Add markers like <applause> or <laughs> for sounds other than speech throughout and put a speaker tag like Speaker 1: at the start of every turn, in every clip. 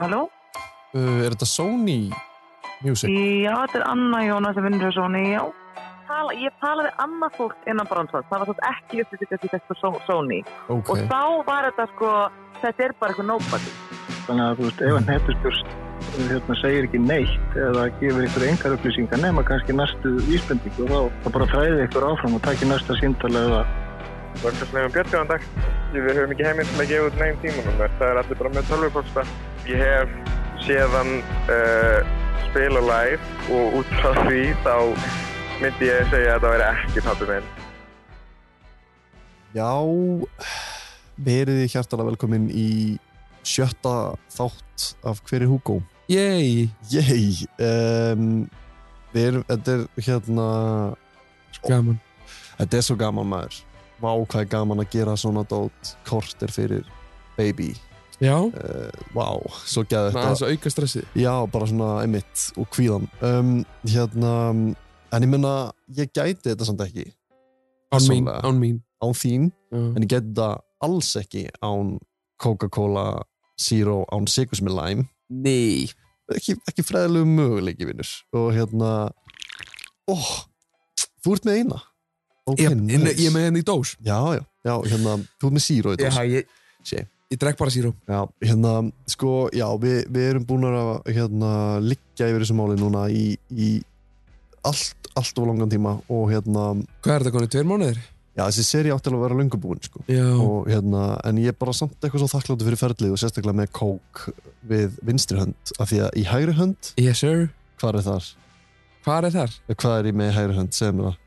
Speaker 1: Halló?
Speaker 2: Uh, er þetta Sony Music?
Speaker 1: Já, þetta er Anna Jóna sem vinnur hjá Sony, já. Tala, ég talaði annað fólk innan Bronsons, það var svolítið ekki upplýsingast í þetta Só- Sony.
Speaker 2: Ok.
Speaker 1: Og þá var þetta sko, þetta er bara eitthvað nobody.
Speaker 3: Þannig að þú veist, ef að netustjórst hérna, segir ekki neitt eða gefur ykkur engar upplýsingar nema kannski næstu vísbendingu og þá, þá bara fræði ykkur áfram og takki næsta síndala eða
Speaker 4: Vörgarsleifum Björnjóðandag. Við höfum ekki heimild til að gefa út neginn tímanúmer. Það er allir bara með tölvupósta. Ég hef séðan uh, spila live og út frá því þá myndi ég segja að það væri ekki pappi minn.
Speaker 2: Já, veriði hjartalega velkomin í sjötta þátt af hverju Hugo.
Speaker 5: Yey
Speaker 2: Yey! Um, við erum, þetta er hérna,
Speaker 5: Gaman
Speaker 2: þetta er svo gaman maður. Vá, hvað er gaman að gera svona dót korter fyrir baby.
Speaker 5: Já,
Speaker 2: Uh, vá, svo gæði
Speaker 5: maður
Speaker 2: þetta.
Speaker 5: aðeins að auka stressið
Speaker 2: Já, bara svona emitt og kvíðan. Um, hérna, en ég menna, ég gæti þetta samt ekki
Speaker 5: Án mín,
Speaker 2: Persónulega.
Speaker 5: án mín
Speaker 2: án þín
Speaker 5: Já.
Speaker 2: en ég geti það alls ekki án Coca-Cola Zero án Sigus með Lime
Speaker 5: Nei
Speaker 2: ekki, ekki fræðilegu möguleiki vinnur og hérna oh, þú ert með eina ok,
Speaker 5: Ég, ég,
Speaker 2: nice.
Speaker 5: ég með henni í dós
Speaker 2: já, já, já, hérna, þú ert með Zero í dag
Speaker 5: ég
Speaker 2: Sé.
Speaker 5: Ég drekk bara síró
Speaker 2: já, hérna, sko, já, við, við erum búin að hérna, liggja yfir þessu máli núna í, í allt, allt of langan tíma og hérna,
Speaker 5: Hvað er þetta konið, tveir mánuðir?
Speaker 2: já, þessi seri átti alveg að vera löngubúin, sko
Speaker 5: Já
Speaker 2: og hérna, en ég er bara samt eitthvað svo þakkláttu fyrir ferlið og sérstaklega með kók við vinstri hönd, af því að í hægri hönd
Speaker 5: Yes sir
Speaker 2: hvað er þar?
Speaker 5: Hvað er þar?
Speaker 2: Hvað er ég með í hægri hönd? Segð mér það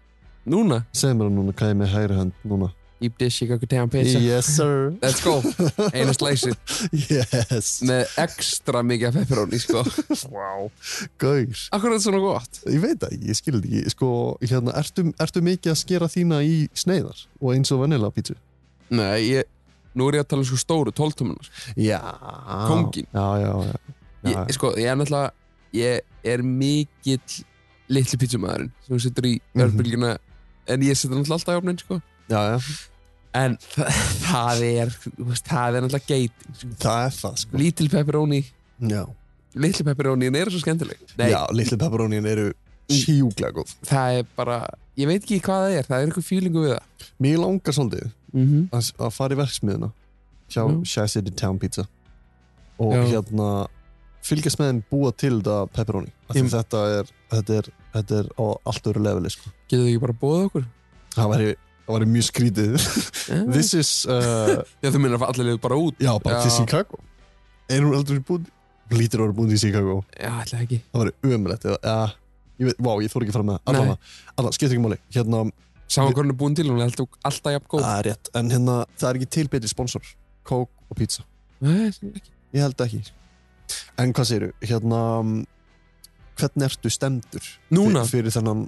Speaker 5: Núna
Speaker 2: segð mér það núna, hvað er ég með í hægri hönd núna?
Speaker 5: Íp dishi kakur tegan pizza
Speaker 2: Yes sir
Speaker 5: Let's
Speaker 2: <laughs>
Speaker 5: go Eina slæsi
Speaker 2: Yes
Speaker 5: Með ekstra mikið af pepperoni sko
Speaker 2: Wow Gaur
Speaker 5: Akkur er þetta svona gott
Speaker 2: Ég veit það, ekki, ég skil þetta ekki Sko, hérna, ertu, ertu mikið að skera þína í sneiðar og eins og vanilega pítsu?
Speaker 5: Nei, ég Nú er ég að tala um sko stóru, tóltumunar
Speaker 2: Já
Speaker 5: Kónginn.
Speaker 2: Já, já, já, já.
Speaker 5: ég, sko, ég er náttúrulega ég er mikill litli pítsumæðurinn sem hún setur í
Speaker 2: Mhm.
Speaker 5: örbylgjuna en ég setur náttúrulega alltaf í ofnin sko.
Speaker 2: já, já
Speaker 5: en <laughs> þa- það er þú veist, það er náttúrulega geiting sko.
Speaker 2: Það er það, sko
Speaker 5: lítil pepperoni
Speaker 2: Já,
Speaker 5: litli pepperoni en er svo skemmtileg Nei,
Speaker 2: já litli pepperonin eru sjúklega góð
Speaker 5: það er bara, ég veit ekki hvað það er það er eitthvað fílingu við það
Speaker 2: Mér langar svolítið
Speaker 5: mm -hmm.
Speaker 2: að, að fara í verksmiðuna hjá
Speaker 5: Já.
Speaker 2: Shy City Town Pizza og
Speaker 5: Já.
Speaker 2: hérna fylgjast með þeim búa til þetta pepperoni Af því
Speaker 5: Ég-
Speaker 2: þetta er, þetta er, þetta er á allt öru leveli sko.
Speaker 5: getur þau ekki bara bóða okkur
Speaker 2: það væri, það væri mjög skrítið <laughs> this is uh,
Speaker 5: eh? <laughs> já, þú minnar að allir liðu bara út
Speaker 2: já, bara
Speaker 5: Já.
Speaker 2: til Chicago er hún aldrei búin lítur að vera búin í Chicago
Speaker 5: já, ætla ekki
Speaker 2: það væri umrætt eða, ja, ég veit, vá, ég þór ekki að fara með
Speaker 5: Nei.
Speaker 2: allavega, allavega, skiptir ekki máli hérna,
Speaker 5: saman hvernig er búin til hún er alltaf, alltaf jafn góð
Speaker 2: það er rétt, en hérna, það er ekki til betri sponsor, kók og pizza
Speaker 5: Nei, sennilega ekki.
Speaker 2: Ég held ekki En hvað segirðu, hérna mm, Hvernig ertu stemdur
Speaker 5: núna
Speaker 2: fyr- Fyrir þennan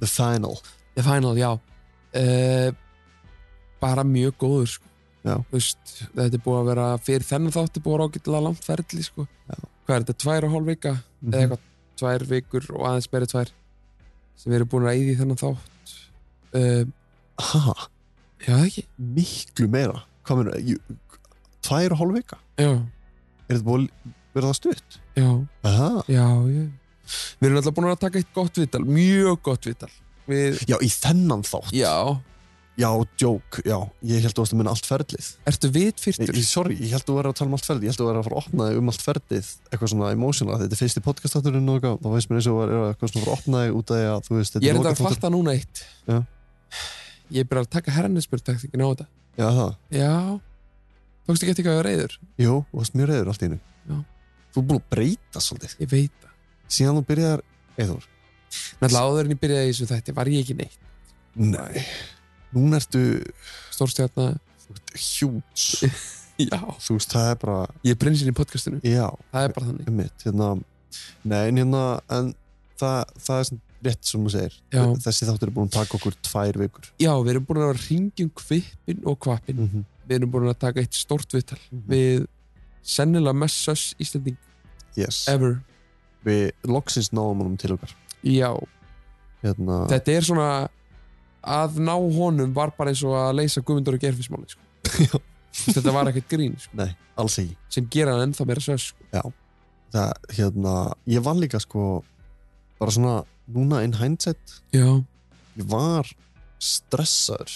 Speaker 2: The Final
Speaker 5: The Final, já uh, bara mjög góður sko.
Speaker 2: Já.
Speaker 5: Þú veist, þetta er búið að vera fyrir þennan þátti búið að vera ágætlega langt ferli sko.
Speaker 2: Já. Mhm.
Speaker 5: hvað er þetta, tvær og hálf vika eða eitthvað, tvær vikur og aðeins meira tvær sem við erum búin að eyða í þennan þátt uh,
Speaker 2: Ha,
Speaker 5: já það ekki
Speaker 2: miklu meira Hvað meina, ég- tvær og hálf vika
Speaker 5: já,
Speaker 2: Er þetta búið að vera það stutt?
Speaker 5: já,
Speaker 2: Aha.
Speaker 5: já, já við erum alltaf búin að taka eitt gott vital mjög gott vital við,
Speaker 2: Já, í þennan þátt
Speaker 5: já,
Speaker 2: já joke, já Ég held að þú varst að minna allt ferlið
Speaker 5: ertu
Speaker 2: Nei,
Speaker 5: vitfyrtur
Speaker 2: ég, Sorry, ég held að þú verið að tala um allt ferlið Ég held að þú verið að fara að opna þig um allt ferlið Eitthvað svona emotional Þetta er fyrsti podcastátturinn og eitthvað. þá veist mér eins og þú verið eitthvað svona að fara að opna þig út af því að þú veist, þetta
Speaker 5: ég er þetta að
Speaker 2: lokaþáttur-
Speaker 5: fatta núna eitt
Speaker 2: Já.
Speaker 5: ég er bara að taka herrannespyrtaktikin á þetta
Speaker 2: Já, það
Speaker 5: Já Tókstu ekki eftir hvað ég var reyður?
Speaker 2: Jú, þú varst mjög reyður allt í
Speaker 5: Já.
Speaker 2: einu. Þú er búin að breyta svolítið.
Speaker 5: Ég veit það
Speaker 2: Síðan þú byrjar, Eithor.
Speaker 5: Náttúrulega áður en ég byrjaði í þessu þætti var ég ekki neitt
Speaker 2: Nei. Núna ertu
Speaker 5: Stórstjarna
Speaker 2: hjúts.
Speaker 5: Já
Speaker 2: þú veist, það er bara,
Speaker 5: Ég er prinsin í podcastinu
Speaker 2: já,
Speaker 5: Það er bara þannig
Speaker 2: um mitt. Hérna, nei, en hérna, en það, það er sem, rétt sem þú segir.
Speaker 5: Já.
Speaker 2: Þessi þáttur er búin að taka okkur tvær vikur.
Speaker 5: Já, við erum búin að vera ringjum kvipin og kvapin
Speaker 2: Mm -hmm.
Speaker 5: Við erum búin að taka eitt stórt viðtal
Speaker 2: Mhm.
Speaker 5: Við sennilega mest sös Íslanding
Speaker 2: Yes.
Speaker 5: ever
Speaker 2: Við loksins náðum honum til okkar.
Speaker 5: Já
Speaker 2: Hérna,
Speaker 5: Þetta er svona Að ná honum var bara eins og að leysa Guðmundur og Gerfismáli sko. Þú veist, þetta var ekkert grín sko,
Speaker 2: Nei, alls ekki
Speaker 5: sem gera hann ennþá meira sös sko.
Speaker 2: það, hérna, ég var líka sko bara svona, núna in hindsight
Speaker 5: já,
Speaker 2: ég var stressaður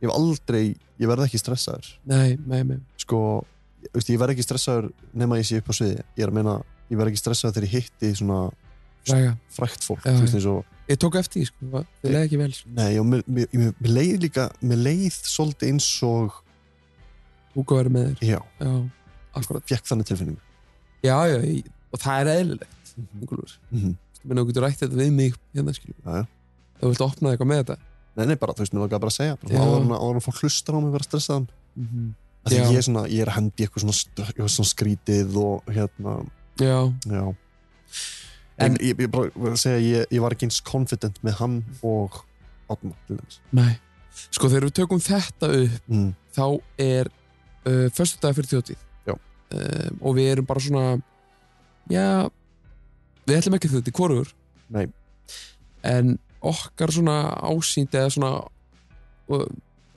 Speaker 2: ég hef aldrei, ég verð ekki stressaður
Speaker 5: nei, nei, nei
Speaker 2: sko, ég- veist, ég verð ekki stressaður nema ég sé upp á sviði, ég er að meina ég verð ekki stressaður þegar ég hitti svona
Speaker 5: Ræga.
Speaker 2: frækt fólk,
Speaker 5: Já,
Speaker 2: þú veist
Speaker 5: já.
Speaker 2: eins og
Speaker 5: ég tók eftir því, sko, það- það leði ekki vel sko.
Speaker 2: nei, og mér, mér, mér, mér leið líka mér leið svolítið eins og
Speaker 5: Hugo er með þér
Speaker 2: já,
Speaker 5: já, akkurat
Speaker 2: fekk þannig tilfinningu
Speaker 5: já, já, ég, og það er eðlilegt
Speaker 2: Mhm.
Speaker 5: Ingólfur.
Speaker 2: Mhm.
Speaker 5: Þú menn þú getur rætt þetta við mig hérna skilur
Speaker 2: Já, já.
Speaker 5: ef þú vilt opna eitthvað með þetta
Speaker 2: nei, nei, bara, þú veist, mér langar bara að segja bara,
Speaker 5: Já.
Speaker 2: svona áður en að- áður en að fólk hlustar á mig vera stressaðan
Speaker 5: Mhm.
Speaker 2: að
Speaker 5: Já.
Speaker 2: því ég er svona, ég er að hendi eitthvað svona, stö, eitthvað svona skrítið og hérna,
Speaker 5: já,
Speaker 2: já en
Speaker 5: En-
Speaker 2: ég, ég bara verð að segja, ég, ég var ekki eins confident með hann og Átna, til dæmis
Speaker 5: nei sko, þegar við tökum þetta upp
Speaker 2: mm.
Speaker 5: þá er uh, förstu dag fyrir þjóttíð
Speaker 2: Já.
Speaker 5: um, og við erum bara svona já við ætlum ekki þetta í hvorugur
Speaker 2: Nei.
Speaker 5: en okkar svona ásýnd eða svona og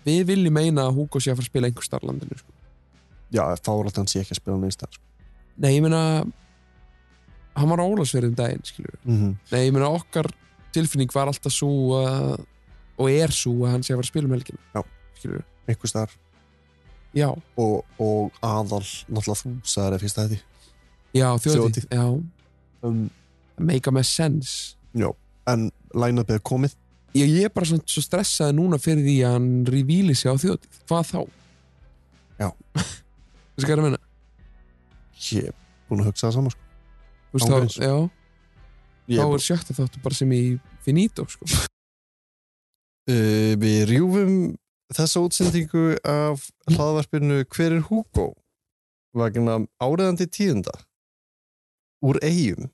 Speaker 5: við viljum meina að Hugo sé að fara að spila einhver starlandinu sko.
Speaker 2: já, þá er alltaf hann sé ekki að spila neins þar sko.
Speaker 5: nei, ég meina hann var ólagsverðum daginn, skilur
Speaker 2: mm -hmm.
Speaker 5: nei, ég meina okkar tilfinning var alltaf svo að, og er svo að hann sé að fara að spila um helgina
Speaker 2: Já.
Speaker 5: skilur,
Speaker 2: einhvers þar
Speaker 5: já,
Speaker 2: og, og aðal, náttúrulega þú sagði það fyrst að þetta
Speaker 5: já, þjóðtíð
Speaker 2: Þjóðhátíð.
Speaker 5: já,
Speaker 2: um,
Speaker 5: make a mess sense
Speaker 2: en line-upið er komið
Speaker 5: ég, ég er bara svona svo stressaði núna fyrir því að hann revíli sig á þjóðtíð hvað þá?
Speaker 2: Já.
Speaker 5: <laughs> Veistu hvað ég er að menna?
Speaker 2: ég er búin að hugsa það saman sko.
Speaker 5: Þú veist
Speaker 2: Ángurins.
Speaker 5: þá, já,
Speaker 2: Ég
Speaker 5: þá
Speaker 2: er
Speaker 5: er sjötta þáttu bara sem í finito sko.
Speaker 2: Uh, við rjúfum þessa útsendingu af hlaðvarpinu Hver er Hugo? vegna áriðandi tíðinda úr <laughs> eigum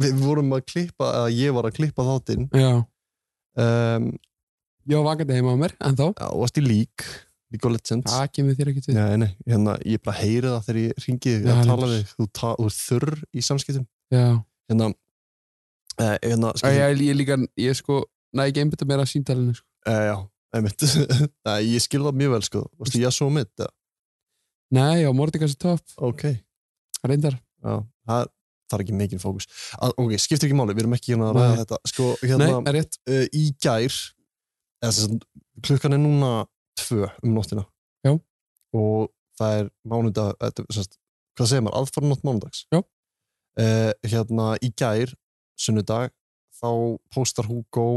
Speaker 2: við vorum að klippa að ég var að klippa þáttinn
Speaker 5: já,
Speaker 2: um,
Speaker 5: ég var vakandi heima á mér en þá,
Speaker 2: og varst í lík League of Legends
Speaker 5: það kemur þér ekkert við
Speaker 2: Nei, nei, hérna, ég bara heyri það þegar ég ringi
Speaker 5: Já,
Speaker 2: að tala
Speaker 5: ljós.
Speaker 2: við þú, ta, þú er þurr í samskiptum
Speaker 5: já,
Speaker 2: hérna, uh, hérna
Speaker 5: Æ, ég, ég líka ég sko, næ ekki einbytta mér að síntalinu sko.
Speaker 2: Uh, já, einmitt <laughs> Nei, ég skil það mjög vel sko Varstu ég að svo mitt?
Speaker 5: nei, já, Mordecai er topp,
Speaker 2: Ok
Speaker 5: reyndar
Speaker 2: Já, það þarf ekki mikinn fókus að, ok, skiptir ekki máli, við erum ekki hérna að ræða
Speaker 5: Nei.
Speaker 2: þetta sko,
Speaker 5: nei,
Speaker 2: hérna,
Speaker 5: er rétt,
Speaker 2: uh, í gær eða, sem sagt, klukkan er núna tvö um nóttina
Speaker 5: Já.
Speaker 2: og það er mánudag þetta, sem sagt, hvað segir maður, aðfara nótt mánudags
Speaker 5: Já.
Speaker 2: Eh, hérna, í gær, sunnudag þá postar Hugo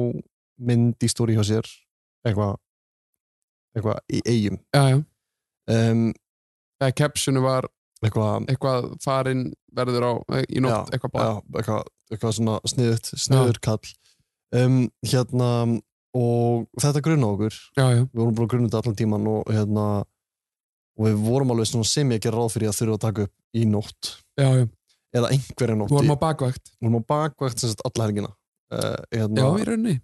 Speaker 2: mynd í stóri hjá sér eitthvað eitthvað í eigum
Speaker 5: já, já
Speaker 2: um,
Speaker 5: eða captionu var
Speaker 2: eitthvað
Speaker 5: eitthvað farinn verður á í nótt,
Speaker 2: Já,
Speaker 5: eitthvað bara
Speaker 2: já, eitthvað, eitthvað svona sniðut, sniður kall um, hérna og þetta grunna okkur
Speaker 5: já, já,
Speaker 2: við vorum bara að grunna þetta allan tíman og hérna og við vorum alveg svona sem ég gera ráð fyrir að þurfa að taka upp í nótt
Speaker 5: já, já,
Speaker 2: eða einhverja nótt
Speaker 5: þú
Speaker 2: í-
Speaker 5: vorum á bakvægt
Speaker 2: vorum á bakvægt sem sagt alla helgina uh,
Speaker 5: já,
Speaker 2: hérna,
Speaker 5: í rauninni,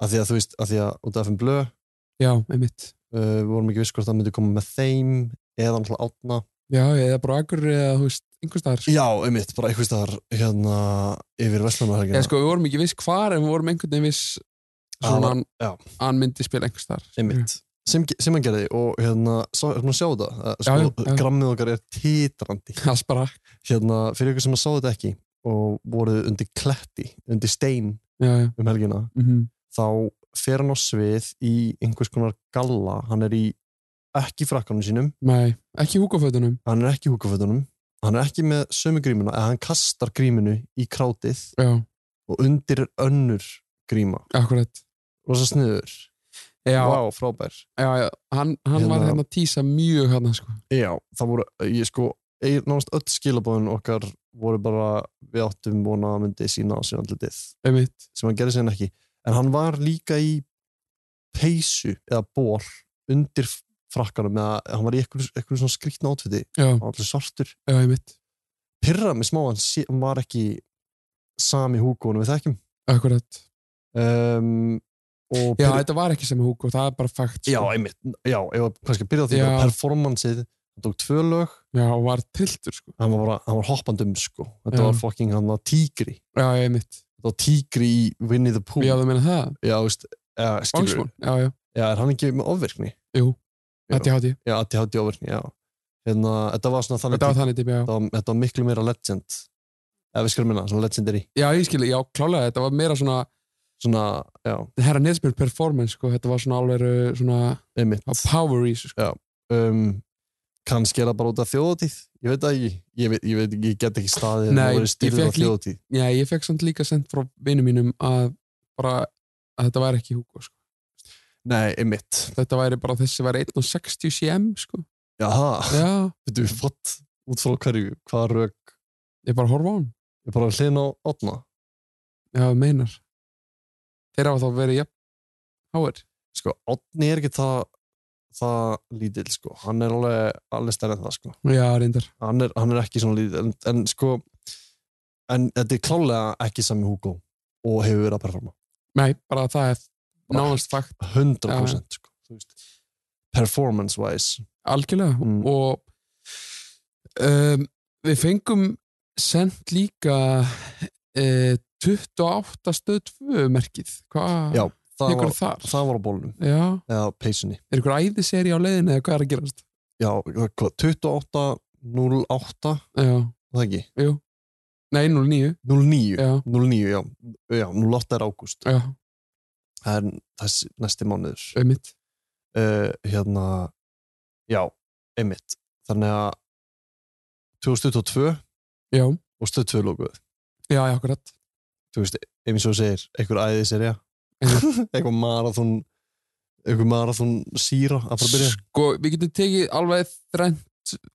Speaker 2: að því að þú veist, að því að út af FM Blö uh,
Speaker 5: já, einmitt
Speaker 2: við vorum ekki viss hvort það myndi koma með þeim eða náttúrulega átna
Speaker 5: Já, eða bara akkur eða, þú veist, einhvers staðar sko.
Speaker 2: já, einmitt, bara einhvers staðar hérna yfir Vestlunarhelgina
Speaker 5: Eða sko, við vorum ekki viss hvar en við vorum einhvern veginn viss
Speaker 2: Að
Speaker 5: svona
Speaker 2: hann- já.
Speaker 5: að hann myndi spila einhvers staðar
Speaker 2: einmitt sem, sem hann gerði og hérna sá, hérna sjá þetta, eh, sko,
Speaker 5: Já, já, já.
Speaker 2: grammið okkar er
Speaker 5: <laughs>
Speaker 2: titrandi
Speaker 5: Það sprakk,
Speaker 2: hérna fyrir ykkur sem að sá þetta ekki og voru undir kletti, undir stein
Speaker 5: já, já
Speaker 2: um helgina,
Speaker 5: mm
Speaker 2: þá fer hann á svið í einhvers konar galla hann er í ekki frakkanum sínum
Speaker 5: Nei, ekki húkafötunum
Speaker 2: hann er ekki húkafötunum hann er ekki með sömu grímuna eða hann kastar gríminu í krátið
Speaker 5: Já,
Speaker 2: og undir er önnur gríma
Speaker 5: akkurat
Speaker 2: rosa sniður,
Speaker 5: Já,
Speaker 2: vá frábær
Speaker 5: já, já, hann, hann var
Speaker 2: Hérna-
Speaker 5: hérna að tísa mjög hérna sko.
Speaker 2: Já, það voru, ég sko ein- nánast öll skilabóðin okkar voru bara við áttum vona að myndi sína á sér andlitið
Speaker 5: einmitt
Speaker 2: sem hann gerði sérna ekki en hann var líka í peysu eða ból undir frakkanum eða hann var í eitthvað, eitthvað svona skrýtna átfiti
Speaker 5: Já,
Speaker 2: hann var allir svartur
Speaker 5: já, einmitt,
Speaker 2: pyrra mig smá, hann, sé, hann var ekki sami húkónu við þekkjum
Speaker 5: akkurat
Speaker 2: um, og
Speaker 5: Já,
Speaker 2: pirra-
Speaker 5: þetta var ekki sem húk og það er bara fakt
Speaker 2: já,
Speaker 5: sko.
Speaker 2: einmitt, já, ég var kannski að byrja á því
Speaker 5: Já.
Speaker 2: bara performanceið, hann tók tvö lög
Speaker 5: já, og var tiltur sko.
Speaker 2: hann var, bara, hann var hoppandum sko þetta
Speaker 5: Já.
Speaker 2: var fucking hann að tígri
Speaker 5: Já, já, einmitt
Speaker 2: þetta var tígri í Winnie the Pooh
Speaker 5: Já, það meina það,
Speaker 2: já veist, eða, skilur
Speaker 5: Bangsmón Já, já,
Speaker 2: já, er hann ekki með ofvirkni?
Speaker 5: Jú.
Speaker 2: Já.
Speaker 5: Þetta hátti
Speaker 2: já, ADHD ofurkni, já hérna, þetta var svona þannig
Speaker 5: Þetta var
Speaker 2: típa.
Speaker 5: þannig típi, já.
Speaker 2: þetta var, þetta var miklu meira legend eða við skulum minna, svona legendary
Speaker 5: Já, ég skilji, já, klálega, þetta var meira svona
Speaker 2: svona, já,
Speaker 5: herra neðspjörn performance, sko, þetta var svona alveg uh, svona á
Speaker 2: einmitt
Speaker 5: power í, sko.
Speaker 2: um, kannski er það bara út af þjóðatíð ég veit það ekki, ég veit, ég veit ekki, ég get ekki staðið hérna
Speaker 5: Nei,
Speaker 2: það
Speaker 5: ég
Speaker 2: voru styrðið á
Speaker 5: fékk lí-
Speaker 2: þjóðatíð
Speaker 5: Já, ég fekk samt líka sendt frá vinum mínum að bara, að þetta væri ekki Hugo, sko.
Speaker 2: nei, einmitt,
Speaker 5: Þetta væri bara, þessi væri 1.60 cm, sko.
Speaker 2: jaha,
Speaker 5: Já,
Speaker 2: veitum við fótt út frá hverju, hvað rök
Speaker 5: ég bara horfa á hann.
Speaker 2: ég bara hlinn á átna
Speaker 5: Já, þú meinar. Þeir hafa þá verið, jafn, háir.
Speaker 2: sko, Átni er ekki það það lítill, sko, hann er alveg alveg stærri en það, sko,
Speaker 5: Já, reyndar.
Speaker 2: hann er, hann er ekki svona lítill en, en sko en þetta er klálega ekki sami Hugo og hefur verið að performa,
Speaker 5: Nei, bara það er
Speaker 2: Bara-
Speaker 5: nánast fakt
Speaker 2: 100% sko, þú veist performance wise,
Speaker 5: algjörlega
Speaker 2: Mm.
Speaker 5: og um, við fengum sendt líka uh, 28 stöð 2 merkið hvað
Speaker 2: Já, það
Speaker 5: tekur
Speaker 2: var,
Speaker 5: þar?
Speaker 2: það var á bólnum
Speaker 5: Já,
Speaker 2: eða peysunni,
Speaker 5: er ykkur æðiseri á leiðinu eða hvað er að gerast?
Speaker 2: já, hvað, 28 08,
Speaker 5: Já,
Speaker 2: það ekki
Speaker 5: jú Nei, 09,
Speaker 2: 09,
Speaker 5: já,
Speaker 2: 09, já, já 08 er ágúst,
Speaker 5: já,
Speaker 2: það er þessi næsti mánuður
Speaker 5: auðvitað
Speaker 2: uh, hérna já, einmitt þannig að 2022
Speaker 5: Já,
Speaker 2: og stöð 2 lókuð
Speaker 5: já, já, akkurat
Speaker 2: þú veist, eins og þú segir, einhver æðiserja <laughs> eitthvað marathon einhver marathon síra að fara að byrja
Speaker 5: Sko, við getum tekið alveg þrennt,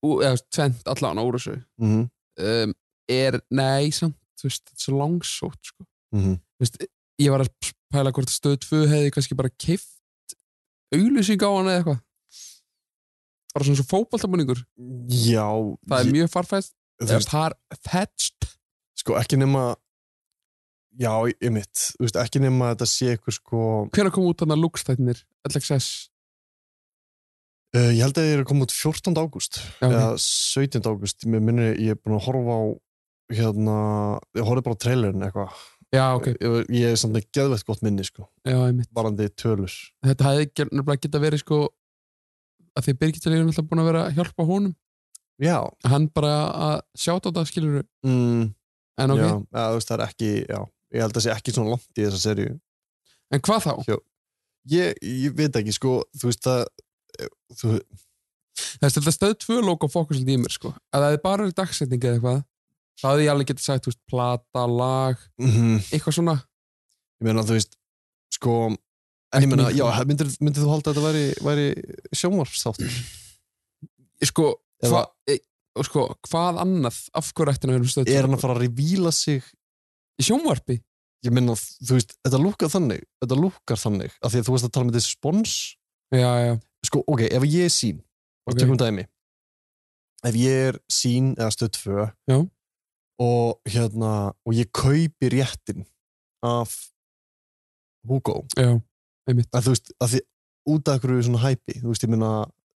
Speaker 5: ú- eða tvent allan úr þessu
Speaker 2: mm -hmm.
Speaker 5: um, er, nei, samt, þú veist, þetta er svo langsótt, sko
Speaker 2: Mm -hmm.
Speaker 5: Þú veist, ég var að pæla hvort stöð 2 hefði kannski bara keift auglýsing á hann eða eitthvað bara svona svo fótboltamunningur
Speaker 2: já,
Speaker 5: það er
Speaker 2: ég-
Speaker 5: mjög farfæst
Speaker 2: þú
Speaker 5: eða
Speaker 2: veist,
Speaker 5: farfetched
Speaker 2: sko ekki nema já, einmitt, þú veist, ekki nema að þetta sé eitthvað sko,
Speaker 5: hvenær kom út hann að lúkstættinir LXS
Speaker 2: uh, ég held að það eru komið út 14. ágúst
Speaker 5: Já, ok.
Speaker 2: eða 17. ágúst, mér minni ég er búin að horfa á hérna, ég horfði bara á trailerin eitthvað Eh,
Speaker 5: já ok,
Speaker 2: ég, ég er samt að geðveitt gott minni sko,
Speaker 5: já, einmitt.
Speaker 2: varandi tölur
Speaker 5: þetta hefði gert- nefnilega geta verið sko að því Birgitta er náttúrulega búin að vera að hjálpa honum
Speaker 2: já,
Speaker 5: hann bara að sjáta þetta skilur
Speaker 2: mm,
Speaker 5: en ok,
Speaker 2: já eða, þú veist, það er ekki já, ég held að sé ekki svona langt í þessa serju
Speaker 5: en hvað þá?
Speaker 2: ég, ég veit ekki sko, þú veist það þú,
Speaker 5: Þess, þetta stöð tvö logo fókus í mér sko að það er bara verið dagsetning eða eitthvað það hefði ég alveg getið sagt, þú veist, plata, lag
Speaker 2: mhm,
Speaker 5: eitthvað svona
Speaker 2: ég meina þú veist sko, en
Speaker 5: Ekki
Speaker 2: ég meina
Speaker 5: mikið.
Speaker 2: já, myndir, myndir þú halda að þetta væri, væri sjónvarpstáttur
Speaker 5: sko, hva,
Speaker 2: Eða-
Speaker 5: e, og sko hvað annað af hverju ættin að vera með stöð tvö?
Speaker 2: er hann að fara að revíla sig
Speaker 5: í sjónvarpi
Speaker 2: ég meina, þú veist, þetta lúkkar þannig þetta lúkkar þannig, af því að þú veist að tala með þessi spons
Speaker 5: já, já,
Speaker 2: sko, ok, ef ég er sín og
Speaker 5: Ok.
Speaker 2: tökum dæmi ef ég er sín eða stöð 2
Speaker 5: Já.
Speaker 2: og hérna og ég kaupi réttin af Hugo
Speaker 5: já, einmitt
Speaker 2: að þú veist, að því út af hverju svona hæpi, þú veist, ég meina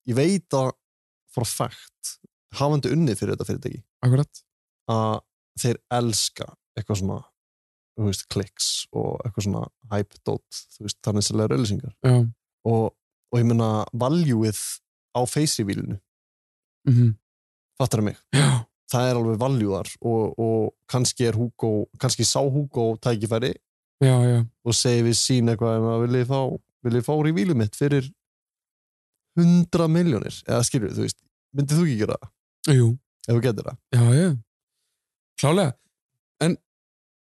Speaker 2: ég veit að for a fact hafandi unnið fyrir þetta fyrirtæki
Speaker 5: akkurat,
Speaker 2: að þeir elska eitthvað svona þú veist, kliks og eitthvað svona hype dot, þú veist, þannig sem leður öllisingar
Speaker 5: já
Speaker 2: og, og ég meina valjúið á face-revílinu
Speaker 5: mm
Speaker 2: fattar mig,
Speaker 5: já,
Speaker 2: það er alveg valjúðar og, og kannski er Hugo kannski sá Hugo tækifæri
Speaker 5: já, já,
Speaker 2: og segi við sín eitthvað um að vil ég fá, vil ég fá revílu mitt fyrir 100 miljónir eða skilur, þú veist, myndir þú ekki gera það
Speaker 5: jú,
Speaker 2: ef þú getur það,
Speaker 5: já, já klálega, en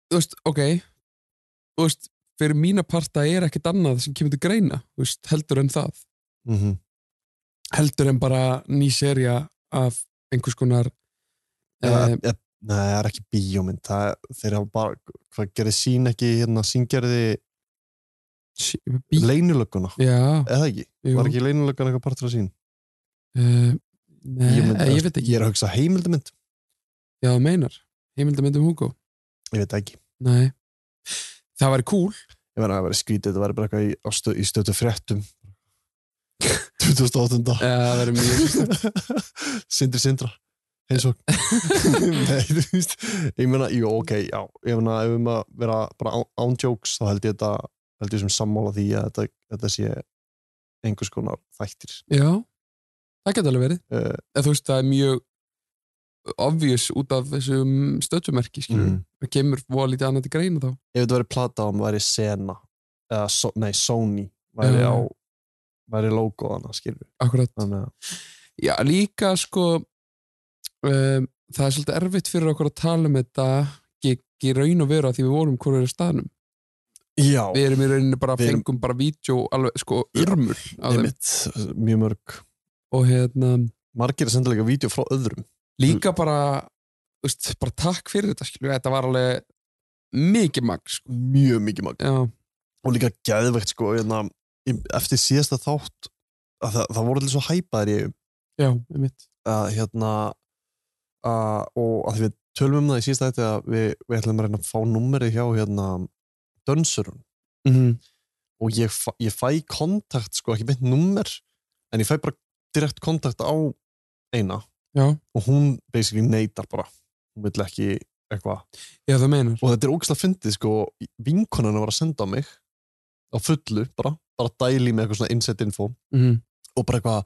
Speaker 5: þú veist, ok þú veist, fyrir mína parta er ekkit annað sem kemur til greina, þú veist, heldur en það
Speaker 2: mm -hmm.
Speaker 5: heldur en bara ný serja af einhvers konar eh,
Speaker 2: eða, nei, það er ekki bíómynd það, þeir hafa bara, hvað gerir sín ekki hérna, síngerði
Speaker 5: sí- bí-
Speaker 2: leynulögguna,
Speaker 5: já,
Speaker 2: eða ekki
Speaker 5: jú
Speaker 2: var ekki leynulögguna eitthvað partur af sín
Speaker 5: Eh, Nei, eh,
Speaker 2: Bíómynd,
Speaker 5: ég,
Speaker 2: þú
Speaker 5: veit ekki
Speaker 2: ég er að hugsa heimildamynd,
Speaker 5: Já, þú meinar, heimildamindum Hugo
Speaker 2: ég veit það ekki
Speaker 5: Nei, það væri cool
Speaker 2: ég verði að vera skrítið, þetta væri bara eitthvað í, á stö, í stötu fréttum <laughs> 2008.
Speaker 5: Já, það væri mjög
Speaker 2: <laughs> Sindri Sindra eins og Nei, þú veist, ég meina, jú, ok já, ég meina, ef við erum að vera bara án- án jokes, þá held ég þetta held ég sem sammála því að þetta, þetta sé einhvers konar þættir
Speaker 5: Já, það geta alveg verið
Speaker 2: uh,
Speaker 5: eða þú veist það er mjög obvious út af þessum stöðsumerki skilur
Speaker 2: mm.
Speaker 5: það kemur voða lítið annað til greina þá
Speaker 2: ef þetta væri plata og væri Sena eða, so, nei, Sony væri
Speaker 5: Já.
Speaker 2: á væri logo hana, skilur
Speaker 5: akkurat
Speaker 2: þannig að
Speaker 5: já líka sko um, það er svolítið erfitt fyrir okkur að tala um þetta gig í raun og vera því við vorum hverju er staðnum
Speaker 2: já,
Speaker 5: við erum í rauninu bara,
Speaker 2: Við erum-
Speaker 5: fengum bara vídeo alveg sko
Speaker 2: Já,
Speaker 5: urmul á þeim
Speaker 2: einmitt, mjög mörg
Speaker 5: og hérna
Speaker 2: margir að senda líka vídeo frá öðrum
Speaker 5: líka bara þú veist, bara takk fyrir þetta skilur þetta var alveg mikið mag sko.
Speaker 2: mjög mikið mag
Speaker 5: já,
Speaker 2: og líka geðvegt sko hérna, í- eftir síðasta þátt að það, það voru allir svo hæpaðir ég
Speaker 5: já, einmitt
Speaker 2: að hérna að, og að því við tölum um það í síðasta þetta að við, við ætlum að reyna að fá númerið hjá hérna dönsurun
Speaker 5: mm -hmm.
Speaker 2: og ég, fæ- ég fæ kontakt sko ekki beint númer en ég fæ bara direkt kontakt á eina
Speaker 5: já,
Speaker 2: og hún basically neytar bara hún vill ekki eitthvað
Speaker 5: já það meinar
Speaker 2: og þetta er ógislega fyndið sko vinkonan var að senda á mig á fullu bara, bara dæli með eitthvað svona inset info
Speaker 5: mm -hmm.
Speaker 2: og bara eitthvað,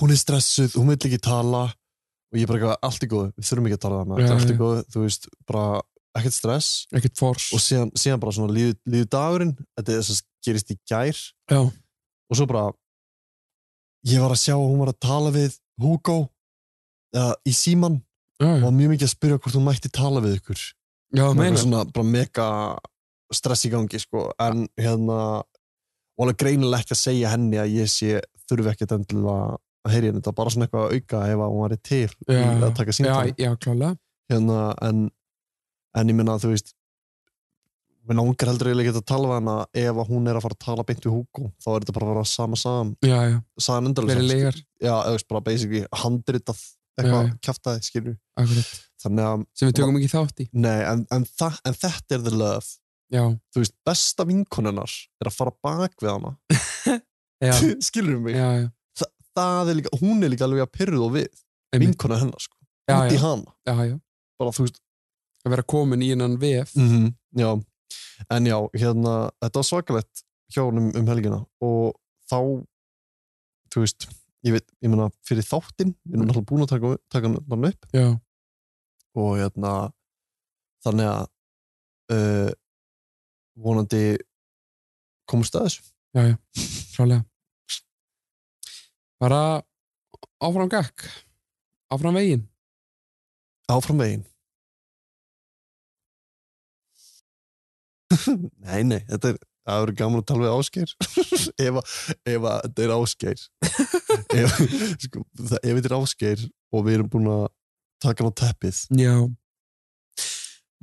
Speaker 2: hún er stressuð, hún vil ekki tala og ég bara eitthvað, allt í góðu, við þurfum ekki að tala þannig,
Speaker 5: Já,
Speaker 2: þetta er allt
Speaker 5: já.
Speaker 2: í góðu, þú veist, bara ekkert stress
Speaker 5: ekkert fors
Speaker 2: og síðan, síðan bara svona líð, líðu dagurinn, þetta er þess að gerist í gær
Speaker 5: Já.
Speaker 2: og svo bara, ég var að sjá að hún var að tala við Hugo uh, í síman
Speaker 5: já,
Speaker 2: og
Speaker 5: já.
Speaker 2: var mjög mikið að spyrja hvort hún mætti tala við ykkur
Speaker 5: já það
Speaker 2: Og
Speaker 5: meinar
Speaker 2: svona bara mega stress í gangi sko, en hérna og alveg greinilega ekki að segja henni að ég sé þurfi ekkert endilega að heyri henni, þetta var bara svona eitthvað að auka ef að hún væri til í
Speaker 5: Já,
Speaker 2: að taka
Speaker 5: já,
Speaker 2: síntal
Speaker 5: já, klálega
Speaker 2: hérna, en, en ég minna að þú veist minn ángar heldur eiginlega ekki að tala við hana ef að hún er að fara að tala beint við Hugo þá er þetta bara að vera sama sam
Speaker 5: já, já,
Speaker 2: sagan
Speaker 5: verið
Speaker 2: endurlega
Speaker 5: legar
Speaker 2: já, eða þú veist, bara basically handritað
Speaker 5: Já,
Speaker 2: eitthvað
Speaker 5: já.
Speaker 2: kjaftaði, skilur
Speaker 5: akkurat,
Speaker 2: þannig að,
Speaker 5: sem við tökum ekki þátt í
Speaker 2: nei, en, en, þa en þetta er the love
Speaker 5: já,
Speaker 2: þú veist, besta vinkonunnar er að fara bak við hana
Speaker 5: <laughs> já, já,
Speaker 2: skilur mig,
Speaker 5: já,
Speaker 2: það er líka, hún er líka alveg að pyrruð og við,
Speaker 5: Einmitt.
Speaker 2: vinkona hennar sko,
Speaker 5: já,
Speaker 2: út í
Speaker 5: já,
Speaker 2: hana
Speaker 5: já, já.
Speaker 2: bara þú veist,
Speaker 5: að vera komin í hennan VF
Speaker 2: -hmm. já en já, hérna, þetta var svakalegt hjá honum um helgina og þá þú veist, ég veit, ég meina fyrir þáttinn, við
Speaker 5: Mm.
Speaker 2: erum náttúrulega búin að taka, taka hann upp
Speaker 5: já,
Speaker 2: og hérna þannig að uh, vonandi komast að þessu <laughs>
Speaker 5: klálega bara áfram gakk áfram veginn
Speaker 2: áfram veginn Nei, nei, þetta er það verður gaman að tala við Ásgeir <laughs> ef, að- ef að þetta er
Speaker 5: <laughs>
Speaker 2: Ásgeir ef, sko, það, ef þetta er Ásgeir og við erum búin að taka hann á teppið
Speaker 5: já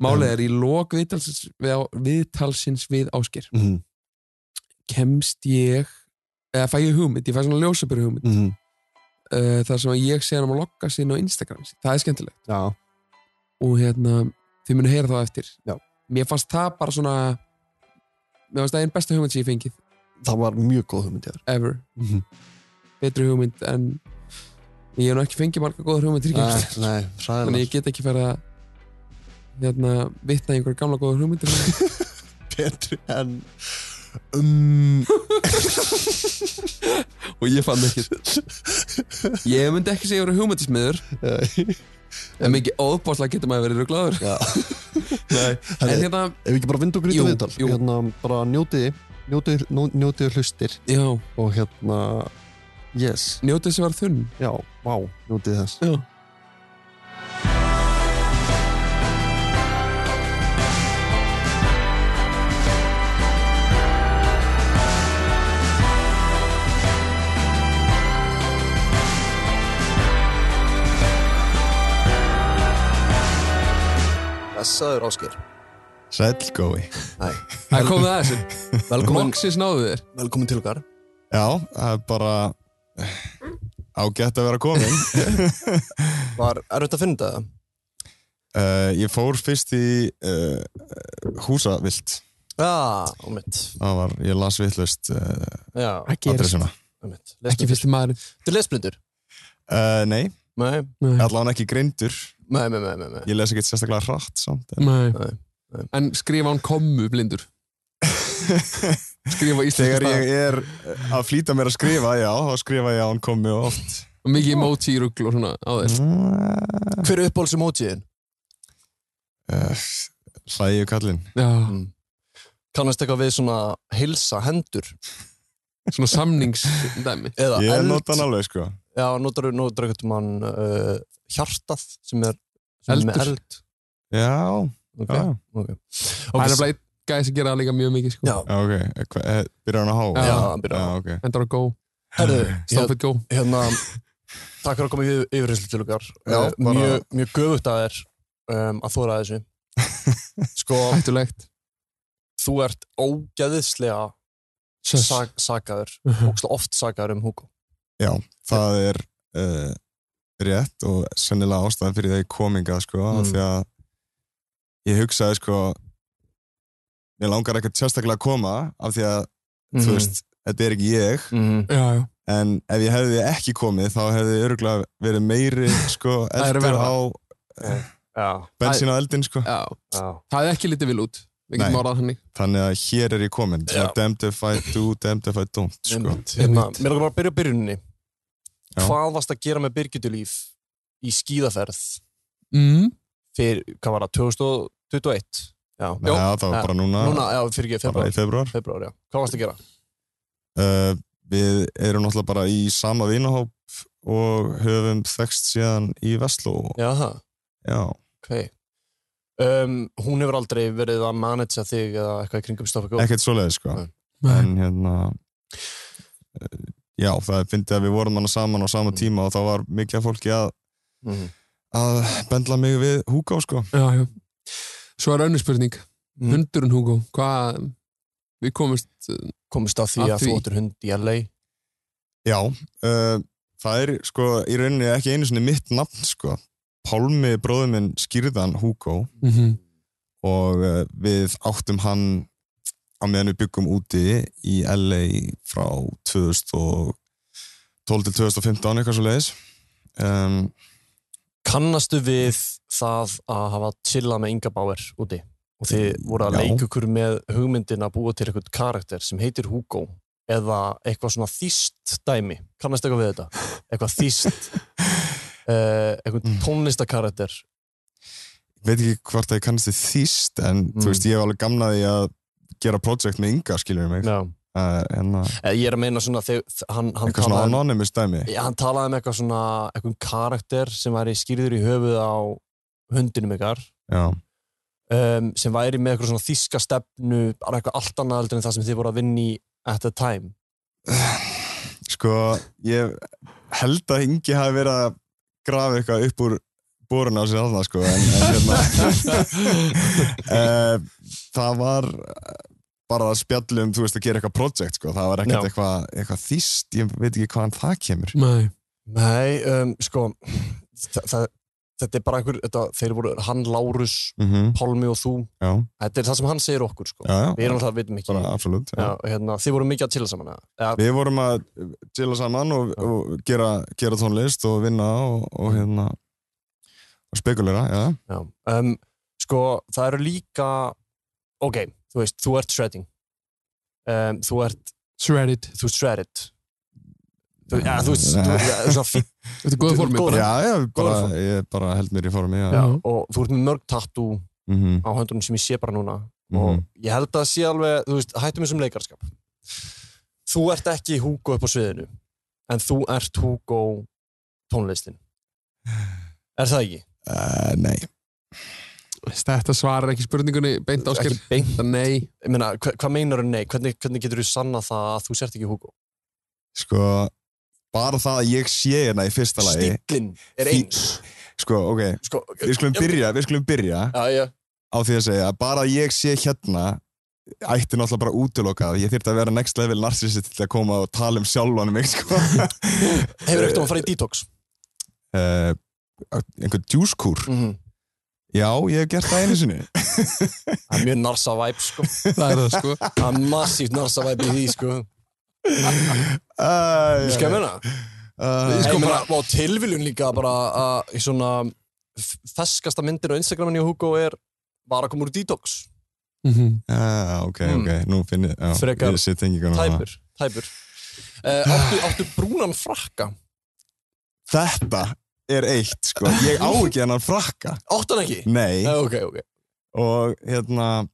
Speaker 5: málið er í lok viðtalsins við, á- viðtalsins við Ásker
Speaker 2: mm,
Speaker 5: kemst ég eða fæ ég hugmynd, ég fæ svona ljósabyrju hugmynd
Speaker 2: mm,
Speaker 5: uh, þar sem að ég sé hann að logga sinna á Instagram sitt. það er skemmtilegt
Speaker 2: Já,
Speaker 5: og hérna, þið munu heyra þá eftir
Speaker 2: Já.
Speaker 5: mér fannst það bara svona mér fannst það einn besta hugmynd sem ég fengið
Speaker 2: það var mjög góð hugmynd ég
Speaker 5: ever,
Speaker 2: Mhm.
Speaker 5: betri hugmynd en ég hef nú ekki fengið marga góða hugmynd
Speaker 2: Nei,
Speaker 5: þannig
Speaker 2: nei,
Speaker 5: að
Speaker 2: hræðilega
Speaker 5: ég get ekki fara að hérna, vitna í einhverja gamla góða hugmyndir
Speaker 2: <laughs> betri en um,
Speaker 5: <laughs> og ég fann ekki ég myndi ekki segja að vera hugmyndismiður en mikið óbáslega getur maður verið ruglaður
Speaker 2: Já,
Speaker 5: <laughs> Nei, en
Speaker 2: herri,
Speaker 5: hérna,
Speaker 2: ef við ekki bara vind og
Speaker 5: Jú,
Speaker 2: grýta viðtal
Speaker 5: jú.
Speaker 2: hérna, bara njótiði njótiði, nú- njótiði hlustir
Speaker 5: já,
Speaker 2: og hérna yes,
Speaker 5: njótið sem var þunn
Speaker 2: já, vá, njótið þess
Speaker 5: já
Speaker 2: Blessaður Ásker
Speaker 6: Sælgói.
Speaker 5: Það komið að þessu,
Speaker 6: <laughs>
Speaker 2: Velkomin,
Speaker 5: loksis náðu þér
Speaker 2: velkomin til okkar
Speaker 6: Já, það er bara ágætt að vera komin.
Speaker 2: <laughs> Var erfitt að finna þetta?
Speaker 6: uh, ég fór fyrst í uh, húsavilt.
Speaker 2: Já, á mitt
Speaker 6: Það var, ég las vittlust uh,
Speaker 2: Já,
Speaker 5: Ekki,
Speaker 6: adressuna.
Speaker 2: á mitt
Speaker 5: ekki fyrsti maðurinn
Speaker 2: Þú lesblindur?
Speaker 6: Uh, nei,
Speaker 2: Nei,
Speaker 5: Nei.
Speaker 6: allavega ekki grindur.
Speaker 2: nei, nei, nei, nei, nei.
Speaker 6: Ég les ekki sérstaklega hratt samt. En...
Speaker 5: Nei.
Speaker 2: Nei, nei.
Speaker 5: En skrifa hann komu
Speaker 6: <laughs>
Speaker 5: blindur Skrifa íslenska
Speaker 6: Þegar
Speaker 5: stað
Speaker 6: ég er að flýta mér að skrifa, já, þá skrifa ég að hann komi oft. Mm.
Speaker 5: og mikið emoji rugl og svona á þess
Speaker 2: Hver er uppáhalds emojiðin?
Speaker 6: Hlæju Eh, kallinn
Speaker 5: Já,
Speaker 2: Mm. Kannast eitthvað við svona hilsa hendur
Speaker 5: svona samningsdæmi
Speaker 2: eða
Speaker 6: Ég
Speaker 2: eld
Speaker 6: nota hann alveg sko
Speaker 2: Já, notar notar eitthvað mann uh, hjartað sem er sem er með
Speaker 5: Eldur.
Speaker 2: eld
Speaker 6: Já,
Speaker 2: Ok,
Speaker 6: já,
Speaker 2: ok
Speaker 5: Það er
Speaker 2: Ok,
Speaker 5: bara gæði sem gera það líka mjög mikið sko.
Speaker 2: Já.
Speaker 6: já, ok Hva- eh, Byrjar hann að há?
Speaker 5: Já,
Speaker 2: hann byrjar á
Speaker 6: á
Speaker 2: há.
Speaker 6: okay.
Speaker 5: Endar á go,
Speaker 2: herðu,
Speaker 5: stop it go
Speaker 2: hérna takk fyrir að koma í yfirherslu til okkar
Speaker 6: Já,
Speaker 2: Eh,
Speaker 6: bara-
Speaker 2: mjög, mjög göfugt að þér um, að þóra þessu
Speaker 6: <laughs>
Speaker 2: sko,
Speaker 5: Hættulegt
Speaker 2: þú ert ógeðislega sak, sakaður,
Speaker 5: Uh-huh.
Speaker 2: ógeðslega oft sakaður um Hugo
Speaker 6: Það er uh, rétt og sennilega ástæðan fyrir það ég kominga sko,
Speaker 2: Mm.
Speaker 6: mm. því að ég hugsaði sko mér langar ekkert sérstaklega að koma af því að,
Speaker 5: Mhm.
Speaker 6: þú veist, þetta er ekki ég
Speaker 2: mm.
Speaker 5: Já, já,
Speaker 6: en ef ég hefði ekki komið þá hefði öruglega verið meiri sko,
Speaker 5: <laughs> Það er
Speaker 6: eldur
Speaker 5: verra.
Speaker 6: á
Speaker 2: já,
Speaker 6: bensin á eldin sko.
Speaker 5: já
Speaker 2: já,
Speaker 5: Það er ekki litið vil út Við
Speaker 6: Nei.
Speaker 5: getum orðað þannig
Speaker 6: þannig að hér er ég komin
Speaker 2: Já.
Speaker 6: damned if I do, damned if I don't sko.
Speaker 2: Einmitt. hérna,
Speaker 5: Einmitt.
Speaker 2: mér langar bara að byrja á byrjuninni
Speaker 6: Já.
Speaker 2: hvað varst að gera með Birgitulíf í skíðaferð
Speaker 5: mm.
Speaker 2: fyrir, hvað var það, 2021 já,
Speaker 6: Já, það var
Speaker 2: Já.
Speaker 6: bara núna,
Speaker 2: núna, já, fyrir ekki,
Speaker 6: bara í februar
Speaker 2: februar, februar já. hvað varst að gera?
Speaker 6: Uh, við erum náttúrulega bara í sama vinahóp og höfum þekst síðan í Vestló.
Speaker 2: já, það
Speaker 6: Já,
Speaker 2: Ok. Um, hún hefur aldrei verið að managea þig eða eitthvað í kringum Stoffa Góð?
Speaker 6: ekkert svoleiðis sko.
Speaker 2: Nei.
Speaker 5: Nei.
Speaker 6: En hérna, uh, já, það fyndi að við vorum hana saman á sama
Speaker 2: Mm.
Speaker 6: tíma og þá var mikið af fólki að,
Speaker 2: Mm.
Speaker 6: að bendla mig við Hugo sko.
Speaker 5: Já, já Svo er önnur spurning
Speaker 2: Mm.
Speaker 5: Hundurinn Hugo, hvað Við komumst
Speaker 2: Komist að því
Speaker 5: Að
Speaker 2: að,
Speaker 5: því.
Speaker 2: þú áttir hund í LA?
Speaker 6: Já, uh, það er sko í rauninni ekki einu sinni mitt nafn sko. Pálmi bróður minn skýrðan Hugo
Speaker 5: mm
Speaker 6: og eh, við áttum hann á meðan við byggum úti í LA frá 2012 til 2015 eitthvað svo leiðis um,
Speaker 2: Kannastu við það að hafa chillað með Inga Bauer úti? Og þið voru að
Speaker 6: Mm, Já.
Speaker 2: leika ykkur með hugmyndin að búa til eitthvað karakter sem heitir Hugo eða eitthvað svona þýst dæmi. Kannastu eitthvað við þetta? Eitthvað þýst,
Speaker 6: <laughs>
Speaker 2: uh, eitthvað
Speaker 6: Mm.
Speaker 2: tónlistakarakter.
Speaker 6: veit ekki hvort það ég kannast þið þýst en
Speaker 2: Mm.
Speaker 6: þú veist ég hef alveg gamnaði að gera projekt með Inga skilur mig
Speaker 2: Já.
Speaker 6: uh, en að-
Speaker 2: Eh, Ég er að meina svona þegar hann, hann
Speaker 6: eitthvað svona
Speaker 2: talaði um-
Speaker 6: anonymous dæmi
Speaker 2: Já, hann talaði um eitthvað svona eitthvað karakter sem væri skýrður í höfuð á hundinum ykkar
Speaker 6: já,
Speaker 2: um, sem væri með eitthvað svona þíska stefnu bara eitthvað allt annað heldur en það sem þið voru að vinna í at the time
Speaker 6: sko ég held að Ingi hafi verið að grafa eitthvað upp úr borun á sér alveg sko en, en hérna Eh, það var eh, bara að spjallum, þú veist, að gera eitthvað projekt sko. það var ekkert
Speaker 2: Já.
Speaker 6: eitthvað, eitthvað þýst ég veit ekki hvaðan það kemur
Speaker 5: Nei
Speaker 2: Nei, um, sko þa- það, þetta er bara einhver þetta, þeir voru hann, Lárus,
Speaker 6: mm -hmm.
Speaker 2: Pálmi og þú
Speaker 6: já,
Speaker 2: þetta er það sem hann segir okkur sko.
Speaker 6: já,
Speaker 2: við
Speaker 6: já,
Speaker 2: erum alltaf að vitum ekki
Speaker 6: bara absolutt já.
Speaker 2: Já, hérna, þið voru mikið að tilla saman eða?
Speaker 6: við vorum að chilla saman og,
Speaker 2: Já.
Speaker 6: og gera, gera tónlist og vinna og, og hérna og spekulera, já,
Speaker 2: Já, um, sko, það eru líka ok, þú veist, þú ert shredding um, þú ert,
Speaker 5: Shredded
Speaker 2: þú ert shredded þú, ja, þú veist, þú, ja, svona
Speaker 5: <laughs>
Speaker 2: fín
Speaker 5: Þetta er góða
Speaker 2: Þú-
Speaker 5: formið
Speaker 2: góða-
Speaker 5: bara
Speaker 6: já, já við bara,
Speaker 2: Góður form.
Speaker 6: ég bara held mér í formi já.
Speaker 2: já,
Speaker 6: Já.
Speaker 2: og þú ert með mörg tattoo
Speaker 6: Mm -hmm.
Speaker 2: á höndunum sem ég sé bara núna
Speaker 6: Mhm.
Speaker 2: og ég held að það sé alveg, þú veist, hættum þessum leikarskap þú ert ekki Hugo upp á sviðinu en þú ert Hugo tónlistin er það ekki?
Speaker 6: nei,
Speaker 5: Þetta svarar ekki spurningunni beint áskil
Speaker 2: ekki beint,
Speaker 5: Nei
Speaker 2: ég meina, hva, hvað meinar nei? Hvernig, hvernig getur þú sanna það að þú sért ekki Hugo?
Speaker 6: sko bara það að ég sé hérna í fyrsta lagi
Speaker 2: Stíllinn er
Speaker 6: Fí-
Speaker 2: eins
Speaker 6: sko, ok,
Speaker 2: sko,
Speaker 6: við skulum byrja, við skulum byrja
Speaker 2: já, já,
Speaker 6: á því að segja að bara að ég sé hérna ætti náttúrulega bara útilokað ég þyrfti að vera next level narsisist til að koma og tala um sjálfan mig sko.
Speaker 2: hefur ekkert að fara í detox
Speaker 6: uh, einhvern djúskúr
Speaker 2: mm
Speaker 6: já, ég hef gert það einu sinni
Speaker 2: það er mjög narsa væp sko.
Speaker 5: <laughs> Það er það sko
Speaker 2: það er massíft narsa væp í því sko.
Speaker 6: uh,
Speaker 2: Þú skal ég meina
Speaker 6: uh,
Speaker 2: Ég meina, á tilviljun líka bara að í svona f- ferskasta myndin á Instagramin hjá Hugo er var að koma úr detox
Speaker 5: Mhm.
Speaker 6: uh, ok, ok, nú finn ég já,
Speaker 2: Mm. Frekar
Speaker 6: ég sé tenginguna
Speaker 2: Eh, tæpur, tæpur. Uh, áttu, áttu brúnan frakka
Speaker 6: þetta er eitt sko. ég á ekki hennar frakka
Speaker 2: Óttan ekki?
Speaker 6: nei,
Speaker 2: Nei, ok, ok
Speaker 6: og hérna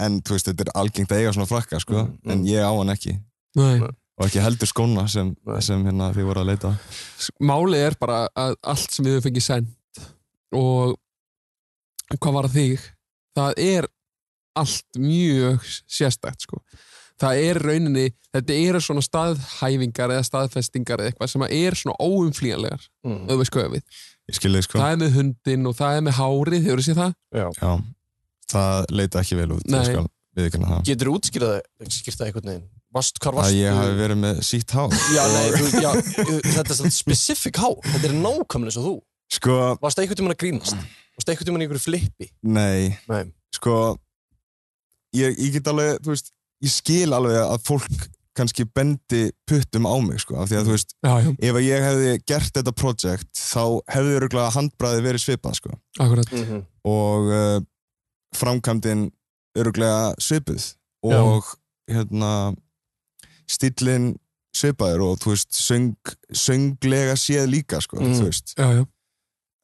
Speaker 6: en þú veist, þetta er algengt að eiga svona frakka sko.
Speaker 2: Mm, mm.
Speaker 6: en ég á hann ekki
Speaker 5: Nei.
Speaker 6: og ekki heldur skóna sem, sem hérna, þið voru að leita að.
Speaker 5: Málið er bara að allt sem við höfum fengið send og hvað var að þig það er allt mjög sérstakt sko. það er rauninni þetta eru svona staðhæfingar eða staðfestingar eða eitthvað sem að er svona óumflýjanlegar ef
Speaker 2: mm.
Speaker 5: þú veist hvað ég á við.
Speaker 6: Mhm. ég skil þig sko
Speaker 5: það er með hundin og það er með hárið hefur þið séð það?
Speaker 6: Já, það leita ekki vel út
Speaker 5: Nei.
Speaker 6: ég skal viðurkenna það
Speaker 2: Getur þú útskýrað það, skýrt það einhvern veginn? Vast, hvar varst
Speaker 6: að ég hafi verið með sítt hár
Speaker 2: Já, nei, þú, já, þetta er svona specific há Þetta er nákvæmlega eins og þú
Speaker 6: sko,
Speaker 2: Varst einhvern tímann að grínast? Varst einhvern tímann í einhverju flippi?
Speaker 6: nei
Speaker 2: Nei
Speaker 6: sko ég, ég get alveg, þú veist ég skil alveg að fólk kannski bendi puttum á mig sko, af því að þú veist
Speaker 5: Já, já,
Speaker 6: ef að ég hefði gert þetta projekt þá hefði öruglega handbræði verið svipað sko
Speaker 5: akkurat
Speaker 2: mm -hmm.
Speaker 6: og uh, framkvæmdin öruglega svipuð og hérna stíllinn svipaður og þú veist söng, sönglega séð líka sko,
Speaker 2: Mm.
Speaker 6: þú veist
Speaker 5: já, já.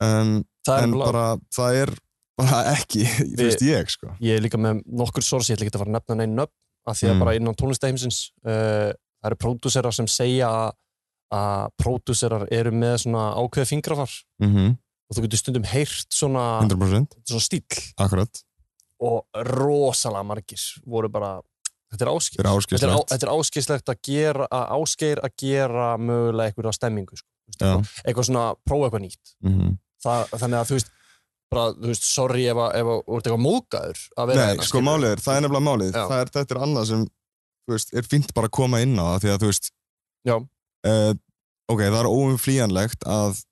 Speaker 6: um,
Speaker 2: Það er
Speaker 6: en
Speaker 2: bara
Speaker 6: bara það er bara ekki, <laughs> þú veist ég sko
Speaker 2: Ég er líka með nokkur sors, ég ætla ekki að fara að nefna neinn nöfn af því að
Speaker 6: Mm.
Speaker 2: bara innan tónlistaheimsins uh, það eru pródúserar sem segja að- að pródúserar eru með svona ákveða fingrafar
Speaker 6: mm
Speaker 2: og þú getur stundum heyrt svona,
Speaker 6: 100%
Speaker 2: svona stíl
Speaker 6: akkurat,
Speaker 2: og rosalega margir voru bara þetta er áskil
Speaker 6: þetta er
Speaker 2: þetta er,
Speaker 6: áskislegt
Speaker 2: á, þetta er áskeislegt að gera að áskeir að gera mögulega einhverja stemmingu sko. Þú veist,
Speaker 6: Já.
Speaker 2: eitthvað, eitthvað svona, prófa eitthvað nýtt
Speaker 6: mm
Speaker 2: Þa, þannig að þú veist bara, þú veist, sorry ef að, ef að þú ert eitthvað móðgæður að vera
Speaker 6: Nei,
Speaker 2: hérna,
Speaker 6: sko
Speaker 2: skilurðu.
Speaker 6: málið er, það er nefnilega málið
Speaker 2: Já.
Speaker 6: það er, þetta er annað sem, þú veist, er fínt bara að koma inn á það, því að, þú veist
Speaker 2: Já.
Speaker 6: eh, ok, það er óumflýjanlegt að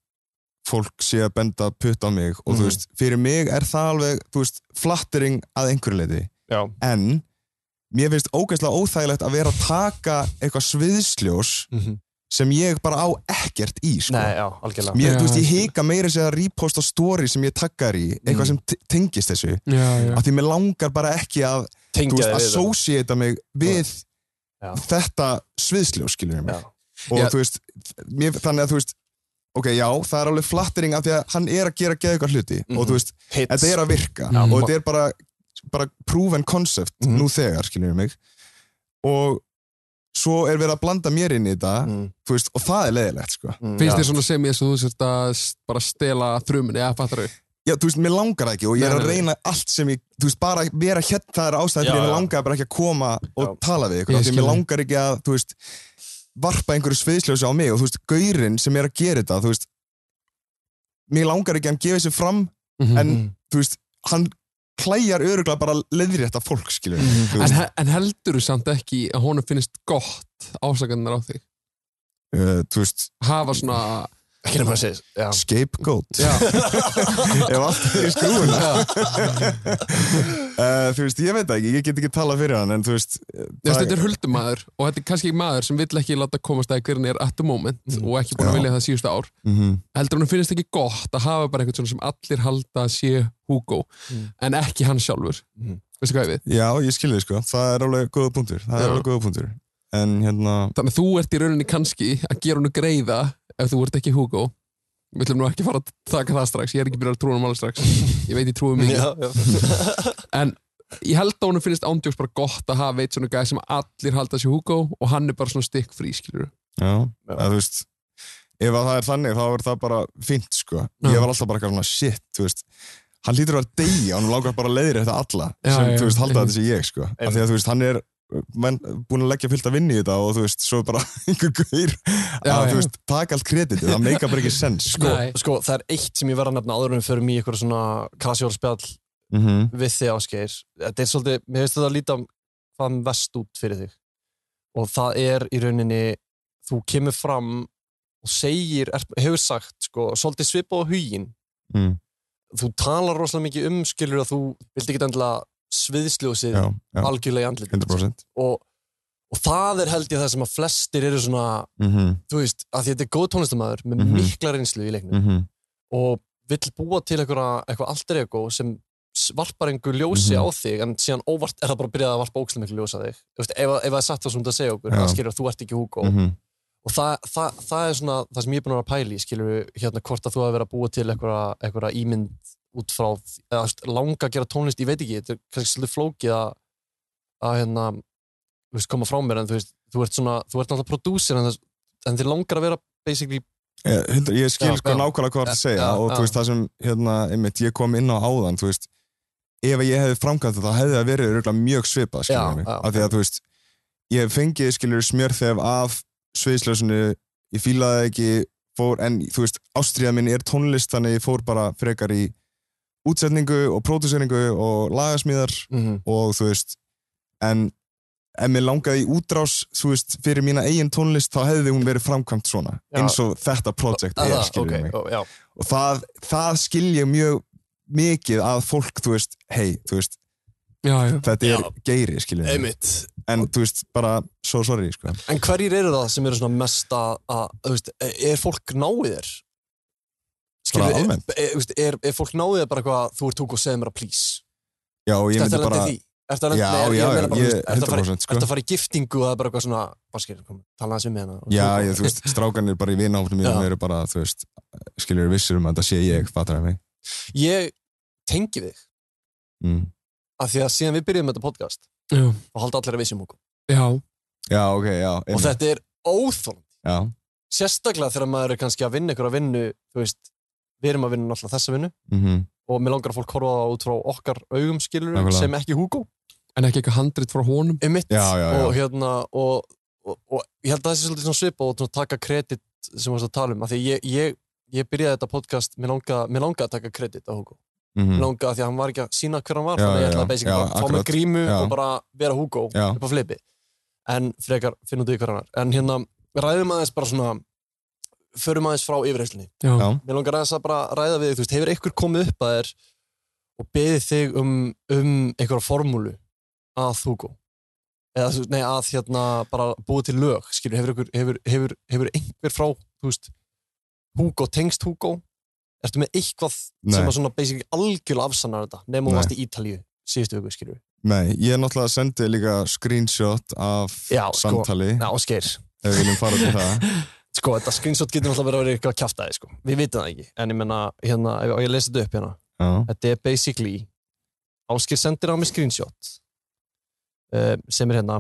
Speaker 6: fólk sé að benda putt á mig og
Speaker 2: Mhm.
Speaker 6: þú veist, fyrir mig er það alveg, þú veist, flattering að einhverju leiti,
Speaker 2: Já.
Speaker 6: en mér finnst ógeðslega óþægilegt að vera að taka eitthvað sviðsljós
Speaker 2: Mhm.
Speaker 6: sem ég bara á ekkert í, sko
Speaker 2: Nei, já, algjörlega
Speaker 6: Mér,
Speaker 5: Já,
Speaker 6: þú veist, ég
Speaker 5: skil.
Speaker 6: hika meira sér að reposta story sem ég takkar í, eitthvað
Speaker 2: Mm.
Speaker 6: sem te- tengist þessu,
Speaker 5: Já, já.
Speaker 6: af því mér langar bara ekki að
Speaker 2: Tengja
Speaker 6: þú veist,
Speaker 2: þig við það.
Speaker 6: associata mig við
Speaker 2: Já.
Speaker 6: þetta sviðsljó, skilur ég mig.
Speaker 2: Já.
Speaker 6: Og
Speaker 5: Já.
Speaker 6: þú veist, mér, þannig að þú veist, ok, já, það er alveg flattering af því að hann er að gera geða ykkur hluti
Speaker 2: Mhm.
Speaker 6: og þú veist,
Speaker 2: Hits.
Speaker 6: þetta er að virka
Speaker 5: Já.
Speaker 6: og þetta er bara, bara proven concept
Speaker 2: Mhm.
Speaker 6: nú þegar, skilur ég mig. Og svo er verið að blanda mér inn í þetta,
Speaker 2: mm,
Speaker 6: þú veist, og það er leðilegt, sko.
Speaker 2: mm,
Speaker 5: Finnst
Speaker 2: já.
Speaker 5: þér svona sem ég sem þú sért að s- bara stela þruminni, eða fattar þau?
Speaker 6: Já, þú veist, mér langar það ekki og ég er að
Speaker 5: Nei, nei, nei.
Speaker 6: reyna allt sem ég, þú veist, bara að vera hérna, það er ástæðan
Speaker 2: Já,
Speaker 6: fyrir mér
Speaker 2: já.
Speaker 6: langar bara ekki að koma og
Speaker 2: Já.
Speaker 6: tala við
Speaker 5: Ég
Speaker 6: ykkur, því
Speaker 5: skil
Speaker 6: mér
Speaker 5: þig.
Speaker 6: langar ekki að, þú veist, varpa einhverju sviðsljósi á mig og þú veist, gaurinn sem er að gera þetta, þú veist, mér langar ekki að hann gefi sér fram, en
Speaker 2: Mhm.
Speaker 6: þú veist, hann klæjar öruglega bara leiðrétta fólk, skilur.
Speaker 2: Mhm.
Speaker 6: Þú
Speaker 5: En,
Speaker 6: veist,
Speaker 5: he- en heldur þú samt ekki að honum finnist gott ásakarnar á þig?
Speaker 6: uh, þú veist,
Speaker 5: Hafa svona...
Speaker 2: Ekki nema að segja Já,
Speaker 6: scapegoat,
Speaker 5: Já,
Speaker 6: <laughs> ef allt er í skrúin. <laughs>
Speaker 5: já.
Speaker 6: Uh, þú veist, ég veit það ekki, ég get ekki talað fyrir hann, en þú veist, eh,
Speaker 5: Ég veist,
Speaker 6: það-
Speaker 5: þetta er huldumæður og þetta er kannski maður sem vill ekki láta komast að hvernig er at the moment og ekki búin að
Speaker 6: Mhm. Já.
Speaker 5: vilja það síðustu ár
Speaker 6: Mhm.
Speaker 5: heldur hann finnst ekki gott að hafa bara eitthvað svona sem allir halda að sé Hugo
Speaker 6: Mhm.
Speaker 2: Mm.
Speaker 5: en ekki hann sjálfur
Speaker 2: Mm.
Speaker 5: veistu hvað ég við?
Speaker 6: Já, ég skil þig sko, það er alveg góða punktur það
Speaker 5: Já.
Speaker 6: er alveg góða punktur en hérna,
Speaker 5: Þannig að þú ert í rauninni kannski að gera hann greiða ef þú ert ekki Hugo við ætlum nú ekki að fara að taka það strax ég er ekki byrjað að trúa hann alveg strax ég veit ég trúi mikið
Speaker 2: já, já. <laughs>
Speaker 5: ég held að hann finnst ándjóks bara gott að hafa eitt svona gæð sem allir halda að sé Hugo og hann er bara svona stikk frí skilur
Speaker 6: já, Að, þú veist ef að það er þannig þá er það bara fínt sko,
Speaker 5: Já.
Speaker 6: ég var alltaf bara eitthvað svona shit, þú veist, hann lítur að vera deyja og hann langar bara að leiðir þetta alla
Speaker 5: Já,
Speaker 6: sem,
Speaker 5: já,
Speaker 6: þú veist, halda
Speaker 5: einmitt.
Speaker 6: þetta sé ég sko af því að þú veist, hann er menn, búin að leggja fyllt að vinna í þetta og þú veist, svo er bara <laughs> einhver gaur
Speaker 5: Já,
Speaker 6: að
Speaker 5: já.
Speaker 6: þú veist, taka allt kreditið, það meika bara ekki
Speaker 2: <laughs>
Speaker 6: sens sko,
Speaker 2: Sko,
Speaker 5: Nei.
Speaker 2: sko, það er eitt sem ég verð að nefna áður en við förum í eitthvað svona casual spjall
Speaker 6: mhm,
Speaker 2: við þig áskeir þetta er svolítið, mér finnst þetta að líta fram vest út fyrir þig og það er í rauninni þú kemur fram og segir er, hefur sagt, sko, svolítið svipað á hugin
Speaker 6: mm,
Speaker 2: þú talar rosalega mikið um, skilur að þú vilt ekki endilega sviðsljósið
Speaker 6: já, já,
Speaker 2: algjörlega í andlit
Speaker 6: 100%
Speaker 2: og, og það er held ég það sem að flestir eru svona,
Speaker 6: mhm,
Speaker 2: þú veist, að því þetta er góð tónlistamæður með
Speaker 6: Mhm.
Speaker 2: mikla reynslu í leiknum
Speaker 6: mhm,
Speaker 2: og vill búa til einhverja- eitthvað alter ego sem varpar einhver ljósi
Speaker 6: Mhm.
Speaker 2: á þig en síðan óvart er það bara að byrja að varpa ógslum einhver ljósi á þig Þú veist, ef, ef það er satt það sem þú ert að segja okkur
Speaker 6: Já.
Speaker 2: það skilur að þú ert ekki Hugo
Speaker 6: mhm
Speaker 2: og það, það, það er svona það sem ég er búin að vera að pæla í, skilur hérna hvort að þú hafi verið að búa til einhverja, einhverja ímynd út frá, eða þú veist, langa að gera tónlist, ég veit ekki, þetta er kannski svolítið flókið að, að hérna, þú veist, koma frá mér, en þú veist, þú ert svona, þú ert náttúrulega prodúsir, en, það- en þið langar að vera basically,
Speaker 6: Ég, hundra, ég skil
Speaker 2: Já,
Speaker 6: sko
Speaker 2: já.
Speaker 6: nákvæmlega hvað það að
Speaker 2: Já,
Speaker 6: segja
Speaker 2: já,
Speaker 6: og
Speaker 2: já.
Speaker 6: þú veist það sem hérna, einmitt, ég kom inn á áðan þú veist, ef ég hefði framkvæmt þetta þá hefði það verið örugglega mjög svipað
Speaker 2: Já,
Speaker 6: skilur mig,
Speaker 2: já.
Speaker 6: af því að þú veist ég fengið skilur smjörþef af sviðslösunu, ég fílaði það ekki fór, en þú veist, ástriða minn er tónlist þannig ég fór bara frekar í útsetningu og pródúseringu og lagasmíðar
Speaker 2: mhm,
Speaker 6: og þú veist en ef mér langaði í útrás þú veist, fyrir mína eigin tónlist þá hefði hún verið framkvæmt svona
Speaker 2: Já.
Speaker 6: eins og þetta projekt
Speaker 2: að
Speaker 6: er,
Speaker 2: það,
Speaker 6: skilur
Speaker 2: ok,
Speaker 6: mig
Speaker 2: ó, já,
Speaker 6: og það, það skil ég mjög mikið að fólk, þú veist, hei þú veist,
Speaker 5: já, já.
Speaker 6: þetta er
Speaker 2: Já.
Speaker 6: geiri, skilur mig
Speaker 2: einmitt,
Speaker 6: en þú veist, bara, so sorry, sko
Speaker 2: en hverjir eru það sem eru svona mest að, að, þú veist, er fólk náið þér?
Speaker 6: bara
Speaker 2: er,
Speaker 6: almennt,
Speaker 2: er, þú veist, er, er fólk náðið bara eitthvað þú ert húk og segð mér að please
Speaker 6: já, og ég
Speaker 2: Ertu
Speaker 6: myndi
Speaker 2: að
Speaker 6: bara
Speaker 2: lenda í því? Ertu að lenda
Speaker 6: Já, já,
Speaker 2: nei, ég meina
Speaker 6: já,
Speaker 2: bara, þú
Speaker 6: ég-
Speaker 2: veist, ertu að fara-
Speaker 6: 100% sko.
Speaker 2: Ertu að fara í giftingu og það er bara eitthvað svona Baskir, kom, tala aðeins við hérna með hana
Speaker 6: já, ég, þú veist, strákanir bara í vináfnum
Speaker 2: Já.
Speaker 6: mínum eru bara, þú veist, skilur vissir um að þetta sé ég, fattar það mig
Speaker 2: <laughs> Ég tengi þig
Speaker 6: mm.
Speaker 2: af því að síðan við byrjuðum þetta podcast
Speaker 5: Já.
Speaker 2: og halda allir að vissum okkur
Speaker 5: já.
Speaker 6: já, ok, já,
Speaker 2: og
Speaker 6: einmitt.
Speaker 2: þetta er óþólandi
Speaker 6: já,
Speaker 2: sérstaklega þegar maður er kannski að vinna ykkur að vinnu þú veist, við erum að vinna alltaf þessa vinnu
Speaker 6: mhm
Speaker 2: og mér langar að fólk horfa á það út frá okkar augum skilur
Speaker 6: Nákvæmlega.
Speaker 2: sem ekki Hugo
Speaker 5: en ekki eitthvað handrit frá honum
Speaker 2: Emitt
Speaker 6: Já, já, já.
Speaker 2: og hérna og, og, og ég held að það sé svolítið svona svipa og svona taka kredit sem við erum að tala um af því ég, ég, ég byrjaði þetta podcast mér langaði mér langa að taka kredit á Hugo
Speaker 6: Mhm.
Speaker 2: mér langaði að því að hann var ekki að sína hver hann var
Speaker 6: Já,
Speaker 2: þannig að
Speaker 6: já,
Speaker 2: ég
Speaker 6: já.
Speaker 2: ætlaði basically
Speaker 6: Já,
Speaker 2: bara að fá
Speaker 6: akkurat.
Speaker 2: mig grímu
Speaker 6: Já.
Speaker 2: og bara vera Hugo
Speaker 6: Já.
Speaker 2: upp á flipi en frekar finnum þau hver hann var en hérna ræðum aðeins bara svona förum aðeins frá yfirheyslunni
Speaker 5: já,
Speaker 6: Já.
Speaker 2: mér langar aðeins að bara ræða við þig, þú veist, hefur einhver komið upp að þér og beðið þig um, um einhverja formúlu að Hugo eða þú veist, nei, að hérna bara búið til lög, skilur, hefur einhver, hefur, hefur, hefur einhver frá, þú veist Hugo, tengst Hugo ertu með eitthvað
Speaker 6: Nei.
Speaker 2: sem að svona basically algjörlega afsannar þetta, nema
Speaker 6: Nei.
Speaker 2: hún varst í Ítalíu síðustu viku, skilur,
Speaker 6: Nei, ég náttúrulega sendi líka screenshot af
Speaker 2: Já, sko.
Speaker 6: samtali
Speaker 2: já, skeir
Speaker 6: ef við viljum fara til það
Speaker 2: <laughs> sko, þetta screenshot getur náttúrulega verið að vera eitthvað að kjafta þig, sko, við vitum það ekki en ég menna, hérna, ef ef ég lesi þetta upp hérna
Speaker 6: Já,
Speaker 2: Þetta er basically Áskir sendir á mig screenshot uh, sem er hérna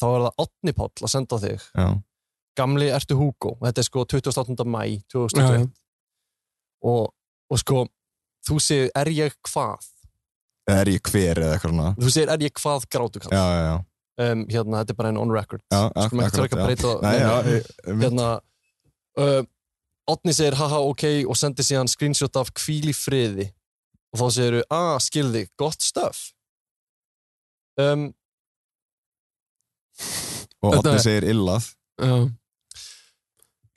Speaker 2: þá er það Otni Páll að senda á þig
Speaker 6: já,
Speaker 2: Gamli ertu Hugo og þetta er sko 28. mæ
Speaker 5: já,
Speaker 2: 2021
Speaker 5: já.
Speaker 2: og, og sko þú segir er ég hvað
Speaker 6: eða er ég hver eða eitthvað svona
Speaker 2: þú segir er ég hvað grátu kall
Speaker 6: Já, já, já,
Speaker 2: um, hérna þetta er bara en on record
Speaker 6: já,
Speaker 2: sko maður ekki að
Speaker 6: já.
Speaker 2: breyta
Speaker 6: Nei, já,
Speaker 2: neinu.
Speaker 6: ég- um,
Speaker 2: hérna uh, Otni segir haha ok og sendir síðan screenshot af kvíl í friði og þá segir þau ah skilði gott stöf um,
Speaker 6: og
Speaker 5: Þetta
Speaker 6: Otni
Speaker 5: er-
Speaker 6: segir illað
Speaker 5: já.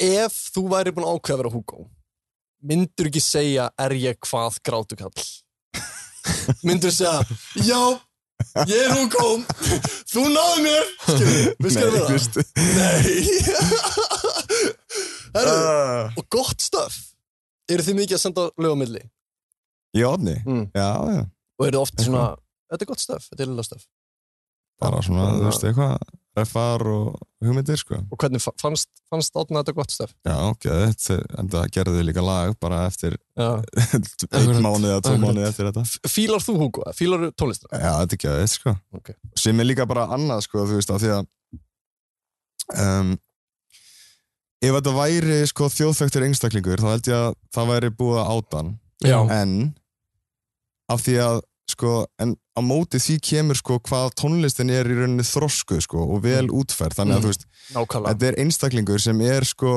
Speaker 2: ef þú væri búin að ákveða að vera Hugo myndur ekki segja er ég hvað grátukall
Speaker 6: <laughs>
Speaker 2: myndur segja já ég er Hugo þú náðu mér skilur við skilur
Speaker 6: Nei,
Speaker 2: við það
Speaker 6: fyrst
Speaker 2: nei <laughs> herru
Speaker 6: Ah.
Speaker 2: og gott stöf eru þið mikið að senda lög á milli
Speaker 6: Ég Otni,
Speaker 2: Mm.
Speaker 6: já, já
Speaker 2: og eru oft svona þetta er gott stöf, þetta er lilla stöf
Speaker 6: bara svona,
Speaker 2: Bara-
Speaker 6: þú veist, eitthvað refar og hugmyndir, sko
Speaker 2: og hvernig fa- fannst, fannst átna þetta gott stöf
Speaker 6: Já, ok, þetta, en það gerðu líka lag bara eftir
Speaker 2: Já.
Speaker 6: <laughs> einn mánuð eða tvo
Speaker 5: akkurat.
Speaker 6: mánuð eftir þetta
Speaker 2: fílar þú Hugo, eða fílar tónlistina
Speaker 6: Já, þetta er ekki aðeins, sko.
Speaker 2: Ok.
Speaker 6: Sem er líka bara annað, sko, þú veist, af því að um, ef þetta væri, sko, þjóðþögtur einstaklingur, þá held ég að það væri búið að átan,
Speaker 5: já.
Speaker 6: en af því að, sko, en á móti því kemur, sko, hvað tónlistin er í rauninni þroskuð, sko, og vel útferð, þannig að,
Speaker 2: Mm.
Speaker 6: þú veist,
Speaker 2: nákvæmlega
Speaker 6: þetta er einstaklingur sem er, sko,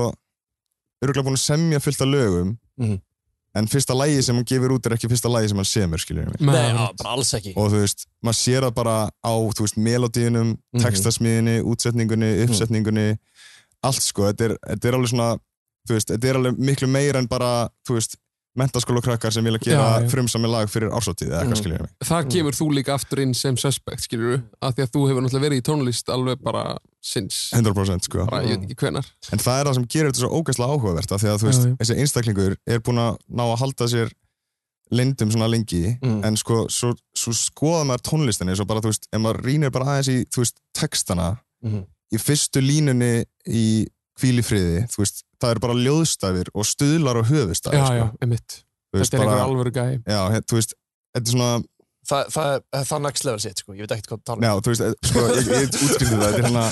Speaker 6: öruglega búin að semja fullt af lögum,
Speaker 2: Mhm.
Speaker 6: en fyrsta lagi sem hann gefur út er ekki fyrsta lagi sem hann semur, skiljum við
Speaker 2: Nei, ah, já,
Speaker 5: já.
Speaker 2: bara alls ekki
Speaker 6: og þú veist, maður sér það bara á, þú veist, melodíunum,
Speaker 2: Mhm.
Speaker 6: textasmíðinni, útsetningunni, uppsetningunni, allt sko, þetta er, þetta er alveg svona, þú veist, þetta er alveg miklu meira en bara, þú veist, mentaskóla krakkar sem vilja gera
Speaker 5: Já, já.
Speaker 6: frumsami lag fyrir ársóttíð eða eitthvað
Speaker 2: Mhm.
Speaker 6: skiljum mig.
Speaker 5: það kemur þú líka aftur inn sem suspect skilur við, af því að þú hefur náttúrulega verið í tónlist alveg bara sinns
Speaker 6: 100% sko.
Speaker 5: bara, ég veit ekki hvenar
Speaker 6: En það er það sem gerir þetta svo ógæslega áhugavert af því að þú
Speaker 5: Já,
Speaker 6: veist,
Speaker 5: já.
Speaker 6: þessi einstaklingur er búin að ná að halda sér lindum svona lengi,
Speaker 2: Mm.
Speaker 6: en sko svo, svo skoða maður tónlistinni, svo bara þú veist, ef maður rýnir bara aðeins í, þú veist, textana
Speaker 2: Mhm.
Speaker 6: í fyrstu línunni í hvíl í friði, þú veist, það eru bara ljóðstafir og stuðlar og höfustafir
Speaker 5: já,
Speaker 6: sko.
Speaker 5: já, einmitt
Speaker 6: Þú veist,
Speaker 5: þetta er
Speaker 6: bara-
Speaker 5: einhver alvöru gæi
Speaker 6: já, hér- þú veist, þetta er svona
Speaker 2: það, það, það, það next level sitt sko, ég veit ekkert hvað það tala um.
Speaker 6: já, þú veist, eh, sko, ég,
Speaker 2: <laughs>
Speaker 6: ég útskýrði það þetta er hana,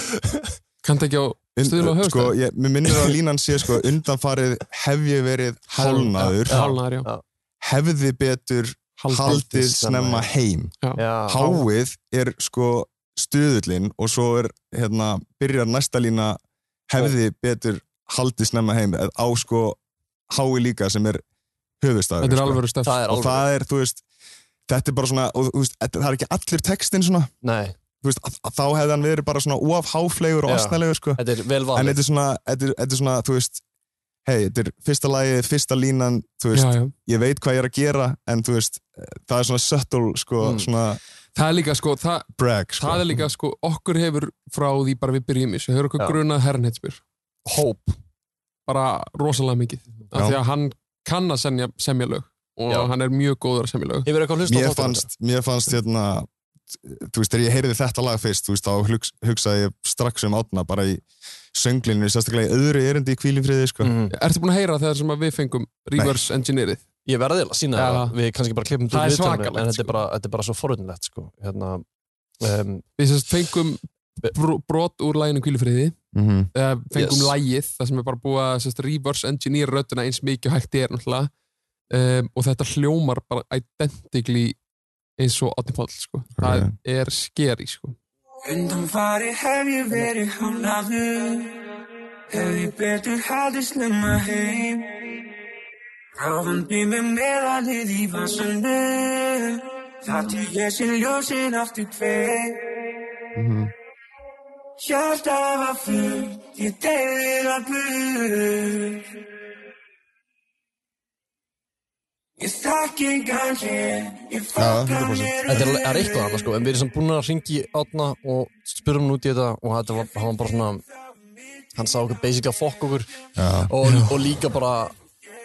Speaker 5: kanntu ekki á Stuðla og höfuðstaf?
Speaker 6: sko, ég, mér minnir að línan sé sko, undanfarið hef ég verið hálnaður,
Speaker 5: hálnaður, já,
Speaker 2: Já.
Speaker 6: hefði betur haldið snemma
Speaker 2: snemma
Speaker 6: heim
Speaker 2: Já,
Speaker 6: háið er sko stuðullin og svo er hérna, byrjar næsta lína hefði betur haldið snemma heim eða á sko hái líka sem er höfustafur
Speaker 5: þetta er
Speaker 6: sko.
Speaker 5: alvöru stöf
Speaker 2: það er
Speaker 6: og
Speaker 2: alveg,
Speaker 6: það er, þú veist þetta er bara svona, og, þú veist, þetta- það er ekki allur textin svona,
Speaker 2: nei,
Speaker 6: þú veist, að, að þá hefði hann verið bara svona óaf háflegur og
Speaker 2: Já.
Speaker 6: astnalegur sko.
Speaker 2: þetta er vel
Speaker 6: en
Speaker 2: valið
Speaker 6: þetta er svona, þetta er, þetta er svona þú veist, hei, þetta er fyrsta lagið fyrsta línan, þú veist,
Speaker 5: já, já.
Speaker 6: ég veit hvað ég er að gera en þú veist, það er svona subtle sko,
Speaker 2: Mm.
Speaker 6: svona
Speaker 5: það er líka sko, það,
Speaker 6: brag sko.
Speaker 5: það er líka sko okkur hefur frá því bara við byrjum í þessu, hefur okkur
Speaker 2: Já.
Speaker 5: grunað herrnheitsbyr
Speaker 2: hóp,
Speaker 5: bara rosalega mikið af
Speaker 6: Já.
Speaker 5: því að hann kann að semja, semja lög og
Speaker 2: Já.
Speaker 5: hann er mjög góður að semja lög
Speaker 2: hefur eitthvað hlust á
Speaker 6: mér
Speaker 2: þáttunum
Speaker 6: fannst, mér fannst hérna þú veist, þegar ég heyrði þetta lag fyrst þú veist, þá hugs, hugsaði ég strax um átna bara í sönglinu, sérstaklega í öðru erindi í kvílinfriði, sko
Speaker 2: mm.
Speaker 5: Ertu búin að heyra þegar sem að við fengum reverse engineerið?
Speaker 2: Ég verði að sína
Speaker 5: Já.
Speaker 2: það, við kannski bara klippum
Speaker 5: Það er
Speaker 2: viðtalinu,
Speaker 5: svakalegt,
Speaker 2: En þetta er,
Speaker 5: sko.
Speaker 2: bara, þetta er bara svo forunlegt sko. hérna, um,
Speaker 5: Við sérst fengum bro, brot úr læginu Kvílufriði
Speaker 6: mm -hmm.
Speaker 5: eða Eh, fengum
Speaker 2: Yes.
Speaker 5: lægið, það sem er bara búið að sérst, reverse engineer röddina eins mikið og hægt er náttúrulega um, og þetta hljómar bara identically eins og Átni Páll sko. það
Speaker 6: Ok.
Speaker 5: er scary sko.
Speaker 7: Undan farið hef ég verið hálnaður Hef ég betur haldið snemma heim Ráðum býmið með að lið í vassandi Þar til ég sé ljósin aftur kveik
Speaker 6: Mhm.
Speaker 7: Hjartað var fullt, ég deyði það burt Ég þakki engan hér, ég fokka
Speaker 6: 100%.
Speaker 7: mér
Speaker 2: Þetta er, það er eitthvað annað sko, en við erum samt búin að ringi átna og spyrum hann út í þetta og þetta var, hann var bara svona hann sá okkur basically að fokk okkur og, og líka bara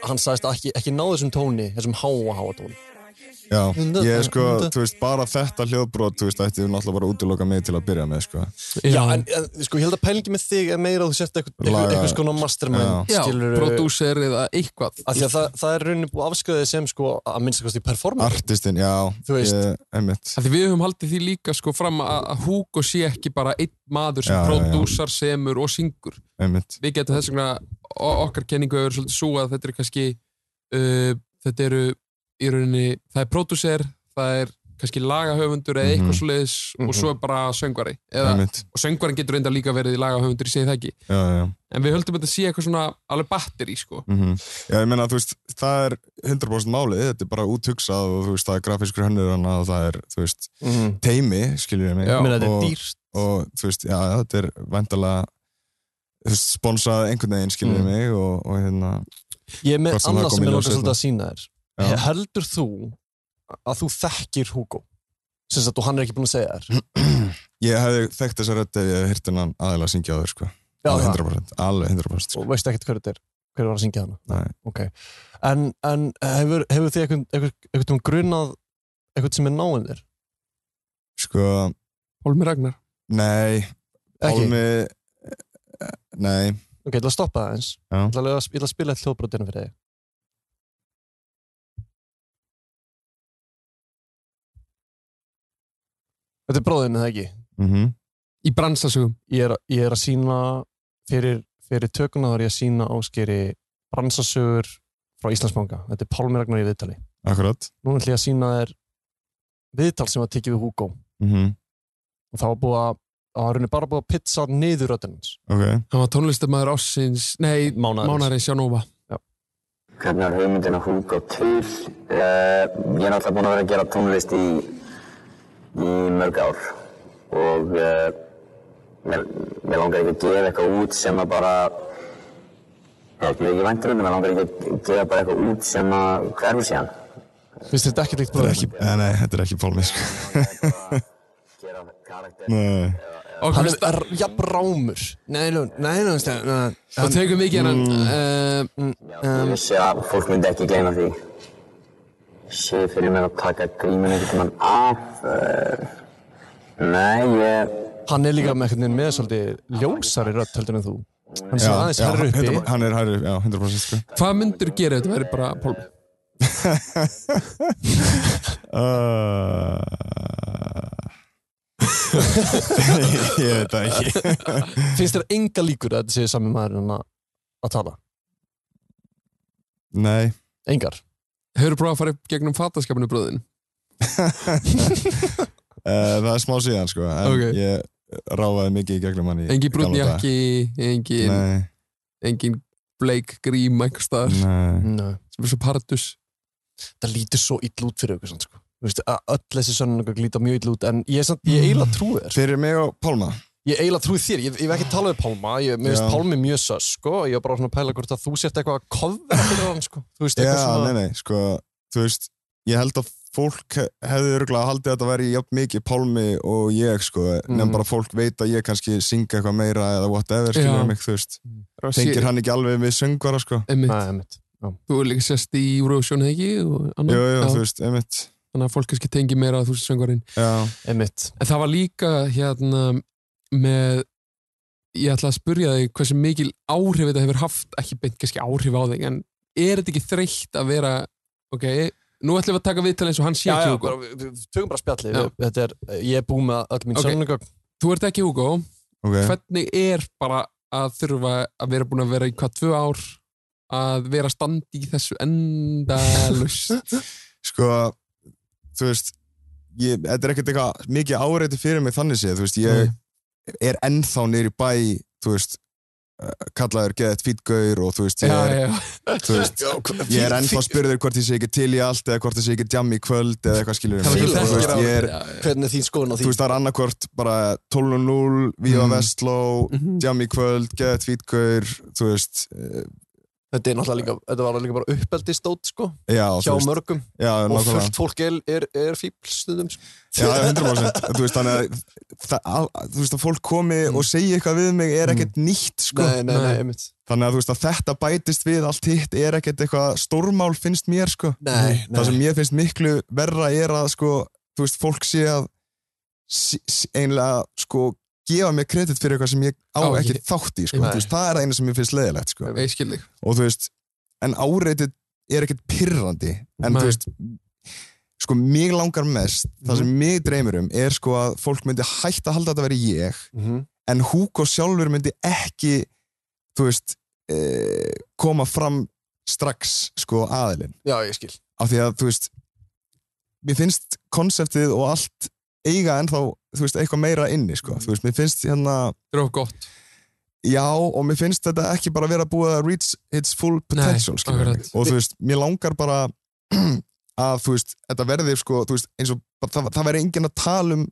Speaker 2: hann sagðist ekki, ekki ná þessum tóni þessum háa háa tóni
Speaker 6: já, ég sko,
Speaker 2: Þetta-
Speaker 6: þú veist, bara þetta hljóðbrot, þú veist, ætti við náttúrulega bara að útiloka mig til að byrja með, sko
Speaker 2: Já, en, en sko, ég held að pælingi með þig er meira að þú sért eitthvað,
Speaker 6: Laga-
Speaker 2: eitthvað, eitthvað skona mastermind
Speaker 5: já,
Speaker 2: skilurðu,
Speaker 5: prodúser eða eitthvað
Speaker 2: af því að það, það er rauninni búið afskriðið sem sko, að minnstakosti performance
Speaker 6: artistinn, já,
Speaker 2: Þú veist.
Speaker 6: ég, einmitt
Speaker 5: Af því við höfum haldið því líka sko fram að, að Hugo sé ekki bara einn maður sem
Speaker 6: Já, já, já.
Speaker 5: prodúsar, semur og syngur
Speaker 6: einmitt,
Speaker 5: við getum þess vegna o- okkar kenningu hefur verið svolítið svo að þetta er kannski uh, þetta eru í rauninni það er pródúser, það er kannski lagahöfundur eða eitthvað
Speaker 6: Mhm.
Speaker 5: svoleiðis og svo er bara söngvari eða,
Speaker 6: einmitt
Speaker 5: og söngvarin getur reynda líka verið lagahöfundur, ég segi það ekki
Speaker 6: já, já, já.
Speaker 5: en við höldum að þetta sé eitthvað svona alveg batteri sko.
Speaker 6: Mm Já, ég meina, þú veist, það er 100% málið, þetta er bara úthugsað og þú veist, það er grafískur hönnur hann að það er, þú veist,
Speaker 2: mm.
Speaker 6: teimi, skilur ég mig.
Speaker 5: Já.
Speaker 2: Ég meina, þetta
Speaker 6: og,
Speaker 2: er dýrt
Speaker 6: Og, þú veist, já, já, þetta er vandalega, þú veist, sponsað einhvern veginn, skilur ég
Speaker 2: Mm.
Speaker 6: mig, og, og hérna,
Speaker 2: Ég er með
Speaker 6: Hvort sem það
Speaker 2: annað
Speaker 6: kom
Speaker 2: sem
Speaker 6: í
Speaker 2: ég
Speaker 6: ljós hérna.
Speaker 2: lóka svolítið
Speaker 6: seinna.
Speaker 2: að sína þér
Speaker 6: Já.
Speaker 2: Heldur þú að þú þekkir Hugo? Sem sagt, og hann er ekki búin að segja þér
Speaker 6: <clears throat> ég hefði þekkt þessa rödd ef ég hefði hirt hennan aðeila að syngja á þér, sko.
Speaker 2: Já,
Speaker 6: alveg
Speaker 2: það.
Speaker 6: 100%, alveg 100%, sko.
Speaker 2: og veist ekkert hver þetta er hver var að syngja hana
Speaker 6: Nei.
Speaker 2: Ok. En, en hefur, hefur þið eitthvað, eitthvað, eitthvað um grunað eitthvað sem er náinn þér?
Speaker 6: Sko,
Speaker 5: Hólmi Ragnar
Speaker 6: nei,
Speaker 2: Ekki?
Speaker 6: Pálmi, nei,
Speaker 2: Ok, ég ætla að stoppa það eins
Speaker 6: Já.
Speaker 2: ég ætla, að, ég ætla að spila eitt hljóðbrotina fyrir þig Þetta er bróðinu, það ekki?
Speaker 6: mhm,
Speaker 5: í bransasögum
Speaker 2: ég er, ég er að sína fyrir, fyrir tökuna þá er ég að sína áskeri bransasögur frá Íslandsbanka. Þetta er Pálmi Ragnar í viðtali.
Speaker 6: akkurat,
Speaker 2: Nú ætlum ég að sína þér viðtal sem var tekið við Hugo
Speaker 6: mhm,
Speaker 2: og það var búið að það var rauninni bara búið að pizza niður röddunans
Speaker 6: ok,
Speaker 5: hann var tónlistamæður ássins, nei
Speaker 2: mánaðarins.
Speaker 5: mánarins Jánóva
Speaker 8: Hvernig var hugmyndin að húka til? Uh, ég er náttúrulega búinn að vera að gera tónlist í, í mörg ár og uh, mér, mér langar ekki að gefa eitthvað út sem að bara Já, ég er ekki vænturinn, mér langar ekki að gefa bara eitthvað út sem að hverfi síðan.
Speaker 2: Finnst þér þetta ekkert líkt
Speaker 6: þetta er
Speaker 2: bróðinu?
Speaker 6: ekki, nei, nei, þetta er ekki Pálmi, sko.
Speaker 2: <laughs>
Speaker 8: Gera karakter.
Speaker 6: Nei.
Speaker 5: og,
Speaker 2: Hann er jafn rámur. Nei, nú, nei, nú, nei, nei. Mm. Eh,
Speaker 5: og tegum mikið hann uh,
Speaker 8: Já, ég vissi að fólk myndi ekki gleyma því. Sé fyrir mér að taka gríminu einhvern tímann af. Uh, nei, ég...
Speaker 2: Hann er líka með einhvern veginn með svolítið ljósari rödd heldur en þú. Hann sé aðeins herri uppi.
Speaker 6: hann- hann er hærri, uppi, já, 100% sko. <laughs>
Speaker 5: Hvað myndur gera þetta væri bara Pálmi?
Speaker 6: uh, <laughs> ég veit það ekki
Speaker 2: Finnst þér enga líkur að þetta sé sami maðurinn að, að tala?
Speaker 6: Nei
Speaker 2: Engar?
Speaker 5: Hefur prófað að fara upp gegnum fataskapinu bröðin?
Speaker 6: uh, Það er smá síðan sko En
Speaker 5: Ok.
Speaker 6: ég ráfaði mikið í gegnum hann í
Speaker 5: Engi brúnni
Speaker 6: gamla daga.
Speaker 5: ekki, engin,
Speaker 6: Nei,
Speaker 5: engin bleik grím einhvers staðar
Speaker 6: nei
Speaker 2: Nei.
Speaker 5: sem er svo pardus.
Speaker 2: Það lítur svo ill út fyrir ykkur svona, sko. Þú veist, að öll þessi sönnunum líta mjög ill út, en ég, er samt, ég eiginlega trúi þér.
Speaker 6: Mm. Fyrir mig og Pálma
Speaker 2: Ég eiginlega trúi þér, ég, ég hef ekki talað við Pálma, ég mér
Speaker 6: Já.
Speaker 2: finnst Pálmi mjög sös, sko, ég var bara svona að pæla hvort að þú sért eitthvað að kofra fyrir hann, sko. Þú veist,
Speaker 6: Já,
Speaker 2: eitthvað svona...
Speaker 6: nei, nei, sko Þú veist, ég held að fólk he- hefði örgulega haldið að þetta væri jafn mikið Pálmi og ég sko mm.
Speaker 2: Mm.
Speaker 6: Nefn bara fólk veit að ég kannski synga eitthvað meira eða whatever,
Speaker 5: Já.
Speaker 6: skilur mig, þú veist Tengir hann ekki alveg við söngvara sko
Speaker 5: Einmitt,
Speaker 2: Mm. Nei, einmitt.
Speaker 5: þú er líka sérst í Eurovision eða ekki og annað.
Speaker 6: Jú, jú,
Speaker 5: Já,
Speaker 6: þú veist, einmitt
Speaker 5: Þannig að fólk kannski tengi meira að þú sér söngvarinn.
Speaker 6: Já,
Speaker 2: Einmitt.
Speaker 5: En það var líka hérna með ég ætla að spurja þig hversu mikil áhrif þetta hefur haft, ekki beint kannski áhrif á þig en er þetta ekki þreytt að vera ok, nú ætlum við að taka viðtal eins og hann sé
Speaker 2: Já,
Speaker 5: ekki
Speaker 2: já,
Speaker 5: Hugo.
Speaker 2: bara, við, við tökum bara spjallið.
Speaker 5: Já.
Speaker 2: við- Þetta er, ég er búið með öll mín
Speaker 5: Ok.
Speaker 2: okay. sönnunum.
Speaker 5: Þú ert ekki Hugo,
Speaker 6: ok
Speaker 5: hvernig er bara að þurfa að vera búin að vera í hvað tvö ár að vera standi í þessu
Speaker 6: <laughs>
Speaker 5: endalust
Speaker 6: sko, þú veist ég, þetta er ekkert eitthvað mikið áreiti fyrir mig þannig séð, þú veist, ég er ennþá niður í bæ, þú veist eh, kallaður geðið fítgauður og þú veist, ég er,
Speaker 5: já,
Speaker 6: þú veist ég er ennþá spurður hvort ég sé ekki til í allt eða hvort ég sé ekki jam í kvöld eða eitthvað skilur mig,
Speaker 5: Þannig að þú
Speaker 6: þú
Speaker 5: þekkir
Speaker 6: veist,
Speaker 5: á-
Speaker 6: ég er
Speaker 5: já, já.
Speaker 2: Hvernig er þín skoðun á
Speaker 6: þú
Speaker 2: því?
Speaker 6: veist, það er annarkvort bara 12.0, Viva
Speaker 5: Mm.
Speaker 6: Vestló
Speaker 5: Mhm.
Speaker 6: jam í kvöld, geðið fítgauður þú veist, eh,
Speaker 2: Þetta er náttúrulega líka, þetta var líka bara uppeldistótt, sko,
Speaker 6: já,
Speaker 2: hjá
Speaker 6: þú veist
Speaker 2: mörgum.
Speaker 6: já,
Speaker 2: og
Speaker 6: nákvæmlega.
Speaker 2: fullt fólk er, er, er fíbl stundum sko. <laughs>
Speaker 6: Já, 100% Þú veist, þannig að, það, að, þú veist, að fólk komi og segi eitthvað við mig er ekkert nýtt sko.
Speaker 2: Mm. nei, nei, nei,
Speaker 5: Nei.
Speaker 2: einmitt
Speaker 6: þannig að þú veist að þetta bætist við allt hitt er ekkert eitthvað stórmál finnst mér sko.
Speaker 2: nei,
Speaker 6: það sem mér finnst miklu verra er að sko, þú veist, fólk sé að sí- sí- einlega sko, gefa mér kredit fyrir eitthvað sem ég á
Speaker 5: Á,
Speaker 6: ekki
Speaker 5: ég-
Speaker 6: þátt í sko.
Speaker 2: Nei.
Speaker 6: Þú veist, það er það eina sem mér finnst leðilegt sko.
Speaker 5: ég skil þig
Speaker 6: og þú veist, en áreitið er ekkert pirrandi en
Speaker 5: Nei.
Speaker 6: þú veist sko, mig langar mest, það sem mig dreymir um er sko að fólk myndi hægt að halda að þetta veri ég,
Speaker 2: Mhm.
Speaker 6: en Hugo sjálfur myndi ekki þú veist, e, koma fram strax sko aðilinn
Speaker 2: já, ég skil
Speaker 6: af því að þú veist mér finnst konseptið og allt eiga ennþá, þú veist, eitthvað meira inni sko, þú veist, mér finnst hérna
Speaker 5: það er of gott
Speaker 6: Já, og mér finnst þetta ekki bara vera búið að reach its full potential
Speaker 5: Nei,
Speaker 6: skilurðu mig.
Speaker 5: akkurat.
Speaker 6: og þú veist, mér langar bara <clears throat> að þú veist, þetta verði sko, þú veist, eins og bara- það, það væri enginn að tala um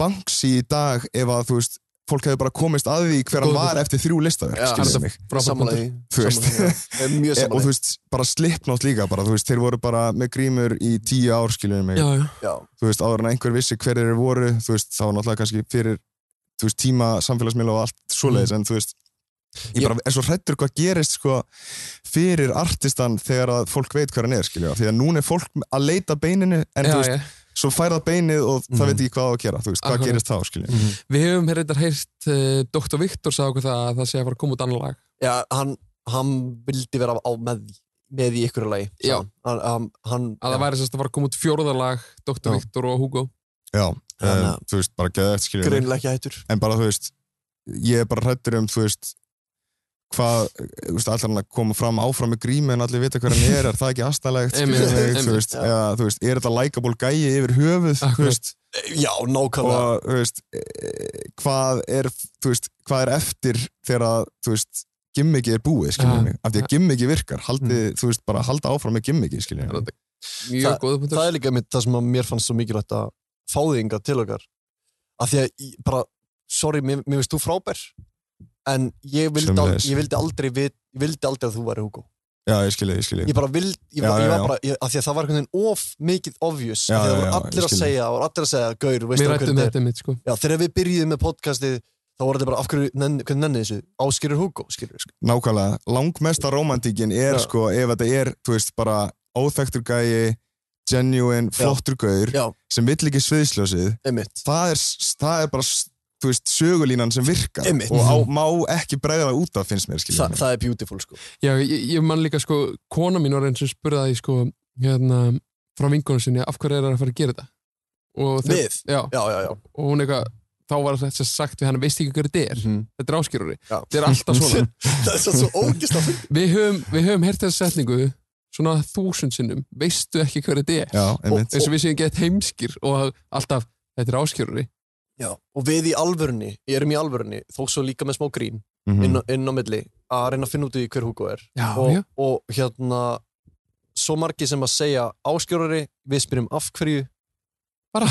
Speaker 6: Banksy í dag ef að þú veist, fólk hefði bara komist að því hver hann
Speaker 5: Góður
Speaker 6: var eftir þrjú listaverk
Speaker 2: Já,
Speaker 6: skilurðu
Speaker 5: þetta-
Speaker 6: mig.
Speaker 5: Frábær
Speaker 2: sammála því
Speaker 5: punktur.
Speaker 6: Þú veist.
Speaker 2: Sammála því, já. Ég
Speaker 6: <laughs>
Speaker 2: er mjög
Speaker 6: E, og
Speaker 2: sammála
Speaker 6: þú
Speaker 2: því
Speaker 6: veist, bara slipnátt líka bara, þú veist, þeir voru bara með grímur í tíu ár skilurðu mig,
Speaker 5: já, já.
Speaker 2: já,
Speaker 6: þú veist, áður en einhver vissi hver þeir voru, þú veist, þá var náttúrulega kannski fyrir, þú veist, tíma samfélagsmiðla og allt svoleiðis, en þú veist ég
Speaker 2: Mm. Ég-
Speaker 6: bara er svo hrættur hvað gerist sko fyrir artistan þegar að fólk veit hvað hann er, skilja, því að núna er fólk að leita beininu, en
Speaker 5: Já,
Speaker 6: þú veist,
Speaker 5: já.
Speaker 6: svo fær það beinið og
Speaker 2: Mhm.
Speaker 6: það veit ekki hvað á að gera, þú veist, hvað
Speaker 5: Akkurat.
Speaker 6: gerist þá, skilja
Speaker 5: Við hefum hérna heyrt uh, Dr. Viktor sagði okkur það að það sé að fara að koma út annar lag
Speaker 2: já hann, hann vildi vera á með því með í ykkur lagi sagði
Speaker 5: Já.
Speaker 2: hann, hann, hann
Speaker 5: að það væri sérst að fara að koma út fjórðarlag Dr.
Speaker 6: Já.
Speaker 5: Viktor og Hugo
Speaker 6: já,
Speaker 2: Þannig
Speaker 6: uh,
Speaker 2: að-
Speaker 6: þú veist, bara geða eftir, skilja
Speaker 2: greinilega ekki hættur
Speaker 6: en bara, þú veist, ég er bara hrættur um, þú veist hvað, þú veist, allar hann að koma fram áfram með grími en allir vita hver
Speaker 2: <laughs>
Speaker 6: hann er, er það ekki astanlegt,
Speaker 5: Einmitt,
Speaker 6: þú
Speaker 5: einmitt,
Speaker 6: veist, eh,
Speaker 2: já.
Speaker 6: eða, þú veist, er þetta likeable gæi yfir höfuð,
Speaker 5: Akkurat.
Speaker 6: þú veist
Speaker 2: já, nákvæmlega
Speaker 6: og þú veist eh, hvað er, þú veist, hvað er eftir þegar að, þú veist, gimmiki er búið skiljum
Speaker 5: Ja.
Speaker 6: mig, af því að gimmiki virkar haldið,
Speaker 5: Mm.
Speaker 6: þú veist, bara halda áfram með gimmiki skiljum mig,
Speaker 5: Mjög góða punktur
Speaker 2: það er líka mitt það sem að mér fannst svo mikilvægt að fá þig yngar til okkar af því að ég bara, sorry, mér, mér veist þú frábær en ég vildi, al,
Speaker 6: Sömuleiðis.
Speaker 2: ég vildi aldrei vit, ég vildi aldrei að þú væri Hugo
Speaker 6: já, ég skilji, ég skilji
Speaker 2: ég bara vild, ég,
Speaker 6: Já,
Speaker 2: var-
Speaker 6: já,
Speaker 2: ég var
Speaker 6: já.
Speaker 2: bara, ég, að því að það var einhvern veginn of mikið obvious,
Speaker 6: Já,
Speaker 2: já, því að
Speaker 6: já,
Speaker 2: það voru
Speaker 6: já,
Speaker 2: allir
Speaker 6: ég
Speaker 2: að
Speaker 6: skil.
Speaker 2: segja það voru allir að segja, gaur, veistu
Speaker 5: Mér
Speaker 2: hvað
Speaker 5: rættum
Speaker 2: þetta er
Speaker 5: þetta mitt sko
Speaker 2: já, þegar við byrjuðum með podcastið þá voru þetta bara, af hverju, nenn, hvernig nenni þessu áskýrur Hugo, skýrur, sko.
Speaker 6: nákvæmlega, langmesta romantíkin er
Speaker 2: Já.
Speaker 6: sko, ef þetta er, þú veist, bara óþektur gæi, genuine flottur gaur,
Speaker 2: já,
Speaker 6: sem vill ekki sviðsljósið
Speaker 2: einmitt
Speaker 6: það er, það er bara s- þú veist, sögulínan sem virkar
Speaker 2: Einmitt. Mhm.
Speaker 6: og á, má ekki bregða út af finnst mér
Speaker 2: Þa,
Speaker 6: skiljum
Speaker 2: það er beautiful sko
Speaker 5: Já, ég, ég man líka sko, kona mín var eins og spurði sko, hérna, frá vinkonu sinni af hverju er það að fara að gera þetta og, þau-
Speaker 2: Við?
Speaker 5: já,
Speaker 2: já, já, já,
Speaker 5: og hún eitthvað þá var þetta sagt við hann, veist ekki hverju þetta er þetta er áskýrúri,
Speaker 2: Mhm. Já.
Speaker 5: þetta er alltaf svona
Speaker 2: <laughs> það er svo, svo ógist að
Speaker 5: við höfum, við höfum heyrt þessa setningu svona þúsund sinnum, veistu ekki hverju þetta er
Speaker 6: Já, einmitt
Speaker 5: eins og við séum gett heimskir og alltaf, þetta er áskýrúri
Speaker 2: já, og við í alvörunni, ég erum í alvörunni þó svo líka með smá grín
Speaker 6: Mhm.
Speaker 2: inn, á- inn á milli að reyna að finna út í hver Hugo er
Speaker 5: já,
Speaker 2: og,
Speaker 5: já,
Speaker 2: og hérna svo margi sem að segja áskjörari við spyrjum af hverju
Speaker 5: bara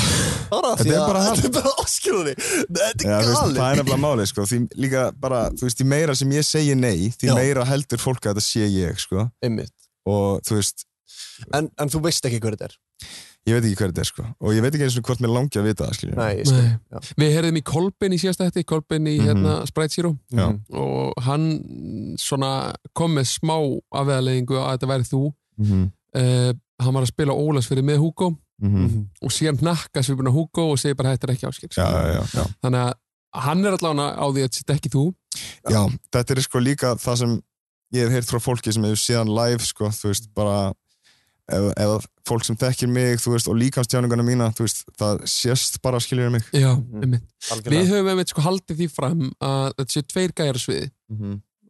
Speaker 2: bara
Speaker 6: Þetta
Speaker 2: því
Speaker 6: er <laughs>
Speaker 2: að
Speaker 6: bara það.
Speaker 2: þetta er bara áskjörari þetta
Speaker 6: Já,
Speaker 2: er
Speaker 6: þú veist, það er
Speaker 2: galið
Speaker 6: nefnilega <laughs> málið sko. því líka bara, þú veist, því meira sem ég segi nei því
Speaker 2: Já.
Speaker 6: meira heldur fólk að þetta sé ég sko.
Speaker 2: einmitt
Speaker 6: og þú veist,
Speaker 2: en, en þú veist ekki hver þetta er
Speaker 6: ég veit ekki hver þetta er sko. og ég veit ekki eins og hvort mér langi að vita það skiljum
Speaker 2: nei, ég skil
Speaker 5: Nei.
Speaker 2: já.
Speaker 5: við heyrðum í Kolbein í síðasta hætti Kolbein í
Speaker 6: Mhm.
Speaker 5: hérna, Sprite Zero Mhm.
Speaker 6: Já.
Speaker 5: og hann svona kom með smá afveðalegingu að þetta væri þú
Speaker 6: Mhm.
Speaker 5: uh, hann var að spila Ólasfyrir með Hugo og síðan hnakka svipuna Hugo og segir bara þetta er ekki áskil
Speaker 6: Mhm. Já, já, já, já.
Speaker 5: þannig að hann er allavega á því að þetta er ekki þú
Speaker 6: já, þetta er sko líka það sem ég hef heyrt frá fólki sem hefur síðan live sko, þú veist, bara eða, eða fólk sem þekkir mig þú veist, og líkamstjáningarna mína þú veist, það sést bara skiljur mig
Speaker 5: já,
Speaker 2: Mhm.
Speaker 5: einmitt.
Speaker 2: algjörlega
Speaker 5: við höfum einmitt sko haldið því fram að þetta séu tveir gæjar á sviði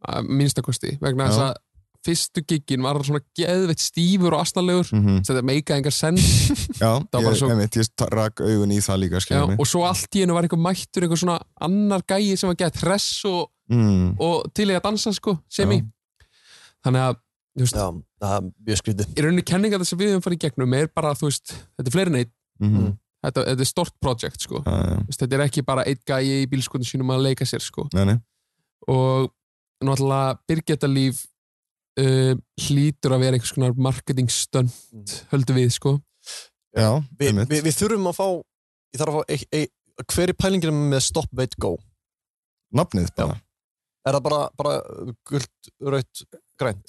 Speaker 5: að minnstakosti vegna
Speaker 6: Mhm. Já.
Speaker 5: þess að fyrstu giggin var hann svona geðveitt stífur og astalegur
Speaker 6: -hmm.
Speaker 5: sem þetta meika engar send
Speaker 6: <laughs> Já,
Speaker 5: var
Speaker 6: ég,
Speaker 5: bara svo-
Speaker 6: einmitt, ég rak augun í það líka
Speaker 5: já,
Speaker 6: skiljur mig
Speaker 5: og svo allt í hennu var einhver mættur einhver svona annar gæi sem var gett hress og,
Speaker 6: mm.
Speaker 5: og til í að dansa sko, sem í þannig að þú veist,
Speaker 2: já, það er mjög skrítið
Speaker 5: í rauninni kenningar þess að við höfum farið í gegnum er bara, þú veist, þetta er fleiri neitt
Speaker 6: Mm.
Speaker 5: þetta, þetta er stort projekt, sko
Speaker 6: Já, já.
Speaker 5: Þú veist, þetta er ekki bara einn gæi í bílskotun sínum að leika sér, sko
Speaker 6: Nei, nei.
Speaker 5: og náttúrulega Birgitta Líf uh, hlýtur að vera einhvers konar marketing stönd höldum við, sko
Speaker 6: Mm. Já,
Speaker 2: Vi,
Speaker 6: einmitt.
Speaker 2: vi, við þurfum að fá ég þarf að fá e, e, hver er pælingin með stop, wait, go
Speaker 6: Nafnið bara.
Speaker 2: er það bara, bara gult, raut, grænt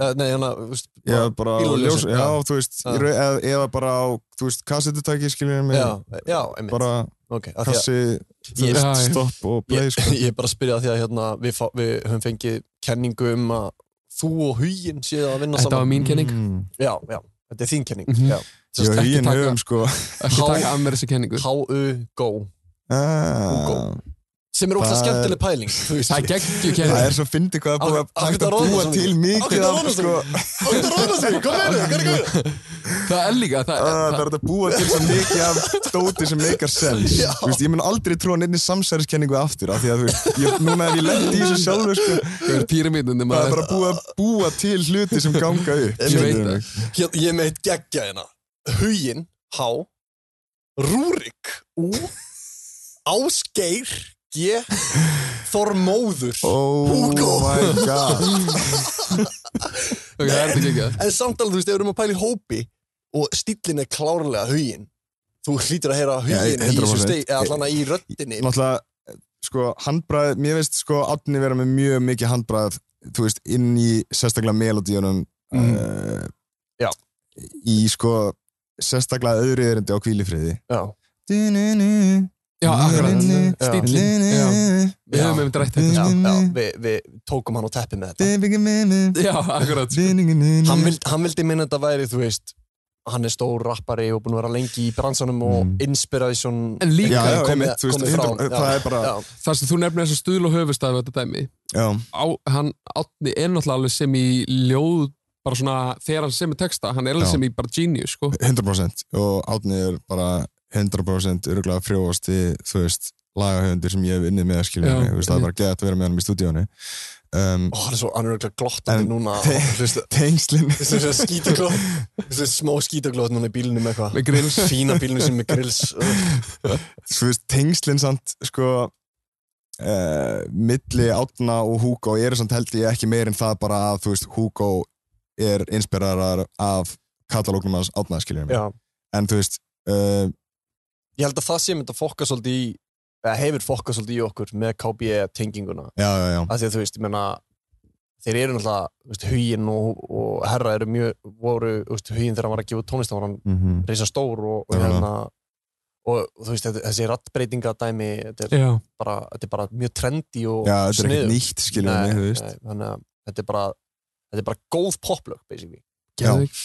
Speaker 2: Eh, nei, hérna, þú veist,
Speaker 6: Já,
Speaker 2: bara-
Speaker 6: bara á
Speaker 2: Bílaljósin,
Speaker 6: ljós, já,
Speaker 2: já.
Speaker 6: þú veist,
Speaker 2: Já.
Speaker 6: í raun- eða, eða bara á, þú veist, kassetutæki, skiljum mig,
Speaker 2: já, já, einmitt
Speaker 6: bara
Speaker 2: ok, af því að-
Speaker 6: kassi, þú
Speaker 2: Ég-
Speaker 6: veist,
Speaker 5: Já, já.
Speaker 6: stopp og play,
Speaker 2: ég,
Speaker 6: sko.
Speaker 2: ég er bara að spyrja því að hérna, við, fá, við höfum fengið kenningu um að þú og huginn séu að vinna
Speaker 5: þetta var
Speaker 2: saman
Speaker 5: mín kenning
Speaker 6: Mm.
Speaker 2: já, já, þetta er þín kenning
Speaker 5: Mhm.
Speaker 2: já.
Speaker 6: Já,
Speaker 5: Sest, ekki
Speaker 6: huginn
Speaker 5: taka-
Speaker 6: höfum, sko.
Speaker 5: ekki
Speaker 2: Há-
Speaker 5: taka af mér þessa kenningu
Speaker 2: H.U. Go Hugo.
Speaker 6: Ah,
Speaker 2: sem er ógst
Speaker 6: Það er-
Speaker 2: skemmtileg pæling þú veist.
Speaker 5: það er geggju
Speaker 6: það
Speaker 5: kenning
Speaker 6: er svo fyndi hvað að búa
Speaker 2: Á- á
Speaker 6: hægt að
Speaker 2: hvernig að róða
Speaker 6: búa
Speaker 2: svona
Speaker 6: til
Speaker 2: mikið? Á
Speaker 6: mikið
Speaker 2: hvernig
Speaker 6: af,
Speaker 2: að róða
Speaker 6: sko,
Speaker 2: svona Þetta er ráðast því, hvað meður, hvað er það?
Speaker 5: það er líka, það,
Speaker 6: að
Speaker 5: það,
Speaker 6: það er hægt að <laughs> búa til svo mikið af dóti sem meikar sens.
Speaker 2: Já.
Speaker 6: Þú veist, ég mun aldrei trúa neinni samsæriskenningu aftur, af því að, þú veist, ég, núna ef ég lendi í þessu sjálfur, sko,
Speaker 5: það er píramítunni
Speaker 6: það er
Speaker 5: maður
Speaker 6: bara búið að búa til hluti sem ganga upp
Speaker 2: Ég
Speaker 5: veit
Speaker 6: skilurðu
Speaker 5: það.
Speaker 6: mig?
Speaker 2: Hér- Hérna, ég er með eitt geggja hérna huginn, H Rúrik, U Ásgeir, G Þormóður Hugo.
Speaker 6: oh my god
Speaker 5: Ok, það er þetta geggja
Speaker 2: En samt alveg, þú veist, ef við erum að pæla í hópi og stíllinn er klárlega huginn þú hlýtur að heyra huginn
Speaker 6: Já,
Speaker 2: í þessu
Speaker 6: 100%.
Speaker 2: stegi, eða allan að í röddinni
Speaker 6: náttúrulega sko handbræð, mér veist sko Átni vera með mjög mikið handbræð þú veist inn í sérstaklega melodíunum
Speaker 2: Mhm. Já.
Speaker 6: uh, í sko sérstaklega öðru erindi á kvílifriði
Speaker 2: Já,
Speaker 5: já, akkurat,
Speaker 6: Já.
Speaker 5: stílin já. við höfum með drætt þetta,
Speaker 2: já,
Speaker 5: sko
Speaker 2: já við, við tókum hann á teppi með þetta
Speaker 5: já, akkurat, sko
Speaker 2: hann vildi, hann vildi minna þetta væri, þú veist hann er stór rappari og búin að vera lengi í bransanum
Speaker 6: Mm.
Speaker 2: og inspiration
Speaker 5: En líka,
Speaker 6: Já, já,
Speaker 2: komið-
Speaker 6: einmitt, þú veist,
Speaker 2: komið frá,
Speaker 6: hundra-
Speaker 2: já,
Speaker 6: það er bara-
Speaker 2: já,
Speaker 5: þar sem þú nefnir þess að stuðl og höfustafi þetta dæmi,
Speaker 6: já,
Speaker 5: á, hann átni er náttúrulega alveg sem í ljóð bara svona, þegar hann semur texta hann er alveg
Speaker 6: Já.
Speaker 5: sem í bara genius, sko
Speaker 6: 100% og Átni er bara 100% öruglega frjóasti þú veist, lagahöfundir sem ég hef unnið með að skilja
Speaker 5: Já,
Speaker 6: mig, þú veist, það er
Speaker 5: einmitt.
Speaker 6: bara gett að vera með hann í stúdíónu um,
Speaker 2: Ó, hann er svo hann er örugglega glottandi
Speaker 6: En-
Speaker 2: núna
Speaker 6: tengslin
Speaker 2: þessu skítaglótt þessu smá skítaglótt núna í bílunum eitthvað
Speaker 5: Með grills.
Speaker 2: fína bílunum sem er grills
Speaker 6: <laughs> þú veist, tengslin samt sko uh, milli Átna og Hugo eru samt held ég ekki meir en það bara að þú veist, Hugo er inspirarar af katalógnum hans Átna skilja mig,
Speaker 2: já.
Speaker 6: en þú veist uh,
Speaker 2: ég held að það sé mynd að fokka svolítið í eða hefur fokka svolítið í okkur með KB tenginguna
Speaker 6: já, já, já,
Speaker 2: af því að þú veist, ég menna þeir eru náttúrulega, þú veist, huginn og, og herra eru mjög, voru, þú veist, huginn þegar hann var að gefa út tónlist þá var hann
Speaker 6: mm
Speaker 2: reysa stór og, og
Speaker 6: Já.
Speaker 2: hérna og þú veist, þetta- þessi rattbreytingadæmi þetta er,
Speaker 5: já,
Speaker 2: bara, þetta er bara mjög trendy og
Speaker 6: Já, þetta er ekkert
Speaker 2: sniðugt.
Speaker 6: nýtt, skiljum
Speaker 2: Nei,
Speaker 6: við, þú veist.
Speaker 2: nei, þannig að þetta er bara þetta er bara góð poplög, basically
Speaker 6: Já,
Speaker 5: geðveik.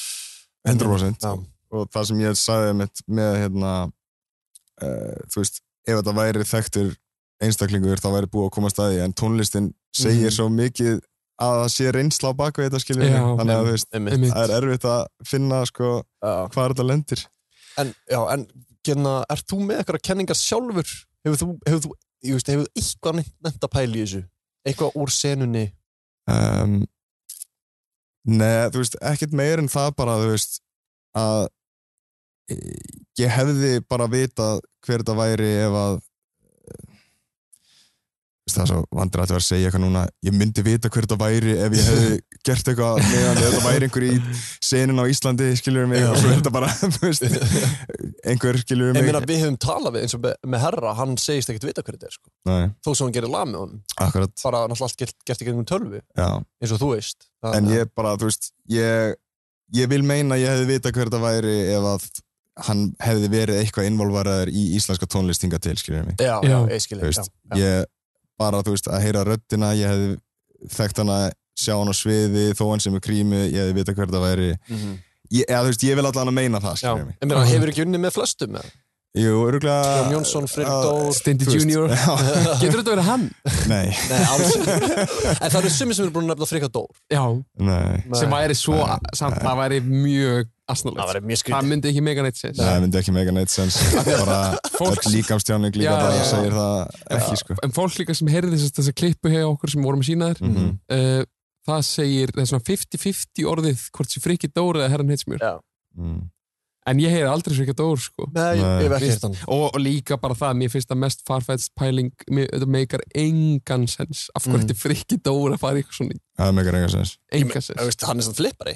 Speaker 6: 100%.
Speaker 2: Já.
Speaker 6: Og það sem ég sagði með, með hérna, uh, þú veist, ef þetta væri þekktur einstaklingur, það væri búið að koma staði, en tónlistin segir
Speaker 2: Mhm.
Speaker 6: svo mikið að það sé reynsla á bakvið þetta, skiljum
Speaker 5: Já.
Speaker 6: við. Þannig að, þú veist,
Speaker 2: Einmitt.
Speaker 5: einmitt.
Speaker 6: það er erfitt að finna, sko,
Speaker 2: Já.
Speaker 6: hvað þetta lendir.
Speaker 2: en, já, en gerna, er þú með eitthvað kenningar sjálfur hefur þú, hefur þú, ég veist, hefur þú eitthvað nefnt að pæla í þessu eitthvað úr senunni
Speaker 6: um, Nei, þú veist, ekkert meir en það bara, þú veist að e, ég hefði bara vitað hver þetta væri ef að e, þú veist, það er svo vandir að þetta vera að segja eitthvað núna ég myndi vita hver þetta væri ef ég
Speaker 2: <laughs>
Speaker 6: hefði gert eitthvað meðan þetta væri einhver í senin á Íslandi, skilur mig og svo er þetta
Speaker 2: <laughs>
Speaker 6: bara, þú veist einhver, skilur
Speaker 2: ég
Speaker 6: mig
Speaker 2: meina við höfum talað við eins og með, með herra, hann segist ekkert vita hverju þetta er sko.
Speaker 6: Nei,
Speaker 2: þó sem hann gerir lag með honum
Speaker 6: akkurat,
Speaker 2: bara náttúrulega allt gert, gert í gegnum tölvu
Speaker 6: já
Speaker 2: eins og þú veist Það-
Speaker 6: en ég bara, þú veist ég, ég vil meina að ég hefði vita hver það væri ef að hann hefði verið eitthvað involvaraður í íslenska tónlistinga til, skiljum mig
Speaker 2: já, já,
Speaker 5: Já.
Speaker 2: ég skil
Speaker 6: Þú
Speaker 2: já,
Speaker 6: veist,
Speaker 2: já.
Speaker 6: ég bara, þú veist, að heyra röddina ég hefði þekkt hann að sjá hann á sviði, þó hann sem er krímu ég hefði vita hver það væri
Speaker 2: Mhm.
Speaker 6: ég, eða, þú veist, ég vil allan að meina það,
Speaker 2: já.
Speaker 6: skiljum mig
Speaker 2: en meina, hefur ekki unni með flestum eða?
Speaker 6: Jú, öruglega
Speaker 2: Jón Jónsson, Friðrik Dór
Speaker 5: Uh, Steindi
Speaker 6: þú veist,
Speaker 2: <laughs>
Speaker 5: Junior
Speaker 6: Já,
Speaker 5: getur þetta verið hann?
Speaker 6: nei,
Speaker 2: Nei, alls ekki. En það eru sumir sem eru búin að nefna Frikka Dór
Speaker 5: Já,
Speaker 6: nei
Speaker 5: sem
Speaker 2: Nei.
Speaker 5: væri svo,
Speaker 6: Nei.
Speaker 5: samt það væri mjög asnalegt,
Speaker 2: Það væri mjög
Speaker 5: það
Speaker 2: skrítið
Speaker 5: myndi ekki mega neitt sér
Speaker 6: Nei, það myndi ekki mega neitt sens bara
Speaker 5: Fólk-
Speaker 6: öll líkamstjáning líka
Speaker 5: Já,
Speaker 6: bara
Speaker 5: já, já.
Speaker 6: segir það ekki sko
Speaker 5: en fólk líka sem heyrði þess þessa klippu hefur okkur sem vorum að sína þér
Speaker 6: Mhm.
Speaker 5: uh, það segir, það er svona 50-50 orðið hvort sé frikki Dór eða herran heitsmjör
Speaker 2: Já. Mhm.
Speaker 6: Mm.
Speaker 5: en ég heyri aldrei frikki Dór sko
Speaker 2: Nei, ég hef ekki
Speaker 5: Nei.
Speaker 2: hirt hann
Speaker 5: og, og líka bara það, mér finnst það mest farfæðst pæling, mér- þetta meikar engan sens, af hverju
Speaker 2: Mm.
Speaker 5: þetta er frikki Dór að fara í eitthvað svona
Speaker 6: Það er megar enga sens.
Speaker 5: engan
Speaker 2: Þú
Speaker 5: sens,
Speaker 2: veist, Hann er svona flippari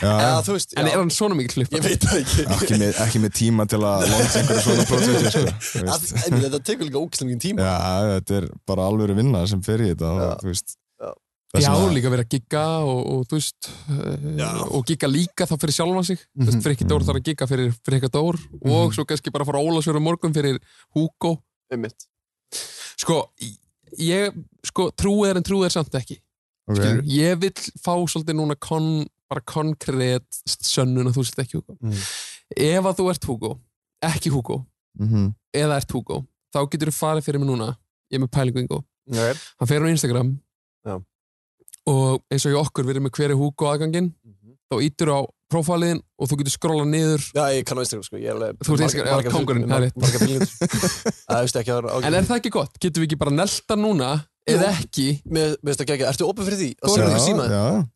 Speaker 2: Eða
Speaker 6: Já,
Speaker 2: þú veist,
Speaker 5: en er
Speaker 2: já,
Speaker 5: hann svona mikið
Speaker 2: ég
Speaker 5: hlippar?
Speaker 2: veit það
Speaker 6: ekki,
Speaker 2: ekki
Speaker 6: með, ekki með tíma til að langt einhverju svona prósessi, sko. þú
Speaker 2: <laughs> Að-
Speaker 6: veist.
Speaker 2: En þetta tekur líka ógislega mikið tíma
Speaker 6: Já, þetta er bara alvöru vinna sem fer í þetta,
Speaker 2: Já.
Speaker 6: og, þú veist.
Speaker 2: Já.
Speaker 6: Þess
Speaker 5: Já,
Speaker 6: vegna-
Speaker 5: líka verið að gigga og, og þú veist
Speaker 2: Já.
Speaker 5: uh, og gigga líka þá fyrir sjálfan sig þú veist, Frikki Dór
Speaker 6: Mhm.
Speaker 5: þarf að gigga fyrir Frikki Dór og svo kannski bara fara Ólasverður morgun fyrir Hugo
Speaker 2: Einmitt.
Speaker 5: sko, ég sko, trúið er en trúið er samt ekki
Speaker 6: Ok.
Speaker 5: okay. ég vil fá svolítið núna kon, bara konkrétt sönnun að þú sért ekki Hugo
Speaker 2: Mhm.
Speaker 5: ef að þú ert Hugo, ekki Hugo
Speaker 6: Mhm.
Speaker 5: eða ert Hugo, þá getur þú farið fyrir mig núna ég er með pælingu yngu
Speaker 2: Já,
Speaker 5: hann fer á Instagram
Speaker 2: Já.
Speaker 5: og eins og ég okkur við erum með hverju Hugo aðgangin
Speaker 2: Mhm.
Speaker 5: þá ítur á prófaliðin og þú getur skrolla niður
Speaker 2: ég kann á Instagram sko Ég er alveg
Speaker 5: Þú ert Instagram- já, kóngurinn, það er rétt.
Speaker 2: Marga
Speaker 5: <laughs>
Speaker 2: fylgjum Það veist ekki að það
Speaker 5: en
Speaker 2: er
Speaker 5: er það ekki gott? Getum við ekki bara nelta núna eða ekki?
Speaker 2: Mér mér finnst það ekki Ertu opið fyrir því? Að
Speaker 5: Góður
Speaker 2: sjá
Speaker 6: Já,
Speaker 2: því síma
Speaker 6: já,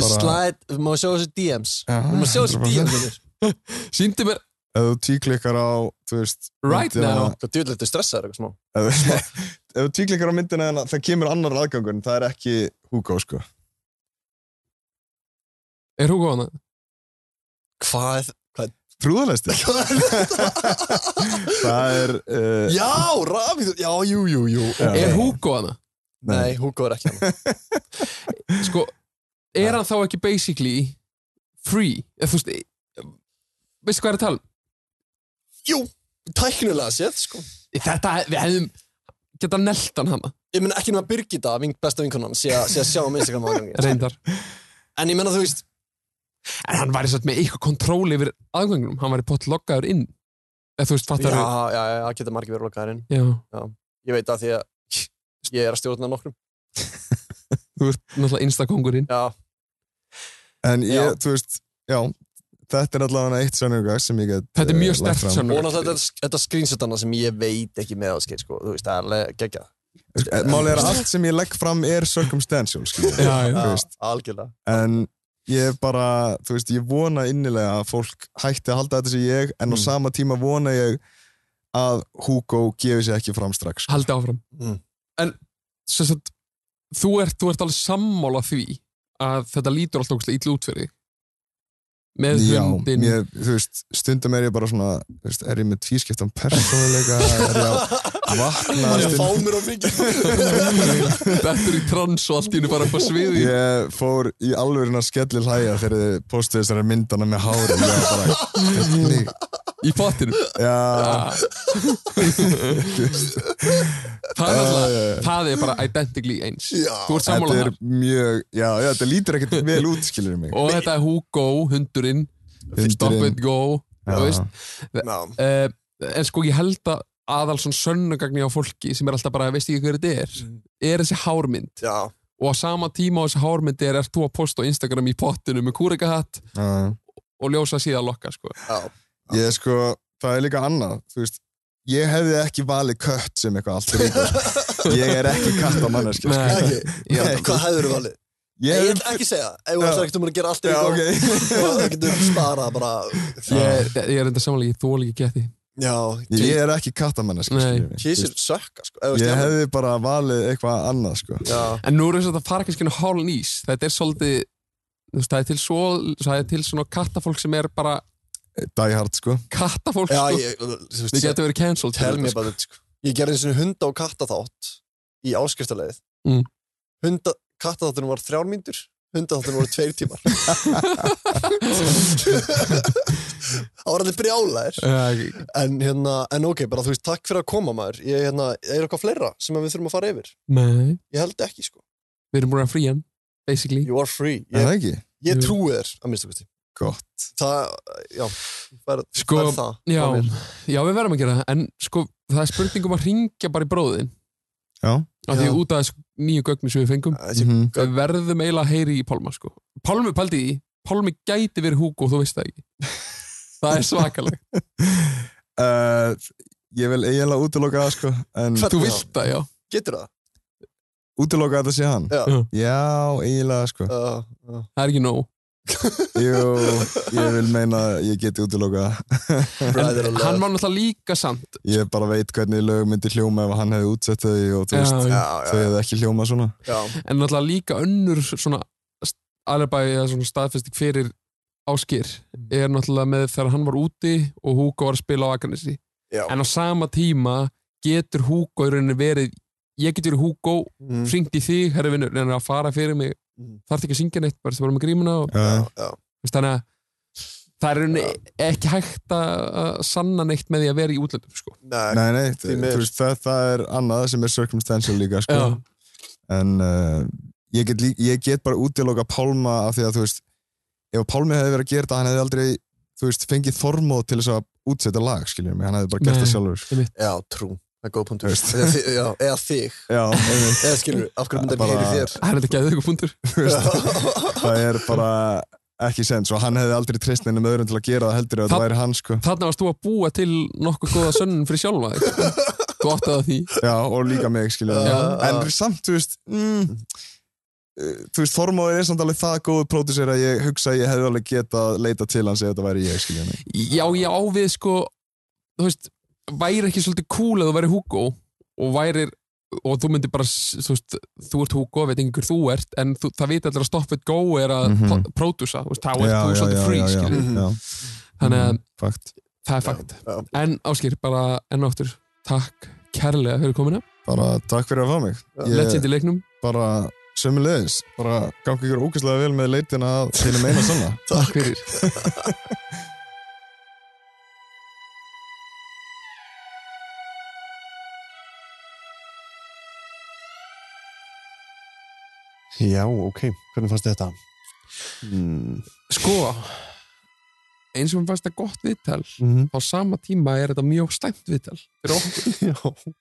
Speaker 6: bara-
Speaker 2: Slide Má sjá þessi DMs
Speaker 6: já.
Speaker 2: Má sjá þessi
Speaker 6: 100%.
Speaker 2: DMs vinur.
Speaker 5: <laughs> Sýndi mér
Speaker 6: Ef þú tvíklikkar á, þú veist,
Speaker 5: Right
Speaker 6: myndina-
Speaker 5: now.
Speaker 2: Hvað djúðlega þetta stressaður eitthvað smá
Speaker 6: Ef þú- <laughs> ef þú tvíklikkar á myndina þarna, það kemur annar aðgangun, það er ekki Hugo, sko.
Speaker 5: er Hugo hana?
Speaker 2: Hvað er það? <laughs>
Speaker 6: Trúðalæsti. það er... Uh,
Speaker 2: Já, rafið Já, jú, jú, jú
Speaker 5: Er Hugo hana?
Speaker 2: Nei, Hugo er ekki hann
Speaker 5: <laughs> Sko, er hann þá ekki basically free? Eða, þú veist, e- veistu hvað er að tala? um?
Speaker 2: Jú, tæknilega séð sko.
Speaker 5: Þetta, við hefðum geta neltan hana,
Speaker 2: Ég menn ekki nema Birgitta, vink, besta vinkonan sé, að- sé að sjá um Instagram aðgangi
Speaker 5: reyndar
Speaker 2: <laughs> En ég menna þú veist,
Speaker 5: en hann væri satt með eitthvað kontról yfir aðgangunum, hann væri pott loggaður inn eða þú veist,
Speaker 2: já,
Speaker 5: fattar
Speaker 2: já, já, já, það geta margir verið lokkaðir inn
Speaker 5: já,
Speaker 2: Ég veit það því að ég er að stjórna nokkrum
Speaker 5: þú ert náttúrulega instakongurinn
Speaker 2: Já,
Speaker 6: En ég,
Speaker 2: Já.
Speaker 6: þú veist, já, þetta er allavega eitt sannurgag sem ég get
Speaker 5: Þetta er mjög
Speaker 6: eh, lagt
Speaker 5: sterkt
Speaker 6: fram.
Speaker 5: sönnur
Speaker 2: og náttúrulega þetta, þetta screenshotana sem ég veit ekki með á skeið sko. Þú veist, það er alveg geggja
Speaker 6: Sko, eh, Málið er að allt sem ég legg fram er circumstantial, skiljum.
Speaker 5: Já, já.
Speaker 6: Þú veist,
Speaker 2: Algjörlega
Speaker 6: en ég bara, þú veist, ég vona innilega að fólk hætti að halda þetta sem ég, en á
Speaker 2: Mm.
Speaker 6: sama tíma vona ég að Hugo gefi sér ekki fram strax.
Speaker 5: haldi áfram
Speaker 2: Mm.
Speaker 5: en sem sagt, þú, ert, þú ert alveg sammála því að þetta lítur alltaf ógustlega ítlu út fyrir þig. með
Speaker 6: Já,
Speaker 5: hundin
Speaker 6: mér, þú veist, stundum er ég bara svona, þú veist, er ég með tvískiptan persónuleika, er ég
Speaker 2: <laughs>
Speaker 6: að vakna
Speaker 2: Það er að
Speaker 6: stundum?
Speaker 2: fá mér á mikið
Speaker 5: þetta er í trans og allt í hennu bara upp á sviði
Speaker 6: Ég fór í alvegurinn að skelli hlæja þegar þið postuðu þessari myndana með hári. Ég var bara, hvernig
Speaker 5: í pottinum
Speaker 6: Já,
Speaker 5: það er alltaf
Speaker 6: já, já.
Speaker 5: það er bara identically eins
Speaker 6: já.
Speaker 5: þú ert sammála
Speaker 6: Eh, Þetta er
Speaker 5: þar
Speaker 6: mjög, já, já, þetta lítur
Speaker 5: <laughs>
Speaker 6: ekkert vel út, skilur mig
Speaker 5: og þetta er Hugo, hundurinn Stop
Speaker 6: Hundurinn.
Speaker 5: and Go þú
Speaker 6: Já.
Speaker 5: veist. uh, en sko ég held að aðal svona sönnugagni á fólki sem er alltaf bara, veist ekki hver þetta er
Speaker 6: Mm.
Speaker 5: er þessi hármynd
Speaker 9: já,
Speaker 5: og á sama tíma á þessi hármynd er, ert þú að posta á Instagram í pottinu með kúrikahatt
Speaker 6: Já.
Speaker 5: og ljósa síðan lokka sko.
Speaker 6: Ég sko, það er líka annað Þú veist, ég hefði ekki valið kött sem eitthvað allt
Speaker 5: <laughs>
Speaker 6: ríkur Ég er ekki katt á manneskja
Speaker 5: Nei.
Speaker 6: sko.
Speaker 9: ekki
Speaker 5: Já.
Speaker 9: hvað hefur þú valið?
Speaker 6: Ég,
Speaker 9: ég
Speaker 6: ég,
Speaker 9: ætla ekki að segja, ef þú
Speaker 6: Já.
Speaker 9: ætlar ekkert um að gera allt
Speaker 6: Já,
Speaker 9: eitthvað
Speaker 6: ok.
Speaker 9: og það getur spara bara
Speaker 5: ég, ég er enda samanlega, ég þól ekki geti
Speaker 9: já,
Speaker 6: Ah. ég er ekki katt á manneskja
Speaker 5: Nei.
Speaker 9: kísir sökka sko, ef þú
Speaker 6: Ég
Speaker 9: veist,
Speaker 6: hefði bara valið eitthvað annað sko.
Speaker 9: já,
Speaker 5: en nú er þess að það fara kannski háln ís þetta er svolítið þú veist, það er til, svo, það er til svona kattafólk sem er bara
Speaker 6: Die hard sko.
Speaker 5: kattafólk
Speaker 9: já,
Speaker 5: sko.
Speaker 9: ég, þú
Speaker 5: við
Speaker 9: veist
Speaker 5: getum verið cancelled
Speaker 9: tell
Speaker 5: fyrir
Speaker 9: me
Speaker 5: þetta, sko.
Speaker 9: about it sko. ég gerði eins og hunda og katta þátt í áskriftaleið
Speaker 5: Mm.
Speaker 9: hunda, katta þáttunum var þrjár mínútur hunda þáttunum voru tveir tímar það var allir brjálæðir
Speaker 5: Já,
Speaker 9: en, hérna, en ok, bara þú veist, takk fyrir að koma maður ég, hérna, er eitthvað fleira sem að við þurfum að fara yfir
Speaker 5: Nei,
Speaker 9: ég held ekki sko,
Speaker 5: við erum búin að frí hann basically
Speaker 9: you are free
Speaker 6: Er
Speaker 9: ég,
Speaker 6: það ekki?
Speaker 9: ég trúi þér, að minnstu kosti
Speaker 6: Gott
Speaker 9: það, já, það er,
Speaker 5: Sko,
Speaker 9: það er það
Speaker 5: já,
Speaker 9: frá mér.
Speaker 5: já, við verðum að gera það en sko, það er spurningum að ringja bara í bróðin
Speaker 6: Já.
Speaker 5: af því
Speaker 9: Já.
Speaker 5: út af þessu nýju gögnu sem við fengum
Speaker 9: Þessi-
Speaker 6: Mhm.
Speaker 5: við verðum eiginlega að heyri í Pálma sko. Pálmi, paldi í, því, Pálmi gæti verið Hugo þú veist það ekki <laughs> það er svakalega,
Speaker 6: uh, Ég vil eiginlega útiloka það sko, en
Speaker 9: Fett-
Speaker 5: þú vilt það, já
Speaker 9: getur það
Speaker 6: útiloka að þetta sé hann
Speaker 9: Já.
Speaker 6: Já, eiginlega sko.
Speaker 9: uh, uh.
Speaker 5: það er ekki nóg
Speaker 6: Jú, ég vil meina að ég geti útilokað það.
Speaker 9: Bræður
Speaker 5: en,
Speaker 9: og
Speaker 5: hann
Speaker 9: lög.
Speaker 5: var náttúrulega líka samt
Speaker 6: Ég bara veit hvernig lög myndi hljóma ef hann hefði útsett þau og þú veist,
Speaker 5: Já, já.
Speaker 9: já,
Speaker 6: þau
Speaker 9: já,
Speaker 6: hefði ekki hljómað svona
Speaker 9: já,
Speaker 5: en náttúrulega líka önnur svona alibæði eða svona staðfestik fyrir Áskir
Speaker 9: Mm.
Speaker 5: er náttúrulega með þegar hann var úti og Hugo var að spila á Akanesi
Speaker 9: já.
Speaker 5: en á sama tíma getur Hugo í rauninni verið ég get verið Hugo,
Speaker 9: Mm.
Speaker 5: hringt í þig herri vinnur, en að fara fyrir mig
Speaker 9: Mm.
Speaker 5: þarf ekki að syngja neitt, bara sem bara með grímuna og,
Speaker 6: Já,
Speaker 9: já, já.
Speaker 5: veist, þannig að það er í rauninni ekki hægt að að sanna neitt með því að vera í útlöndum sko.
Speaker 9: Nei,
Speaker 6: Nei, nei,
Speaker 9: Því
Speaker 6: þú
Speaker 9: miður.
Speaker 6: veist, það, það er annað sem er circumstantial líka, sko.
Speaker 5: Já.
Speaker 6: En uh, ég, get líka, ég get bara útiloka Pálma af því að, þú veist, ef Pálmi hefði verið að gera þetta, hann hefði aldrei, þú veist, fengið þormóð til þess að útsetta lag, skiljum mig, hann hefði bara gert
Speaker 5: Nei.
Speaker 6: það sjálfur.
Speaker 9: já, trú það er góð punktur
Speaker 6: Veist.
Speaker 9: eða, þi- já, eða þig,
Speaker 6: Já, einmitt,
Speaker 9: eða skilur af hverju myndar
Speaker 6: Bara-
Speaker 9: bara... heyri
Speaker 5: það er þetta gæðið ykkur fundur
Speaker 6: þú veist, <laughs>
Speaker 9: <laughs> þér
Speaker 6: <laughs> það er bara ekki sens og hann hefði aldrei treyst neinum öðrum til að gera það heldur ef
Speaker 5: Það-
Speaker 6: það væri hann, sko.
Speaker 5: þarna varst þú að búa til nokkuð góða sönnun fyrir sjálfa þig þú áttið að því
Speaker 6: Já, og líka mig, skiljum mig.
Speaker 9: Já,
Speaker 6: En
Speaker 9: já.
Speaker 6: samt, þú veist, mm, uh, þú veist, Þormóður er samt alveg það góðu pródusir að ég hugsa að ég hefði alveg getað leita til hans ef þetta væri ég, skiljum mig.
Speaker 5: <laughs> já, já, við sko þú veist, væri ekki svolítið cool að þú væri Hugo og væri og þú myndir bara, s- þú veist, þú ert Hugo veit ekki hver þú ert, en þú, það veit allir að Stop It Go er að mm
Speaker 6: Mhm.
Speaker 5: -hmm. pródusa þú veist, þá ert þú svolítið free, skilur
Speaker 9: Mhm.
Speaker 6: já. Mhm.
Speaker 5: þannig að
Speaker 6: Fakt.
Speaker 5: það er fakt
Speaker 9: já.
Speaker 5: en Áskir, bara enn áttur takk kærlega fyrir komina,
Speaker 6: Bara takk fyrir að fá mig.
Speaker 5: yeah.
Speaker 6: Ég
Speaker 5: legend í leiknum
Speaker 6: bara sömulegis, bara gangi ykkur ógæslega vel með leitina að þínum eina sanna.
Speaker 5: <laughs> takk fyrir
Speaker 2: Já, ok, hvernig fannst þér þetta?
Speaker 6: Hmm.
Speaker 2: Mm.
Speaker 5: sko eins og mér fannst það gott viðtal
Speaker 2: Mhm.
Speaker 5: á sama tíma er þetta mjög slæmt viðtal fyrir okkur
Speaker 2: <laughs> Já,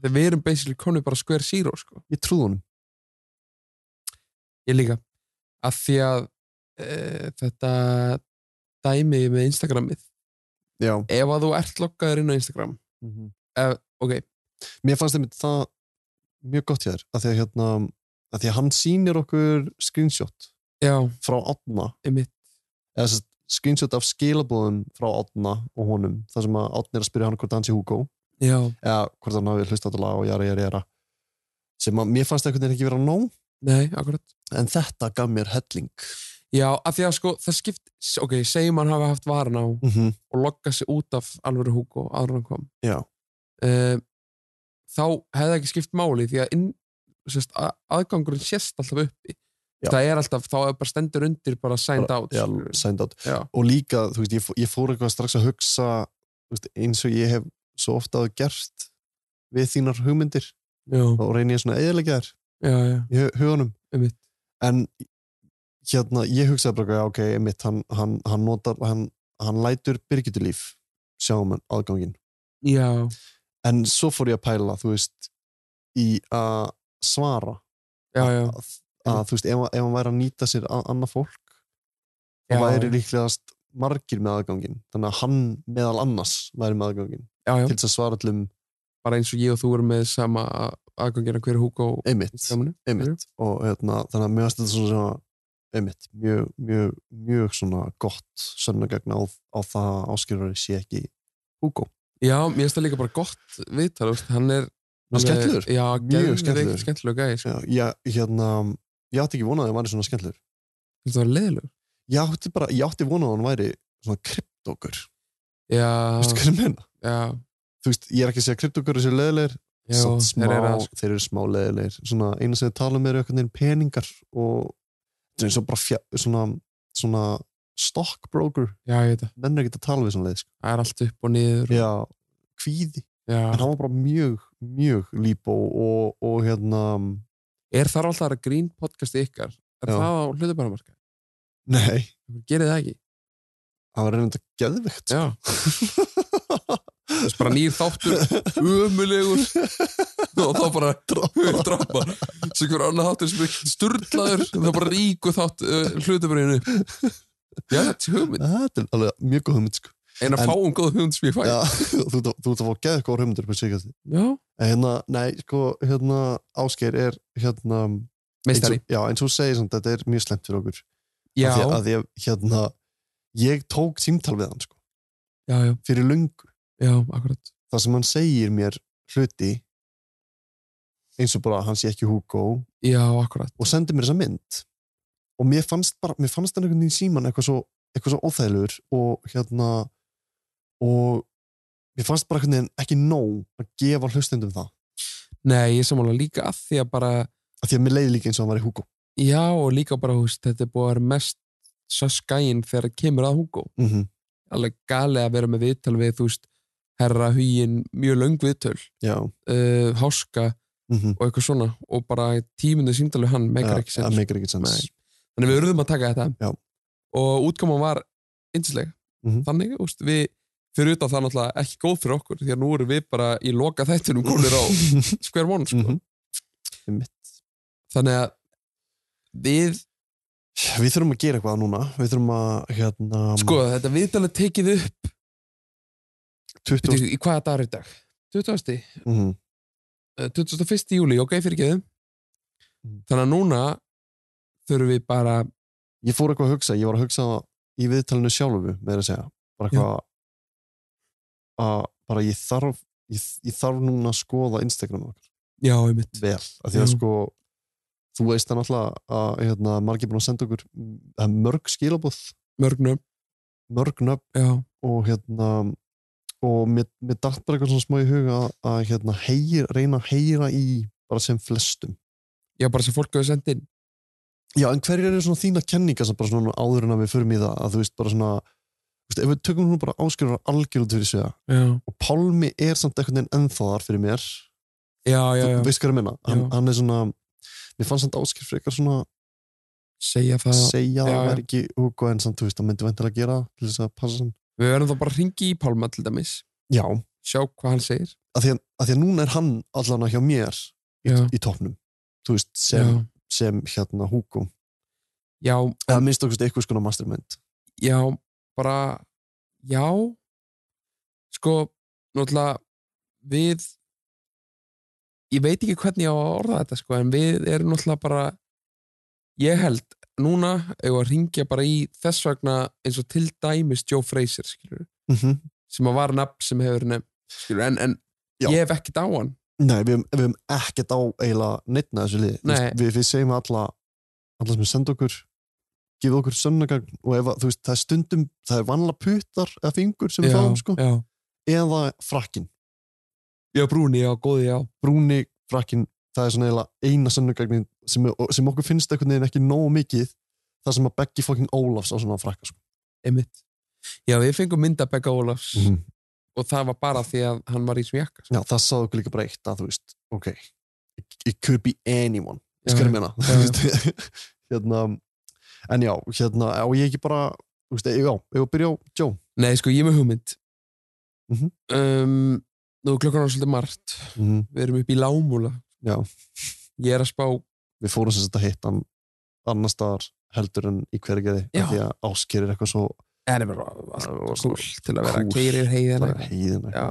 Speaker 5: þegar við erum basically konu bara square zero sko.
Speaker 2: ég trúð honum
Speaker 5: ég líka af því að e, þetta dæmi með Instagramið
Speaker 2: Já, Mhm.
Speaker 5: ef að þú ert lokkaður inn á Instagram ef, ok,
Speaker 2: mér fannst einmitt það mjög gott hér að því að, hérna, að því að hann sýnir okkur screenshot
Speaker 5: já,
Speaker 2: frá Átna
Speaker 5: einmitt
Speaker 2: eða sem sagt, screenshot af skilabóðum frá Átna og honum þar sem að Átni er að spyrja hann hvort hann sé Hugo
Speaker 5: já,
Speaker 2: eða hvort hann hafi hlust á þetta lag og jara, jara, jara sem að mér fannst einhvern veginn ekki vera nóg
Speaker 5: nei, akkurat
Speaker 2: en þetta gaf mér helling
Speaker 5: já, af því að sko, það skipt ok, segjum hann hafi haft varan á
Speaker 2: mm -hmm.
Speaker 5: og lokka sig út af alvöru Hugo áður en hann kom
Speaker 2: Já.
Speaker 5: Eh, þá hefði það ekki skipt máli því að inn, sérst, að, aðgangurinn sést alltaf uppi
Speaker 2: Já.
Speaker 5: það er alltaf, þá er bara stendur undir bara signed out
Speaker 2: já,
Speaker 5: skilurðu.
Speaker 2: signed out
Speaker 5: Já.
Speaker 2: og líka, þú veist, ég, fó- ég fór eitthvað strax að hugsa þú veist, eins og ég hef svo ofta að gert við þínar hugmyndir
Speaker 5: já,
Speaker 2: þá reyni ég svona að eðilegja þær
Speaker 5: já, já,
Speaker 2: í hu- huganum
Speaker 5: Einmitt.
Speaker 2: en hérna, ég hugsaði bara já, ok, einmitt, hann, hann, hann notar hann, hann lætur byrgjutulíf sjáum hann aðgangin
Speaker 5: já,
Speaker 2: um en svo fór ég að pæla, þú veist í að svara
Speaker 5: já, já,
Speaker 2: að, að þú veist, ef, hann- ef hann væri að nýta sér a- annað fólk þá
Speaker 5: Já.
Speaker 2: væri líklegast margir með aðgangin þannig að hann meðal annars væri með aðgangin
Speaker 5: já, já.
Speaker 2: til þess að svara allum
Speaker 5: bara eins og ég og þú erum með sama a- aðgangina hver húka og
Speaker 2: einmitt einmitt og hérna, þannig að mjög aðstæða svona svona, einmitt, mjög, mjög, mjög svona gott sönnagagn á, á það að áskilurari sé ekki Hugo.
Speaker 5: já, mér finnst það líka bara gott viðtal þú veist, hann er
Speaker 2: Hann er
Speaker 5: alveg-
Speaker 2: skemmtilegur.
Speaker 5: já,
Speaker 2: Mjög skemmtilegur.
Speaker 5: geðveikt skemmtilegur gæði sko.
Speaker 2: Já, ég, hérna, ég átti ekki vonað að hann væri svona skemmtilegur.
Speaker 5: þetta var leiðilegur
Speaker 2: Ég átti bara, ég átti vonað að hann væri svona kryptókur. Þú veist
Speaker 5: já,
Speaker 2: hvað ég meina?
Speaker 5: já,
Speaker 2: Þú veist, ég er ekki að segja kryptókur séu leðilegir,
Speaker 5: já,
Speaker 2: samt smá,
Speaker 5: þeir eru að-
Speaker 2: þeir eru smá leðilegir. Svona, eina sem þið tala um eru einhvern veginn peningar og þetta er eins og bara fjá, svona, svona stockbroker,
Speaker 5: já, ég veit það,
Speaker 2: menn er ekki að tala við svona leið, sko.
Speaker 5: það er allt upp og niður
Speaker 2: Já, kvíði.
Speaker 5: já.
Speaker 2: en hann var bara mjög, mjög líbó og, og hérna
Speaker 5: er þar alltaf að grín podcast ykkar er
Speaker 2: Já.
Speaker 5: það á hlutabæramarka
Speaker 2: nei,
Speaker 5: gerir það ekki
Speaker 2: hann var sko. reynda geðvikt
Speaker 5: já. bara nýr þáttur ömulegur og þá bara drapa sem hver annar þáttur sem er sturlaður það bara ríku þátt uh, hlutabæriðinu já, þetta er hugmynd
Speaker 2: þetta er alveg mjög góð hugmynd sko.
Speaker 5: en að
Speaker 2: En-
Speaker 5: fáum góð hugmynd sem ég fæ
Speaker 2: Já, <laughs> þú ert að- þú ert að fá geðgóð hugmyndir på sig en
Speaker 5: já.
Speaker 2: hérna, nei, sko, hérna Ásgeir er hérna eins
Speaker 5: meistari
Speaker 2: og, já, eins og þú segir, samt, þetta er mjög slemt fyrir okkur
Speaker 5: já,
Speaker 2: Af því að, að ég, hérna, ég tók símtal við hann sko,
Speaker 5: já, já,
Speaker 2: fyrir löngu
Speaker 5: já, akkurat
Speaker 2: það sem hann segir mér hluti eins og bara hann sé ekki Hugo
Speaker 5: já, akkurat
Speaker 2: og sendi mér þessa mynd og mér fannst bara, mér fannst hann einhvern veginn í síman eitthvað svo, eitthvað svo óþægilegur og hérna og mér fannst bara einhvern veginn ekki nóg að gefa hlustendum það
Speaker 5: nei, ég er sammála líka að því að bara
Speaker 2: af því að mér leiði líka eins og hann var í Hugo
Speaker 5: já, og líka bara, þú veist, þetta er búið að vera mest svo skæin þegar kemur að Hugo
Speaker 2: mm
Speaker 6: Mhm.
Speaker 2: -hmm.
Speaker 5: alveg gali að vera með viðtal við þú veist, herra hugin mjög löng viðtöl,
Speaker 2: já,
Speaker 5: uh, háska
Speaker 2: mm -hmm.
Speaker 5: og eitthvað svona og bara tímundu símdalu hann meikar ekki sens
Speaker 2: meikar ekki sens
Speaker 5: Nei. þannig við urðum að taka þetta
Speaker 2: Já.
Speaker 5: og útkoman var yndislega
Speaker 2: Mhm.
Speaker 5: þannig, úst, við fyrir utan það náttúrulega ekki góð fyrir okkur því að nú erum við bara í loka þættinum konir
Speaker 2: <laughs>
Speaker 5: á square one sko.
Speaker 2: Mhm. Einmitt.
Speaker 5: þannig að við
Speaker 2: við þurfum að gera eitthvað núna við þurfum að, hérna
Speaker 5: Sko, þetta viðtalið tekið upp
Speaker 2: 20,
Speaker 5: Bíddu, í hvaða dagur er í dag? 20.
Speaker 2: mm -hmm.
Speaker 5: eh, 21. júli, ok, fyrir geðum
Speaker 2: Mm.
Speaker 5: Þannig að núna þurfum við bara
Speaker 2: ég fór eitthvað að hugsa, ég var að hugsa það í viðtalinu sjálfu, með að segja bara eitthvað að bara ég þarf ég, ég þarf núna að skoða Instagram okkar
Speaker 5: Já, einmitt,
Speaker 2: vel, af því að
Speaker 5: Já.
Speaker 2: sko þú veist það náttúrulega að hérna, margir búin að senda okkur mm, það er mörg skilabúð,
Speaker 5: mörgnum
Speaker 2: mörg nöfn
Speaker 5: Já,
Speaker 2: og hérna og mér, mér datt bara eitthvað svona smá í huga að, að hérna, heyr, reyna að heyra í bara sem flestum
Speaker 5: já bara sem fólk hefur sendt inn
Speaker 2: Já, en hverjir eru svona þína kenninga sem bara svona áður en að við förum í það að þú veist bara svona þú veist, ef við tökum nú bara áskilur algjörðu til þessu
Speaker 5: Já,
Speaker 2: og Pálmi er samt einhvern veginn ennþáðar fyrir mér
Speaker 5: já, já,
Speaker 2: þú
Speaker 5: já.
Speaker 2: veist hvað ég minna, hann,
Speaker 5: Já.
Speaker 2: hann er svona mér fannst samt áskil frekar svona
Speaker 5: segja það
Speaker 2: segja
Speaker 5: Já,
Speaker 2: að það
Speaker 5: já.
Speaker 2: væri ekki Hugo en samt, þú veist, það myndi vantilega gera það til þess að passa saman
Speaker 5: Við verðum þá bara að ringi í Pálma til dæmis
Speaker 2: Já,
Speaker 5: sjá hvað hann segir
Speaker 2: að því að, að, því að núna er hann allan hjá mér í,
Speaker 5: Já.
Speaker 2: í topnum, þú veist,
Speaker 5: Já,
Speaker 2: sem, sem hérna Hugo,
Speaker 5: já,
Speaker 2: eða minnst okkur eitthvað skona mastermind
Speaker 5: já bara, já Sko, náttúrulega við ég veit ekki hvernig ég á að orða þetta sko, en við erum náttúrulega bara ég held núna ef að ringja bara í þess vegna eins og til dæmis Joe Fraser skilur,
Speaker 2: mm -hmm.
Speaker 5: sem að var nafn sem hefur nefn skilur, en, en
Speaker 2: Já.
Speaker 5: ég hef ekkert á hann
Speaker 2: Nei, við höfum- við höfum ekkert á eiginlega neittna þessu liði, Þú
Speaker 5: Nei.
Speaker 2: veist, við, við segjum alla alla sem senda okkur gefa okkur sönnagagn og ef að, þú veist, það er stundum, það er vanlega putar eða fingur sem við
Speaker 5: já,
Speaker 2: fáum, sko,
Speaker 5: já.
Speaker 2: eða frakkin
Speaker 5: já, brúni, já, góði, já
Speaker 2: brúni frakkin, það er svona eiginlega eina sönnagagnin sem, sem okkur finnst einhvern veginn ekki nógu mikið, það sem að beggi fokkin Ólafs á svona frakka, sko
Speaker 5: einmitt. Já, við fengum mynd af Begga Ólafs og það var bara því að hann var í sem jakka
Speaker 2: Mhm. Já, það sáðu okkur líka bara eitt að þú veist, ok, it, it could be anyone,
Speaker 5: Já,
Speaker 2: skur meina,
Speaker 5: já,
Speaker 2: <laughs> þú veist, hérna, en já, hérna, á ég ekki bara, þú veist, já, ég var að byrja á Joe,
Speaker 5: Nei, sko, ég er með hugmynd
Speaker 2: Mhm.
Speaker 5: um, Nú klokkan var svolítið margt
Speaker 2: mm,
Speaker 5: Við erum upp í lámúla
Speaker 2: Já.
Speaker 5: Ég er að spá
Speaker 2: við fórum sem sagt að hitta hann annars staðar heldur en í hvergerði,
Speaker 5: Já.
Speaker 2: af því að áskerir eitthvað svo
Speaker 5: Það er bara allt
Speaker 2: svona
Speaker 5: kúl til að vera
Speaker 2: kúl.
Speaker 5: keirir heiðina
Speaker 2: bara heiðin,
Speaker 5: Já.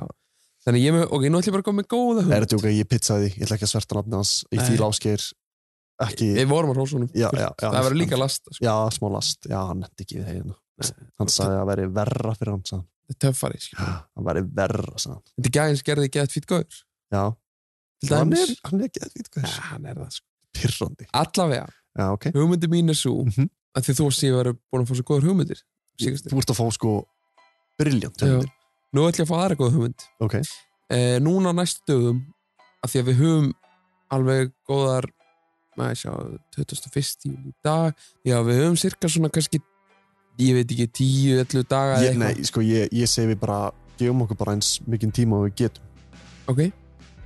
Speaker 5: Þannig ég er með, ok, nú ætlum ég bara að koma með góða
Speaker 2: er
Speaker 5: hugmynd
Speaker 2: þetta ok, ég pizzaði því, ég ætla ekki að sverta nafni hans, ég
Speaker 5: Nei.
Speaker 2: fíla ásker, ekki,
Speaker 5: Við vorum að rósa honum
Speaker 2: já, já, já,
Speaker 5: Það verður líka last sko.
Speaker 2: já, smá last, já, hann nefndi ekki við heiðina, hann sagði að veri verra fyrir hann, sagði hann.
Speaker 5: Þetta er töffari sko.
Speaker 2: hann veri Ah, verra, sagði hann.
Speaker 5: Þetta er gæðins gerði gett fýtt góður
Speaker 2: Já,
Speaker 5: Til
Speaker 2: hann
Speaker 5: dæmis.
Speaker 2: er, hann er geðvít
Speaker 5: Ja,
Speaker 2: hver
Speaker 5: hann er það sko.
Speaker 2: Pirrandi
Speaker 5: Allavega,
Speaker 2: Já, ok Mhm.
Speaker 5: hugmyndi mín er svo að því þú og Sývar eru búin að fá svo góður hugmyndir síðustu.
Speaker 2: Þú ert að fá sko Brilljant
Speaker 5: Já.
Speaker 2: hugmyndir
Speaker 5: Nú ætlum ég að fá aðra góða hugmynd
Speaker 2: Ok,
Speaker 5: eh, Núna á næstu dögum að því að við höfum alveg góðar maður sjá, 21. júli í dag Já, við höfum cirka svona kannski ég veit ekki, 10-11 daga eða
Speaker 2: ég, nei, sko ég, ég segi við bara Gefum okkur bara eins mikinn tíma og við getum
Speaker 5: Ok,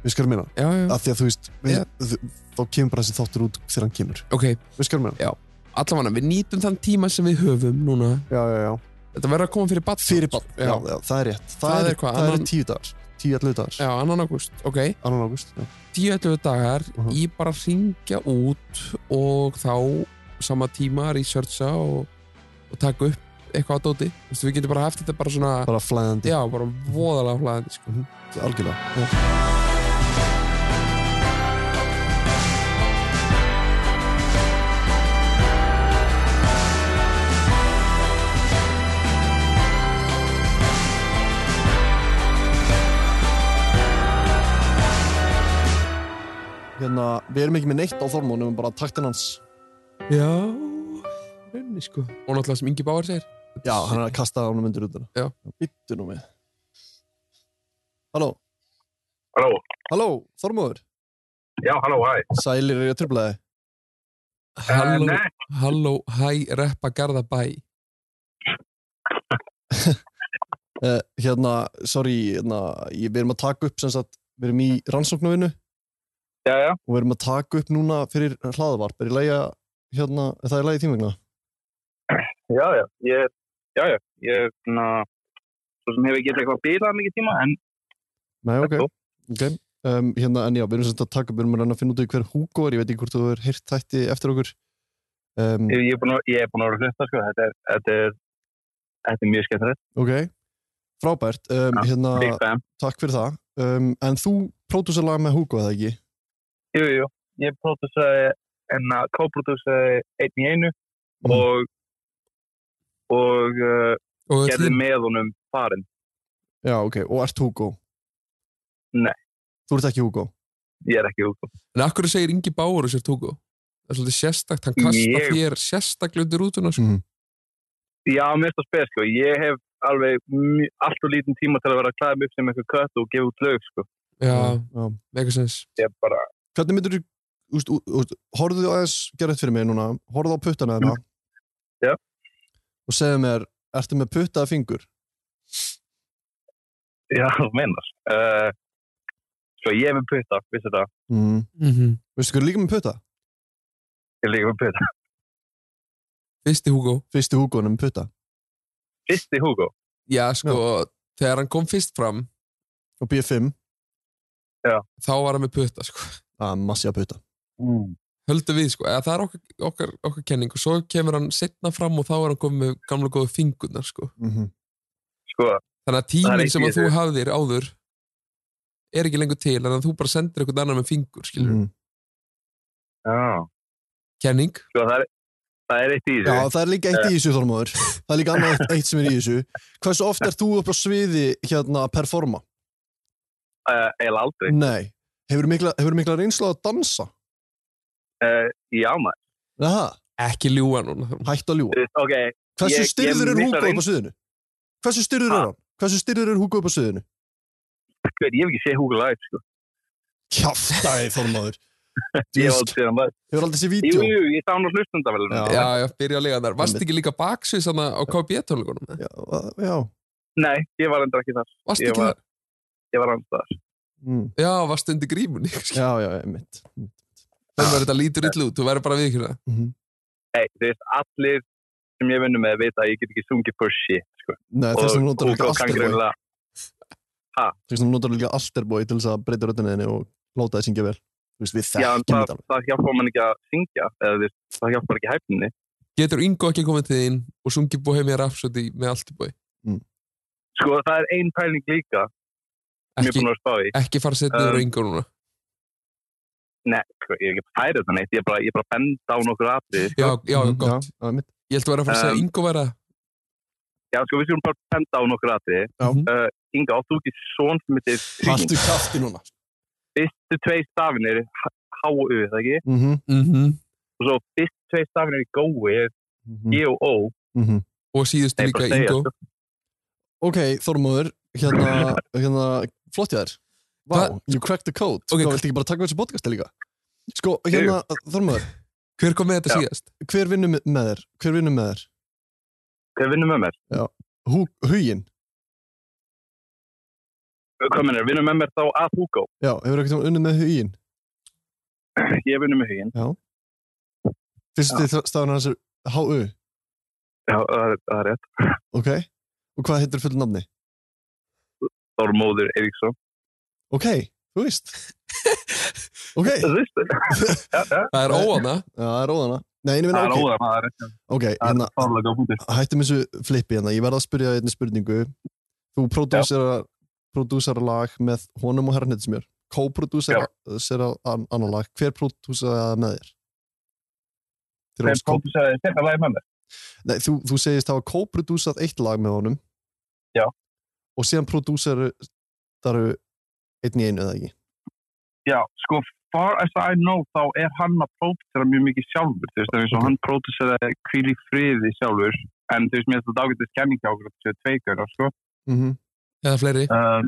Speaker 2: Við skalum minna
Speaker 5: já, já,
Speaker 2: Af því að þú veist við,
Speaker 5: Já.
Speaker 2: þú- Þá kemur bara þessi þáttur út þegar hann kemur
Speaker 5: ok
Speaker 2: Við skalum minna
Speaker 5: Allavega, við nýtum þann tíma sem við höfum núna
Speaker 2: Já, já, já
Speaker 5: Þetta verður að koma fyrir batn
Speaker 2: Fyrir bann já.
Speaker 5: Já,
Speaker 2: Já, það er rétt Það, er,
Speaker 5: hvað,
Speaker 2: það annan...
Speaker 5: annan-
Speaker 2: er tíu dagar Tíu allu dagar
Speaker 5: já annan ágúst, ok
Speaker 2: Annan águst Já,
Speaker 5: 10-11 dagar
Speaker 2: Mhm.
Speaker 5: í bara að ringja út og þá sama tíma researcha og, og taka upp eitthvað á dóti Þú veist, við getum bara haft þetta bara svona
Speaker 2: bara flæðandi Mhm,
Speaker 5: já, bara voðalega hlaðandi sko.
Speaker 2: Algjörlega Hérna, við erum ekki með neitt á þormónu, við erum bara taktinn hans
Speaker 5: já, raunni sko og náttúrulega sem Ingi Báar segir
Speaker 2: Já, hann er að kasta ánum undir út
Speaker 5: Já.
Speaker 2: Bittu nú við Halló,
Speaker 4: Halló,
Speaker 2: halló, Þormóður
Speaker 4: já, halló, hæ.
Speaker 2: Sælir er ég að trubla þig
Speaker 4: Eh,
Speaker 5: halló,
Speaker 4: nei,
Speaker 5: halló, hæ, reppa Garðabæ
Speaker 2: Uh, hérna, sorry, hérna, ég, við erum að taka upp sem sagt, við erum í rannsóknarvinnu
Speaker 4: já, já,
Speaker 2: og við erum að taka upp núna fyrir hlaðvarp, er í lægja, hérna, er það í lægja tímugna?
Speaker 4: já, já, ég, já, já, ég, na, svo sem hefur getið eitthvað bílað mikið tíma, en
Speaker 2: Nei, ok, ok, um, hérna, en já, við erum sem sagt að taka upp, við erum að reyna að finna út í hver Hugo er, ég veit ekki hvort þú er heyrt þætti eftir okkur,
Speaker 6: Mm.
Speaker 2: um,
Speaker 4: ég, ég er búin að, ég er búin að vera að hlusta, sko, þetta er, þetta er, þetta er mjög skemmtilegt,
Speaker 2: ok, frábært, um, hérna,
Speaker 6: Ah.
Speaker 4: big fan.
Speaker 2: takk fyrir það, um, en þú pródúsar lag með Hugo, eða ekki?
Speaker 4: Jú, jú, jú, ég pródúsaði, en að kóprodúsaði einn í einu
Speaker 6: Mm.
Speaker 4: og, og uh,
Speaker 5: og öll
Speaker 4: gerði
Speaker 5: hin-
Speaker 4: með honum farinn.
Speaker 2: Já, ok, og ert Hugo?
Speaker 4: Nei.
Speaker 2: Þú ert ekki Hugo?
Speaker 4: Ég er ekki út.
Speaker 5: en akkur segir Ingi Báar og sér tóku það er svolítið sérstakt, hann kasta
Speaker 4: Ég-
Speaker 5: þér sérstaklega undir rútuna sko.
Speaker 4: Já, mér finnst það spes, sko, ég hef alveg mj- allt og lítinn tíma til að vera að klæða mig upp sem eitthvað kött og gefa út lög, sko.
Speaker 5: já,
Speaker 2: Já.
Speaker 5: mega sens
Speaker 4: Ég er bara,
Speaker 2: hvernig myndur þú úst, horfðu aðeins gera þetta fyrir mig núna horfðu á puttana þeirra
Speaker 4: Mm. Já.
Speaker 2: og segðu mér, ertu með puttaða fingur
Speaker 4: Já, <laughs> þú meinar. Uh, svo ég er með putta, vissi þetta.
Speaker 2: mm.
Speaker 5: mm -hmm.
Speaker 2: veistu hverju er líka með putta?
Speaker 4: Ég er líka með putta.
Speaker 5: fyrsti Hugo
Speaker 2: fyrsti húkónum með putta
Speaker 4: Fyrsti Hugo.
Speaker 5: já, sko, þegar hann kom fyrst fram
Speaker 2: og B5,
Speaker 5: þá var hann með putta sko.
Speaker 2: að massi að putta
Speaker 4: Mm.
Speaker 5: höldum við sko, eða það er okkar, okkar, okkar kenning og svo kemur hann setna fram og þá er hann komið með gamla góðu fingurnar sko.
Speaker 2: mm -hmm.
Speaker 4: Sko, Það
Speaker 5: þannig að
Speaker 4: er
Speaker 5: tíminn
Speaker 4: eitt
Speaker 5: sem
Speaker 4: í
Speaker 5: að þú hafðir áður er ekki lengur til þannig að þú bara sendir einhvern annar með fingur skilur
Speaker 2: Mm.
Speaker 4: já.
Speaker 5: kenning,
Speaker 4: Sko, það er, það er eitt í
Speaker 2: já,
Speaker 4: þessu. Eh.
Speaker 2: það er líka eitt í þessu þormaður það er líka annað eitt, eitt sem er í þessu hversu oft er þú upp á sviði hérna að performa?
Speaker 4: Uh, eða aldrei.
Speaker 2: Nei, hefur mikla, hefurðu mikla reynslu á að dansa?
Speaker 4: Uh, já, maður.
Speaker 2: Aha,
Speaker 5: ekki ljúa núna
Speaker 2: hætt að ljúa
Speaker 4: Þú veist, Ok,
Speaker 2: Hversu
Speaker 4: Ég- ég
Speaker 2: styrður er
Speaker 4: missa
Speaker 2: Hugo upp á
Speaker 4: reyns-
Speaker 2: sviðinu? Hversu styrður
Speaker 4: Ha?
Speaker 2: er hann? Hversu styrður er Hugo upp á sviðinu?
Speaker 4: hver, ég hef ekki séð Hugo live, sko.
Speaker 2: Kjáftæði þormaður
Speaker 4: <laughs> Ég hef
Speaker 2: Djöfull,
Speaker 4: aldrei séð hann live.
Speaker 2: Hefur aldrei séð
Speaker 4: Jú,
Speaker 2: vídeo
Speaker 4: jú, ég sá hann á hlustundavælunum.
Speaker 5: já, já, byrja að lega þar, varst ekki líka baksvið svona á KB tónleikunum
Speaker 2: Já, já
Speaker 4: Nei, ég var endur ekki þar.
Speaker 5: Varst
Speaker 4: Ég
Speaker 5: ekki
Speaker 4: var-
Speaker 5: það?
Speaker 4: Ég var andur þar.
Speaker 2: Mm.
Speaker 5: Já, varst undir grímunni. <laughs> kannski.
Speaker 2: Já, já, einmitt. Mhm.
Speaker 5: Þannig að þetta lítur illa út, þú verður bara við ykkur það.
Speaker 4: Nei, þú veist, allir sem ég vinnum með veit að ég get ekki sungið for shit. Sko.
Speaker 2: Nei, þess vegna notar
Speaker 4: Hugo
Speaker 2: líka
Speaker 4: kann
Speaker 2: Alterboy.
Speaker 4: greinilega-
Speaker 2: Þess vegna notar líka Alterboy til þess að breyta röddunniðinni og láta það syngja vel. Þú veist, við
Speaker 4: Já, en
Speaker 2: þekkjum
Speaker 4: það,
Speaker 2: þetta alveg.
Speaker 4: það hjálpar mann ekki að syngja. Eða, þú veist, það hjálpar ekki hæfninni.
Speaker 5: Getur Ingo ekki komið til þín og sungið Bohemian Rhapsody með allt í bói?
Speaker 4: Sko, það er ein pæling líka sem ég er
Speaker 5: Ekki,
Speaker 4: búin að spá í. Um,
Speaker 5: ekki fara að setja niður á Ingo núna.
Speaker 4: Nei, sko, ég er ekki að færa þetta neitt. Ég er bara, ég er bara að benda á nokkur sko. atrið.
Speaker 5: Já, já,
Speaker 2: Mhm,
Speaker 5: gott.
Speaker 2: Já, já, einmitt.
Speaker 5: Ég held að vera að fara að segja
Speaker 4: Um,
Speaker 5: Ingo vera
Speaker 4: Já, sko, við skulum bara benda á nokkur atrið.
Speaker 2: Já.
Speaker 5: Mhm.
Speaker 4: Uh, Inga, áttu ekki svon sem þetta er
Speaker 2: Haltu kafti núna.
Speaker 4: fyrstu tvei stafinir H-U, það ekki?
Speaker 2: Mhm,
Speaker 5: mhm,
Speaker 4: Og svo fyrstu tvei stafinir í gói er
Speaker 2: mhm,
Speaker 4: E og O.
Speaker 2: mhm.
Speaker 5: og síðustu
Speaker 4: Nei,
Speaker 5: líka
Speaker 4: bara segja,
Speaker 5: Ingo.
Speaker 4: sko.
Speaker 2: Ok, Þormóður,
Speaker 4: <clears throat>
Speaker 2: hérna, hérna, flott ég þær. Vá,
Speaker 5: Hvað-
Speaker 4: sko.
Speaker 2: you cracked the code.
Speaker 5: Ok,
Speaker 2: Hvað, viltu ekki bara taka við þessu podcasti líka? Sko, hérna, Þormóður,
Speaker 5: Hver kom með þetta
Speaker 4: Já.
Speaker 5: síðast?
Speaker 2: hver vinnur með- með þér? Hver vinnur með þér?
Speaker 4: Hver vinnum með mér?
Speaker 2: Hú, hugin?
Speaker 4: Hvað mennir, hérna. vinnum með mér þá að Hugo? <clears throat>
Speaker 2: Já, hefur ekkert unnið með hugin?
Speaker 4: Ég vinnum með huginn.
Speaker 2: Fyrstu stafan hans er HU,
Speaker 4: Já, það er- það er rétt.
Speaker 2: ok? Og hvað heitir fullu nafni?
Speaker 4: Þormóður Eiríksson.
Speaker 2: Ok, þú veist. Ok, já,
Speaker 4: Þú
Speaker 5: <laughs>
Speaker 4: veist <laughs> Já, já.
Speaker 5: Það er
Speaker 2: Nei.
Speaker 5: óana.
Speaker 2: það er óðana. Nei, ég
Speaker 4: Það
Speaker 2: meina,
Speaker 4: er
Speaker 2: ok,
Speaker 4: óðan, það er rétt.
Speaker 2: ok,
Speaker 4: Það er
Speaker 2: hérna,
Speaker 4: fárlega góð punktur.
Speaker 2: hættum þessu flippi hérna. Ég verða að spyrja þér einni spurningu. Þú prodúsera, prodúsera lag með honum og herrnittismjör. Co-prodúsera sera an- annar lag. Hver prodúsera með þér? Þeir
Speaker 4: Þegar
Speaker 2: eru co-
Speaker 4: Póttur sagði, þetta lagi með mér.
Speaker 2: Nei, þú, þú segist hafa co-prodúsað eitt lag með honum.
Speaker 4: Já.
Speaker 2: Og síðan prodúseru einn í einu eða ekki.
Speaker 4: Já, sko, far as I know, þá er hann að pródúsera mjög mikið sjálfur. Þú veist, það er eins og hann pródúsera kvíl í friði sjálfur. En þú veist, mér er þetta ágættist kenning hjá okkur að þetta séu tveikur, sko.
Speaker 2: Mm
Speaker 5: Eða fleiri.
Speaker 10: Ehm,
Speaker 4: um,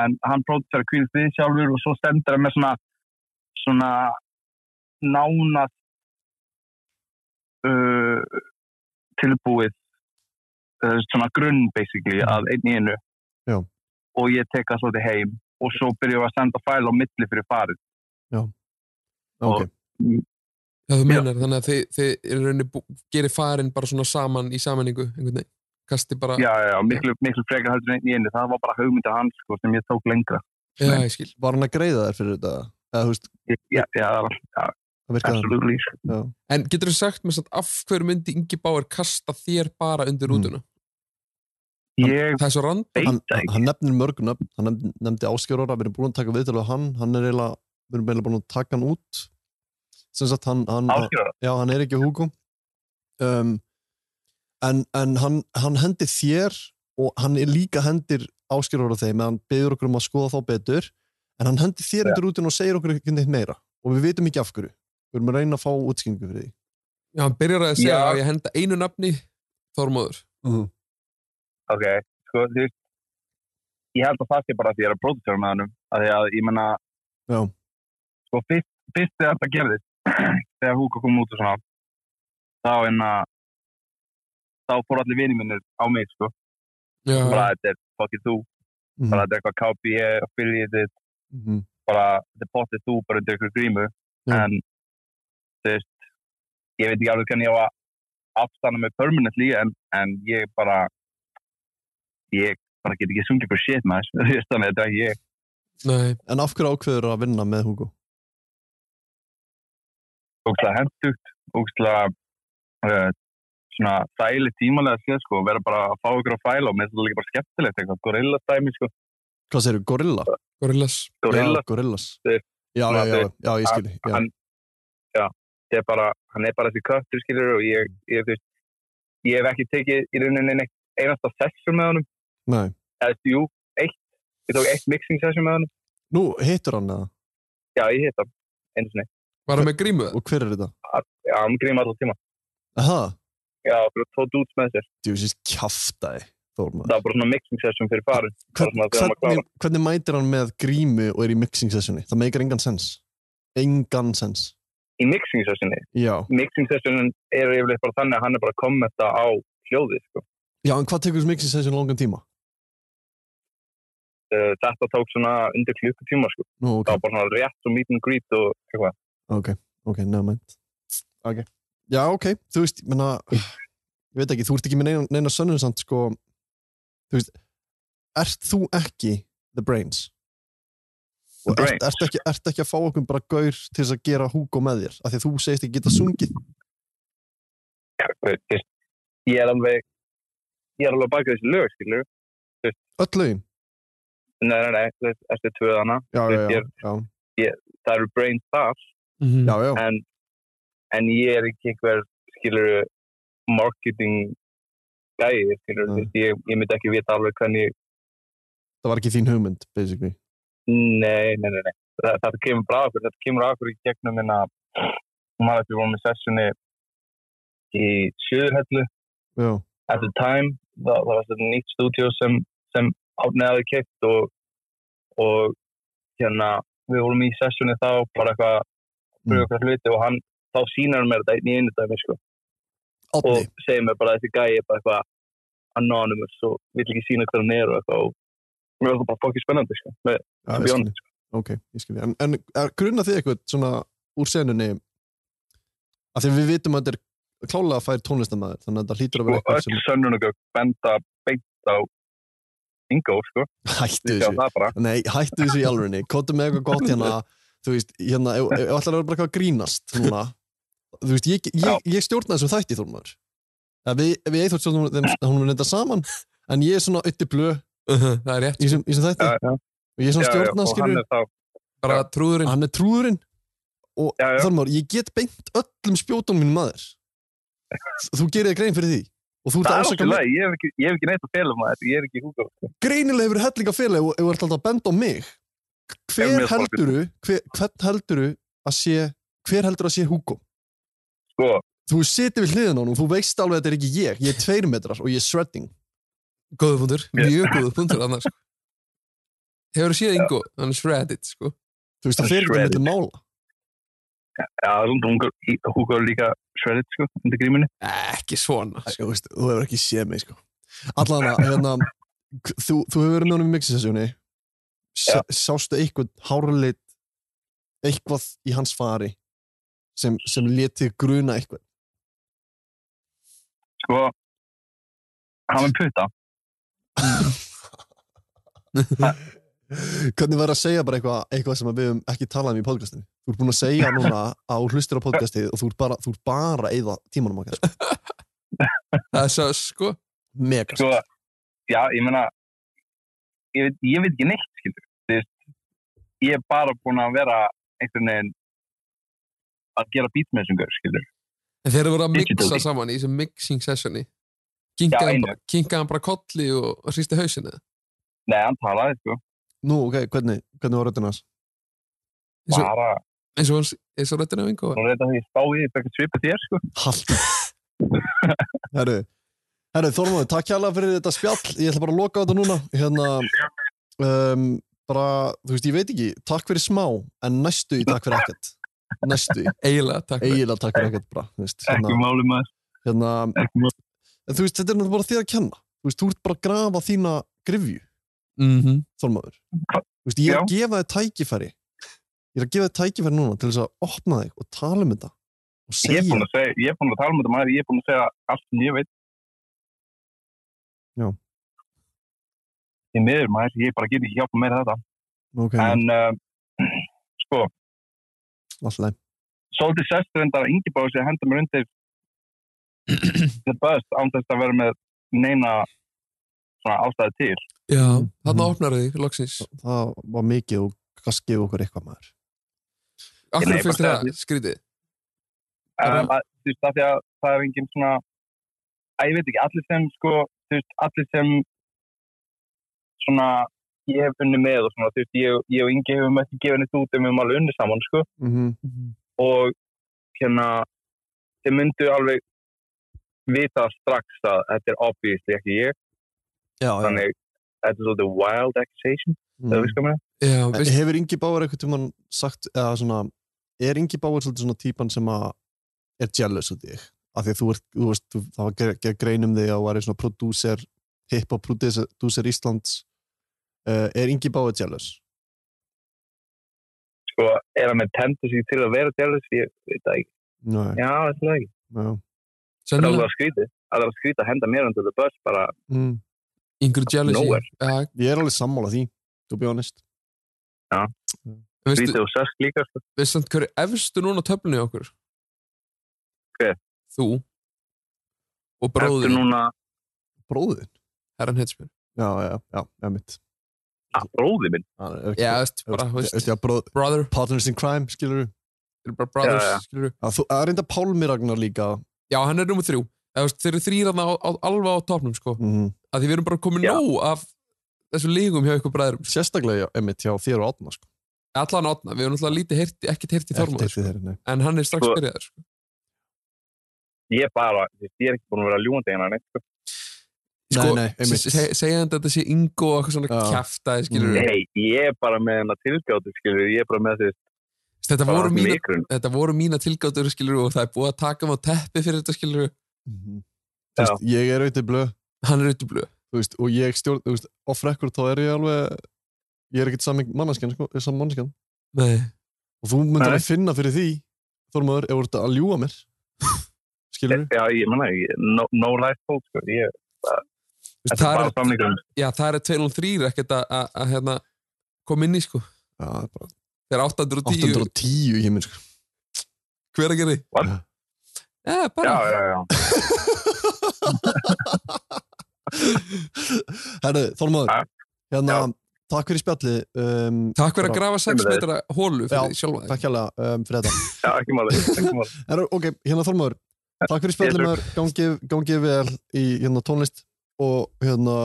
Speaker 4: en hann pródúsar Queen Free sjálfur og svo stendur hann með svona svona nánast uh, tilbúið uh, svona grunn basically að einn í einu
Speaker 2: Mm. Já.
Speaker 4: og ég tek það svolítið heim og svo byrjum við að senda fæl á milli fyrir farið
Speaker 2: Ok,
Speaker 5: Já, þú meinar, þannig að þið, þið í rauninni bú- gerir farin bara svona saman í sammenningu, einhvern veginn. Kasti bara,
Speaker 4: já, já, já, miklu, miklu frekar heldur en einn í einu það var bara hugmyndið hans sko, sem ég tók lengra
Speaker 5: já, ég skil.
Speaker 2: var hann að greiða þær fyrir þetta? Eða þú veist,
Speaker 4: ég, já, já, það var
Speaker 2: það virkaði hann.
Speaker 4: absolutt lýs
Speaker 5: En getur þú sagt mér satt, af hverju myndi Ingi Báir kasta þér bara undir
Speaker 2: Mm.
Speaker 5: rútuna?
Speaker 4: ég
Speaker 5: Það er svo rand,
Speaker 2: hann,
Speaker 4: veit það
Speaker 2: hann,
Speaker 4: ekki
Speaker 2: hann nefnir mörg nöfn, hann nefndi, nefndi Áskjör Orra, við erum búin að taka viðtölu á hann, hann er eiginlega, við erum eiginlega búin að taka hann út, sem sagt hann, hann,
Speaker 4: áskjörða
Speaker 2: já, hann er ekki húkum, um, en, en hann, hann hendir þér og hann er líka hendir Áskjör Orra þeim, en hann beður okkur um að skoða þá betur, en hann hendir þér undir útin og segir okkur ekki neitt meira og við vitum ekki af hverju, við erum að reyna að fá útskynningu fyrir því.
Speaker 5: já, hann byrjar að segja
Speaker 4: Já.
Speaker 5: að ég henda einu nafni, Þormóður.
Speaker 4: ok, sko, þú veist ég held að það sé bara að ég er að pródúsera með hannum að því að ég menna
Speaker 2: Já.
Speaker 4: sko, fyrst, fyrst þegar þetta gerðist þegar Húka kom út og svona þá en að þá fór allir vinið minnir á mig sko,
Speaker 5: Já,
Speaker 4: bara þetta er fokkið þú
Speaker 2: Mhm.
Speaker 4: bara þetta er eitthvað E KB affiliated,
Speaker 2: Mhm.
Speaker 4: bara þetta er pottið þú bara undir ykkur grímu
Speaker 2: Já.
Speaker 4: en þú veist ég veit ekki alveg hvernig ég á að afstanna mig permanently en, en ég bara ég bara get ekki sungið fyrir shit maður <laughs> þú veist þannig að þetta er ekki ég
Speaker 5: nei,
Speaker 2: En af hverju ákveður að vinna með Hugo?
Speaker 4: ógslag hendugt, ógslag uh, svona þæli tímalega séð sko, vera bara að fá ykkur að fæla og mér finnst þetta líka bara skemmtilegt eitthvað, gorilla dæmi sko,
Speaker 2: Hvað segir Gorilla?
Speaker 5: Gorillas.
Speaker 4: gorilla
Speaker 2: Já, Gorillas.
Speaker 4: Þeir-
Speaker 2: Já, já, já,
Speaker 4: þeir-
Speaker 2: já, ég skil. Já.
Speaker 4: hann, já, þetta er bara, hann er bara þessi köttur skilur og ég, ég, þú veist, ég hef ekki tekið í rauninni neitt einasta session með honum,
Speaker 2: Nei.
Speaker 4: eða jú, eitt, ég tók eitt mixing session með honum,
Speaker 2: Nú, hittur hann eða?
Speaker 4: já, ég hitt hann, einu sinni,
Speaker 5: Var hann með grímu það?
Speaker 2: Og hver er þetta?
Speaker 4: já, hann grýma alltaf tíma,
Speaker 2: Aha,
Speaker 4: já, fyrir tvo dudes með sér,
Speaker 2: djúsins kjaftaði, Þórmann.
Speaker 4: það var bara svona mixing session fyrir farin, bara
Speaker 2: Hvern,
Speaker 4: svona þegar maður
Speaker 2: hvernig, hvernig mætir hann með grímu og er í mixing sessioni? Það meikar engan sens. Engan sens.
Speaker 4: í mixing sessioni,
Speaker 2: Já.
Speaker 4: mixing sessionin er yfirleitt bara þannig að hann er bara að kommenta á hljóðið sko.
Speaker 2: Já, en hvað tekur þessu mixing session langan tíma?
Speaker 4: uh, þetta tók svona undir klukkutíma sko.
Speaker 2: Nú, ok,
Speaker 4: Það var bara svona rétt svo meet and greet og eitthvað.
Speaker 2: ok, ok, nefnmænt Ok, já, ok, þú veist, ég menna Ég veit ekki, þú ert ekki með neina, neina sönnun samt, sko Þú veist, ert þú ekki the brains?
Speaker 4: The
Speaker 2: Og
Speaker 4: brains.
Speaker 2: Ert, ert, ekki, ert ekki að fá okkur bara gaur til þess að gera húko með þér af því að þú segist ekki geta sungið
Speaker 4: Já, þú veist, ég er alveg, ég er alveg bakið þessi lög, skilur.
Speaker 2: öll lögin
Speaker 4: Nei, nei, nei, þú veist, eftir tvöðana,
Speaker 2: já, já, já,
Speaker 4: Ég
Speaker 2: já,
Speaker 4: það eru brain stuff,
Speaker 5: Mhm.
Speaker 2: já, já,
Speaker 4: en, en ég er ekki einhver, skilur, marketing gæi, skilur,
Speaker 2: Nei.
Speaker 4: þú veist, ég, ég myndi ekki vita alveg hvernig,
Speaker 2: það var ekki þín hugmynd basically,
Speaker 4: nei, nei, nei, nei. Það, þetta kemur bara af okkur, þetta kemur af okkur í gegnum hérna, minna, maður eftir vorum í sessioni í Sjöðurhellu,
Speaker 2: já,
Speaker 4: at the time það, það var þetta nýtt stúdíó sem, sem átni aðeins keitt og, og hérna við vorum í sessjónu þá bara eitthvað
Speaker 2: Mm.
Speaker 4: brugðu okkar hluti og hann þá sínar hann mér þetta einn í einu dæmi sko og
Speaker 2: Átni
Speaker 4: segir mér bara þessi gæi er bara eitthvað anonymous og vill ekki sína hver hann er og eitthvað og mér var það bara fokkið spennandi sko með
Speaker 2: Já,
Speaker 4: to
Speaker 2: ég
Speaker 4: be
Speaker 2: skil
Speaker 4: honest.
Speaker 2: þig. ok, ég skil þig en, en er- grunna þið eitthvað svona úr senunni að því við vitum að þetta er klálega að færa tónlistamæður þannig að þetta hlýtur að vera
Speaker 4: og
Speaker 2: eitthvað sem
Speaker 4: öll sönnunugögg benda beint á Ingo sko,
Speaker 2: hættu
Speaker 4: við sjá
Speaker 2: þessu
Speaker 4: það bara
Speaker 2: nei, hættu þessu í alvörinni, kóttu með eitthvað gott hérna þú veist, hérna, ef ef ætlar að vera bara eitthvað að grínast núna, þú veist, ég,
Speaker 4: Já.
Speaker 2: ég, ég stjórna þessum þætti þólmaður við, við eitthvað stjórnum þeim, hún er þetta saman en ég er svona ytti blö
Speaker 5: Mhm, <laughs> Það er rétt,
Speaker 2: í þessum í þessum þætti
Speaker 4: já, já,
Speaker 2: og ég er svona
Speaker 4: já, já,
Speaker 2: stjórna,
Speaker 4: og
Speaker 2: skilur
Speaker 4: hann er þá
Speaker 5: bara trúðurinn
Speaker 2: hann er trúðurinn og
Speaker 4: Já, já.
Speaker 2: Þormar, ég get beint öllum spjótunum mínum
Speaker 4: <laughs>
Speaker 2: að þér þú gerir þér grein fyrir því og þú ert
Speaker 4: það
Speaker 2: að
Speaker 4: er
Speaker 2: ásaka
Speaker 4: alltaf
Speaker 2: mig
Speaker 4: læg, ég hef ekki, ég hef ekki neitt að fela maður ég er ekki húka
Speaker 2: greinilega hefur helling að fela ef ef þú ert alltaf að benda á mig
Speaker 4: Ef
Speaker 2: hver
Speaker 4: mér fólk-
Speaker 2: helduru hver, hvern helduru að sé hver heldur að sé Hugo
Speaker 4: sko,
Speaker 2: þú situr við hliðin á hann og þú veist alveg að þetta er ekki ég ég er tveir metrar og ég er shredding
Speaker 5: Góðu punktur,
Speaker 4: Mér-
Speaker 5: mjög góðu punktur annars Hefur þú séð Ingo, hann er shredded sko.
Speaker 2: þú veist það fer ekki
Speaker 4: Shredded.
Speaker 2: með mála
Speaker 4: Já, Lundungur, Hugo er líka shredded, sko, undir gríminni.
Speaker 5: Ekki svona sko.
Speaker 2: Æ, þú veist, þú hefur ekki séð mig sko allan að hérna k- þú, þú hefur verið með honum í mixisessjóni
Speaker 4: Já.
Speaker 2: sástu eitthvað hárlit eitthvað í hans fari sem, sem letið gruna eitthvað
Speaker 4: Sko, hann var putta.
Speaker 2: <laughs> hvernig var að segja bara eitthvað, eitthvað sem við höfum ekki talað um í podcastinu þú ert búin að segja núna að þú hlustir á podcastið og þú ert bara, þú ert bara að eyða tímanum okkar sko.
Speaker 5: Það er svo sko
Speaker 2: mega
Speaker 4: Sko, já, ég meina, ég veit, ég veit ekki neitt, skilur. Þú veist, ég er bara búin að vera einhvern veginn að gera beat með þessum gaur, skilur.
Speaker 5: En þeir eru voru að
Speaker 4: Digital
Speaker 5: mixa
Speaker 4: beat.
Speaker 5: saman í þessum mixing sessioni Kinkaði
Speaker 4: Já,
Speaker 5: hann,
Speaker 4: einu.
Speaker 5: bara- kinkaði hann bara kolli og hristi hausinu
Speaker 4: Nei, hann talaði, sko,
Speaker 2: nú ok, hvernig, hvernig var röddinn hans
Speaker 5: eins og,
Speaker 4: bara,
Speaker 5: eins og, hans- eins og röddina á Ingo var.
Speaker 4: nú reynda því ég spá í eitthvað svipa þér, sko.
Speaker 2: Hald Herru, herru Þormóður, takk hérlega fyrir þetta spjall Ég ætla bara að loka á þetta núna Hérna um, bara, þú veist, ég veit ekki, takk fyrir smá en næstu í takk fyrir ekkert næstu í,
Speaker 5: Eiginlega, takk fyrir.
Speaker 2: eiginlega takk fyrir ekkert bara, þú veist,
Speaker 4: Ekki
Speaker 2: hérna,
Speaker 4: máli maður,
Speaker 2: hérna
Speaker 4: ekki máli.
Speaker 2: en þú veist, þetta er náttúrulega bara þér að kenna þú veist, þú ert bara að grafa þína grifju
Speaker 5: Mhm.
Speaker 2: Þormóður, þú veist, ég er
Speaker 4: Já.
Speaker 2: að gefa þér tækifæri ég er að gefa þér tækifæri núna til þess að opna þig og tala um þetta
Speaker 4: Ég
Speaker 2: og
Speaker 4: er
Speaker 2: segja
Speaker 4: búin að segja, ég er búin að tala um þetta maður, ég er búin að segja allt sem ég veit.
Speaker 2: Já.
Speaker 4: Ég meður maður, ég bara get ekki hjálpa meira þetta.
Speaker 2: ok,
Speaker 4: En, uh, <clears throat> sko,
Speaker 2: alltaf leið.
Speaker 4: svolítið sestur endar að Ingeborg sé að henda mér
Speaker 2: <clears throat>
Speaker 4: undir the bus án þess að vera með neina svona ástæði til.
Speaker 5: Já, þarna
Speaker 2: Mhm.
Speaker 5: opnar þig, loksins
Speaker 2: það var mikið og kannski gefið okkur eitthvað maður
Speaker 5: Akkur
Speaker 4: Nei,
Speaker 5: finnst
Speaker 4: bara
Speaker 5: þér það skrítið
Speaker 4: Um,
Speaker 5: Bara-
Speaker 4: að, þú veist, af því að það er engin svona, að ég veit ekki, allir sem sko, þú veist, allir sem svona ég hef unni með og svona, þú veist, ég, ég og Ingi hefum ekki gefið neitt út um við höfum alveg unni saman, sko,
Speaker 2: mm -hmm.
Speaker 4: og hérna, þeir myndu alveg vita strax að þetta er obviously ekki ég,
Speaker 2: já,
Speaker 4: þannig þetta er svolítið wild accusation, mm. það visskar mér.
Speaker 5: Já,
Speaker 2: En
Speaker 5: veist,
Speaker 2: hefur Ingi Báar eitthvað tímann sagt eða svona, er Ingi Báar svolítið svona típan sem að er jealous af þig af því að þú ert, þú veist, þú, það var gerð ger grein um þig að þú væri svona prodúser hiphop prodúser Íslands Uh, er Ingi Báði jealous?
Speaker 4: Sko, er hann með tendency til að vera jealous? Ég veit það ekki.
Speaker 2: Nei,
Speaker 4: Já, þetta er ekki. Það
Speaker 2: já.
Speaker 4: er alveg
Speaker 5: Sennilega
Speaker 4: að skrítið. Það er að skrítið að henda mér undir the bus bara.
Speaker 2: Mm.
Speaker 5: yngur jealousy
Speaker 4: Nowhere.
Speaker 5: ja,
Speaker 2: Ég er alveg sammála því, to be honest.
Speaker 5: veistu,
Speaker 4: Skrítið og sess líka, sko.
Speaker 5: veistu samt hverju efstu núna á töflunni hjá okkur
Speaker 4: Hver?
Speaker 5: þú og
Speaker 4: Eftir
Speaker 5: bróðurinn,
Speaker 4: núna,
Speaker 2: Bróðin?
Speaker 5: herran Hetsmjör
Speaker 2: Já, já, já, já, mitt.
Speaker 4: að bróði minn.
Speaker 2: Hann er ekki-
Speaker 5: já, veist, bara,
Speaker 2: Þú
Speaker 5: veist,
Speaker 2: veist, já, bróð,
Speaker 5: brother,
Speaker 2: partners in crime, skilur við.
Speaker 5: þeir eru bara brothers,
Speaker 4: Já, já.
Speaker 5: skilurðu.
Speaker 2: Að þú, að reynda Pálmi Ragnar líka.
Speaker 5: já, hann er nummer þrjú Eða, veist, þeir eru þrýraðna alveg á topnum sko.
Speaker 2: Mm.
Speaker 5: að því við erum bara komið
Speaker 4: Já.
Speaker 5: nóg af þessu lígum hjá ykkur bræðurum
Speaker 2: Sérstaklega, já, emitt, hjá þér og Átna, sko.
Speaker 5: allan átna, við erum alltaf lítið heyrti, ekkert heyrti
Speaker 2: Ekkert
Speaker 5: þormaður,
Speaker 2: eftir þeirri, nei.
Speaker 5: sko. en hann er strax
Speaker 4: Sko-
Speaker 5: byrjaður sko.
Speaker 4: Ég bara, ég er ekki búin að vera ljúandi hennar neitt, sko.
Speaker 5: Sko,
Speaker 2: nei, nei, einmitt.
Speaker 5: se- se- segja þetta að þetta sé Ingo og eitthvað svona
Speaker 2: Já.
Speaker 5: kjafta skilur
Speaker 2: Mm.
Speaker 5: mm.
Speaker 4: Nei, ég er bara með hennar tilgjáti, skilur. Ég er bara með því,
Speaker 5: þetta,
Speaker 4: bara
Speaker 5: voru mína,
Speaker 4: mikrun.
Speaker 5: þetta voru mína tilgáttur skilur og það er búið að taka mig á teppi fyrir þetta skilur
Speaker 2: Mhm. Þú veist, ég er auðvitað blöð,
Speaker 5: hann er auðvitað blöð
Speaker 2: þú veist, og ég stjórn, þú veist, off record, þá er ég alveg, ég er ekkert sami manneskjan, sko, sami manneskjan.
Speaker 5: Nei.
Speaker 2: Og þú myndir
Speaker 4: Nei.
Speaker 2: að finna fyrir því, Þormaður, ef þú ert að ljúa mér. skilur við?
Speaker 4: Já, ég manna, no, no life hope, sko. Ég,
Speaker 5: Þú veist,
Speaker 4: þetta er
Speaker 5: það
Speaker 4: bara
Speaker 5: er,
Speaker 4: samlingurinn.
Speaker 5: já, það er 203 ekkert að- að að, hérna, koma inn í sko
Speaker 2: Já, það er bara
Speaker 5: þegar 810
Speaker 2: 810 í heiminn, sko.
Speaker 5: hver að gera
Speaker 4: What?
Speaker 5: já,
Speaker 4: Já,
Speaker 5: bara
Speaker 4: já,
Speaker 2: <laughs>
Speaker 4: já.
Speaker 2: Herðu, Þormaður,
Speaker 4: Ha?
Speaker 2: hérna, takk fyrir spjallið, um,
Speaker 5: takk fyrir að grafa 6
Speaker 4: Sömuleiðis.
Speaker 5: metra hólu
Speaker 2: Já,
Speaker 5: fyrir þig sjálfa þig
Speaker 2: takk hérlega um,
Speaker 4: <laughs>
Speaker 2: fyrir þetta.
Speaker 4: Já, ekki máli, ekki máli.
Speaker 2: <laughs> Herru, ok, hérna Þormaður, takk fyrir spjallið,
Speaker 4: Yes,
Speaker 2: maður, gangið gangi vel í hérna tónlist og hérna,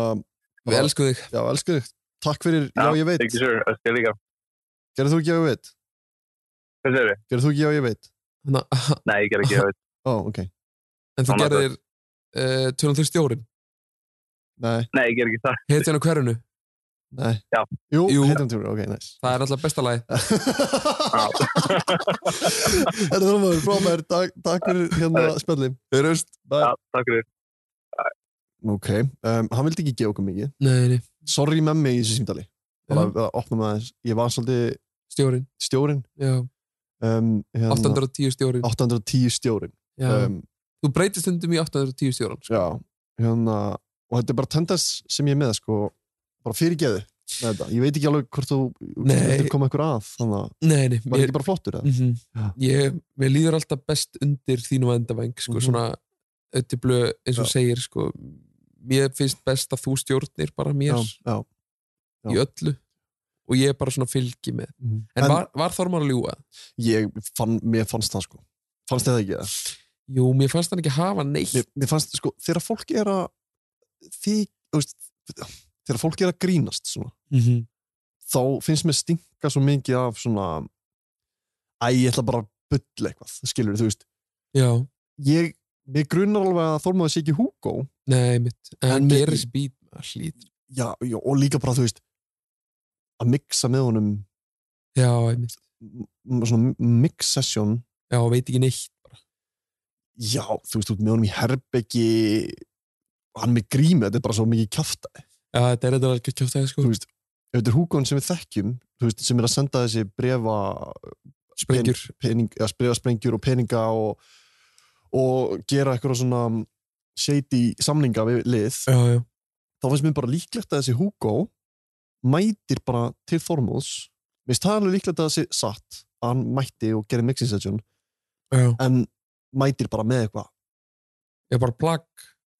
Speaker 5: við elskum þig
Speaker 2: já, elsku þig, takk fyrir, já,
Speaker 4: Ah,
Speaker 2: ég veit,
Speaker 4: Ekki sér, það skil líka.
Speaker 2: gerðu þú ekki, já, ég veit,
Speaker 4: Hvað segir þið?
Speaker 2: gerðu þú ekki, já, ég veit,
Speaker 5: <laughs> Þannig að-
Speaker 4: Nei, ég ger ekki, ég veit.
Speaker 2: ó, ok,
Speaker 5: Hérna, en þú
Speaker 4: Þannig að-
Speaker 5: gerðir uh, 203
Speaker 2: <laughs>
Speaker 5: stjórin
Speaker 2: nei,
Speaker 4: Nei, ég ger ekki það.
Speaker 5: heitin á hverjunu
Speaker 2: nei,
Speaker 4: Já.
Speaker 2: jú,
Speaker 5: Jú.
Speaker 2: heitum tjúri, ok, nice.
Speaker 5: það er alltaf besta
Speaker 2: <laughs>
Speaker 5: lagi
Speaker 2: Herru Þormaður, frábær, takk, takk fyrir hérna spjallið. Hörust, bæ.
Speaker 4: Já, takk fyrir.
Speaker 2: Ok, um, hann vildi ekki gefa okkur mikið.
Speaker 5: nei, nei,
Speaker 2: Sorry með mig í þessu símdali. Bara að opna með þess, ég var svolítið
Speaker 5: stjórin
Speaker 2: stjórin.
Speaker 5: já,
Speaker 2: Um, hérna,
Speaker 5: 810 stjórin
Speaker 2: 810 stjórin.
Speaker 5: já.
Speaker 2: Um,
Speaker 5: þú breytist stundum í 810 stjóran sko.
Speaker 2: já, hérna, og þetta er bara tendens sem ég er með, sko, bara fyrirgeðu með þetta. Ég veit ekki alveg hvort þú
Speaker 5: Nei.
Speaker 2: vildir koma ykkur að, þannig að
Speaker 5: nei, nei,
Speaker 2: var
Speaker 5: ég,
Speaker 2: ekki bara flottur eða?
Speaker 5: mm
Speaker 2: Já.
Speaker 5: ég, mér líður alltaf best undir þínu endavæng sko,
Speaker 2: Mhm.
Speaker 5: svona öttiblu eins og
Speaker 2: Já.
Speaker 5: segir sko, mér finnst best að þú stjórnir bara
Speaker 2: Já,
Speaker 5: mér
Speaker 2: já. já.
Speaker 5: í öllu og ég bara svona fylgi með
Speaker 2: Mhm.
Speaker 5: en, var, var Þormar að ljúga?
Speaker 2: ég fann, mér fannst það, sko. Fannst þetta ekki það?
Speaker 5: Jú, mér fannst hann ekki hafa neitt
Speaker 2: Mér, mér fannst, sko, þegar fólk er að því, þú veist, þegar fólk er að grínast, svona,
Speaker 5: -hmm.
Speaker 2: þá finnst mér stinka svo mikið af svona æ, ég ætla bara að bulla eitthvað, skilur þú veist
Speaker 5: Já,
Speaker 2: ég, mér grunnar alveg að Þormaður sé ekki Hugo
Speaker 5: nei mitt En hann
Speaker 2: mér-
Speaker 5: gerir spýt hlýt
Speaker 2: já, já, og líka bara, þú veist að mixa með honum
Speaker 5: Já, einmitt.
Speaker 2: m- svona mix session
Speaker 5: já, veit ekki neitt
Speaker 2: já, þú veist, þú ert með honum í herbeggi hann með grími, þetta er bara svo mikið kjafta
Speaker 5: Já, þetta er þetta alveg kjátt aðeins sko
Speaker 2: þú veist, ef þetta er Hugoinn sem við þekkjum þú veist, sem er að senda þessi brefa
Speaker 5: Sprengjur,
Speaker 2: pening, eða spriða sprengjur og peninga og, og gera eitthvað svona shady samninga við lið
Speaker 5: já, já,
Speaker 2: þá finnst mér bara líklegt að þessi Hugo mætir bara til Þormóðs mér finnst það alveg líklegt að það sé satt að hann mætti og gerir mixing session
Speaker 5: já
Speaker 2: en mætir bara með eitthvað
Speaker 5: Ég er bara plagg,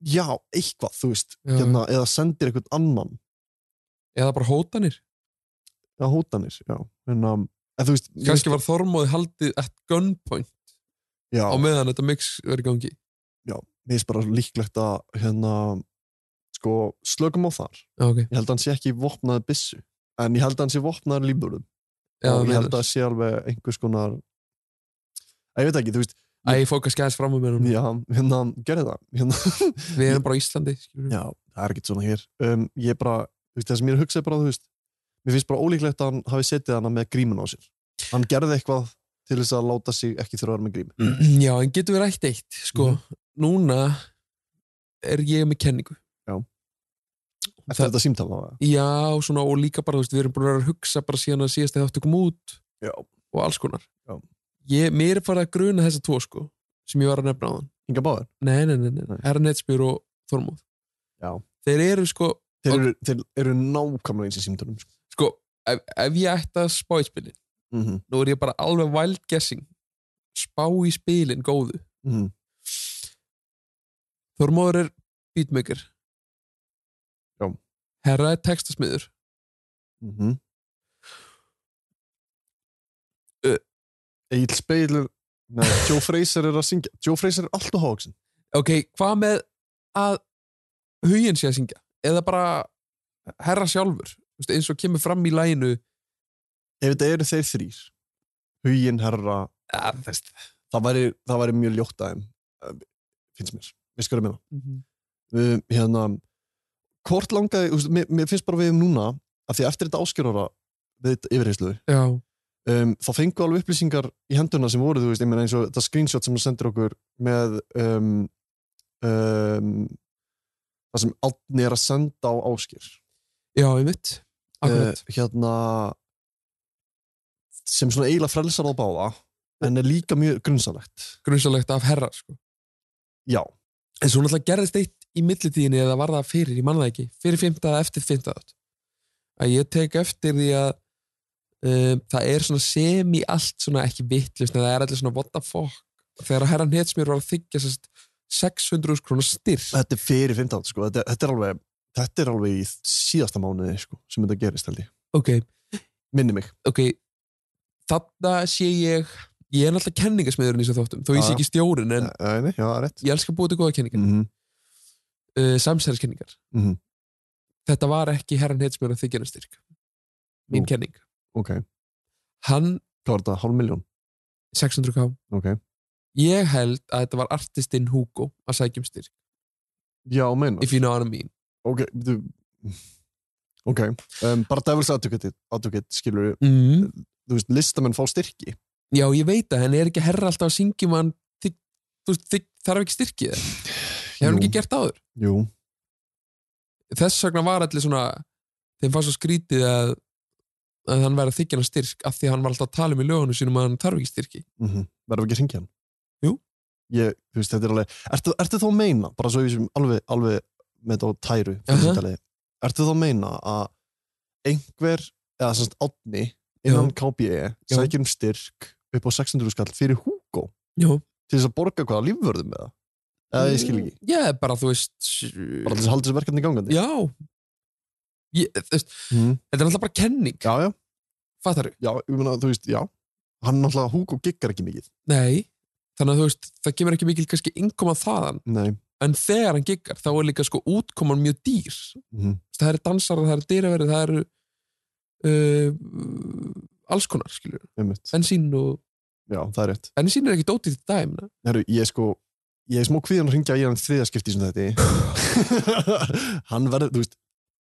Speaker 2: já, eitthvað, þú veist
Speaker 5: Já,
Speaker 2: hérna, eða sendir eitthvað annan
Speaker 5: eða bara hótanir
Speaker 2: að hótanir, já en, um, en þú veist, mér
Speaker 5: Kannski
Speaker 2: finnst-
Speaker 5: var Þormóði haldið at gunpoint
Speaker 2: já,
Speaker 5: á meðan þetta mix verið gangi
Speaker 2: mér finnst bara líklegt að hérna, sko, slökum á þar
Speaker 5: Já, ok,
Speaker 2: ég held að hann sé ekki vopnaði byssu en ég held að hann sé vopnaði líburum
Speaker 5: já,
Speaker 2: og ég
Speaker 5: meinar.
Speaker 2: held að það sé alveg einhvers konar að ég veit ekki, þú veist
Speaker 5: Æ, ég fók að skæðast fram um mér
Speaker 2: já, hérna, gerði það hérna,
Speaker 5: <laughs> Við erum bara á Íslandi skilurðu.
Speaker 2: já, það er ekki svona hér um, ég bara, þú veist, það sem ég er að hugsa er bara, þú veist mér finnst bara ólíklegt að hann hafi setið hana með grímun á sér hann gerði eitthvað til þess að láta sig ekki þurfa að vera með grím
Speaker 5: Mm, já, en getum við rætt eitt Sko, núna er ég með kenningu
Speaker 2: Mhm. Já.
Speaker 5: Hún
Speaker 2: Eftir þetta símtala það.
Speaker 5: Já, svona og líka bara, þú veist, við erum búin að vera að hugsa bara síðan að síðast eða áttu kom út
Speaker 2: Já.
Speaker 5: og alls konar.
Speaker 2: Já.
Speaker 5: Ég, mér er farið að gruna þessa tvo, sko, sem ég var að nefna á þann.
Speaker 2: Inga báðar.
Speaker 5: Nei, nei, nei, nei, nei. Herra Netsbyr og Þormóð.
Speaker 2: Já.
Speaker 5: Þeir eru, sko,
Speaker 2: Þeir eru, þeir eru nákvæmlega eins í símtalum. Sko.
Speaker 5: sko, ef, ef ég ætti að spá í spilin,
Speaker 2: Mm -hmm.
Speaker 5: nú er ég bara alveg wild guessing, spá í spilin góðu.
Speaker 2: Mhm.
Speaker 5: Þormóður er beatmaker.
Speaker 2: Já.
Speaker 5: Herra er textasmiður.
Speaker 2: Mm -hmm. uh, Egil Speilur, nei, Joe Fraser er að syngja. Joe Fraser er alltaf hóksin.
Speaker 5: ok, hvað með að huginn sé að syngja eða bara herra sjálfur Þú veist, eins og kemur fram í læginu
Speaker 2: Ef þetta eru þeir þrýr, huginn herra,
Speaker 5: ja, þess,
Speaker 2: það væri, það væri mjög ljótt aðeim, finnst mér. Við skoðum minna. Við, hérna, hvort langaði, þú veist, mér, mér finnst bara við um núna, að því að eftir þetta áskjörara við þetta yfirheysluður,
Speaker 5: já,
Speaker 2: um, þá fengu alveg upplýsingar í hendurna sem voru, þú veist, ég meina eins og þetta screenshot sem hann sendir okkur með um, um, það sem Átni er að senda á áskjör
Speaker 5: já, einmitt
Speaker 2: uh,
Speaker 5: akkurat,
Speaker 2: hérna sem svona eiginlega frelsar á báða en er líka mjög grunnsalegt
Speaker 5: grunnsalegt af herra sko.
Speaker 2: já,
Speaker 5: en svo náttúrulega gerðist eitt í millitíðinni eða var það fyrir, ég manna það ekki fyrir 15 eða eftir 15 átt að ég tek eftir því að um, það er svona sem í allt svona ekki vittlust, það er allir svona what the fuck, þegar að herran hetsmjör var að þykja sérst 600 krónar styrk
Speaker 2: þetta er fyrir 15 sko, þetta, þetta er alveg þetta er alveg í síðasta mánuði sko, sem þetta gerist held ég,
Speaker 5: ok,
Speaker 2: minni mig Eh,
Speaker 5: ok, þarna sé ég ég er náttúrulega kenningasmiðurinn í þessu þóttum þó ég
Speaker 2: Já.
Speaker 5: sé ekki stjórinn en
Speaker 2: Æ, nei, já, það er rétt
Speaker 5: ég elska að búa til góða kenningar mm.
Speaker 2: Mhm,
Speaker 5: uh, samsæðiskenningar
Speaker 2: Mhm.
Speaker 5: þetta var ekki herran heitsmjör að þykjana styrk mín
Speaker 2: Nú.
Speaker 5: kenning
Speaker 2: ok,
Speaker 5: hann
Speaker 2: hvað var þetta, hálf miljón
Speaker 5: 600k
Speaker 2: ok,
Speaker 5: ég held að þetta var artistinn Hugo að sækja um styrk
Speaker 2: já, meina
Speaker 5: if you know what I mean
Speaker 2: ok, þú ok, um, bara devils advocate, advocate skilur,
Speaker 5: mm.
Speaker 2: þú veist, listamenn fá styrki
Speaker 5: já ég veit að henni er ekki herra alltaf að syngja um hann þig, þú veist, þig, þarf ekki styrkið hefur hann
Speaker 2: Jú.
Speaker 5: ekki gert áður
Speaker 2: jú,
Speaker 5: þess vegna var allir svona þeim fannst svo skrítið að, að hann væri að þykja hann styrk af því að hann var alltaf að tala um í lögunum sínum að hann þarf ekki styrki
Speaker 2: mm -hmm. verður ekki að syngja hann
Speaker 5: Jú.
Speaker 2: ég, þú veist, þetta er alveg ertu, ertu þá að meina, bara svo ég sem alveg, alveg með þetta á tæru
Speaker 5: Aha.
Speaker 2: uh ertu þá að meina að einhver, eða semst átni innan KBE,
Speaker 5: Já.
Speaker 2: sækir um styrk upp á 600 skall fyrir Hugo
Speaker 5: Jú.
Speaker 2: til þess að borga hvaða lífvörðum með það eða ég skil ekki,
Speaker 5: Mm, já, bara þú veist
Speaker 2: bara til þess að halda þessu verkefni gangandi
Speaker 5: já ég, þú veist,
Speaker 2: Mhm.
Speaker 5: þetta er alltaf bara kenning
Speaker 2: já, já,
Speaker 5: fattar
Speaker 2: já, ég meina, þú veist, já hann náttúrulega, Hugo giggar ekki mikið
Speaker 5: nei, þannig að þú veist það kemur ekki mikil kannski innkoma þaðan
Speaker 2: nei,
Speaker 5: en þegar hann giggar þá er líka sko útkoman mjög dýr Þú
Speaker 2: Mhm.
Speaker 5: veist, það eru dansarar, það eru dýraverið það eru uh, alls konar skilur,
Speaker 2: einmitt,
Speaker 5: bensín og
Speaker 2: já, það er rétt
Speaker 5: bensín er ekki dótið til dæmina
Speaker 2: Herru, ég sko ég er smá kvíðan að ringja í hann þriðaskipti sem þetta
Speaker 5: <laughs>
Speaker 2: hann verður, þú veist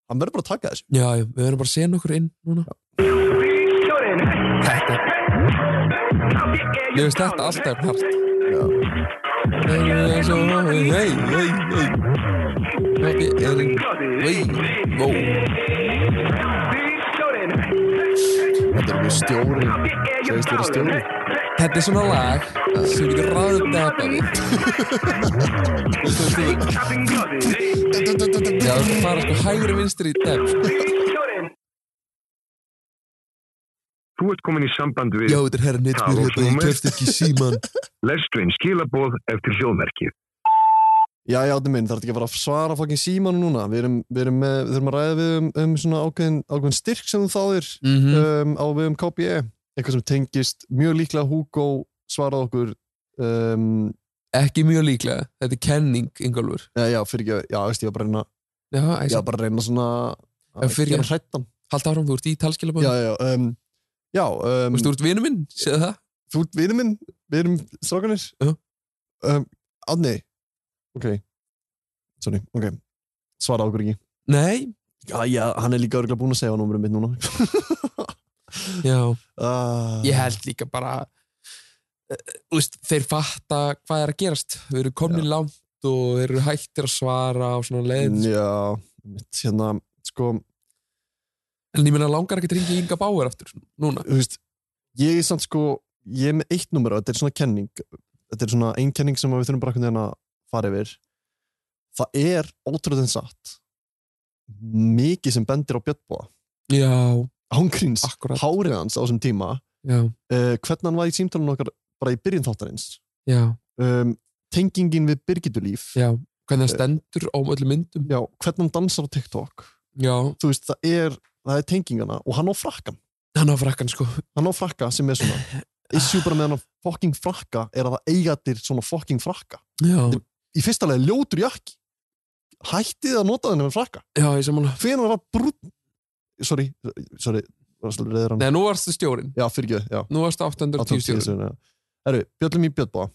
Speaker 2: hann verður bara að taka þessu
Speaker 5: Já, já, við verðum bara að sena okkur inn núna Þetta Ég veist þetta alltaf er part Hei, hei, hei Pabbi er Hei, vó
Speaker 2: þetta er mjög stjóri segist vera stjóri
Speaker 5: Þetta er svona lag sem getur ráðið dapa við Já, þú fara sko hægri vinstri í dag
Speaker 11: Þú ert komin í samband við
Speaker 5: Já, þetta er herra neittbyr hérna, ég kefti
Speaker 10: <laughs>
Speaker 5: ekki í síman
Speaker 11: lestvinn skilaboð eftir hljóðmerkið.
Speaker 2: já, já, þetta minn, þarf ekki að fara að svara fucking símanu núna við erum, við erum með, við þurfum að ræða við um, um svona ákveðin, ákveðin styrk sem þú þáðir
Speaker 5: Mhm,
Speaker 2: um, á við um KBE eitthvað sem tengist, mjög líklega Hugo svarað okkur um,
Speaker 5: Ekki mjög líklega, þetta er kenning, Ingólfur
Speaker 2: já, já, fyrir ekki, já, veist, ég var bara að reyna
Speaker 5: Já,
Speaker 2: ég
Speaker 5: æsja,
Speaker 2: var bara að reyna svona
Speaker 5: En
Speaker 2: að
Speaker 5: fyrir-
Speaker 2: gera hrættan
Speaker 5: halda áfram, þú ert í talskilabóð
Speaker 2: já, já, um, já um,
Speaker 5: Þú veist, þú ert vinnu minn, séð það?
Speaker 2: þú ert vinur minn, við erum strákanir
Speaker 5: Já.
Speaker 2: um, Adni ok, sorry, ok svara okkur ekki
Speaker 5: Nei,
Speaker 2: já, já, hann er líka örgulega búinn að segja númurum mitt núna
Speaker 5: já,
Speaker 2: uh,
Speaker 5: ég held líka bara eh, þú veist, þeir fatta hvað er að gerast við erum komin langt og þeir eru hættir að svara og svona leið
Speaker 2: já, mitt, hérna sko,
Speaker 5: En ég meina langar ekki að ringi Inga Bauer aftur núna.
Speaker 2: þú veist ég er samt sko, ég er með eitt nummer og þetta er svona kenning þetta er svona ein kenning sem við þurfum bara einhvern veginn að fara yfir það er ótrúlega en satt mikið sem bendir á Björnbóa
Speaker 5: Já,
Speaker 2: ángríns,
Speaker 5: Akkúrat.
Speaker 2: hárið hans á þessum tíma
Speaker 5: já,
Speaker 2: uh, hvernig hann var í símtálunum okkar bara í byrjun þáttarins
Speaker 5: já,
Speaker 2: um, tengingin við Birgitulíf
Speaker 5: já. Hvernig það stendur á öllum myndum.
Speaker 2: Já, hvernig hann dansar á TikTok
Speaker 5: Já,
Speaker 2: þú veist, það er, það er tengingana og hann á frakkan,
Speaker 5: hann á frakkan sko.
Speaker 2: hann á frakka sem er svona issue bara með hann á fucking frakka er að það eiga þér svona fucking frakka
Speaker 5: Já,
Speaker 2: í fyrsta lagi ljótur jakki hættið að nota þennan með frakka
Speaker 5: já, ég samanlega.
Speaker 2: fyrir hann var brún sorry, sorry, var svolítið reyður hann
Speaker 5: Nei, nú varstu stjórin.
Speaker 2: já, fyrir ekki, já
Speaker 5: Nú varstu 810 stjórin.
Speaker 2: Herru, bjöllum í bjöllbá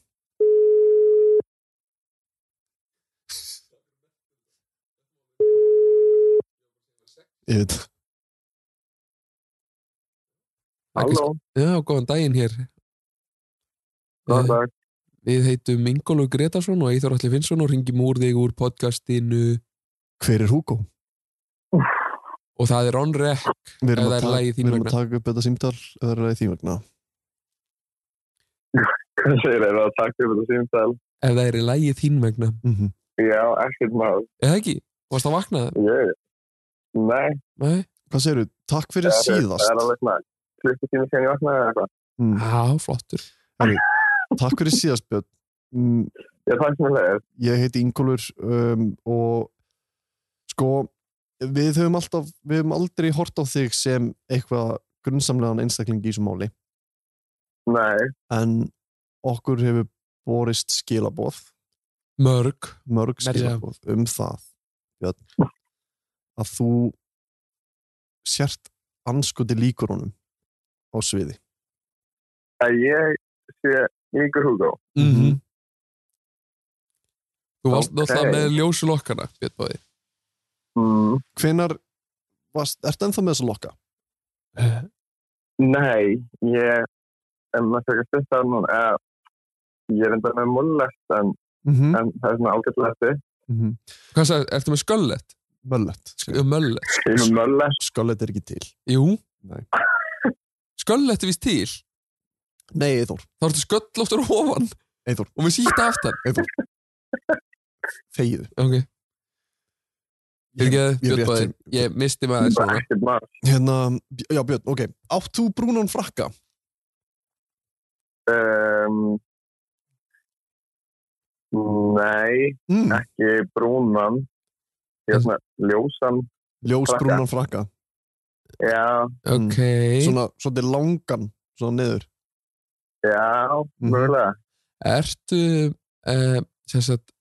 Speaker 2: Ég veit
Speaker 5: Halló. Já, góðan daginn hér. Eh,
Speaker 10: Góðan dag.
Speaker 5: Við heitum Ingólu Gretarsson og Eithor Alli Finnsson og ringjum úr þig úr podcastinu
Speaker 2: Hver er Hugo?
Speaker 5: og það er on rec.
Speaker 2: Við erum,
Speaker 5: Ef það
Speaker 2: að,
Speaker 5: er
Speaker 2: taka,
Speaker 5: lagi þín
Speaker 2: við erum að
Speaker 5: vegna.
Speaker 2: taka upp þetta símtal ef það er lagi þín vegna
Speaker 10: Hvað segir þér að takk fyrir þetta símtæl?
Speaker 5: Ef það er í lægi þín vegna.
Speaker 2: mm
Speaker 10: Já, ekkert mál.
Speaker 5: Eða ekki? Varst að vakna?
Speaker 10: Ég, nei,
Speaker 5: Nei?
Speaker 2: Hvað segir þú? Takk fyrir
Speaker 10: það er- það er
Speaker 2: síðast
Speaker 10: alveg svona klukkutími sem ég vaknaði eða eitthvað.
Speaker 2: mm,
Speaker 5: Já, flottur.
Speaker 2: Takk fyrir síðast Björn mm,
Speaker 10: Ég takk mér leið.
Speaker 2: Ég heiti Ingólfur um, og sko við höfum alltaf, við höfum aldrei hort á þig sem eitthvað grunnsamlegan einstakling í þessum máli
Speaker 10: Nei,
Speaker 2: en okkur hefur borist skilaboð
Speaker 5: Mörg.
Speaker 2: mörg
Speaker 5: Meira að segja.
Speaker 2: skilaboð um það Björn, að þú sért anskoti líkur honum á sviði
Speaker 10: að ég sé líkur Hugo.
Speaker 5: Mm Þú varst
Speaker 10: Mhm. Ok.
Speaker 5: náttúrulega með ljósulokkana, Björn Bóði.
Speaker 10: Mm.
Speaker 2: hvenar varst, ertu ennþá með þessa lokka?
Speaker 10: Nei, ég er með þess að stutta núna. eða, Ég er enda með múllest en,
Speaker 2: Mm -hmm.
Speaker 10: en það er svona ágætlega eftir.
Speaker 2: mm -hmm.
Speaker 5: Hvað sagði, ertu með sköllett?
Speaker 2: Möllett
Speaker 5: Sk- Möllett.
Speaker 10: Ég er með múllest.
Speaker 2: Sköllett er ekki til
Speaker 5: Jú.
Speaker 2: Nei.
Speaker 5: Sköllett er vist til.
Speaker 2: Nei, Eithor,
Speaker 5: Það ertu sköllóttur ofan.
Speaker 2: Eyþór.
Speaker 5: Og við sýtta aftan.
Speaker 2: þegiðu
Speaker 5: Ok. Ég, ég,
Speaker 2: ég
Speaker 5: Björn
Speaker 2: rétt
Speaker 5: Bóði,
Speaker 2: sem-
Speaker 5: ég misti maður
Speaker 10: Bara
Speaker 5: svona.
Speaker 10: ekkert mál.
Speaker 2: Hérna, Bj- já Björn, ok Átt þú brúnan frakka?
Speaker 10: Um, nei,
Speaker 2: Mm.
Speaker 10: ekki brúnan. Ég er svona ljósan.
Speaker 2: Ljós
Speaker 10: frakka.
Speaker 2: brúnan frakka
Speaker 10: Já,
Speaker 2: Mm.
Speaker 5: Ok.
Speaker 2: Svona, svona langan, svona niður
Speaker 10: já,
Speaker 2: Mhm.
Speaker 10: mögulega.
Speaker 5: Ertu, uh, sem sagt,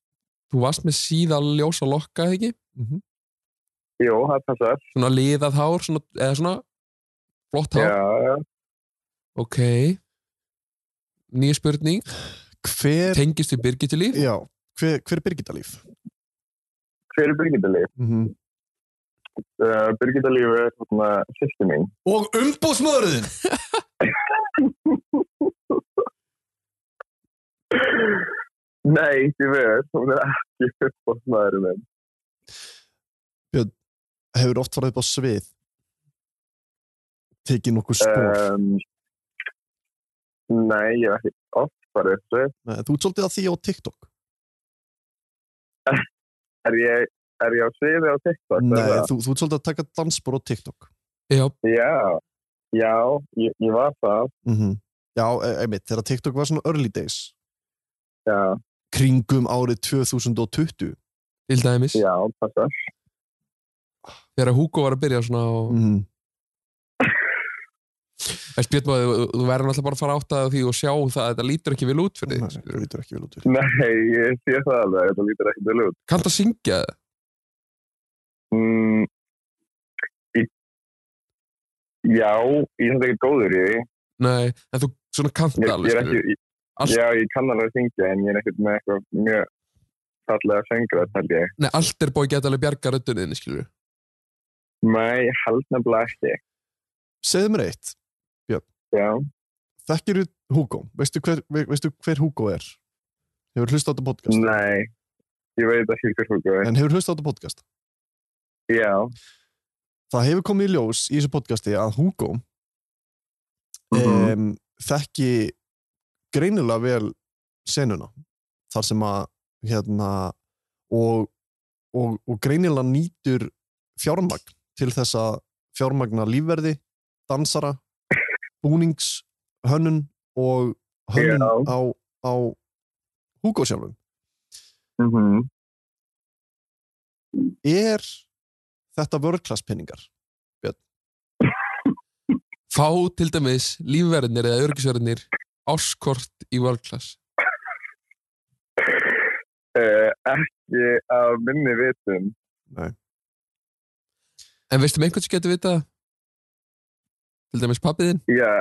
Speaker 5: þú varst með síða ljósa lokka, ekki?
Speaker 10: Jú, það passar.
Speaker 5: Svona liðað hár, svona, eða svona flott hár.
Speaker 10: Já, já.
Speaker 5: Ok. Nýja spurning.
Speaker 2: Hver,
Speaker 5: Tengist við Birgittu líf?
Speaker 2: já, hver, hver er Birgitta líf?
Speaker 10: Hver er Birgitalíf?
Speaker 2: Mm -hmm.
Speaker 10: Uh, Birgitalíf er svona sýsti mín.
Speaker 2: Og umbóðsmöðurðin
Speaker 10: Nei, því verður, hún er ekki uppbóðsmaðurinn minn.
Speaker 2: Hefur oft farið upp á svið Tekið nokkuð spór
Speaker 10: Um, nei, ég er ekki oft bara þessu.
Speaker 2: Nei, Þú ert svolítið að því á TikTok
Speaker 10: Er ég, er ég á sviði á TikTok?
Speaker 2: Nei,
Speaker 10: eða?
Speaker 2: þú, þú ert svolítið að taka dansspor á TikTok
Speaker 5: Já,
Speaker 10: Já, já, ég, ég var það.
Speaker 2: mm Já, e- einmitt, þegar TikTok var svona early days
Speaker 10: Já,
Speaker 2: kringum árið 2020
Speaker 5: til dæmis.
Speaker 10: já, passa.
Speaker 5: Þegar Hugo var að byrja svona og... Mm.
Speaker 2: mm.
Speaker 5: Björn, Maður, þú- þú verður náttúrulega bara að fara átt að því og sjá það að þetta lítur ekki vel út fyrir
Speaker 2: Nei,
Speaker 5: þig.
Speaker 2: það
Speaker 5: skilurðu.
Speaker 2: lítur ekki vel út fyrir
Speaker 10: Nei, ég sé það alveg, þetta lítur ekki til út.
Speaker 5: Kanntu að syngja það?
Speaker 10: Mm, í, já, ég er þetta ekki góður í því.
Speaker 5: Nei, en þú svona kanntu
Speaker 10: Ég,
Speaker 5: alveg.
Speaker 10: ég er
Speaker 5: skilurðu.
Speaker 10: ekki, ég,
Speaker 5: Allt-
Speaker 10: já, ég kann alveg að syngja, en ég er ekkert með eitthvað mjög fallega söngra, held ég.
Speaker 5: Nei, allt er bóið geta alveg bjarga röddunniðinni, skilur við.
Speaker 10: Nei, ég held nefnilega ekki.
Speaker 2: Segðu mér eitt,
Speaker 10: Já.
Speaker 2: þekkir þú Hugo? Veistu hver, ve- veistu hver Hugo er? Hefur hlust á þetta podcast?
Speaker 10: Nei, ég veit ekki hver húku er.
Speaker 2: En hefur hlust á þetta podcast?
Speaker 10: Já,
Speaker 2: það hefur komið í ljós í þessu podcasti að Hugo um, þekki greinilega vel senuna þar sem að hérna, og, og, og greinilega nýtur fjármagn til þess að fjármagna lífverði, dansara búnings, hönnun og hönnun
Speaker 3: Já.
Speaker 2: á, á Hugo sjálfum
Speaker 3: Mhm.
Speaker 2: er þetta vörklass penningar?
Speaker 5: Fá til dæmis lífverðinir eða örgisverðinir áskort í World Class.
Speaker 4: Eh, ekki af minni vitum.
Speaker 5: En veistum einhvern sem getur vitað það? Til dæmis pappiðinn?
Speaker 4: Já,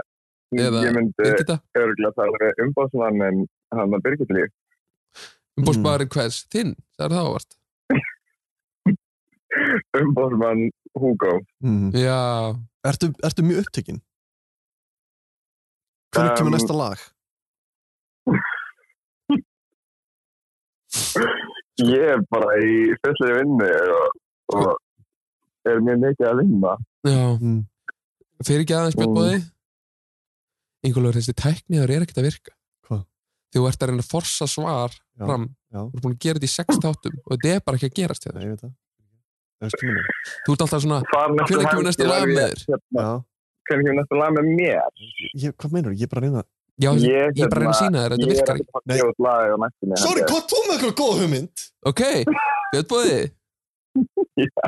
Speaker 5: Eða
Speaker 4: ég myndi
Speaker 5: Birgitta?
Speaker 4: örgulega tala um umbásmannin hann að
Speaker 10: <laughs>
Speaker 4: Birgitlíf.
Speaker 2: Mm.
Speaker 5: Umbósmaðurinn hvers? Þinn? Það er það ávart.
Speaker 4: Umbásmann Hugo.
Speaker 2: Mm.
Speaker 5: Já,
Speaker 2: Ertu, ertu mjög upptekinn? Hvernig kemur
Speaker 4: Um,
Speaker 2: næsta lag?
Speaker 4: Ég er bara í fyrstlega vinnu og, og er mjög mikið að vinna.
Speaker 5: já.
Speaker 2: Mm.
Speaker 5: Fyrir ekki aðeins
Speaker 4: Mm.
Speaker 5: bjöldbóði? Einhverjum þessi tækniður er ekkert að virka.
Speaker 2: Hvað?
Speaker 5: Þegar þú ert að reyna að forsa svar
Speaker 2: Já,
Speaker 5: fram.
Speaker 2: já.
Speaker 5: Þú ert búin að gera þetta í sex tátum og þetta er bara ekki að gerast hjá
Speaker 2: Nei,
Speaker 5: þér.
Speaker 2: ég veit það. Ertu kemur næsta?
Speaker 5: Þú ert alltaf svona,
Speaker 4: Hvenær
Speaker 5: hvenær kemur næsta lag með þér?
Speaker 2: Já.
Speaker 4: Hérna. Hvenær kemur næsta lag með mér?
Speaker 2: Ég, hvað meinar, ég er bara að reyna
Speaker 5: Já, ég,
Speaker 4: Ég, hérna,
Speaker 5: er bara að reyna að sína þér, þetta
Speaker 4: Ég er
Speaker 5: virkar
Speaker 4: ekki
Speaker 5: ekki.
Speaker 4: að fara að gefa út lag á næstunni. hérna. held ég.
Speaker 2: hvað þú með eitthvað góð hugmynd?
Speaker 5: Ok, bjöldbóði?
Speaker 4: <laughs>
Speaker 5: já.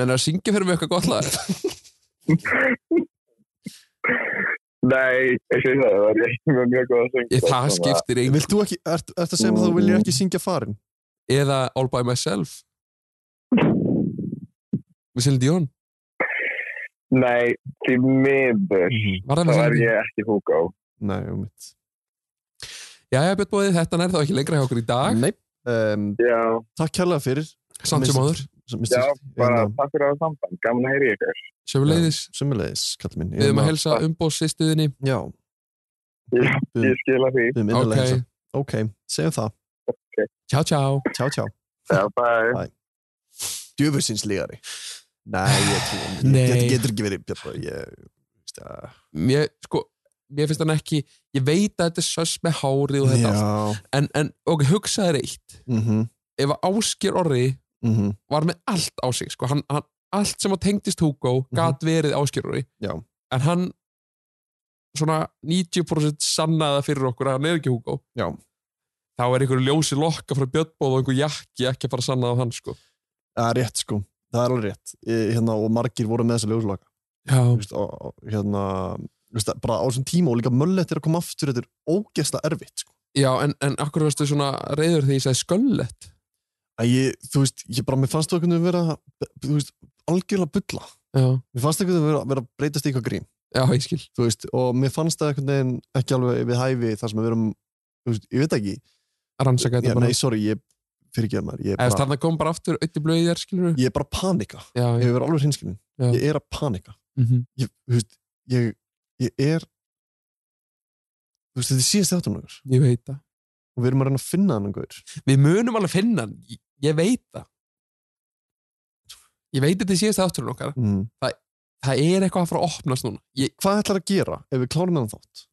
Speaker 5: Nennar að syngja fyrir mig eitthvað gott lag.
Speaker 4: Nei, ég sé það, það er ekki með mjög góð að syngja.
Speaker 5: Ég, það skiptir einhver.
Speaker 2: Vilt þú ekki, ert, ert að segja mig að þú viljir ekki syngja farin?
Speaker 5: Eða All By Myself. Með Celine Dion.
Speaker 4: Nei, því miður.
Speaker 5: Var það
Speaker 4: Þá
Speaker 5: með
Speaker 4: er
Speaker 5: Celine Dion?
Speaker 4: ég ekki Hugo.
Speaker 2: Mhm. Nei, um mitt.
Speaker 5: Jæja, bjöldbóði, þetta nær þá ekki lengra hjá okkur í dag.
Speaker 2: Nei. Um,
Speaker 4: Já,
Speaker 2: takk kærlega fyrir.
Speaker 5: Samt sem áður.
Speaker 2: Sem,
Speaker 4: já, bara
Speaker 2: Hérna,
Speaker 4: takk fyrir að það samband. Gaman að heyri ykkur.
Speaker 5: Sjöfuleiðis.
Speaker 2: Sumulegis, kallið minn. Hérna,
Speaker 5: Við erum að helsa umbóðsistuðinni.
Speaker 2: Já.
Speaker 4: Ég,
Speaker 2: Við
Speaker 4: ég skila því.
Speaker 2: við erum
Speaker 5: Ok,
Speaker 2: innanlega helsa. Ok, segjum það.
Speaker 5: tjá tjá.
Speaker 2: Tjá, tjá.
Speaker 4: Já, bye.
Speaker 2: Djöfursins lígari. Nei, ég
Speaker 5: <laughs>
Speaker 2: trúi.
Speaker 5: Nei.
Speaker 2: Getur, getur ekki verið, Björn. Ég, veist það.
Speaker 5: Mér, sko, mér finnst hann ekki, ég veit að þetta er sös með hárið og þetta allt.
Speaker 2: Já.
Speaker 5: En, en ok, hugsaði reitt.
Speaker 2: Mhm,
Speaker 5: Ef að Ásker Orri
Speaker 2: mhm.
Speaker 5: var með allt á sig, sko, hann, hann, allt sem að tengdist Hugo
Speaker 2: Mhm.
Speaker 5: gat verið Ásker Orri.
Speaker 2: Já.
Speaker 5: En hann, svona 90% sannaða fyrir okkur að hann er ekki Hugo.
Speaker 2: Já.
Speaker 5: Þá er einhverju ljósi lokka frá Björnbóð og einhverju jakki ekki að fara að sanna á hann, sko.
Speaker 2: Það er rétt sko, það er alveg rétt Ég- hérna, og margir voru með þessi ljóslaka
Speaker 5: Já.
Speaker 2: Vist, og, og, hérna, vist, bara á þessum tíma og líka möllett er að koma aftur þetta er ógeðslega erfitt sko.
Speaker 5: Já, en, en akkur varstu svona reyður þegar ég sagði sköllett?
Speaker 2: Að ég, þú veist, ég bara, mér fannst þú einhvern veginn vera þú veist, algjörlega bulla
Speaker 5: Já.
Speaker 2: mér fannst einhvern veginn vera, vera að breytast í eitthvað grín
Speaker 5: Já, ég skil.
Speaker 2: þú veist, og mér fannst það einhvern veginn ekki alveg við hæfi þar sem við erum þú veist, ég veit ekki,
Speaker 5: Rannsaka
Speaker 2: ég,
Speaker 5: þetta bara.
Speaker 2: nei, sorry, ég fyrir ekki að maður, ég er
Speaker 5: Ef
Speaker 2: bara,
Speaker 5: þarna kom bara aftur auðvitað blöðið þér, skilur við?
Speaker 2: ég er bara að panika
Speaker 5: Já,
Speaker 2: ég
Speaker 5: já.
Speaker 2: hefur alveg hinskilin,
Speaker 5: Já.
Speaker 2: ég er að panika
Speaker 5: Mm
Speaker 2: ég, þú veist, ég, ég er þú veist, þetta er síðast þáttunagur
Speaker 5: Ég veit það.
Speaker 2: og við erum að reyna að finna hann einhver
Speaker 5: Við munum alveg finna hann. Ég, ég veit það. Ég veit þetta í síðasta átturinn okkar.
Speaker 2: mm.
Speaker 5: Það er eitthvað að fara að opnast núna. Ég,
Speaker 2: hvað ætlar að gera ef við klárum hann þátt?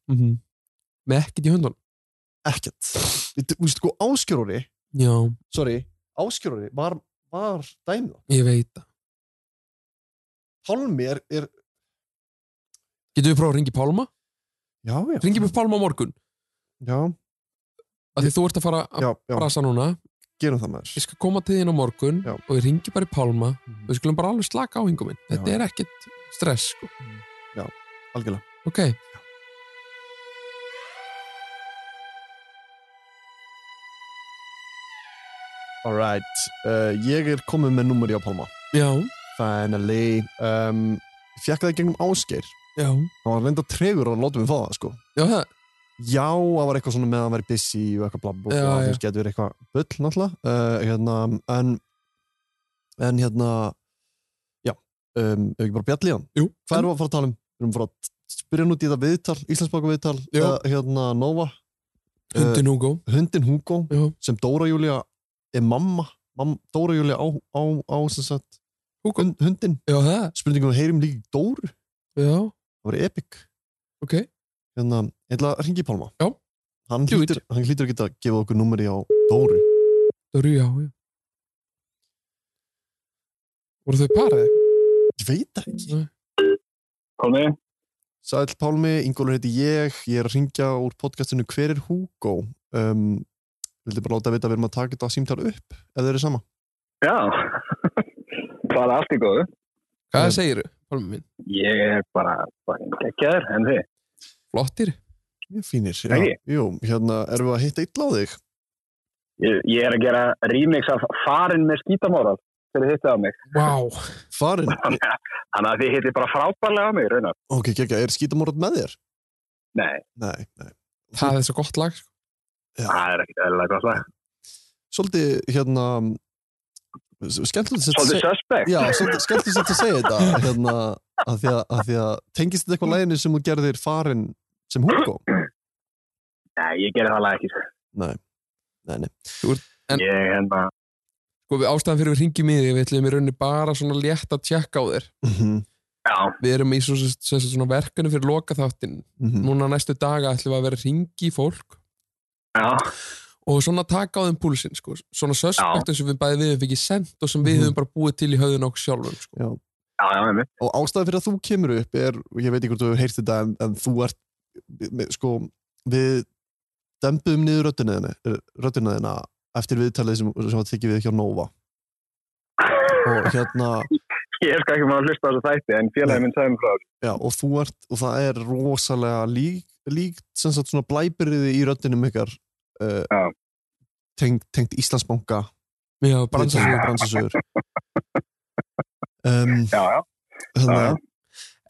Speaker 5: Með ekkert í hundunum.
Speaker 2: ekkert, Við- þú veist, sko áskjörori
Speaker 5: Já.
Speaker 2: sorry, áskjörori var, var dæmið,
Speaker 5: Ég veit það.
Speaker 2: Pálmi er, er
Speaker 5: Getum við prófað að ringi Pálma?
Speaker 2: já, já,
Speaker 5: Ringi við Pálma á morgun.
Speaker 2: já,
Speaker 5: Af því þú ert að fara að
Speaker 2: já, já
Speaker 5: brasa núna.
Speaker 2: gerum það maður
Speaker 5: Ég skal koma til þín á morgun
Speaker 2: Já.
Speaker 5: og ég ringi bara í Pálma.
Speaker 2: Mhm.
Speaker 5: Við skulum bara alveg slaka á hingum minn. Þetta
Speaker 2: Já.
Speaker 5: er ekkert stress, sko.
Speaker 2: algjörlega
Speaker 5: Ok.
Speaker 2: alright, uh, ég er komið með numeri á Pálma
Speaker 5: Já.
Speaker 2: finally um, fjekk það í gegnum áskjör
Speaker 5: Já.
Speaker 2: hann var reynda tregur að láta mig fá það sko
Speaker 5: Já, það.
Speaker 2: já, það var eitthvað svona með að hann væri busy og eitthvað bla bla bla,
Speaker 5: Já,
Speaker 2: þú veist, getur verið eitthvað bull náttúrulega, uh, hérna en, en hérna já, um, ef ekki bara bjallið hann,
Speaker 5: Jú.
Speaker 2: hvað erum við að fara að tala um? við erum að fara að spyrja hann út í þetta viðtal Íslandsbaka viðtal,
Speaker 5: Já.
Speaker 2: eða, hérna Nova
Speaker 5: Hundin Hugo.
Speaker 2: uh, hundin Hugo,
Speaker 5: Já.
Speaker 2: sem Dóra Júlia er mamma, mamma Dóra Júlia á, á, á sem sagt, Hund, hundin
Speaker 5: Já, það,
Speaker 2: spurningum við heyrum líka í Dóru
Speaker 5: já,
Speaker 2: það var epic
Speaker 5: ok
Speaker 2: hérna, ég ætla að ringi Pálma
Speaker 5: Já.
Speaker 2: hann
Speaker 5: Do it.
Speaker 2: hlýtur, hann hlýtur að geta að gefa okkur numeri á Dóru
Speaker 5: Dóru, já, já Voru þau parið?
Speaker 2: ég veit það ekki
Speaker 3: Pálmi,
Speaker 2: Sæl Pálmi, Ingólfur heiti ég ég er að ringja úr podcastinu Hver er Hugo um, vildi bara láta að vita að við erum að taka þetta símtál upp ef þau eru sama
Speaker 3: já, bara allt í góðu.
Speaker 5: Hvað segirðu, Pálmi minn?
Speaker 3: Ég er bara, bara geggjaður en þið.
Speaker 5: Flottir?
Speaker 2: Mjög fínir, já,
Speaker 3: Nei.
Speaker 2: jú, hérna erum við að hitta illa á þig
Speaker 3: Ég, ég er að gera remix af farin með skítamóral fyrir hittið á mig.
Speaker 5: Vá
Speaker 2: farin,
Speaker 3: <laughs> Þannig að þið hittið bara frábærlega á mig, raunar.
Speaker 2: ok, ekki, er skítamorð með þér?
Speaker 3: Nei,
Speaker 2: Nei, nei,
Speaker 5: Það er svo gott lag sko.
Speaker 3: það er ekkert eðlilega gott lag.
Speaker 2: svolítið hérna s- skemmtilegt að
Speaker 3: Svolítið
Speaker 2: seg-
Speaker 3: suspect.
Speaker 2: já, svolítið skemmtilegt að segja þetta hérna, að því að, að því að tengist þetta
Speaker 3: Mm.
Speaker 2: eitthvað læginu sem þú gerðir farin sem
Speaker 3: <clears throat>
Speaker 2: Hugo?
Speaker 3: Nei, ég gerir það lag ekki. sko.
Speaker 2: Nei, nei, nei
Speaker 5: En-
Speaker 3: Ég er hérna,
Speaker 5: sko, við ástæðan fyrir við ringjum í þig Við ætlum í rauninni bara svona létt að tjekka á þér
Speaker 2: Mhm,
Speaker 3: já,
Speaker 5: Við erum í svo, svo, svo, svona verkefni fyrir lokaþáttin
Speaker 2: mhm.
Speaker 5: Núna næstu daga ætlum við að vera að ringi í fólk
Speaker 3: já,
Speaker 5: og svona taka á þeim púlsinn sko. svona suspektum sem við bæði við höfum ekki sendt og sem við
Speaker 2: Mhm.
Speaker 5: höfum bara búið til í höfðun okkur sjálfum sko.
Speaker 2: Já.
Speaker 3: já, já, með mig.
Speaker 2: og ástæðan fyrir að þú kemur upp er, og ég veit ekki hvort þú hefur heyrt þetta en, en þú ert, með- sko við dempuðum niður röddina röddinaðina eftir viðtalið sem, sem að þykja við hjá Nova og hérna
Speaker 3: Ég er sko ekki maður að hlusta á þessu þætti en félagi minn sagði mér frá. þessu.
Speaker 2: já, og þú ert, og það er rosalega lík, líkt sem sagt svona blæbyrði í röddinum ykkar uh,
Speaker 3: Já.
Speaker 2: tengt, tengt Íslandsbanka
Speaker 5: Já,
Speaker 2: bransasögur,
Speaker 5: bransasögur.
Speaker 2: bransasögur. Um,
Speaker 3: Já, já,
Speaker 2: hérna,
Speaker 3: Já.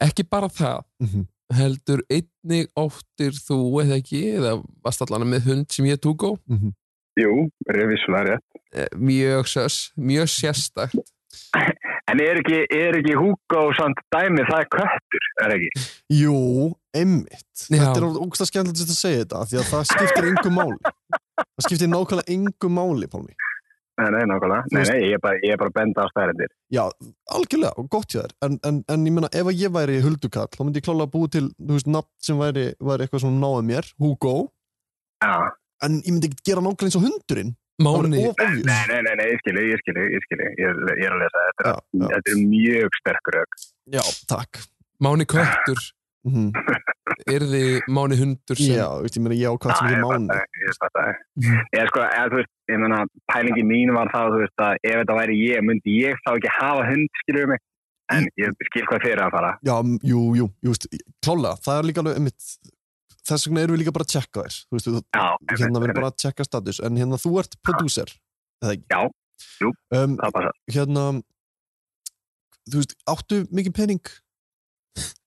Speaker 5: ekki bara það
Speaker 2: Mhm.
Speaker 5: heldur einnig óttir þú eða ekki eða varst allan með hund sem ég tók á
Speaker 2: Mhm.
Speaker 3: jú, revissulega rétt.
Speaker 5: Eh, mjög, sös, mjög sérstakt
Speaker 3: En er ekki, er ekki Hugo samt dæmi, það er köttur, er ekki?
Speaker 2: Jú, einmitt.
Speaker 5: Já.
Speaker 2: Þetta er ógst að skemmtilegt að segja þetta, af því að það skiptir engu máli. Það skiptir nákvæmlega engu máli, Pálmi.
Speaker 3: Nei, nei, nákvæmlega. Nei, nei, ég er bara, ég er bara að benda á stærendir.
Speaker 2: Já, algjörlega, og gott hjá þér. En, en, en ég meina, ef að ég væri huldukall, þá myndi ég klálega búið til, þú veist, nafn sem væri, væri eitthvað svona náða mér, Hugo,
Speaker 3: Já,
Speaker 2: en ég myndi ekki gera nákvæmlega eins og hundurinn. Það
Speaker 5: Máni,
Speaker 2: væri of
Speaker 3: nei,
Speaker 2: obvious.
Speaker 3: nei, nei, nei, ég skilu, ég skilu, ég skilu. Ég, er- ég er að lesa þetta.
Speaker 2: Já, já,
Speaker 3: Þetta er mjög sterkur rauk.
Speaker 2: já, takk.
Speaker 5: máni köttur
Speaker 2: Mm
Speaker 5: er þið máni hundur sem Mhm.
Speaker 2: Já, veist, ég meina, ég ákvæmt sem ekki mánu.
Speaker 3: Ég fatt að Ég sko, eða þú veist, ég meina, pælingi mín var það, þú veist, að ef þetta væri ég, myndi ég þá ekki hafa hund, skilur mig. En
Speaker 2: Mm.
Speaker 3: ég skil hvað fyrir að fara.
Speaker 2: Já, m- jú, jú, jú, veist, klálega, það er líka alveg, einmitt, þess vegna erum við líka bara að tjekka þér, þú veist, þú-
Speaker 3: Já,
Speaker 2: hérna verður bara að tjekka status en hérna þú ert prodúser eða ekki?
Speaker 3: Já, jú.
Speaker 2: um,
Speaker 3: Það passa.
Speaker 2: hérna þú veist, áttu mikið pening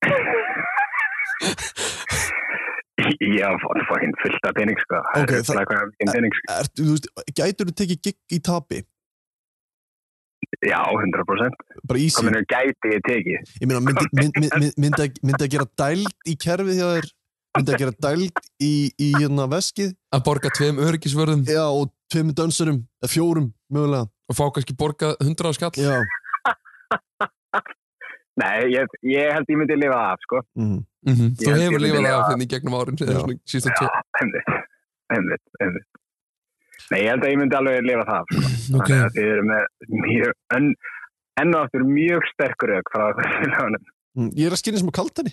Speaker 10: <laughs>
Speaker 3: Ég var fór fokkin fullt af pening, sko.
Speaker 2: Ok,
Speaker 3: það er
Speaker 2: það-
Speaker 3: svona hvað mikið pening, sko.
Speaker 2: Ert, þú veist, gætur þú tekið gig í tapi
Speaker 3: Já, 100%.
Speaker 2: bara easy,
Speaker 3: Hvað minnur gæti ég tekið?
Speaker 2: ég meina myndi, mynd, mynd, mynd, myndi, að, myndi að gera dæld í kerfið hjá þér myndi að gera dæld í, í hérna veskið
Speaker 5: að borga tveim öryggisvörðum
Speaker 2: já, og tveimur dansurum, eða fjórum mögulega,
Speaker 5: og fá kannski borga hundra á skall
Speaker 2: já
Speaker 3: Nei, ég, ég held ég myndi lifa það af, sko.
Speaker 2: mm.
Speaker 5: Mhm. þú
Speaker 3: Ég-
Speaker 5: hefur
Speaker 3: ég-
Speaker 5: lifað
Speaker 3: ég-
Speaker 5: af þenni gegnum árin eða
Speaker 2: Já.
Speaker 5: svona síðustu
Speaker 3: Já,
Speaker 5: tvo
Speaker 3: einmitt, einmitt, einmitt. Nei, ég held að ég myndi alveg lifa það. af, sko.
Speaker 5: Mhm, Ok.
Speaker 3: Þannig að þið eru með mjög, enn, enn og aftur mjög sterkur auk frá þessu félagunum.
Speaker 2: Mm. ég er að skinna sem á kaltani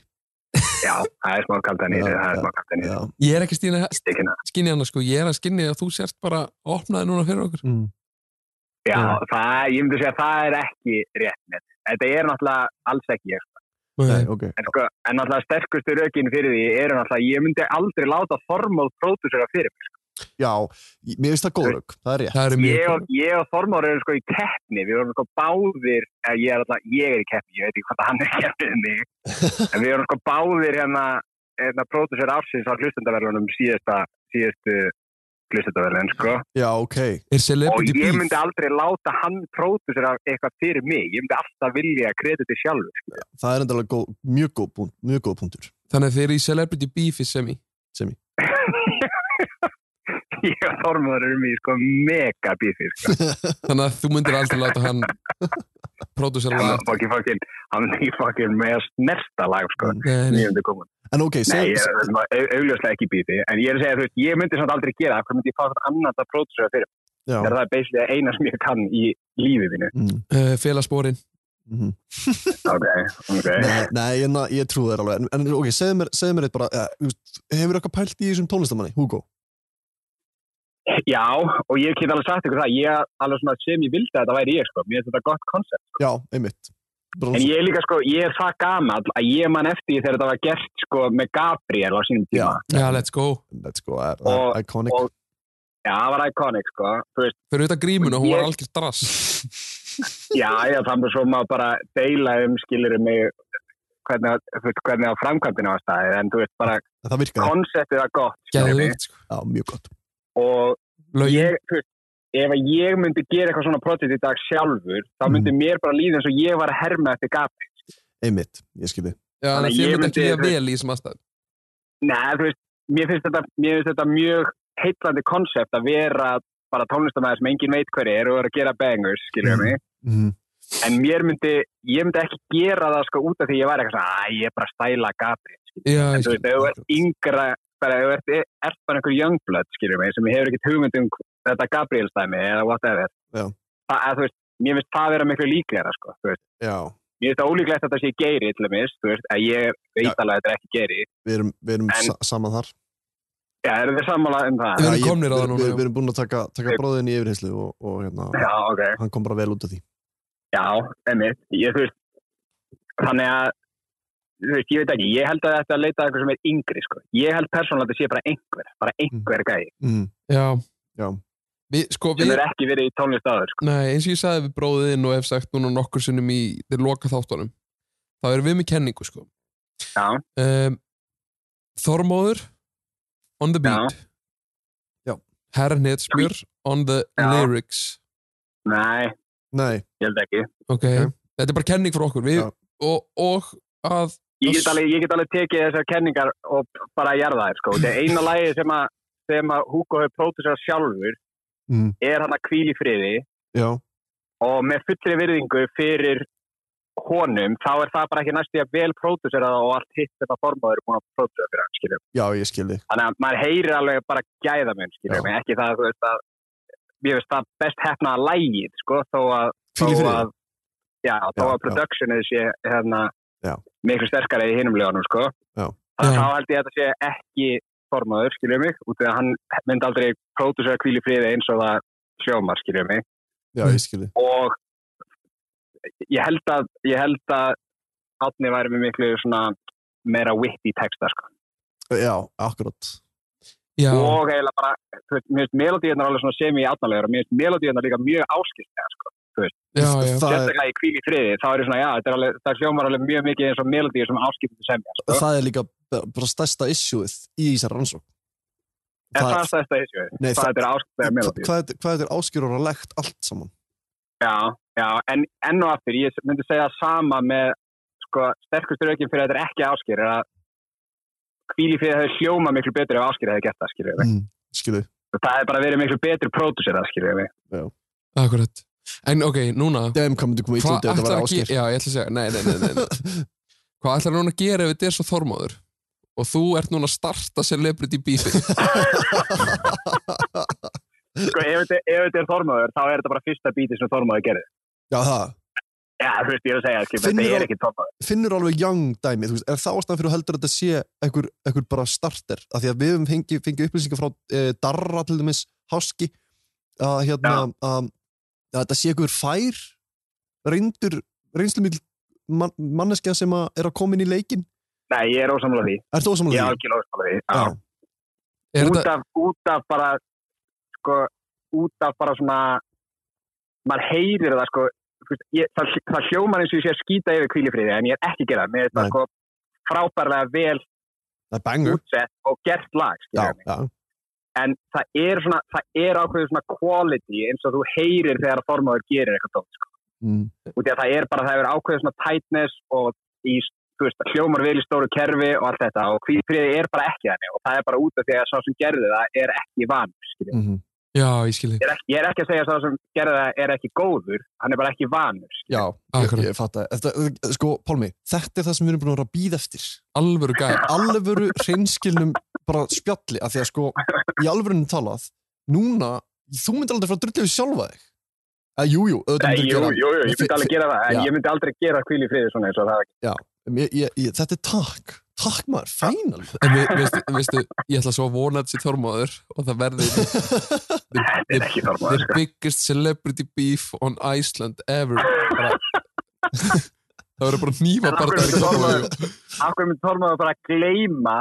Speaker 3: Já, það er smá kaldan í þessu,
Speaker 2: Já,
Speaker 3: það er
Speaker 2: já,
Speaker 3: smá kaldan í þessu.
Speaker 2: já,
Speaker 5: ég er ekki stýna
Speaker 3: Stikina.
Speaker 5: skinni hana sko, ég er að skinni að þú sért bara opnaði núna fyrir okkur
Speaker 2: mm.
Speaker 3: Já,
Speaker 2: Já.
Speaker 3: það, ég myndi segja að það er ekki rétt með. Þetta er náttúrulega alls ekki sko. ég.
Speaker 2: Nei, ok
Speaker 3: En, sko, en náttúrulega sterkustu rökin fyrir því eru náttúrulega, ég myndi aldrei láta Þormóð pródúsera fyrir mig.
Speaker 2: já, ég- mér finnst það góðraug, það er rétt
Speaker 5: það er mjög
Speaker 3: Ég og,
Speaker 5: góð.
Speaker 3: ég og Þormóð eru sko í keppni, við vorum sko báðir, eða ég er alltaf, ég er í keppni, ég veit ekki hvað hann er í keppni en
Speaker 5: <laughs>
Speaker 3: mig. En við vorum sko báðir hérna, hérna pródúsera ársins á hlustendaverlunum síðasta, síðastu hlustendaverlun, sko.
Speaker 2: já, ok,
Speaker 5: er celebrity
Speaker 3: Og ég myndi
Speaker 5: beef
Speaker 3: aldrei láta hann pródúsera eitthvað fyrir mig, ég myndi alltaf vilja krediti sjálfur. sko. <laughs>
Speaker 2: það er endalega góð, mjög góð, punkt, mjög góð punktur
Speaker 5: þannig að þeir eru í celebrity beef í semi <laughs>
Speaker 3: Ég og
Speaker 5: <laughs>
Speaker 3: Þormóður erum í sko mega bífið, sko.
Speaker 5: þannig að þú myndir aldrei láta hann pródúsera
Speaker 3: hann
Speaker 5: lag
Speaker 3: er ekki fucking hann er ekki fucking með að snerta lag sko,
Speaker 5: Nei, nei.
Speaker 3: nýjöndu komin
Speaker 6: En ok,
Speaker 3: Nei,
Speaker 6: seg,
Speaker 3: ég er svona au- augljóslega ekki býti en ég er að segja, þú veist, ég myndi samt aldrei gera það, hvað myndi ég fá þetta annað að pródúsera fyrir
Speaker 6: já,
Speaker 3: þegar það er basically eina sem ég kann í lífið þínu
Speaker 6: mm,
Speaker 5: uh, Félagsbórin
Speaker 6: mm.
Speaker 3: ok, ok
Speaker 6: Nei,
Speaker 2: Nei, en ég trú þér alveg En, en ok, segðu mér, segðu mér eitt bara eh, þú veist, Hefur eitthvað pælt í þessum tónlistamanni, Hugo?
Speaker 3: já, og ég get alveg sagt ykkur það ég alveg svona sem ég vildi að þetta væri ég sko, mér finnst þetta gott koncept,
Speaker 2: Já, einmitt Bara
Speaker 3: en ég er líka sko ég er það gamall að ég man eftir því þegar þetta var gert sko með Gabriel á sínum tíma
Speaker 5: Já, let's go
Speaker 2: Let's go, sko, er,
Speaker 3: Og-
Speaker 2: er iconic
Speaker 3: og- já, það var iconic sko, þú veist
Speaker 5: Fyrir auðvitað grímuna, hún var
Speaker 3: Ég-
Speaker 5: algjör drass
Speaker 3: Já, já, þannig að svo maður bara deila um, skilur mig hvernig, að- þú veist, hvernig að framkvæmdina var staðið, en þú veist, bara
Speaker 2: En Það virkaði,
Speaker 3: konseptið var gott, skilur mig,
Speaker 5: Geðvögt, sko
Speaker 2: já, mjög gott
Speaker 3: og
Speaker 5: Lögin,
Speaker 3: ég, þú veist, ef að ég myndi gera eitthvað svona projekt í dag sjálfur, þá myndi
Speaker 2: Mhm.
Speaker 3: mér bara líða eins og ég var að herma eftir gap.
Speaker 2: Einmitt, ég skilji
Speaker 5: já, þannig
Speaker 3: þannig
Speaker 5: að þið
Speaker 3: ég
Speaker 5: myndi ekki
Speaker 3: myndi-
Speaker 5: líða vel í þessum aðstæðum
Speaker 3: Nei, þú veist, mér finnst þetta, mér finnst þetta mjög heitlandi konsept að vera bara tónlistamæður sem engin veit hver er og er að gera bangers, skilur mig,
Speaker 5: <laughs>
Speaker 2: Mhm.
Speaker 3: en mér myndi, ég myndi ekki gera það sko út af því ég var eitthvað svona, að ég er bara að stæla Gabriel,
Speaker 5: Já, ég
Speaker 3: þú
Speaker 5: skil.
Speaker 3: veist, ef þú ert yngra bara, ef þú ert, ert bara einhver youngblood skiljum mig, sem hefur ekkert hugmynd um þetta Gabriel stæmi eða whatever
Speaker 2: Já.
Speaker 3: það, að, þú veist, mér finnst það vera miklu líklega sko, þú veist,
Speaker 2: Já,
Speaker 3: mér finnst það ólíklegt að þetta sé geiri til dæmis, þú veist, að ég veit
Speaker 2: Já.
Speaker 3: alveg að þetta er ekki geiri,
Speaker 2: við erum, við erum
Speaker 3: En-
Speaker 2: sa saman þar
Speaker 3: já, eru þið sammála um það?
Speaker 5: Við
Speaker 2: Já,
Speaker 5: erum
Speaker 2: ég-
Speaker 5: komnir á
Speaker 2: við-
Speaker 5: það núna,
Speaker 2: Við
Speaker 5: já.
Speaker 2: við erum búin að taka, taka bróðin í yfirheyslu og, og hérna,
Speaker 3: Já, ok,
Speaker 2: hann kom bara vel út af því
Speaker 3: já, emitt ég þú veist, þannig að þú veist, ég veit ekki, ég held að þetta að leita að eitthvað sem er yngri, sko, ég held persónulega að þetta sé bara einhver, bara einhver gæi
Speaker 2: mm.
Speaker 5: Já,
Speaker 2: Já.
Speaker 5: Við, sko,
Speaker 3: sem
Speaker 5: við,
Speaker 3: er ekki verið í tónlist áður, sko
Speaker 5: nei, eins og ég sagði við bróðin og hef sagt núna nokkur sinnum í þeir loka þáttunum þá erum við með kenningu, sko
Speaker 3: Já.
Speaker 5: um, Þormóður on the beat
Speaker 2: Já.
Speaker 5: Herrnetsbjör on the
Speaker 3: Já.
Speaker 5: lyrics
Speaker 3: nei,
Speaker 2: Nei,
Speaker 3: ég held ekki
Speaker 5: Ok, þetta er bara kenning fyrir okkur við,
Speaker 2: Já.
Speaker 5: og, og að
Speaker 3: Ég get alveg, ég get alveg tekið þessar kenningar og bara jarða þær sko. Þetta er eina lagi sem að, sem að Hugo hefur pródusað sjálfur
Speaker 2: Mm.
Speaker 10: Eh.
Speaker 3: er hann að kvíl í friði
Speaker 2: já,
Speaker 3: og með fullri virðingu fyrir honum, þá er það bara ekki næstu því að vel pródusera það og allt hitt þetta formáður er búin að pródusera fyrir hann, skiljum.
Speaker 2: já, ég skilji
Speaker 3: Þannig að maður heyrir alveg bara gæða mun, skiljum, ekki það, þú veist að ég veist það best hefnaða lægið, sko, þó að
Speaker 2: Hvíl í
Speaker 3: þó
Speaker 2: friði.
Speaker 3: að, já, þó
Speaker 2: Já,
Speaker 3: að
Speaker 2: já.
Speaker 3: productionið sé hérna,
Speaker 2: Já.
Speaker 3: miklu sterkari í hinum lögunum sko.
Speaker 2: Já.
Speaker 3: þannig að
Speaker 5: Já.
Speaker 3: þá held ég að þetta sé ekki formaður, skiljum mig, út af að hann myndi aldrei pródúsera kvíli friði eins og það sjómar, skiljum mig
Speaker 2: Já,
Speaker 10: Mm.
Speaker 2: ég skilji
Speaker 3: og ég held að ég held að átni væri með miklu svona meira vitt í texta sko.
Speaker 2: Já, akkurat
Speaker 5: já,
Speaker 3: og eiginlega bara, þú veist, mér finnst melodíunar alveg svona sem ég átnalegur og mér finnst melodíunar líka mjög áskiltega sko.
Speaker 5: já, já.
Speaker 2: það,
Speaker 3: sérstaklega í kvíli friði, þá er ég svona, já, þetta er alveg, það hljómar alveg mjög mikið eins og melodíu sem áskiptum semja, sko.
Speaker 2: það er líka b- bara stærsta issueð í þessar rannsók
Speaker 3: En það
Speaker 2: það-
Speaker 3: er stærsta issue,
Speaker 2: Nei,
Speaker 3: hvað þetta er áskiptum
Speaker 2: Hvað,
Speaker 3: melodíu.
Speaker 2: hvað þetta- hvað þetta er áskjörulegt allt saman
Speaker 3: Já, já, en enn og aftur, ég myndi segja sama með, sko, sterkustur aukinn fyrir að þetta er ekki áskiptum, er að kvíli friði hefur hljómað miklu betur ef áskiptum hefur gert það, skiljum við.
Speaker 2: mm. Skilji,
Speaker 3: Það hefur bara verið miklu betur pródúsir það, skiljum við.
Speaker 5: akkurat En ok, núna
Speaker 2: dem hvað myndi koma í
Speaker 5: Hvað
Speaker 2: tóti þetta
Speaker 5: ætlar
Speaker 2: var
Speaker 5: að
Speaker 2: áskjör
Speaker 5: gera Já, ég ætla að segja, nei, nei, nei, nei, nei.
Speaker 2: <laughs>
Speaker 5: Hvað ætlar núna að gera ef þetta er svo þormóður og þú ert núna að starta celebrity beefið
Speaker 2: <laughs>
Speaker 3: Sko, ef þetta- ef þetta er þormaður, þá er þetta bara fyrsta bítið sem þormaður gerir.
Speaker 2: Já, það
Speaker 3: Já, þú veist, ég er að segja, skiljum
Speaker 2: Finnur
Speaker 3: við, þetta er
Speaker 2: þú-
Speaker 3: ekki þormaður.
Speaker 2: finnur alveg young dæmi þú veist, er það ástæðan fyrir að heldur að þetta sé einhver, einhver bara starter, af því að við höfum fengið fengi upplýsingar frá e, Darra til dæmis Háski að hérna, að, að þetta sé einhver fær reyndur reynslumil man, manneskja sem að er að koma inn í leikin
Speaker 3: Nei, ég er ósamlega því.
Speaker 2: er það
Speaker 3: Ég er
Speaker 2: ósamlega því?
Speaker 3: algjörlega ósamlega því. Já.
Speaker 2: Já.
Speaker 5: Er
Speaker 3: út
Speaker 5: þetta,
Speaker 3: af, út af bara sko, út af bara svona maður heyrir það sko þú veist, ég, það, það hljómar eins og ég sé að skýta yfir kvílifriði en ég er ekki að gera það. mér er þetta
Speaker 2: Nei.
Speaker 3: sko frábærlega vel
Speaker 2: það er banger
Speaker 3: útsett og gert lag
Speaker 2: já,
Speaker 3: skilurðu mig.
Speaker 2: já,
Speaker 3: en það er svona það er ákveðið svona quality eins og þú heyrir þegar að formáður gerir eitthvað tótt sko.
Speaker 2: mm,
Speaker 3: út af að það er bara það er ákveðið svona tightness og í þú veist, hljómar vel í stóru kerfi og allt þetta og kvílifriði er bara ekki þannig og það er bara út af því að sá sem gerði það er ekki van skilurðu.
Speaker 2: mm
Speaker 5: já, ég skilji
Speaker 3: ég er, ekki, ég er ekki að segja að það sem gerði það er ekki góður, hann er bara ekki vanur
Speaker 2: Já, ég,
Speaker 5: Akkurat.
Speaker 2: ég fatt að, þetta, sko, Pálmi, þetta er það sem við erum búin að vera að býða eftir.
Speaker 5: alvöru gæð
Speaker 2: Alvöru hreinskilnum bara spjalli, af því að sko, í alvörunum talað, núna, þú myndir aldrei fara að drullið við sjálfa þig. Eh, Jú, jú, auðvitað
Speaker 3: Nei,
Speaker 2: myndir
Speaker 3: jú,
Speaker 2: gera.
Speaker 3: jú, jú, ég myndi
Speaker 2: Fi-
Speaker 3: alveg gera það,
Speaker 2: Já.
Speaker 3: en ég myndi aldrei gera kvíl í friði svona eins og það.
Speaker 2: Ég, ég, ég, þetta er takk, takk maður, fænal.
Speaker 5: En vi, veistu, veistu, ég ætla svo að vona þetta sér þormaður og það verði
Speaker 2: <laughs>
Speaker 3: Þetta er ekki
Speaker 5: the
Speaker 3: þormaður, sko.
Speaker 5: biggest celebrity beef on Iceland ever bara, <laughs> Það verður bara
Speaker 3: En
Speaker 5: nýfa
Speaker 3: af hverju myndi
Speaker 5: bara
Speaker 3: Þormóður- Af hverju myndi Þormaður bara gleyma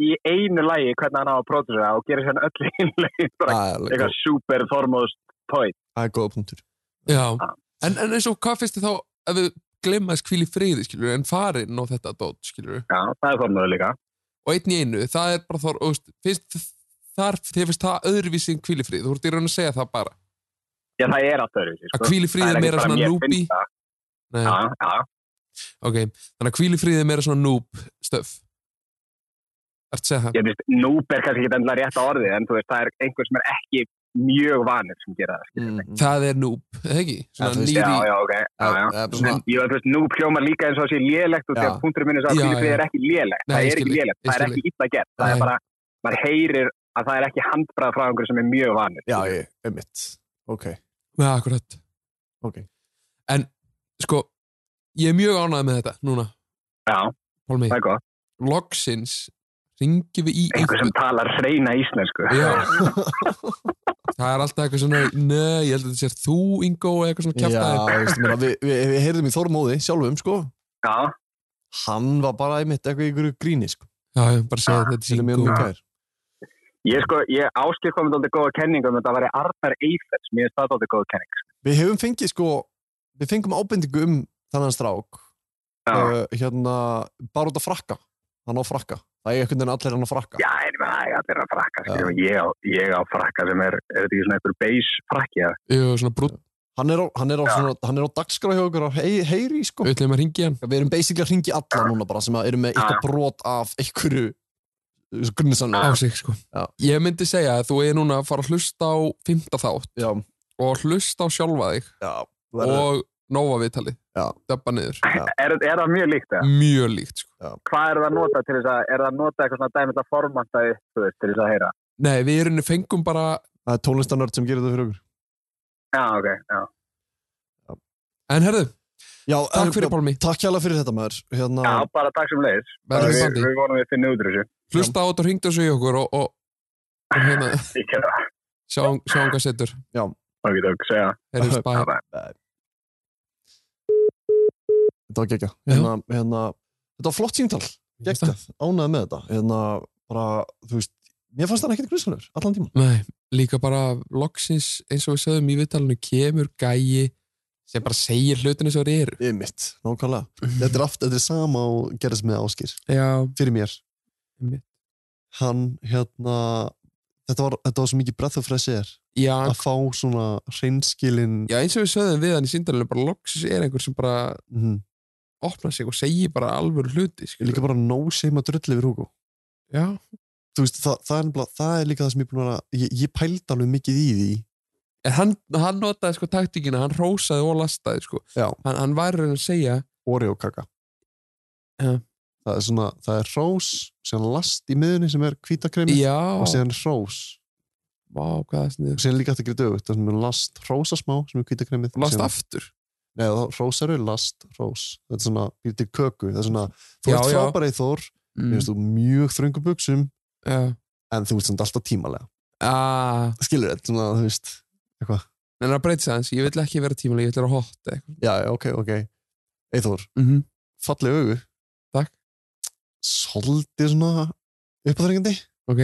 Speaker 3: í einu lægi hvernig hann á að pródusera og gera sérna öll einu lægi bara
Speaker 2: Það
Speaker 3: eitthvað super Þormaður tói.
Speaker 2: er góða punktur.
Speaker 5: Já,
Speaker 3: Ah.
Speaker 5: en, en eins og hvað finnst þið þá ef við glemma þess kvíl í friði skilur en farinn á þetta dót skilur
Speaker 3: Já, það er Þormaður líka.
Speaker 5: og einn í einu, það er bara þor og veist, finnst þar, þið finnst það öðruvísi en kvíl í friði, þú ert í raun að segja það bara
Speaker 3: Já, það er sko. alltaf öðru.
Speaker 5: Að hvíl í friði er meira svona núbi Nei,
Speaker 3: Já, já.
Speaker 5: ok, þannig að kvíl í friði er meira svona núb stöf Ertu að segja það?
Speaker 3: Ég finnst, núb er kannski ekki endilega rétt að orðið, en þú veist, það er einhver sem er ekki mjög vanir sem gera það. skilur.
Speaker 5: Það er núb, eða ekki?
Speaker 2: Ja,
Speaker 5: Svona
Speaker 2: þú veist,
Speaker 5: nýri,
Speaker 3: Já, já, ok. Já, já.
Speaker 2: Það er bara svona,
Speaker 3: Jú, þú veist, nú hljómar líka eins og það sé lélegt og
Speaker 2: Já.
Speaker 3: þegar punkturinn minn er svo að
Speaker 5: Já,
Speaker 3: kvílifrið
Speaker 5: já.
Speaker 3: er ekki lélegt.
Speaker 5: Nei,
Speaker 3: það
Speaker 5: ég
Speaker 3: er
Speaker 5: skil
Speaker 3: ekki
Speaker 5: þig,
Speaker 3: lélegt,
Speaker 5: ég
Speaker 3: það er
Speaker 5: skil
Speaker 3: ekki illa gert. Það
Speaker 5: Nei.
Speaker 3: er bara, maður heyrir að það er ekki handbrað frá einhverju sem er mjög vanir.
Speaker 2: já, ég, einmitt. Ok.
Speaker 5: já, akkurat
Speaker 2: Ok.
Speaker 5: En, sko, ég er mjög ánægð með þetta núna,
Speaker 3: Já,
Speaker 5: Pálmi
Speaker 3: það er gott.
Speaker 5: Loksins ringi við í
Speaker 3: Einhver sem
Speaker 5: einhvern
Speaker 3: talar hreina íslensku.
Speaker 5: Já Það er alltaf eitthvað svona, nei, ég held að þetta sér þú, Ingo, eða eitthvað svona
Speaker 2: Já,
Speaker 5: kjaftaði
Speaker 2: þú veist, ég meina, við, við, við heyrðum í Þormóði sjálfum, sko.
Speaker 3: Já,
Speaker 2: Hann var bara einmitt eitthvað í ykkur gríni, sko.
Speaker 5: Já, ég bara segja að þetta
Speaker 2: Til
Speaker 5: sér
Speaker 2: að mjög mjög
Speaker 5: Ingo
Speaker 2: kær.
Speaker 3: ég sko, ég áskil komið aldrei góða kenningu um þetta að vera Arnar Eifels, mér finnst það aldrei góða kenning.
Speaker 2: Við hefum fengið, sko, við fengum ábendingu um þannan strák.
Speaker 3: Já.
Speaker 2: Uh, hérna, bara út að frakka. Hann á frakka. Það er einhvern veginn allir hann á frakka.
Speaker 3: Já, en það er allir að frakka,
Speaker 2: Já.
Speaker 3: skiljum, ég, á- ég á frakka sem er, er þetta ekki svona einhver beis frakki eða?
Speaker 5: Jú, svona brútt,
Speaker 2: Hann er á, hann er á,
Speaker 3: Já.
Speaker 2: svona, hann er á dagskrá hjá okkur á hey, heyri, sko.
Speaker 5: við ætlum að ringi hann
Speaker 2: Við erum basically að ringi alla núna bara sem að erum með eitthvað brot af einhverju
Speaker 5: á
Speaker 2: grunnisanlega.
Speaker 5: sig, sko
Speaker 2: Já.
Speaker 5: Ég myndi segja að þú er núna að fara að hlusta á fymta þátt
Speaker 2: Já,
Speaker 5: og hlusta á sjálfa þig
Speaker 2: já.
Speaker 5: og Nóa viðtalið,
Speaker 2: Já.
Speaker 5: döbba niður
Speaker 3: <laughs> Er, er það mjög líkt það?
Speaker 12: Mm.
Speaker 5: mjög líkt sko.
Speaker 3: hvað er það að nota til þess að, er það að nota eitthvað svona dæmilega formanta upp, þú veist, til þess að heyra?
Speaker 5: Nei, við erum fengum bara
Speaker 2: Það er tónlistanörd sem gerir þetta fyrir okkur.
Speaker 3: Já, ok, já.
Speaker 5: En herðu,
Speaker 2: Já,
Speaker 5: takk fyrir
Speaker 2: en-
Speaker 5: Pálmi
Speaker 2: Takk hjá fyrir þetta maður. Hérna,
Speaker 3: Já, bara takk sem leiðis.
Speaker 5: Verðum
Speaker 3: Við,
Speaker 5: standi.
Speaker 3: við vonum við finnum út úr þessu.
Speaker 5: Hlusta á þetta og hringdu þessu í okkur og, og, og hérna,
Speaker 3: <laughs> Ég kemur það.
Speaker 5: sjáum sjá hvað setur
Speaker 3: Ok, takk, segja. <laughs>
Speaker 5: Heyrðist bæ
Speaker 3: Bye.
Speaker 2: Þetta var gekkja. Hérna, hérna, þetta var flott síntal. Gekkja. Ánæði með þetta. Hérna, bara, þú veist, mér fannst það ekkert grunnsalur. Allan tíma.
Speaker 5: Nei, líka bara loksins eins og við sögum í viðtalinu kemur gæi sem bara segir hlutinu svo eru
Speaker 2: Ég mitt, nákvæmlega. Þetta er aftur, þetta er sama og gerðist með Áskir.
Speaker 5: Já,
Speaker 2: Fyrir mér.
Speaker 5: Einmitt.
Speaker 2: Hann, hérna, þetta var, þetta var svo mikið breath of fresh air.
Speaker 5: já,
Speaker 2: Að fá svona hreinskilin.
Speaker 5: já eins og við sögum við hann í síndalinu bara loksins er einhver sem bara
Speaker 2: Mhm.
Speaker 5: opnar sig og segir bara alvöru hluti skilur.
Speaker 2: Líka bara no shame að drulli við Hugo.
Speaker 5: Já,
Speaker 2: Þú veist, það, það, er nefnilega, það er líka það sem ég er búin að vera, ég, ég pældi alveg mikið í því.
Speaker 5: en hann, hann notaði sko taktíkina, hann rósaði og lastaði sko
Speaker 2: Já.
Speaker 5: hann, hann var að reyna að segja
Speaker 2: Oreo kaka
Speaker 5: Já.
Speaker 2: það er svona, það er rós síðan last í miðunni sem er hvítakremi
Speaker 5: Já,
Speaker 2: og síðan rós
Speaker 5: vá, hvað það sniður
Speaker 2: og síðan líka hægt að gera dögut það sem er last rósa smá sem er hvítakremi
Speaker 5: Last aftur
Speaker 2: neða, rós eru last rós þetta er svona, býr til köku það er svona, þú
Speaker 5: Já,
Speaker 2: ert
Speaker 5: já. Mm.
Speaker 2: frábæri Þór mér finnst þú mjög þröngu buksum
Speaker 5: Já,
Speaker 2: en þú ert samt alltaf tímalega
Speaker 5: ah,
Speaker 2: skilur þetta, svona, þú veist
Speaker 5: en það breytið aðeins, ég vill ekki vera tímalega, ég vill vera hot eða eitthvað
Speaker 2: já, já, ok, ok Eithór,
Speaker 5: mm -hmm.
Speaker 2: falleg augu
Speaker 5: Takk.
Speaker 2: svolítið svona uppáþrengandi
Speaker 5: Ok,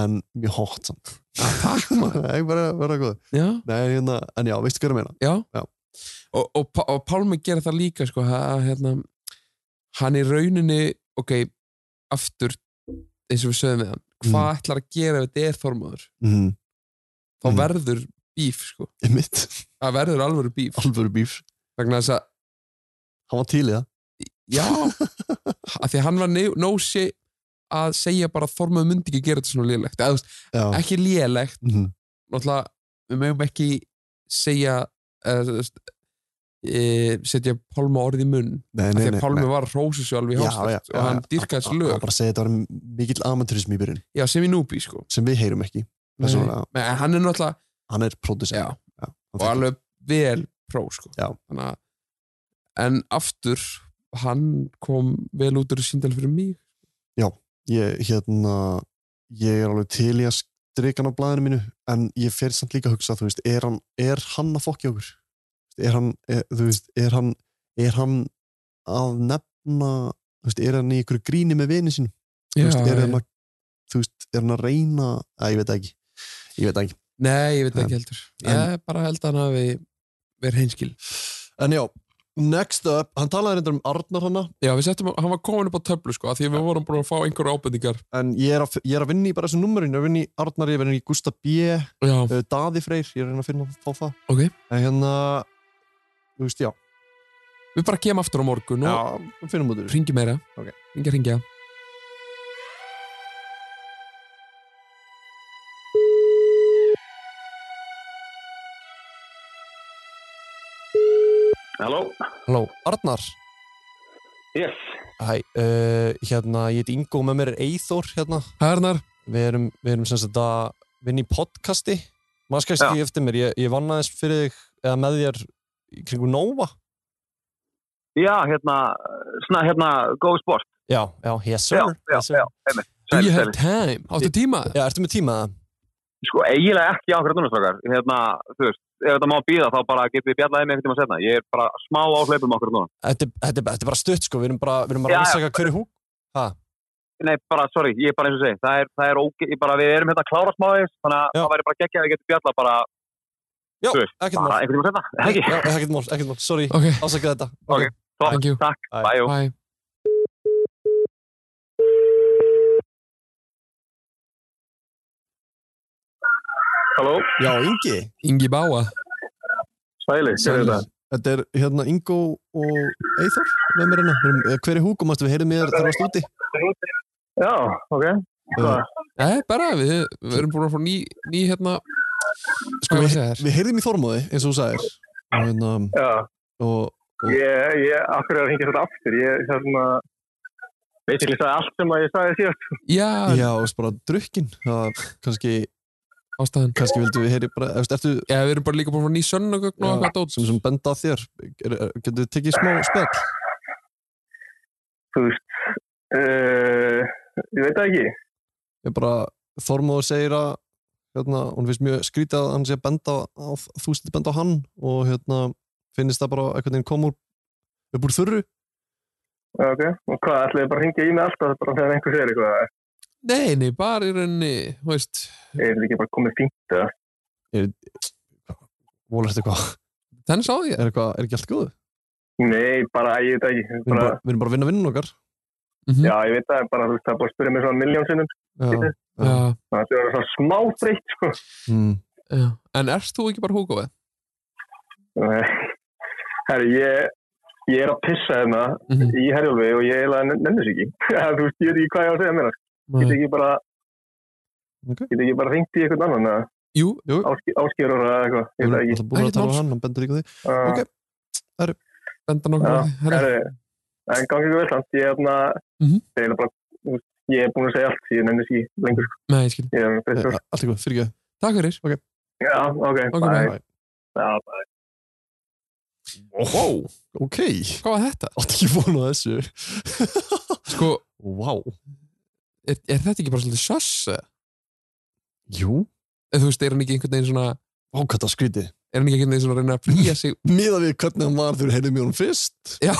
Speaker 2: en mjög hótt samt
Speaker 5: takk maður
Speaker 2: Nei, bara vera góð
Speaker 5: Já,
Speaker 2: Nei, hérna, en já, veistu hvað ég meina
Speaker 5: já,
Speaker 2: Já.
Speaker 5: Og, og, Pá- og Pálmi gerir það líka sko, að, hérna, hann í rauninni ok, aftur eins og við sögum við hann hvað ætlar að gera ef þetta er þormaður
Speaker 2: mm.
Speaker 5: þá
Speaker 2: Mm.
Speaker 5: verður bíf sko,
Speaker 2: Mitt,
Speaker 5: það verður alvöru bíf
Speaker 2: alvöru bíf
Speaker 5: vegna þess að,
Speaker 2: Hann var til í það
Speaker 5: já
Speaker 2: <laughs>
Speaker 5: að því að hann var ne- nósi að segja bara að þormaður myndi ekki gera þetta svona lélegt, eða þú veist,
Speaker 2: Já,
Speaker 5: ekki lélegt
Speaker 2: mm.
Speaker 5: náttúrulega, við mögum ekki segja eða, þú veist, e, setja Pálma orð í munn
Speaker 2: Nei,
Speaker 5: af því að Pálmi var rósu svo alveg
Speaker 2: Já, já, já,
Speaker 5: hjástætt og hann
Speaker 2: já,
Speaker 5: dyrkaði þessu
Speaker 2: Hann
Speaker 5: lög
Speaker 2: bara segja þetta var mikill amatúrism í byrjun
Speaker 5: já, sem í núbi sko
Speaker 2: sem við heyrum ekki persónulega.
Speaker 5: Nei, en hann er náttúrulega
Speaker 2: Hann er pródusent
Speaker 5: já, og alveg vel pró sko
Speaker 2: Já.
Speaker 5: Þannig, að- en aftur hann kom vel út úr síndal fyrir mig
Speaker 2: ég, hérna, ég er alveg til í að strika hann á blæðinu mínu en ég fer samt líka að hugsa þú veist, er, hann, er hann að fokki okkur er hann, er, þú veist, er hann er hann að nefna þú veist, er hann í ykkur gríni með vini sínum Þú veist, er, hann
Speaker 5: nei,
Speaker 2: að, þú veist, er hann að reyna að ég veit það ekki ég veit það ekki
Speaker 5: ég veit ekki heldur ég bara held að hann hafi verið hinskil
Speaker 2: en já, next up, hann talaði reyndar um Arnar hana
Speaker 5: já, við settum, hann var komin upp á töflu sko af því að við vorum búin að fá einhverja ábendingar
Speaker 2: en ég er að, ég er að vinna í bara þessu numurinn ég er að vinna í Arnar, ég er að vinna í Gustaf B uh,
Speaker 5: já,
Speaker 2: Daði Freyr, ég er að reyna að finna fá það
Speaker 5: ok,
Speaker 2: en hérna, þú veist, já
Speaker 5: við bara kemum aftur á morgun og
Speaker 2: Já, við finnum út úr
Speaker 5: ringi meira
Speaker 2: Ok.
Speaker 5: ringja, ringja
Speaker 3: Halló?
Speaker 12: Halló, Arnar
Speaker 3: Yes.
Speaker 12: Hæ,
Speaker 2: eh,
Speaker 12: uh, hérna, ég heiti Ingo og með mér er Eithor hérna
Speaker 5: Hærnar,
Speaker 12: Við erum, við erum sem sagt að vinna í podcasti Maður skæst ekki eftir mér, ég, ég vann aðeins fyrir þig eða með þér í kringu Nova
Speaker 3: Já, hérna, sna, hérna, Go Sport.
Speaker 12: Já, já, yes sir
Speaker 3: Já, já,
Speaker 12: yes, sir.
Speaker 3: já, einmitt.
Speaker 5: do
Speaker 3: Sæl,
Speaker 5: you
Speaker 3: sæl.
Speaker 5: have time? Áttu tíma?
Speaker 12: já ertu með tíma það?
Speaker 3: Sko, eiginlega ekki akkurat núna, strákar. Hérna, þú veist, ef þetta má býða þá bara getum við bjallaðið með einhvern tíma setna. Ég er bara smá á hlaupum akkurat núna.
Speaker 12: Þetta, þetta, þetta er bara stutt sko, við erum bara, við erum bara
Speaker 3: Já,
Speaker 12: að
Speaker 3: já.
Speaker 12: rannsaka hverju húk
Speaker 3: Nei, bara, sorry, ég er bara eins og segi, það er, það er óge... Ég bara, við erum hérna að klára smáðis, þannig að
Speaker 12: Já.
Speaker 3: það væri bara geggja að við getum bjallað bara,
Speaker 12: Já,
Speaker 3: Þú veist,
Speaker 12: ekkert
Speaker 3: bara
Speaker 12: mál
Speaker 3: einhvern tíma setna. Eða Ekki?
Speaker 12: Já, ekkert mál, ekkert mál, sorry,
Speaker 5: ok,
Speaker 12: ásaka þetta
Speaker 3: Ok. Topp,
Speaker 5: Thank you.
Speaker 3: Takk,
Speaker 12: Bye.
Speaker 3: bæjó.
Speaker 5: bye
Speaker 10: Halló?
Speaker 2: Já, Ingi
Speaker 5: Ingi Báa
Speaker 10: Sæli, hver er það?
Speaker 2: Þetta er hérna Ingo og Eithor með mér hérna Við erum- eh, Hver er húkum, við heyrðum mér þegar þú varst úti Eh.
Speaker 10: Já, ok. Hvað?
Speaker 5: Nei, bara við, við erum búin að fá ný, ný hérna
Speaker 2: Sko,
Speaker 5: Hvað var það þér?
Speaker 2: Við heyrðum í Þormóði, eins og þú sagðir og, hérna,
Speaker 10: Já,
Speaker 2: og
Speaker 10: ég, ég, af hverju er að hengja þetta aftur? Ég, hérna, basically sagði allt sem að ég sagði síðast.
Speaker 5: Já,
Speaker 2: já, og svo bara drukkin það kannski,
Speaker 5: ástæðan
Speaker 2: kannski vildu við heyri bara, eftir, ertu
Speaker 5: Já, við erum bara líka búin að fá ný sönnugögn og eitthvað dót
Speaker 2: sem, sem benda að þér er, er, getur við tekið smá spjall
Speaker 10: Þú veist, uh, ég veit það ekki.
Speaker 2: ég bara, Þormóður segir að hérna, hún finnst mjög skrítið að hann sé að benda á, þú stið benda á hann og hérna, finnist það bara einhvern veginn koma úr, upp úr þurru
Speaker 10: Já, Ok, og hvað, ætlaði ég bara að hengja í mig alltaf bara þegar einhver segir eitthvað?
Speaker 5: Nei, nei, bara í rauninni, þú veist
Speaker 10: Er þetta ekki bara komið fínt?
Speaker 2: Volur þetta eitthvað,
Speaker 5: Þannig sá ég
Speaker 2: er, eitthvað, er ekki allt góðu?
Speaker 10: Nei, bara, ég veit það ekki.
Speaker 2: Við erum
Speaker 10: Bara,
Speaker 2: bara, við erum bara að vinna vinnun okkar
Speaker 5: Mhm.
Speaker 10: já, ég veit það, bara, þú veist, það er bara að spyrja mig svona miljón sinnum.
Speaker 2: Já,
Speaker 5: Já,
Speaker 10: Það er svona smá breytt, sko.
Speaker 2: mm,
Speaker 5: já En ert þú ekki bara húkofið?
Speaker 10: Nei. Herri, ég, ég er að pissa hérna
Speaker 5: Mhm.
Speaker 10: í herjálfi og ég eiginlega nennir sér ekki. <laughs> Eða, þú veist, ég veit ekki hvað ég á að segja mér. Get ekki bara,
Speaker 2: Ok.
Speaker 10: get ekki bara hringt í eitthvað annan, eða
Speaker 5: Jú,
Speaker 2: jú
Speaker 10: áskýrur eða eitthvað, ég veit
Speaker 2: Við
Speaker 10: það
Speaker 2: erum
Speaker 10: ekki.
Speaker 2: alltaf búin að
Speaker 5: Ekkert
Speaker 2: tala
Speaker 5: mál.
Speaker 2: á hann, hann bendur líka á þig
Speaker 10: Uh,
Speaker 2: Ok.
Speaker 5: benda nokkuð
Speaker 10: Já,
Speaker 5: á því. Herra,
Speaker 10: Herri, en gangi ekki vel samt, ég er hérna,
Speaker 5: Mhm.
Speaker 10: ég er bara, þú veist, ég er búin að segja allt, ég nennir sér ekki lengur, sko.
Speaker 5: Nei, ég skil
Speaker 10: Ég er að
Speaker 2: Eh,
Speaker 10: pissa.
Speaker 2: Allt í góð, fyrir ekki
Speaker 5: Takk fyrir
Speaker 10: Já, ok,
Speaker 5: Ok,
Speaker 10: bye.
Speaker 5: bye.
Speaker 10: Já,
Speaker 5: Wow,
Speaker 2: Ok,
Speaker 5: hvað var þetta?
Speaker 2: átt ekki vona þessu
Speaker 5: Sko,
Speaker 2: Vá,
Speaker 5: er, er þetta ekki bara svolítið sjöss?
Speaker 2: jú
Speaker 5: Þú veist, er hann ekki einhvern veginn svona
Speaker 2: Vá, hvað það skrítið
Speaker 5: Er hann ekki einhvern veginn svona að reyna að
Speaker 2: <laughs>
Speaker 5: flýja sig
Speaker 2: miða við hvernig hann var þegar heyrðum í honum fyrst <laughs>
Speaker 5: Já.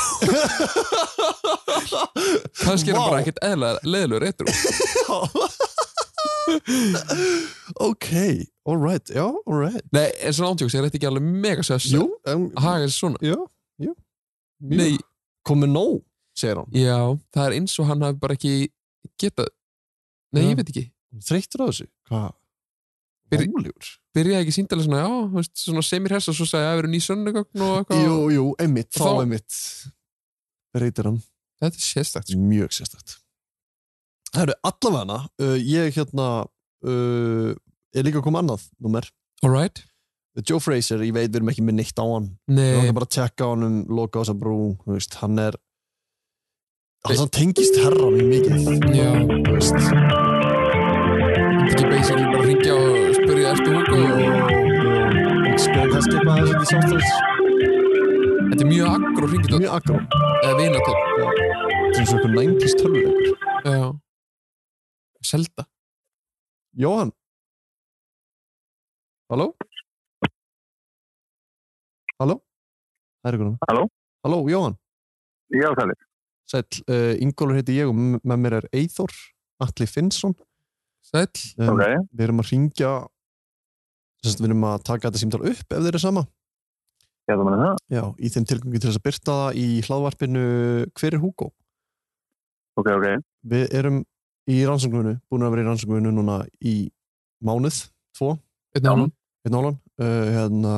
Speaker 5: Kannski er hann
Speaker 2: Vá.
Speaker 5: bara ekkert eðlega leðilegur eitru
Speaker 2: <laughs> ok, alright já, alright
Speaker 5: Nei, en svona ándjóks, er þetta ekki alveg mega sjöss?
Speaker 2: jú, um,
Speaker 5: Að haga þessi svona
Speaker 2: já, já, Jú.
Speaker 5: Nei,
Speaker 2: komið nóg, segir hann
Speaker 5: Já, það er eins og hann hafi bara ekki getað Nei,
Speaker 2: Já.
Speaker 5: ég veit ekki
Speaker 2: þreyttur á þessu, hvað
Speaker 5: Fyrir-
Speaker 2: Rólegur.
Speaker 5: Byrjaði ekki síndalega svona, já, þú veist, svona semir hess og svo sagði að það eru ný sönnugögn og eitthvað
Speaker 2: jú, jú, einmitt, þá
Speaker 5: Þá-
Speaker 2: einmitt reytir hann
Speaker 5: Þetta er sérstakt sko.
Speaker 2: mjög sérstætt það eru allavega uh, ég hérna uh, er líka að koma annað númer
Speaker 5: All right,
Speaker 2: Uh, Joe Fraser, ég veit við erum ekki með neitt á hann
Speaker 5: Nei,
Speaker 2: Ég langar bara að tjekka á hann um loka á þessa brú þú veist, hann er hann samt tengist herran mikið
Speaker 5: já
Speaker 2: þú veist.
Speaker 5: Ekki basically bara sko. ringja og spyrja ertu Hugo
Speaker 2: Spók að skipa þessu til samstæðs
Speaker 5: Þetta er mjög aggró ringjum
Speaker 2: Mjög agró
Speaker 5: eða vinatótt
Speaker 2: Það er svona næntist tölvuleikur
Speaker 5: Já Selda
Speaker 2: Jóhann Halló Halló Það er ykkur hann
Speaker 10: Halló?
Speaker 2: Halló, Jóhann
Speaker 10: Já, það er.
Speaker 2: Sæll, uh, Ingólfur heiti ég og m- með mér er Eithor Atli Finnsson
Speaker 5: Sæll
Speaker 2: um,
Speaker 10: Ok.
Speaker 2: Við erum að ringja Við erum að taka þetta símtal upp ef þeir eru sama
Speaker 10: Já, það meina það.
Speaker 2: Já, í þeim tilgangi til þess að byrta það í hlaðvarpinu Hver er Hugo?
Speaker 10: Ok, ok.
Speaker 2: Við erum í rannsóknunu, búin að vera í rannsóknunu núna í mánuð, tvo,
Speaker 5: Einn annan
Speaker 2: einn álan. Uh, hérna,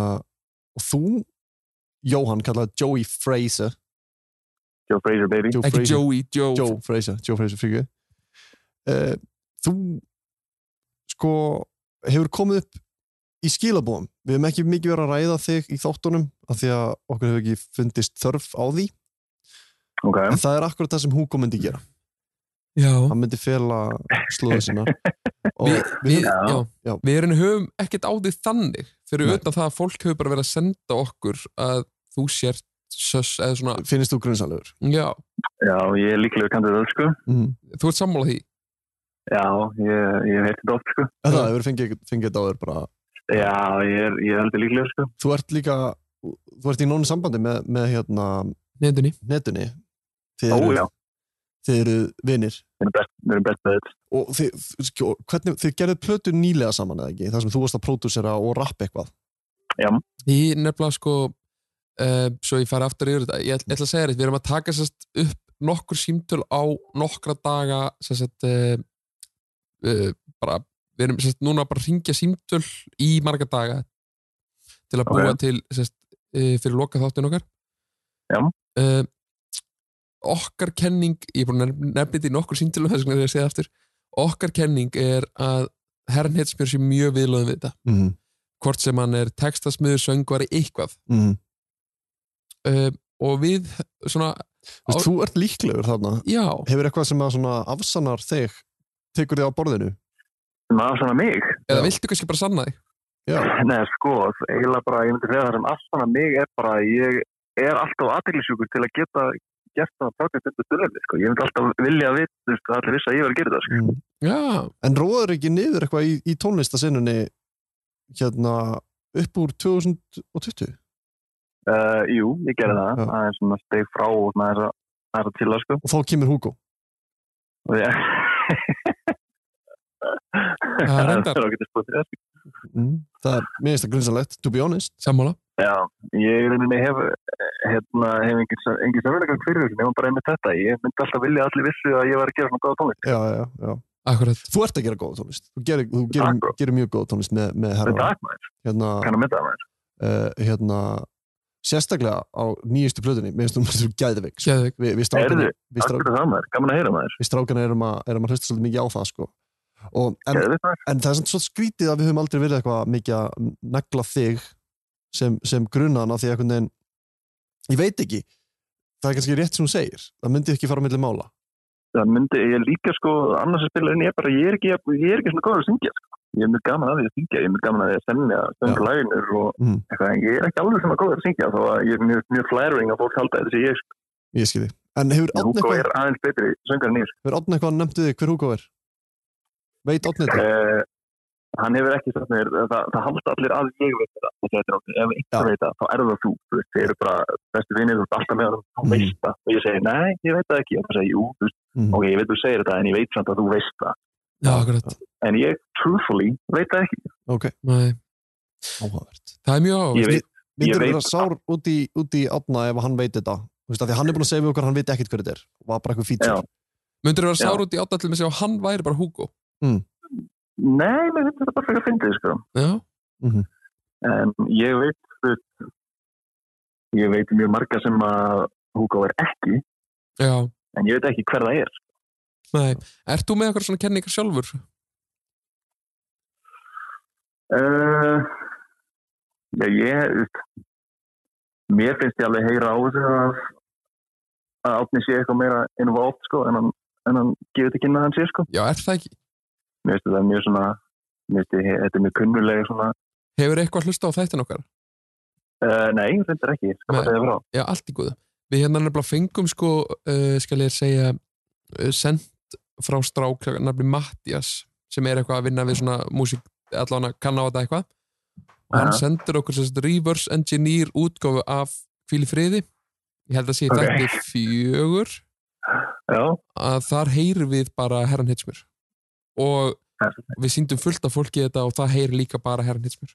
Speaker 2: og þú, Jóhann, kallaði Joey Fraser.
Speaker 10: Joe Fraser, baby.
Speaker 2: Joe
Speaker 5: Ekki Joey, Joe
Speaker 2: Joe Fraser, Joe Fraser, fyrir uh, Þú, sko, hefur komið upp í skilabóðum. Við hefum ekki mikið verið að ræða þig í þáttunum af því að okkur hefur ekki fundist þörf á því.
Speaker 10: Ok.
Speaker 2: En það er akkurat það sem Hugo myndi gera.
Speaker 5: Já
Speaker 2: Hann myndi fela slóðu sinna.
Speaker 5: <laughs>
Speaker 2: Og
Speaker 5: Við, við,
Speaker 10: Já.
Speaker 5: já,
Speaker 2: Já.
Speaker 5: við erum höfum ekkert á því þannig fyrir
Speaker 2: Nei.
Speaker 5: utan það að fólk hefur bara verið að senda okkur að þú sért sös eða svona,
Speaker 2: finnist þú grunnsalegur?
Speaker 5: já, Mhm.
Speaker 10: Já, ég er líklega kandið öll, sko.
Speaker 2: Mm.
Speaker 5: þú ert sammála því
Speaker 10: Já, ég, ég heiti þetta oft, sko.
Speaker 2: Það hefur fengið, fengið þetta á þér bara
Speaker 10: Já, ég er, ég er aldrei líklega, sko.
Speaker 2: Þú ert líka, þú ert í nónu sambandi með, með hérna
Speaker 5: nefndinni,
Speaker 2: netunni Þið
Speaker 10: Ó,
Speaker 2: eru,
Speaker 10: já.
Speaker 2: þið eru vinir
Speaker 10: Við erum best, við erum best með þetta.
Speaker 2: og þið, skjó, hvernig, þið gerðu plötu nýlega saman eða ekki, þar sem þú varst að pródúsera og rappa eitthvað
Speaker 5: ég nefnilega sko uh, svo ég fari aftur yfir þetta ég, ætl- ég ætla að segja þetta, við erum að taka sérst upp nokkur símtöl á nokkra daga sérst uh, uh, bara, við erum sérst núna bara að ringja símtöl í marga daga til að
Speaker 10: Ok.
Speaker 5: búa til sérst, uh, fyrir loka þáttin okkar
Speaker 10: Já.
Speaker 5: Eh, okkar kenning ég er búin að nefna þetta í nokkur símtölum þess vegna er ég að segja það aftur okkar kenning er að herrn Hetsmjör sé mjög viðlöðum við þetta
Speaker 2: mm
Speaker 10: Mhm.
Speaker 2: -hmm.
Speaker 5: hvort sem hann er textasmiður, söngvari, eitthvað
Speaker 2: Mm
Speaker 10: Mhm.
Speaker 2: -hmm.
Speaker 5: uh, og við svona, Á-
Speaker 2: Þú ert líklegur þarna
Speaker 5: já,
Speaker 2: Hefur eitthvað sem að svona afsannar þig tekur þig á borðinu?
Speaker 10: Maður svona mig.
Speaker 5: eða viltu kannski bara sanna þig
Speaker 2: Já,
Speaker 10: Nei, sko, eiginlega bara, ég myndi segja það sem aftan að mig er bara, að ég er alltaf aðeinsjúkur til að geta gert það að taka þetta stundinni, sko. Ég myndi alltaf vilja að vita, þú veist, allir vissi að ég var að gera það, sko.
Speaker 2: mm.
Speaker 5: já,
Speaker 2: En róður ekki niður eitthvað í, í tónlistasinnunni hérna upp úr 2020?
Speaker 10: Uh, jú, ég gerði það,
Speaker 2: Já.
Speaker 10: það er svona steg frá og það er að, það er að tilla, sko.
Speaker 2: Og þá kemur Hugo
Speaker 10: Og
Speaker 2: <laughs>
Speaker 10: ég...
Speaker 5: Það er
Speaker 10: Það er
Speaker 5: reyndar.
Speaker 10: sko. ágætis búið til þess.
Speaker 2: mm. Það er mér finnst það grunnsallegt, to be honest
Speaker 5: sammála
Speaker 10: Já, ég er einnig hef, hérna, hef engin, engin samverðingar fyrir þessu, nefnum bara einmitt þetta. Ég myndi alltaf vilja að allir vissu að ég var að gera svona góða tónlist.
Speaker 2: já, já, já.
Speaker 5: akkurat,
Speaker 2: Þú ert að gera góða tónlist Þú gerir, þú
Speaker 10: Takk,
Speaker 2: gerir,
Speaker 10: bro.
Speaker 2: gerir mjög góða tónlist með, með
Speaker 10: Þetta er
Speaker 2: herra
Speaker 10: takk maður,
Speaker 2: hérna,
Speaker 10: kannan mynda það maður.
Speaker 2: uh, hérna, Sérstaklega á nýjustu plötunni Mér finnst þú mér þú gæðveik sko.
Speaker 5: geðvig
Speaker 2: Við, við strákana,
Speaker 10: Heyrðu,
Speaker 2: við
Speaker 10: Takk
Speaker 2: strákana,
Speaker 10: fyrir það maður, gaman að heyra maður.
Speaker 2: við strákana erum, að, erum að hlusta svolítið mikið á það sko. Og, en,
Speaker 10: Geðveikt, maður.
Speaker 2: en það er samt svo skrítið að við höfum aldrei verið eitthvað mikið að negla þig sem, sem grunan af því að einhvern veginn Ég veit ekki Það er kannski rétt sem hún segir Það myndi ekki fara á milli mála
Speaker 10: það myndi, ég er líka sko annars að spila en ég er bara, ég er ekki, ég er ekki svona góður að syngja sko. ég er mjög gaman að því að syngja ég er mjög gaman að því að semja,
Speaker 2: Já.
Speaker 10: semja laginur og
Speaker 2: Mm.
Speaker 10: eitthvað, en ég er ekki alveg svona góður að syngja þó að ég er mjög, mjög flattering að fólk halda þessi ég, sko,
Speaker 2: Ég skil þig En hefur
Speaker 10: en
Speaker 2: Árni
Speaker 10: Hugo
Speaker 2: eitthvað,
Speaker 10: er aðeins betri söngar en ég, sko.
Speaker 2: hefur Árni eitthvað nefnt við þig hver Hugo er? Veit Árni þetta?
Speaker 10: sko uh, hann hefur ekki sagt mér, það, það halda allir að ég veit þetta, þetta er okkur, ef
Speaker 2: Já.
Speaker 10: eitthvað veit það, þá er það þú, þú veist, þið eru bara bestu vinir, þú ert alltaf með hann, þú
Speaker 2: Mhm.
Speaker 10: veist það og ég segi, nei, ég veit það ekki, og það segi, jú, þú veist,
Speaker 2: Mhm.
Speaker 10: ok, ég veit þú segir þetta, en ég veit samt að þú veist það,
Speaker 5: já, akkurat,
Speaker 10: en ég, truthfully, veit það ekki,
Speaker 2: Ok,
Speaker 5: Nei,
Speaker 2: áhugavert.
Speaker 5: það er mjög áhuga
Speaker 10: ég veit Ég
Speaker 2: Myndur
Speaker 10: veit
Speaker 2: vera sár út í, út í átna ef hann veit þetta. Þú veist að því hann er búin að segja við okkur að hann veit ekkert hver þetta er. Var bara eitthvað fítjur.
Speaker 10: Já.
Speaker 5: myndur þú vera
Speaker 10: Já.
Speaker 5: sár út í átallum að segja að hann væri bara Hugo
Speaker 10: Nei, mér finnst þetta bara fyrir að fyndið, sko.
Speaker 5: já,
Speaker 10: En ég veit, þú veist, ég veit mjög marga sem að Hugo er ekki,
Speaker 5: já,
Speaker 10: en ég veit ekki hver það er.
Speaker 5: nei ert þú með eitthvað svona kenningar sjálfur?
Speaker 10: Uh, Já, Eh, ég, þú veist, mér finnst ég alveg heyra á þessu að, að átni sé eitthvað meira involvt, sko, en hann, en hann gefur þetta kynna að hann sé, sko.
Speaker 5: Já, er það ekki?
Speaker 10: Mér finnst þetta mjög svona, mér finnst ég- þetta er mjög kunnulega svona,
Speaker 5: Hefur eitthvað hlusta á þættin okkar?
Speaker 10: uh, nei, þetta er ekki, sko,
Speaker 5: Nei.
Speaker 10: þetta er frá.
Speaker 5: Eh, Já, allt í góðu. Við hérna nefnilega fengum sko, uh, skal ég segja, uh, sendt frá strák nafni Mattias sem er eitthvað að vinna við svona músík, allan að kanna á þetta eitthvað. Og hann
Speaker 10: Aha.
Speaker 5: sendir okkur sérst reverse engineer útgófu af Hvíli friði. Ég held að sé
Speaker 10: Ok.
Speaker 5: okay. þetta fjögur
Speaker 10: Já,
Speaker 5: að þar heyrir við bara herran hitsmur. Og við síndum fullt af fólki þetta og það heyrir líka bara herran hitsmur.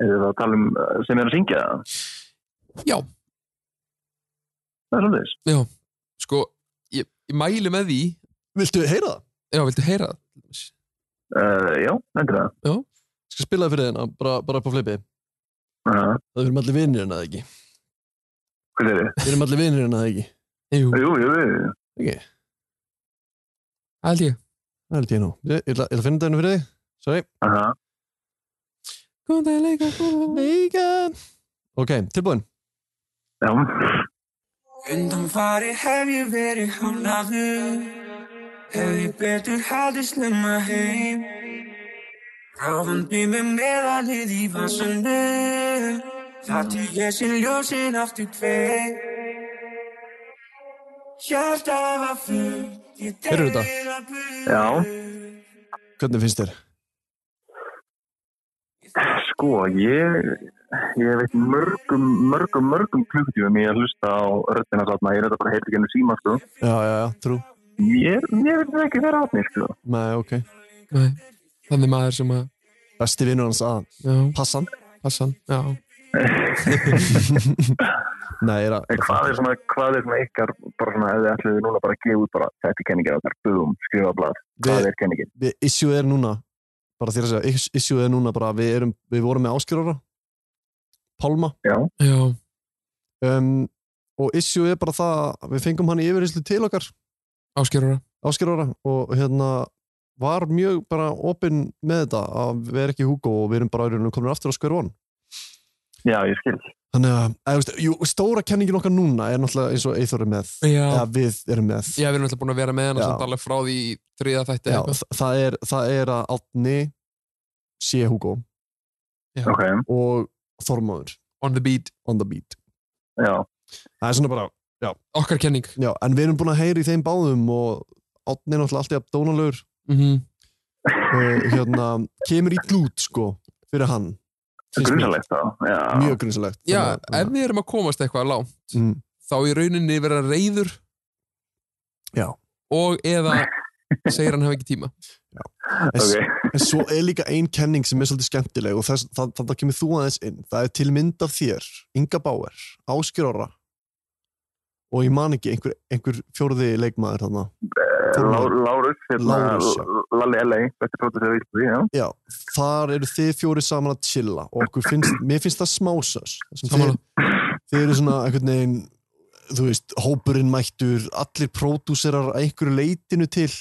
Speaker 10: er það að tala um eh, sem er að syngja það?
Speaker 5: Já.
Speaker 10: Það er svolítið.
Speaker 5: Já, sko, ég, ég mæli með því
Speaker 2: Viltu heyra það?
Speaker 5: Já, viltu heyra það?
Speaker 10: Uh, já, endur það.
Speaker 5: Já,
Speaker 2: Skal spila það fyrir þeirna, bara, bara upp á flipi
Speaker 10: Uh,
Speaker 2: Það erum allir vinir en það ekki
Speaker 10: hvað er þið?
Speaker 2: Við erum allir vinir en það ekki
Speaker 5: Jú,
Speaker 10: Jú, jú, jú.
Speaker 2: Ok,
Speaker 5: held ég
Speaker 2: það held ég nú Ég ég ætla ég ætla að finna þetta henni fyrir þig Sorry
Speaker 10: Aha.
Speaker 5: Góðan dag, leika
Speaker 2: Leika Ok, tilbúin
Speaker 10: Já,
Speaker 7: Undan fari hef ég verið hálaður Hef ég betur haldið snemma heim Ráfandi með meðalið í vasandu Þar til ég sé ljósin aftur kveð Hjarta var fullt Ég
Speaker 2: Heyrðu þetta?
Speaker 7: deila burt
Speaker 10: já,
Speaker 2: Hvernig finnst þér?
Speaker 10: sko, ég, ég veit mörgum, mörgum, mörgum klukkutífum ég að hlusta á röddina þarna, ég er þetta bara heyrði ekki ennum síma, sko.
Speaker 2: Já, já, já, trú
Speaker 10: Mér, mér finnst það ekki vera átni, sko.
Speaker 2: Nei, ok
Speaker 5: Nei, þannig maður sem að
Speaker 2: Besti vinur hans aðan
Speaker 5: Já,
Speaker 2: Passan
Speaker 5: passan, já
Speaker 2: Nei, ég er að
Speaker 10: En hvað er svona, hvað er svona ykkar, bara svona, ef þið ætluðu núna bara að gefa út bara, þetta er kenningin á þær, búum, skrifa á blad, hvað
Speaker 2: Við-
Speaker 10: er kenningin?
Speaker 2: <laughs> við, issue er núna bara þér að segja, is- issue er núna bara að við, erum, við vorum með áskjörara Pálma
Speaker 10: Já,
Speaker 5: Já,
Speaker 2: um, og issue er bara það að við fengum hann í yfirheyslu til okkar
Speaker 5: áskjörara
Speaker 2: áskjörara og hérna var mjög bara opinn með þetta að við erum ekki Hugo og við erum bara árið komin aftur á square one
Speaker 10: já, ég skil.
Speaker 2: þannig að, eða, þú veist, jú, stóra kenningin okkar núna er náttúrulega eins og Eithor er með
Speaker 5: Já,
Speaker 2: eða við erum með
Speaker 5: já við erum alltaf búin að vera með
Speaker 2: Já.
Speaker 5: hann og samt alveg frá því í þriða
Speaker 2: Já,
Speaker 5: þætti eða eitthvað.
Speaker 2: þa- það, er, það er að Átni sé Hugo
Speaker 10: Ok,
Speaker 2: og Þormáður
Speaker 5: On the beat,
Speaker 2: on the beat
Speaker 10: já,
Speaker 2: það er svona bara
Speaker 5: okkar kenning
Speaker 2: Já, en við erum búin að heyra í þeim báðum og Átni er náttúrulega alltaf dónalögur
Speaker 5: mm
Speaker 2: og hérna, kemur í glút sko, fyrir hann Finnst mér.
Speaker 10: grunnsalegt þá, já.
Speaker 2: Mjög grunnsalegt
Speaker 5: Já,
Speaker 2: Þannig að-
Speaker 5: ef við erum að komast eitthvað lág
Speaker 2: mm,
Speaker 5: þá í rauninni vera reyður
Speaker 2: Já.
Speaker 5: og eða segir hann hafa ekki tíma
Speaker 2: en,
Speaker 10: Ok,
Speaker 2: en svo er líka ein kenning sem er svolítið skemmtileg og þess, það, þannig að kemur þú aðeins inn það er til mynd af þér, Inga Bauer Áskjör Orra og ég man ekki, einhver, einhver fjórði leikmaður þarna
Speaker 10: Lá- Eh, Lárus, hérna,
Speaker 2: Lárus, já.
Speaker 10: Lalli L.A., þetta er prófessor í Íslandi, já.
Speaker 2: Já, þar eru þið fjóri saman að chilla og okkur finnst, mér finnst það smásas þið,
Speaker 5: Sammála.
Speaker 2: þið eru svona einhvern veginn þú veist, hópurinn mættur allir pródúserar að einhverju leitinu til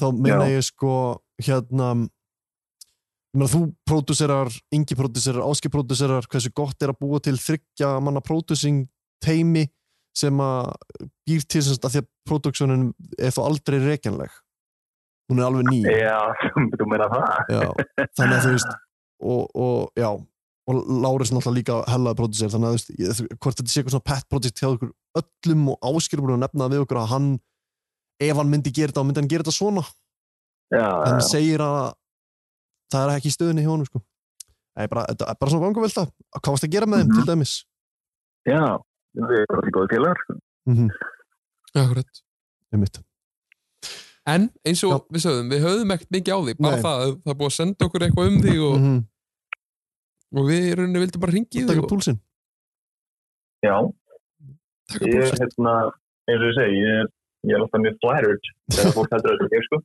Speaker 2: þá meina ég sko hérna ég meina, þú pródúserar, yngi pródúserar áski pródúserar, hversu gott er að búa til þryggja manna pródúsing teimi sem að býr til semst að því að pródúksjónin er þó aldrei reikjanleg hún er alveg ný
Speaker 10: Já, þú meina það.
Speaker 2: já, þannig að þú veist og, og já og Lárus náttúrulega líka hellaði producer þannig að þú veist, ég, þú- hvort þetta sé eitthvað svona pet project hjá okkur öllum og áskilur búin að nefna við okkur að hann, ef hann myndi gera þetta þá myndi hann gera þetta svona,
Speaker 10: Já,
Speaker 2: en hann segir að það er ekki í stöðinni hjá honum sko Nei, bara, þetta er bara svona vangavelta hvað varst að gera með þeim
Speaker 10: Mhm.
Speaker 2: til dæmis
Speaker 10: já, við erum allir góði félagar, sko.
Speaker 2: mm
Speaker 6: Mhm.
Speaker 2: -hmm.
Speaker 5: Akkurat.
Speaker 2: einmitt,
Speaker 5: en eins og við sögðum, við höfðum ekkert mikið á því bara
Speaker 2: Nei.
Speaker 5: það, að það er búið að senda okkur eitthvað um því og,
Speaker 2: mm -hmm.
Speaker 5: og við í rauninni vildum bara ringi í því
Speaker 2: taka
Speaker 5: og
Speaker 2: púlsinn
Speaker 10: Já,
Speaker 5: taka
Speaker 10: ég er
Speaker 5: púls
Speaker 10: hérna, eins og ég segi, ég er, ég er alltaf mjög flattered þegar fólk heldur þetta ekki, sko.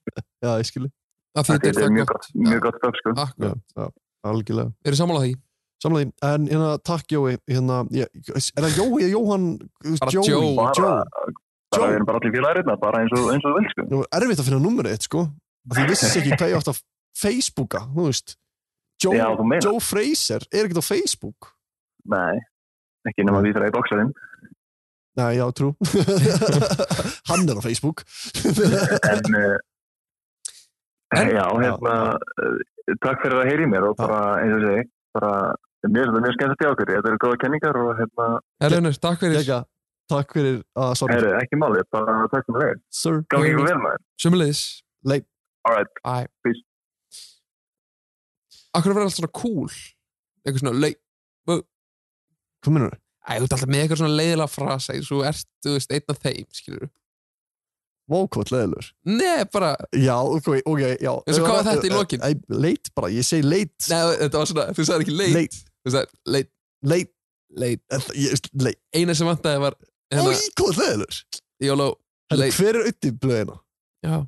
Speaker 2: já, ég skilji,
Speaker 5: að því þetta er það
Speaker 10: mjög
Speaker 5: gott,
Speaker 10: gott, mjög gott stöf, sko.
Speaker 5: Akkurat.
Speaker 2: já, já, algjörlega
Speaker 5: Eru sammála því?
Speaker 2: samlaði, en hérna, takk Jói hérna, ég, er það Jói eða Jóhann
Speaker 5: Bara
Speaker 2: Jói,
Speaker 5: Joe.
Speaker 10: Bara,
Speaker 2: Joe.
Speaker 10: bara
Speaker 2: Joe.
Speaker 10: við erum bara allir félagar hérna, bara eins og, eins og þú vilt, sko.
Speaker 2: Nú er erfitt að finna numrið eitt sko Af Því ég vissi ekki hvað ég átt að Facebooka, þú veist
Speaker 9: Joe,
Speaker 10: Já, þú meinar.
Speaker 9: Joe Fraser er ekkert á Facebook
Speaker 10: Nei, ekki nema því þræði bóksarinn.
Speaker 9: Nei, já,
Speaker 5: <laughs>
Speaker 9: trú Hann er á Facebook
Speaker 10: En, uh, já, hérna, eh, takk fyrir að heyri mér og bara, eins og ég segi, bara, mér finnst þetta mjög skemmt að hjá okkur. Þetta eru góða kenningar og hérna,
Speaker 5: Erlunur, takk fyrir
Speaker 2: Gekka, takk fyrir að svara
Speaker 10: heyri, ekki málið, bara takk fyrir leir.
Speaker 2: Sir,
Speaker 10: Gangi ykkur vel maður.
Speaker 5: Sumulegis
Speaker 2: leik
Speaker 10: All right,
Speaker 5: Æ
Speaker 10: peace.
Speaker 5: Akkur verður alltaf svona cool Eitthvað svona leik
Speaker 2: Hvað minnur?
Speaker 5: Æ, þú ert alltaf með eitthvað svona leiðilega frasa eins og Þú ert, þú veist, einn af þeim, skilur
Speaker 2: Vákvæmt leðilur
Speaker 5: Nei, bara
Speaker 2: Já, ok, ok, já
Speaker 5: Eins og hvað var þetta í lokin?
Speaker 2: Æ, Leit bara, ég segi leit
Speaker 5: Nei, þetta var svona, þú sagði ekki leit
Speaker 2: Leit,
Speaker 5: Þú sagði leit,
Speaker 2: leit,
Speaker 5: leit
Speaker 2: eh, ég- leit
Speaker 5: Eina sem vantaði var hérna,
Speaker 2: Óíkvæmt leðilur
Speaker 5: Jóló, leit
Speaker 2: Hver er auðvitað blöðina?
Speaker 5: Já,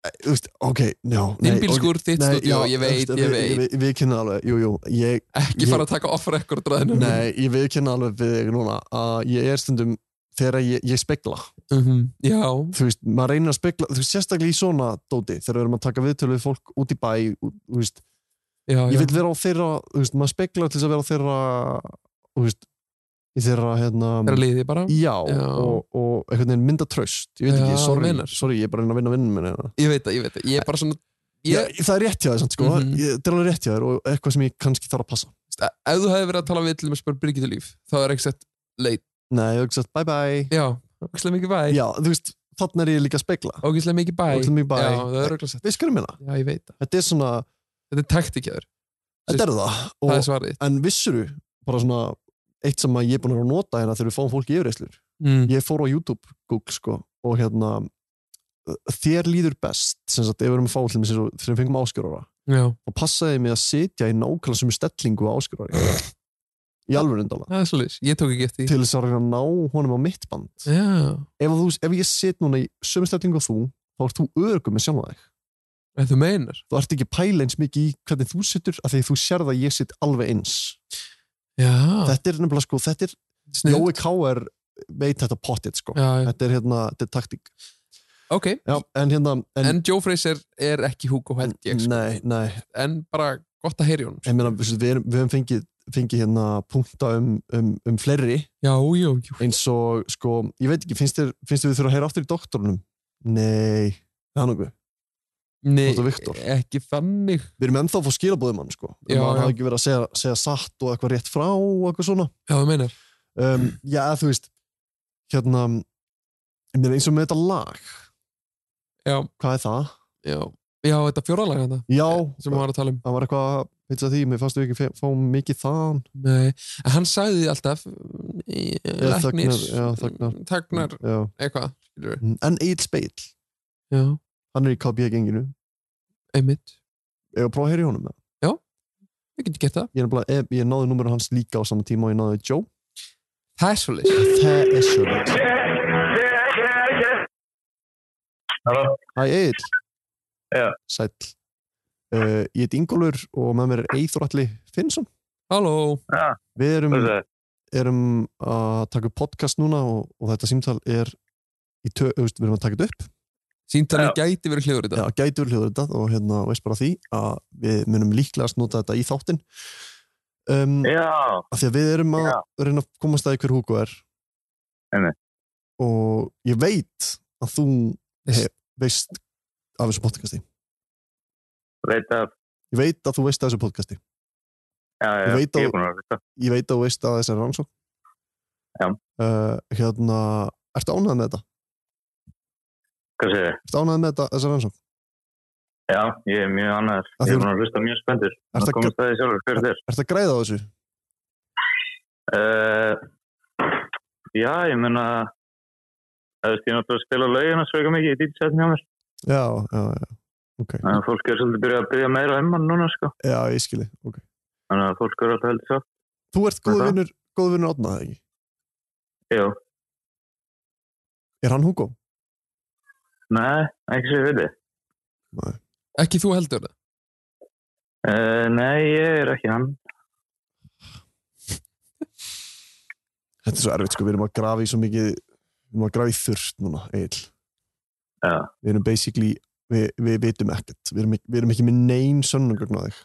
Speaker 2: Þú veist, ok, já nei,
Speaker 5: þinn
Speaker 2: ok.
Speaker 5: bílskur, þitt
Speaker 2: Nei,
Speaker 5: stúdíó,
Speaker 2: já,
Speaker 5: ég veit,
Speaker 2: veist,
Speaker 5: ég
Speaker 2: við-
Speaker 5: veit
Speaker 2: Við, við kynna alveg, jú, jú ég,
Speaker 5: Ekki fara að taka off record ræðinu
Speaker 2: Nei, ég við kynna alveg við þig núna að ég er stundum þegar ég, ég spegla
Speaker 5: Mhm, Já,
Speaker 2: þú veist, maður reynir að spegla, þú veist, sérstaklega í svona dóti, þegar við erum að taka viðtölu við fólk út í bæ, ú- þú veist
Speaker 5: já,
Speaker 2: ég vil
Speaker 5: já
Speaker 2: vera á þeirra, þú veist, maður spegla til þess að vera á þeirra, þú veist í þeirra, hérna
Speaker 5: Það er liðið bara
Speaker 2: Já,
Speaker 5: Já.
Speaker 2: Og, og einhvern veginn mynda traust ég veit
Speaker 5: Já,
Speaker 2: ekki, sorry,
Speaker 5: meinar.
Speaker 2: sorry, ég er bara að reyna að vinna vinnum minni hérna.
Speaker 5: Ég veit það, ég veit það Ég er bara svona
Speaker 2: Já,
Speaker 5: ég,
Speaker 2: það er rétt hjá þér, samt, sko, mm
Speaker 5: Mhm.
Speaker 2: -hmm. það er alveg rétt hjá þér og eitthvað sem ég kannski þarf að passa
Speaker 5: Ef þú hefði verið að tala við til með spyrir Birgitur Líf þá er ekki sett leit
Speaker 2: Nei, ég hef ekki sagt bye bye
Speaker 5: Já, ógislega mikið bæ
Speaker 2: Já, þú veist, þannig er ég líka að spegla
Speaker 5: Ógislega mikið bæ
Speaker 2: Ógeðslega mikið bæ.
Speaker 5: Já, það er ógislega sett
Speaker 2: Við skurum hérna,
Speaker 5: Já, ég veit það
Speaker 2: þetta er svona
Speaker 5: Þetta er taktikjaður
Speaker 2: Þetta er það,
Speaker 5: Það
Speaker 2: og,
Speaker 5: er svarið
Speaker 2: en vissuru bara svona, eitt sem að ég er búin að vera að nota hérna þegar við fáum fólk í yfirreyslur
Speaker 5: mm.
Speaker 2: Ég fór á YouTube Google, sko, og hérna þér líður best sem sagt, ef við erum að fá til mér þegar við fengum áskjörara
Speaker 5: Já,
Speaker 2: og passaði mig að sitja í nákvæmlega sem stellingu á áskjörari
Speaker 5: <laughs>
Speaker 2: í alveg reyndala
Speaker 5: það er svolítið Ég tók ekki eftir því.
Speaker 2: til þess að reyna að ná honum á mitt band
Speaker 5: Já,
Speaker 2: ef, þú, ef ég sit núna í sömu stellingu og þú þá ert þú örgum með sjálfa þig
Speaker 5: en þú meinar
Speaker 2: þú ert ekki að pæla eins mikið í hvernig þú sittur af því þú sér það að ég sitt alveg eins
Speaker 5: Já,
Speaker 2: þetta er nefnilega sko, þetta er
Speaker 5: snið
Speaker 2: Jói K.R. veit þetta pottit sko
Speaker 5: Já, já.
Speaker 2: þetta er hérna, þetta er taktík
Speaker 5: ok
Speaker 2: já, en hérna, en,
Speaker 5: En Joe Fraser er ekki Hugo held ég sko.
Speaker 2: nei, nei
Speaker 5: En bara gott að heyri sko. hún
Speaker 2: ég meina, við, við, erum- við hefum fengið, fengið hérna punkta um, um, um fleiri
Speaker 5: Já, já, já
Speaker 2: eins og sko, ég veit ekki, finnst þér, finnst þér við þurfum að heyra aftur í doktorunum nei, það er nokkuð
Speaker 5: Nei,
Speaker 2: Þetta er Viktor.
Speaker 5: ekki þannig
Speaker 2: við erum ennþá að fá skilabóðum hann sko
Speaker 5: Já,
Speaker 2: um að
Speaker 5: já.
Speaker 2: hann hafi ekki verið að segja, segja satt og eitthvað rétt frá og eitthvað svona
Speaker 5: Já, þú meinar
Speaker 2: um, já, þú veist hérna, ég meina eins og með þetta lag
Speaker 5: Já,
Speaker 2: hvað er það?
Speaker 5: já Já, þetta fjóralega þetta
Speaker 2: Já,
Speaker 5: sem maður var að tala um
Speaker 2: það var eitthvað veitst það því, mér fannst við ekki fe- fá mikið þaðan
Speaker 5: Nei, en hann sagði alltaf eh, læknir,
Speaker 2: þagnar, já, þagnar.
Speaker 5: tagnar
Speaker 2: Já.
Speaker 5: eitthvað, skilur
Speaker 2: Mm, en Egil Speill,
Speaker 5: Já,
Speaker 2: hann er í KB-genginu
Speaker 5: einmitt,
Speaker 2: ég var að prófa að heyra í honum eða?
Speaker 5: við getum gert það
Speaker 2: ég, er nefnilega- eh, ég náði númurinn hans líka á sama tíma og ég náði Joe
Speaker 5: Það er svolítið
Speaker 2: það er svo Hæ Egil
Speaker 10: Já.
Speaker 2: Sæll uh, Ég heit Ingólfur og með mér er Eithor Alli Finnsson
Speaker 5: Halló,
Speaker 2: Við erum,
Speaker 10: Hvað er
Speaker 2: erum að taka upp podcast núna og, og þetta símtal er í tö, þú veist, við erum að taka þetta upp
Speaker 5: síntalið gæti verið hljóður í
Speaker 2: Já,
Speaker 5: dag
Speaker 2: gætur hljóður þetta og hérna veist bara því að við munum líklegast nota þetta í þáttinn um,
Speaker 10: Já,
Speaker 2: af því að við erum að
Speaker 10: Já.
Speaker 2: reyna að komast að hver Hugo er
Speaker 10: Einmitt.
Speaker 2: og ég veit að þú
Speaker 5: Veist.
Speaker 2: hef, veist af þessu podcasti
Speaker 10: veit að,
Speaker 2: ég veit að þú veist af þessu podcasti
Speaker 10: já, já,
Speaker 2: Ég
Speaker 10: ég
Speaker 2: veit að-
Speaker 10: er búin að veit að.
Speaker 2: ég veit að þú veist að þessi er rannsók
Speaker 10: Já.
Speaker 2: uh, hérna, ertu ánægð með þetta?
Speaker 10: Hvað segir þið?
Speaker 2: ertu ánægð með þetta, þessi rannsók?
Speaker 10: Já, ég er mjög annað.
Speaker 2: Að
Speaker 10: Ég
Speaker 2: þú-
Speaker 10: er búin að hlusta mjög spenntur.
Speaker 2: Ertu
Speaker 10: Það
Speaker 2: að-
Speaker 10: komast að því sjálfur, hver þér?
Speaker 2: ertu að græða á þessu?
Speaker 10: Uh, já, ég meina, það veist, ég er náttúrulega að spila laugina sveika mikið í dýtsetni á mér.
Speaker 2: já, já, já, ok
Speaker 10: Þannig að fólk er svolítið byrjað að byrja meira um hann núna, sko.
Speaker 2: já, ég skili, ok
Speaker 10: Þannig að fólk er alltaf heldur svo.
Speaker 2: þú ert góð
Speaker 10: Hvað er það?
Speaker 2: vinnur, góð vinnur átnað, ekki?
Speaker 10: Jú,
Speaker 2: er hann Hugo?
Speaker 10: nei, ekki sem ég veit þið.
Speaker 5: Ekki þú heldur það
Speaker 10: Uh, nei, ég er ekki hann.
Speaker 2: Þetta er svo erfitt sko, við erum að grafa í svo mikið við erum að grafa í þurft núna, Egil
Speaker 10: Já.
Speaker 2: Við erum basically við, við vitum ekkert, við erum, ekki- við erum ekki með neyn sönnugögn á þig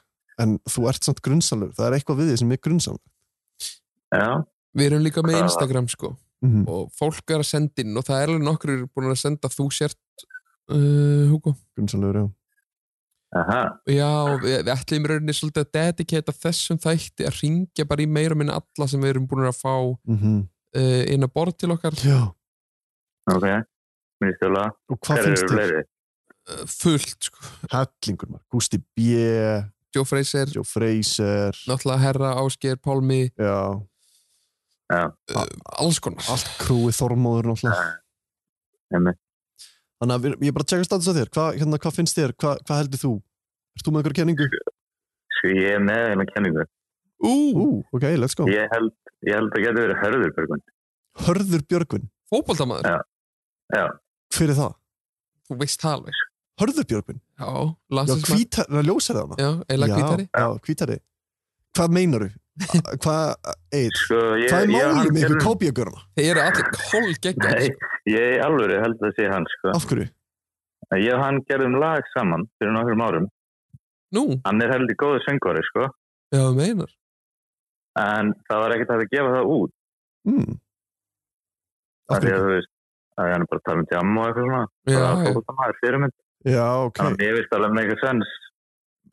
Speaker 2: en þú ert samt grunnsalur, það er eitthvað við því sem er grunnsalur
Speaker 8: Já.
Speaker 5: Við erum líka með
Speaker 8: Bara-
Speaker 5: Instagram sko
Speaker 2: Mhm.
Speaker 5: og fólk er að senda inn og það er alveg nokkur búin að senda þú sért uh, Hugo
Speaker 2: grunnsalur, já
Speaker 8: Aha.
Speaker 5: Já, við, við ætlum í rauninni svolítið að dedikata þessum þætti að ringja bara í meira minna alla sem við erum búin að fá
Speaker 2: -hmm.
Speaker 5: uh, inn að borð til okkar
Speaker 2: Já.
Speaker 8: Ok, mjög stjóla.
Speaker 2: Og hvað finnst þér?
Speaker 5: Fullt sko
Speaker 2: Hellingur maður, Gusti B
Speaker 5: Joe Fraser,
Speaker 2: Joe Fraser
Speaker 5: náttúrulega Herra Ásgeir Pálmi Eh,
Speaker 2: Já.
Speaker 8: Já.
Speaker 5: alls konar
Speaker 2: allt krúið þormóður náttúrulega
Speaker 8: Einmitt.
Speaker 2: þannig að við- ég er bara að tjekka status á þér hvað hérna, hvað finnst þér, hvað, hvað heldur þú erst þú með einhverja kenningu?
Speaker 8: Sko ég er með einu kenningu.
Speaker 2: Ú, ok, let's go
Speaker 8: Ég held, ég held að geta verið hörður, Björgun.
Speaker 2: Hörður Björgvin,
Speaker 5: Fótboltamaður,
Speaker 8: Já,
Speaker 2: hver er það?
Speaker 5: þú veist það alveg
Speaker 2: Hörður Björgvin,
Speaker 5: Já,
Speaker 2: já,
Speaker 5: landsins
Speaker 2: hvítar, það ljósar það hana
Speaker 5: Já, eiginlega hvítari
Speaker 2: já, hvítari hvað
Speaker 5: <laughs>
Speaker 2: meinaru? hvað, eit,
Speaker 8: sko ég...
Speaker 2: hvað er
Speaker 8: ég-
Speaker 2: málið
Speaker 8: hann
Speaker 2: með ykkur
Speaker 8: gerði-
Speaker 2: kópíagörna?
Speaker 5: Þeir eru allir kól geggar
Speaker 8: Nei, ég alveg held að það sé hann, sko.
Speaker 2: af hverju?
Speaker 8: Ég og hann gerðum lag saman fyrir nokkrum árum.
Speaker 5: Nú,
Speaker 8: Hann er heldur góðu söngvari, sko.
Speaker 5: já, um þú meinar
Speaker 8: En það var ekkert hægt að gefa það út.
Speaker 2: Mm. af
Speaker 8: Af því
Speaker 2: hverju?
Speaker 8: að þú veist, að hann er bara að tala um jam og eitthvað svona.
Speaker 5: Já,
Speaker 8: Bara
Speaker 5: já.
Speaker 8: fótboltamaður, fyrirmynd.
Speaker 2: já, ok,
Speaker 8: Þannig að ég veist alveg mega sens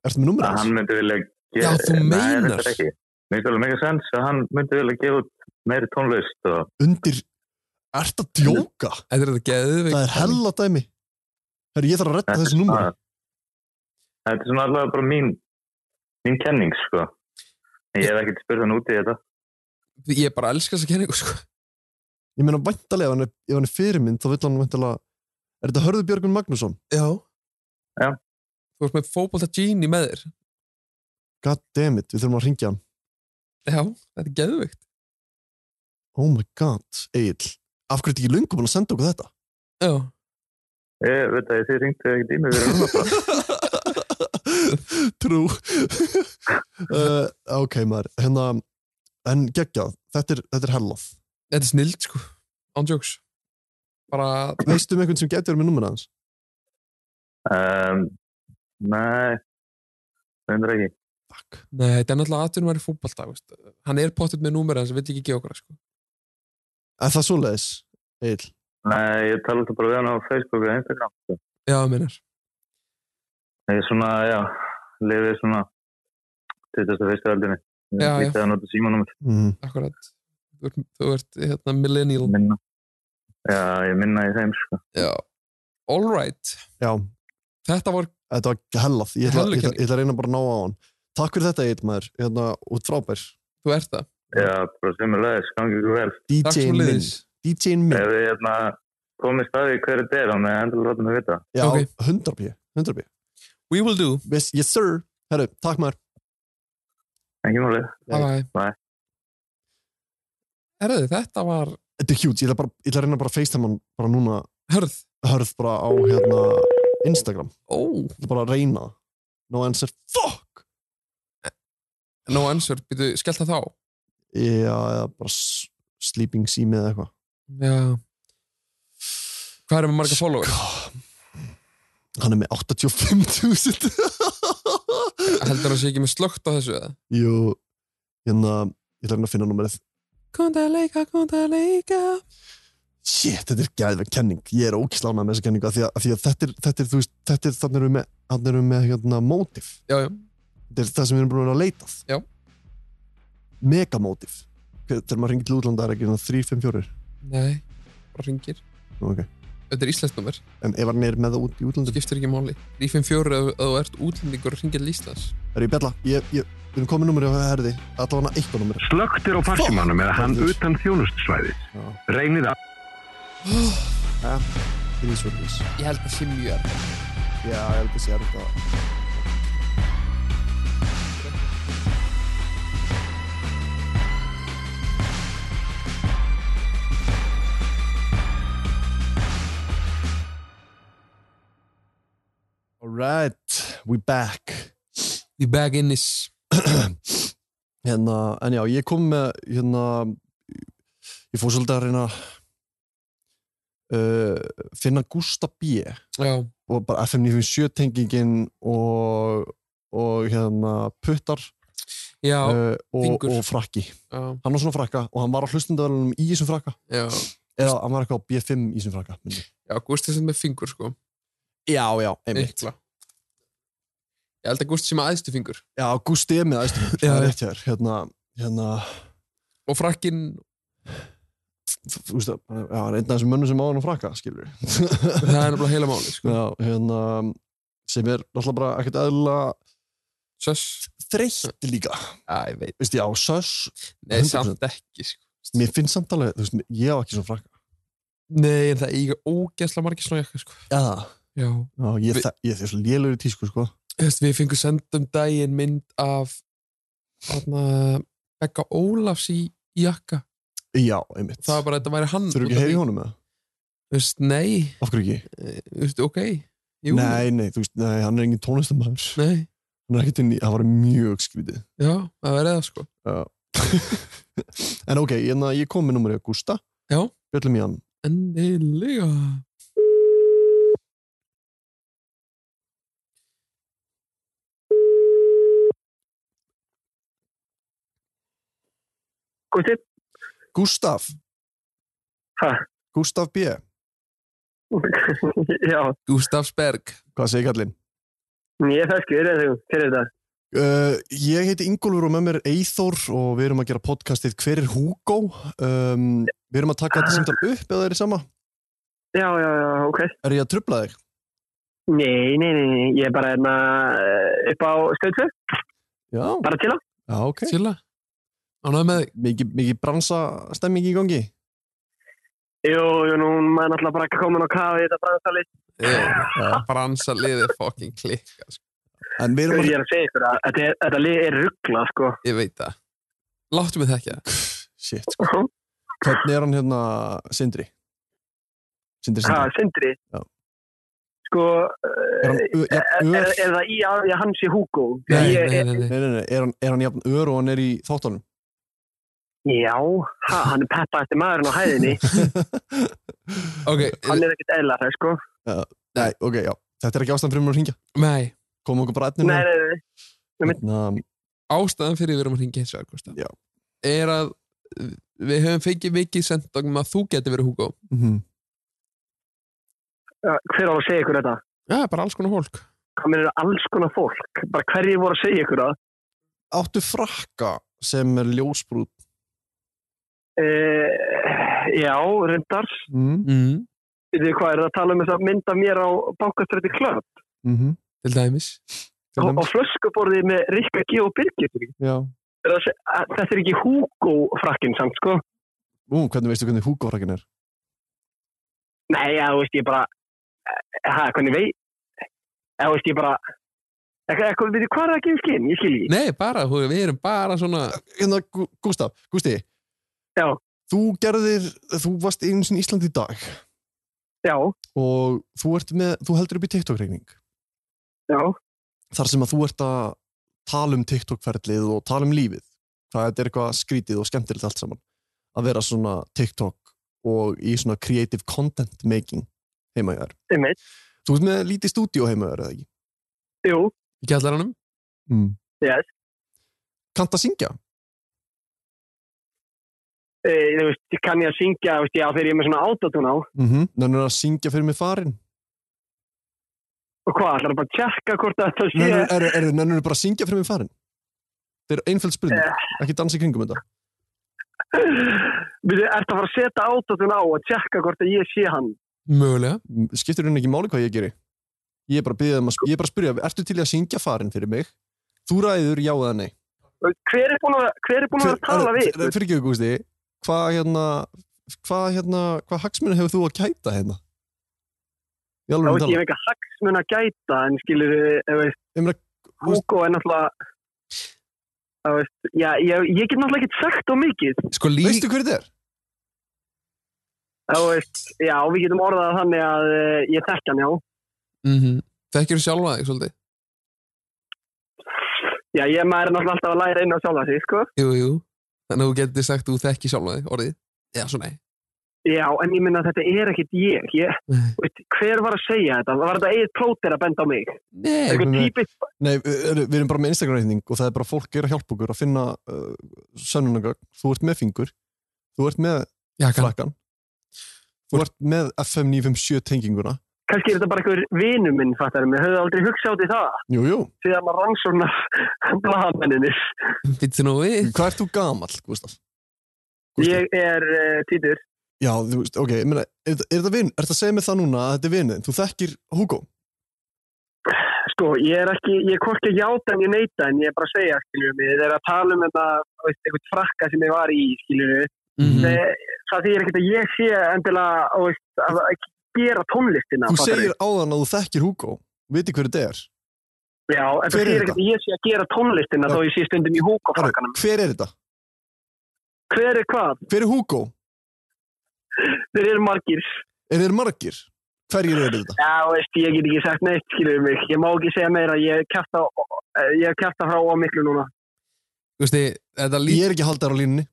Speaker 2: ertu með númur
Speaker 8: að hann
Speaker 2: hans?
Speaker 8: myndi vilja...
Speaker 5: Já, þú
Speaker 8: Nei,
Speaker 5: meinar.
Speaker 8: þetta er ekki. Mér finnst alveg mega sens að hann myndi vilja gefa út meiri tónlist og...
Speaker 2: undir, ertu að djóka?
Speaker 5: Þetta er þetta geðveikt
Speaker 2: það er hella dæmi Herru, ég þarf að redda
Speaker 8: Þetta er
Speaker 2: þessu númur
Speaker 8: svona- Þetta er svona allavega bara mín, mín kenning, sko. Ég hef ekkert spurt hann út í þetta.
Speaker 5: Ég bara elska þessa kenningu sko
Speaker 2: Ég meina, væntalega, ef hann er, ef hann er fyrirmynd, þá vill hann væntalega... Er þetta Hörður Björgun Magnússon?
Speaker 5: Já
Speaker 8: Já.
Speaker 5: Þú ert með fótbolta genie með þér
Speaker 2: God damn it, við þurfum að ringja hann.
Speaker 5: Já, þetta er geðveikt
Speaker 2: Oh my god, Egil. Af hverju er þetta ekki löngu búin að senda okkur
Speaker 5: <laughs>
Speaker 2: þetta?
Speaker 5: Já
Speaker 8: Ég veit að þið ringtu ekkert í mig fyrir hann.
Speaker 5: <laughs>
Speaker 2: Trú. <laughs> uh, ok, maður. Hérna, en geggjað, þetta er, þetta er hellað.
Speaker 5: Þetta er snild sko On jokes Bara
Speaker 2: Veistu um einhvern sem getur verið með numur hans?
Speaker 8: Um, nei, reyndar ekki.
Speaker 2: Fuck.
Speaker 5: Nei, þetta er náttúrulega aðtunum að vera í fótbolta veist. Hann er pottet með númerið hans, hann vill ekki gefa okkur það, sko.
Speaker 2: Er það svoleiðis, Egil?
Speaker 8: Nei, ég tala alltaf bara við hann á Facebook og Instagram. sko.
Speaker 5: Já, um minnar
Speaker 8: Ég er svona, já, lifið svona 21. aldinni.
Speaker 5: Já, já.
Speaker 8: Ég hann út í símanum.
Speaker 2: Mm.
Speaker 5: Akkurat Þú ert, þú ert hérna, millennial
Speaker 8: Minna. Já, ég minna í þeim, sko.
Speaker 5: Já All right
Speaker 2: Já,
Speaker 5: Þetta var
Speaker 2: þetta var hellað. Ég ætla, ég,
Speaker 5: Helluð
Speaker 2: ætla,
Speaker 5: kenning.
Speaker 2: ég ætla að reyna bara að ná á hann. Takk fyrir þetta, Egil, maður. Hérna, út frábær.
Speaker 5: Þú ert það
Speaker 8: Já, bara sem er leiðis, gangi ykkur vel.
Speaker 5: Takk svo
Speaker 2: DJ-in minn.
Speaker 5: liðis
Speaker 2: DJ-in minn.
Speaker 8: Ef við hérna komist að því hverju þetta er, þá með endur láta mig vita.
Speaker 2: Já,
Speaker 5: Ok.
Speaker 2: 100 pí, 100 pí.
Speaker 5: We will do
Speaker 2: Yes, yes sir. Herru, takk maður.
Speaker 8: Engi máli.
Speaker 5: Bye bye
Speaker 8: Bye.
Speaker 5: Herðu, þetta var
Speaker 2: Þetta er huge, ég ætla, bara, ég ætla að reyna bara að facetime hann bara núna
Speaker 5: Hörð
Speaker 2: hörð bara á hérna Instagram.
Speaker 5: Ó
Speaker 2: Ég ætla bara að reyna. það. No answer. Fuck!
Speaker 5: No answer Býtu, skellt það þá
Speaker 2: Já, eða bara s- sleeping sími eða eitthvað.
Speaker 5: Já Hvað erum við marga followers?
Speaker 2: Sko. Hann er með
Speaker 5: <laughs>
Speaker 2: 85.000.
Speaker 5: Heldur hann sé ekki með slögt á þessu eða?
Speaker 2: Jú, hérna, ég ætla að reyna að finna númerið.
Speaker 5: Konda leika, konda leika
Speaker 2: Shit, þetta er gæðveg kenning. Ég er ókislánað með þessa kenningu af því að, af því að þetta, er, þetta er, þú veist, þetta er, þannig erum við með, þannig erum við með hérna mótif.
Speaker 5: Já, já
Speaker 2: þetta er það sem við erum búin að vera að leitað
Speaker 5: Já.
Speaker 2: megamótif Hver- þegar maður ringir til útlanda er ekki hérna 3-5-4
Speaker 5: Nei Bara ringir
Speaker 2: okay.
Speaker 5: Þetta er íslenskt nummer
Speaker 2: en ef hann er með það út í útlanda
Speaker 5: skiptir ekki máli 354 ef ef þú ert útlendingur og ringir til Íslands
Speaker 2: er ég bella, ég, ég, við erum komið numri á herði allavega eitthvað numri
Speaker 13: Slöktir á farsímanum eða hann
Speaker 2: Fuck.
Speaker 13: utan þjónustsvæðis.
Speaker 2: Já.
Speaker 13: Reynið að...
Speaker 2: Ah. þrísvöldis
Speaker 5: Ég held að sé mjög erfitt.
Speaker 2: já, ég held að sé að þetta alright, we back
Speaker 5: Í bag innis
Speaker 2: <clears throat> hérna, en já, ég kom með hérna ég fór svolítið að reyna uh, finna Gústa B
Speaker 5: Já,
Speaker 2: og bara FM 97 tengingin og, og hérna puttar
Speaker 5: Já,
Speaker 2: eh, og,
Speaker 5: fingur.
Speaker 2: og frakki
Speaker 5: Já.
Speaker 2: hann var svona frakka og hann var á hlustundavælunum í þessum frakka
Speaker 5: Já.
Speaker 2: eða hann var eitthvað á B5 í þessum frakka minni.
Speaker 5: Já, Gústi sem með fingur sko
Speaker 2: Já, já, einmitt.
Speaker 5: Mikla. Ég held að Gústi sem með æðstu fingur
Speaker 2: Já, Gústi er með æðstu fingur, það er rétt hjá þér hérna, hérna
Speaker 5: Og frakkinn
Speaker 2: þú veist, bara- já, hann er einn af þessum mönnum sem á hann að frakka, skilur
Speaker 5: Það er nefnilega heila máli sko.
Speaker 2: Já, hérna, sem er náttúrulega bara ekkert eðla
Speaker 5: Söss
Speaker 2: þreytt líka
Speaker 5: Já, ég veit
Speaker 2: Vist, já, sös
Speaker 5: Nei, samt ekki sko.
Speaker 2: Mér finnst samt alveg, þú veist, ég á ekki svona frakka
Speaker 5: Nei, en það eiga ógeðslega margir svona jakka sko.
Speaker 2: Já,
Speaker 5: Já
Speaker 2: já ég,
Speaker 5: Vi-
Speaker 2: Vi... ég er svo lélugur í tísku, sko
Speaker 5: Þú veist, Við fengum sendum daginn mynd af þarna, Begga Ólafs í, í jakka
Speaker 2: Já, einmitt
Speaker 5: Það var bara að þetta væri hann
Speaker 2: Þurfum
Speaker 5: út
Speaker 2: ekki
Speaker 5: af
Speaker 2: að heyra í
Speaker 5: því.
Speaker 2: honum, eða?
Speaker 5: Þú veist, nei,
Speaker 2: Af hverju ekki?
Speaker 5: eh, þú veist, ok Jú,
Speaker 2: Nei, nei, þú veist, nei, hann er engin tónlistamæður
Speaker 5: nei.
Speaker 2: Hann er ekkert inn í, það var mjög skrítið
Speaker 5: Já, það verið það sko
Speaker 2: Já. <laughs> en ok, en ég kom með numrið Gústa
Speaker 5: Já.
Speaker 2: Bjöllum í hann
Speaker 5: Endilega
Speaker 12: Gústi,
Speaker 2: Gústaf
Speaker 12: Ha?
Speaker 2: Gústaf B,
Speaker 12: <laughs> já,
Speaker 5: Gustafsberg
Speaker 2: hvað segir kallinn?
Speaker 12: ég er feskur, hver er þetta?
Speaker 2: Uh, ég heiti Ingólfur og með mér er Eithor og við erum að gera podcastið Hver er Hugo? Um, við erum að taka þetta samtal upp eða er þið sama?
Speaker 12: Já, já, já, ok.
Speaker 2: Er ég að trubla þig?
Speaker 12: Nei, nei, nei, nei, ég er bara hérna eh, upp á stöðsveg,
Speaker 2: Já,
Speaker 12: bara til á.
Speaker 2: já ok
Speaker 5: Silla Ánægð með þig
Speaker 2: Mikið miki bransa stemming í gangi
Speaker 12: Jú, jú, nú er maður náttúrulega bara komin á kafi, þetta bransalist.
Speaker 5: Já, Bransa liðið fucking klikka sko.
Speaker 2: En við erum
Speaker 12: Ég
Speaker 2: að
Speaker 12: er að segja ykkur að þetta, er- þetta lið er ruggla, sko.
Speaker 5: Ég veit það Láttu mig þekkja það.
Speaker 2: <sighs> Shit, sko. hvernig er hann hérna Sindri? Sindri
Speaker 12: Ha,
Speaker 2: Sindri
Speaker 12: Sindri.
Speaker 2: Já.
Speaker 12: Sko, eh,
Speaker 2: Er hann ö- jafn
Speaker 12: er,
Speaker 2: ör?
Speaker 12: er það í að ég hans í Hugo?
Speaker 5: Nei,
Speaker 12: Ég-
Speaker 5: nei, nei, nei.
Speaker 2: Nei, nei, nei, er hann, er hann jafn ör og hann er í þáttunum?
Speaker 12: Já, ha, hann er peppaðasti maðurinn á
Speaker 2: <laughs>
Speaker 12: hæðinni.
Speaker 5: Ok,
Speaker 12: Hann er ekkert eðla það, sko.
Speaker 2: Nei, ok, já. Þetta er ekki ástæðan fyrir mér að ringja.
Speaker 5: nei
Speaker 2: Komum okkur bara
Speaker 12: Nei,
Speaker 2: efninu.
Speaker 12: nei, nei.
Speaker 2: Ná,
Speaker 5: ástæðan fyrir við erum að ringja hins vegar Gústa,
Speaker 2: Já.
Speaker 5: er að við höfum fengið mikið sent um að þú geti verið Hugo
Speaker 2: mhm.
Speaker 12: Ja, Eh, Hver á að segja ykkur þetta?
Speaker 5: Já, bara alls konar fólk
Speaker 12: Hvað mér eru alls konar fólk? Bara hverjir voru að segja ykkur það?
Speaker 2: Áttu frakka sem er ljósbrúð.
Speaker 12: Uh, já, reyndar.
Speaker 2: Mm.
Speaker 5: mm.
Speaker 12: Þið hvað er það að tala um þess að mynda mér á Bákastræti klöpp
Speaker 2: Mm -hmm.
Speaker 5: til dæmis
Speaker 12: á, á flöskuborði með Rikka G og Birgir.
Speaker 2: Já.
Speaker 12: Er það að seg- að- Þetta er ekki Hugo frakkinn samt, sko.
Speaker 2: Ú, hvernig veistu hvernig húkofrakkin er?
Speaker 12: Nei, já, þú veist, ég bara, hæ, hvernig vei, já, þú veist, ég bara, eitthvað, eitthvað, veitir, hvað er það að gefa skinn? Ég skil ekki.
Speaker 5: Nei, bara, þú- við erum bara svona
Speaker 2: Hérna, Gú- Gústaf, Gústi.
Speaker 12: Já.
Speaker 2: Þú gerðir, þú varst einu sinni í Íslandi í dag
Speaker 12: Já,
Speaker 2: og þú, ert með, þú heldur upp í TikTok-reikning.
Speaker 12: já,
Speaker 2: Þar sem að þú ert að tala um TikTok-ferlið og tala um lífið. Það þetta er eitthvað skrítið og skemmtilegt allt saman. Að vera svona TikTok og í svona creative content making heima hjá þér.
Speaker 12: einmitt,
Speaker 2: Þú ert með lítið stúdíó heima þér, eða ekki?
Speaker 12: jú,
Speaker 5: í kjallaranum
Speaker 2: Mm.
Speaker 12: Yes.
Speaker 2: Kanntu að syngja?
Speaker 12: e, þú veist, ég kann ég að syngja, þú veist, já, þegar ég er með svona autotune á,
Speaker 2: Mm -hmm. Nennur að syngja fyrir mig farin?
Speaker 12: og hvað, ætlar bara að tjekka hvort að það sé,
Speaker 2: Nennur, er, er, nennur bara að syngja fyrir mig farin? Þetta er einföld spurning,
Speaker 12: Eh.
Speaker 2: ekki dansa í kringum þetta.
Speaker 12: <laughs> veitir, ert að fara að setja autotune á og tjekka hvort að ég sé hann,
Speaker 5: mögulega,
Speaker 2: M- Skiptir henni ekki máli hvað ég geri? Ég er bara að, biðja um að, sp- ég er bara að spyrja, ertu til í að syngja farin fyrir mig? Þú ræður já eða nei.
Speaker 12: Þú veist, hver er búin að, hver er búin að vera að tala við, þú veist?
Speaker 2: Fyrir ekki, Gústi, hvað hérna, hvað hérna, hvað hagsmunni hefur þú að gæta hérna?
Speaker 12: þá
Speaker 2: Ég alveg að
Speaker 12: veist, ég hef
Speaker 2: tala.
Speaker 12: eitthvað hagsmun að gæta, en skilur, þú veist,
Speaker 2: Ég meina, þú veist-
Speaker 12: Hugo er náttúrulega, þú veist, já, ég, ég get náttúrulega ekki sagt á mikið,
Speaker 5: sko lík
Speaker 2: Veistu hver þetta er?
Speaker 12: Þú veist, já, við getum orðað það þannig að uh, ég þekki hann, já.
Speaker 5: mm -hmm. þekkir þú sjálfa þig svolítið
Speaker 12: Já, ég maður er náttúrulega alltaf að læra inn á sjálfa sig, sko.
Speaker 5: jú, jú. þannig að þú getur sagt þú þekkir sjálfa þig orðið, já, svona nei
Speaker 12: Já, en ég minna að þetta er ekkit ég. ég
Speaker 2: <laughs>
Speaker 12: veit, hver var að segja þetta? Var þetta eigið plóter að benda á mig?
Speaker 2: Nei,
Speaker 12: Eitthvað
Speaker 2: við-
Speaker 12: típist,
Speaker 2: Nei, við, erum- við erum bara með Instagram-reyning og það er bara fólk er að hjálpa okkur að finna uh, sönnunagögn. Þú ert með fingur, þú ert með Jakan. flakkan, þú ert með FM 957 tenginguna.
Speaker 12: kannski er þetta bara einhver vinur minn, fattar mig. Hefðu aldrei hugsað út í það.
Speaker 2: Jú, jú.
Speaker 12: Síðan maður rannsóknar blaðamenninir.
Speaker 5: Býttu nú við.
Speaker 2: Hvað ert þú gamall, Gustaf?
Speaker 12: Ég er uh, títur.
Speaker 2: Já, þú veist, ok, ég meina, er, þetta- er þetta vinn? Er þetta að segja mig það núna að þetta er vinnin? Þú þekkir Hugo?
Speaker 12: Sko, ég er ekki, ég er hvorki að játa en ég neita en ég er bara að segja, skiljum mig. Þeir eru að tala um þetta, þú veist, einhvern frakka sem ég var í, skiljum mig.
Speaker 5: Mm
Speaker 2: Mhm.
Speaker 12: Það þýðir ekkert að ég sé endilega, þú veist, að, að gera tónlistina.
Speaker 2: Þú
Speaker 12: fattarðu?
Speaker 2: segir áðan að þú þekkir Hugo, viti hverju þetta er.
Speaker 12: Já, en
Speaker 2: Hver
Speaker 12: það
Speaker 2: er
Speaker 12: þýðir
Speaker 2: þetta?
Speaker 12: ekkert að ég sé að gera tónlistina þó ég sé stundum í húkafrakkanum.
Speaker 2: Hver er þetta?
Speaker 12: Hver er hvað?
Speaker 2: Hver er Hugo?
Speaker 12: Þeir eru margir.
Speaker 2: Er þeir margir? Hverjir eru þetta?
Speaker 12: Já, veist, ég get ekki sagt neitt, skiljum mig. Ég má ekki segja meira, ég kæfta, ég kæfta frá á miklu núna.
Speaker 5: Gusti, þetta líf...
Speaker 2: Ég er ekki haldar á línni.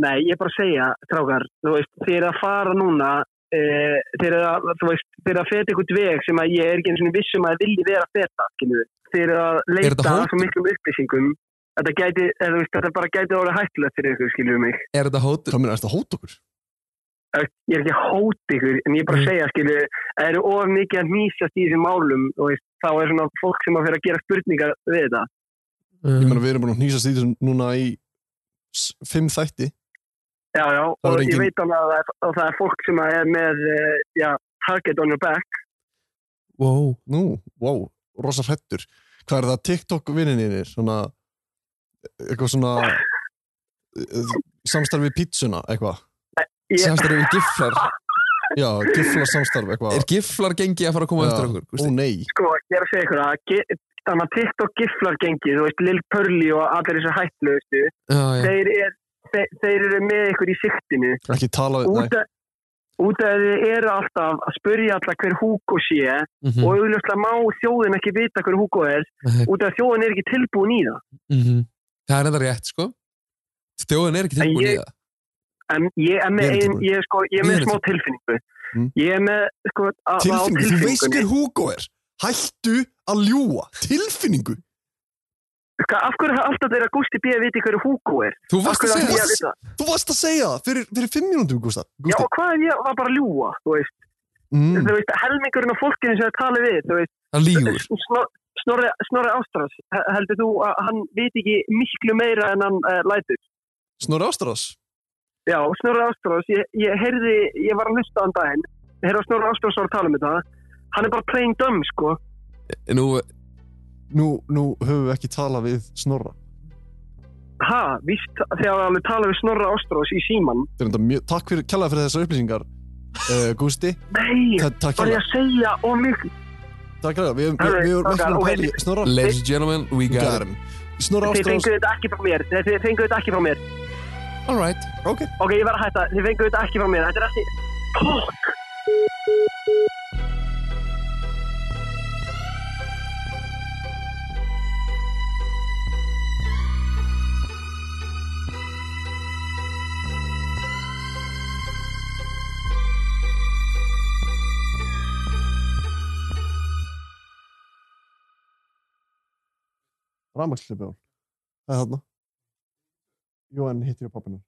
Speaker 12: Nei, ég er bara að segja, trákar, þú veist, þeir eru að fara núna, e, þeir eru að, þú veist, þeir eru að feta einhvern veg sem að ég er ekki eins og vissum um að vilji vera að feta, skiljum við. Þeir eru að leita
Speaker 5: hótun?
Speaker 12: að svo miklum upplýsingum. Þetta gæti, eða, þú veist, þetta bara gæti að vera hættilegt fyrir ykkur, skiljum mig. Eh,
Speaker 5: Er þetta hótun?
Speaker 2: Hvað meina, er þetta hótun okkur?
Speaker 12: Ég er ekki að hóta ykkur, en ég er bara að
Speaker 5: Mm.
Speaker 12: segja, skiljum við, það eru of mikið að nýsast í þessum málum, þú veist, þá er svona fólk sem að fyrir að gera spurningar við þetta.
Speaker 2: Ég
Speaker 5: Um,
Speaker 2: meina, við erum búin að hnýsast í þessu núna í s- fimm þætti.
Speaker 12: Já, já,
Speaker 2: Það
Speaker 12: og
Speaker 2: var engin-
Speaker 12: ég veit alveg að það er, að það er fólk sem að er með, eh, já, target on your back.
Speaker 5: Wow.
Speaker 2: Nú, wow, rosa hrettur. Hvað er það TikTok vinninir? Svona, eitthvað svona eh, samstarfi pítsuna, eitthvað.
Speaker 12: Ég-
Speaker 5: Samstarfi við giflar.
Speaker 2: Já, giflar samstarf, eitthvað.
Speaker 5: Er giflar gengi að fara að koma
Speaker 2: Já.
Speaker 5: eftir okkur?
Speaker 2: Ó nei.
Speaker 12: Sko, ég er að segja ykkur að ge- þannig að TikTok giflar gengið, þú veist, Lil Purli og allir þessu hættlu, veistu,
Speaker 5: Já, já.
Speaker 12: þeir, er, þeir, þeir eru með ykkur í siktinu.
Speaker 2: Ekki tala við,
Speaker 12: Út
Speaker 2: nei.
Speaker 12: að, út að þið eru alltaf að spurja alla hver Hugo sé
Speaker 5: Mhm.
Speaker 12: og auðvitað má þjóðin ekki vita hver Hugo er,
Speaker 5: Nei.
Speaker 12: út að þjóðin er ekki tilbúin í það.
Speaker 5: Mm Það er þetta rétt, sko. Þjóðin er ekki
Speaker 12: En
Speaker 5: tilbúin í
Speaker 12: ég-
Speaker 5: það.
Speaker 12: En ég er með,
Speaker 5: Ég er
Speaker 12: ein,
Speaker 5: tilbúin.
Speaker 12: ég, er sko, ég er
Speaker 5: Ég
Speaker 12: með
Speaker 5: er
Speaker 12: smá
Speaker 5: tilbúin.
Speaker 12: tilfinningu.
Speaker 2: Mm.
Speaker 12: Ég er með, sko, að- á
Speaker 2: Tilfinningu, þú veist
Speaker 12: tilfinningunni.
Speaker 2: hver Hugo er. Hættu að ljúa. Tilfinningu.
Speaker 12: Sko, Af hverju er alltaf þeirra Gusti B. að viti hverju Hugo er?
Speaker 5: Þú varst
Speaker 12: Af hverju
Speaker 5: að
Speaker 12: ætti
Speaker 5: segja
Speaker 12: ég að
Speaker 5: það.
Speaker 12: vita?
Speaker 2: Þú varst að segja það fyrir, fyrir fimm mínúndum, Gústa.
Speaker 12: Já, og hvað ef ég var bara að ljúa, þú veist?
Speaker 2: Mm.
Speaker 12: þú veist, helmingurinn af fólkinu sem það tala við, þú veist,
Speaker 5: Það lígur.
Speaker 12: snor, snorri, snorri Ástrás, he- heldur þú að hann viti ekki miklu meira en hann uh, lætur?
Speaker 2: Snorri Ástrás.
Speaker 12: Já, Snorri Ástrás, ég, ég heyrði, ég var að hlusta á hann daginn, ég heyrði að Snorri Ástrás var að tala um þetta, hann er bara playing dumb, sko.
Speaker 5: Nú, eh,
Speaker 2: Nú, nú höfum við ekki talað við Snorra.
Speaker 12: Ha, víst, þegar hann tala við Snorri Ástrás í síman,
Speaker 2: Þetta er enda mjög, takk fyrir, kjallaði fyrir þessar upplýsingar, uh, Gústi.
Speaker 12: nei,
Speaker 2: Ta- Takk
Speaker 12: var ég
Speaker 2: kjallaði.
Speaker 12: að segja of mikið.
Speaker 2: Takk kjallaði. Við erum-
Speaker 12: Alright,
Speaker 2: við- við erum ekki
Speaker 12: okkar,
Speaker 2: með
Speaker 12: ok.
Speaker 2: pæli. Snorra,
Speaker 5: ladies and gentlemen, we
Speaker 2: we got
Speaker 5: got it.
Speaker 2: him. Snorra
Speaker 12: Þið
Speaker 2: Ástrás.
Speaker 12: fenguðu þetta ekki frá mér, þið þið fenguðu þetta ekki frá mér.
Speaker 5: All right.
Speaker 2: Ok.
Speaker 12: Ok, ég verð að hætta, þið fenguðu þetta ekki frá mér, þetta er ekki... Fuck!
Speaker 2: Ramagslipi á. Það er þarna. Jóhann hittir á pappinu.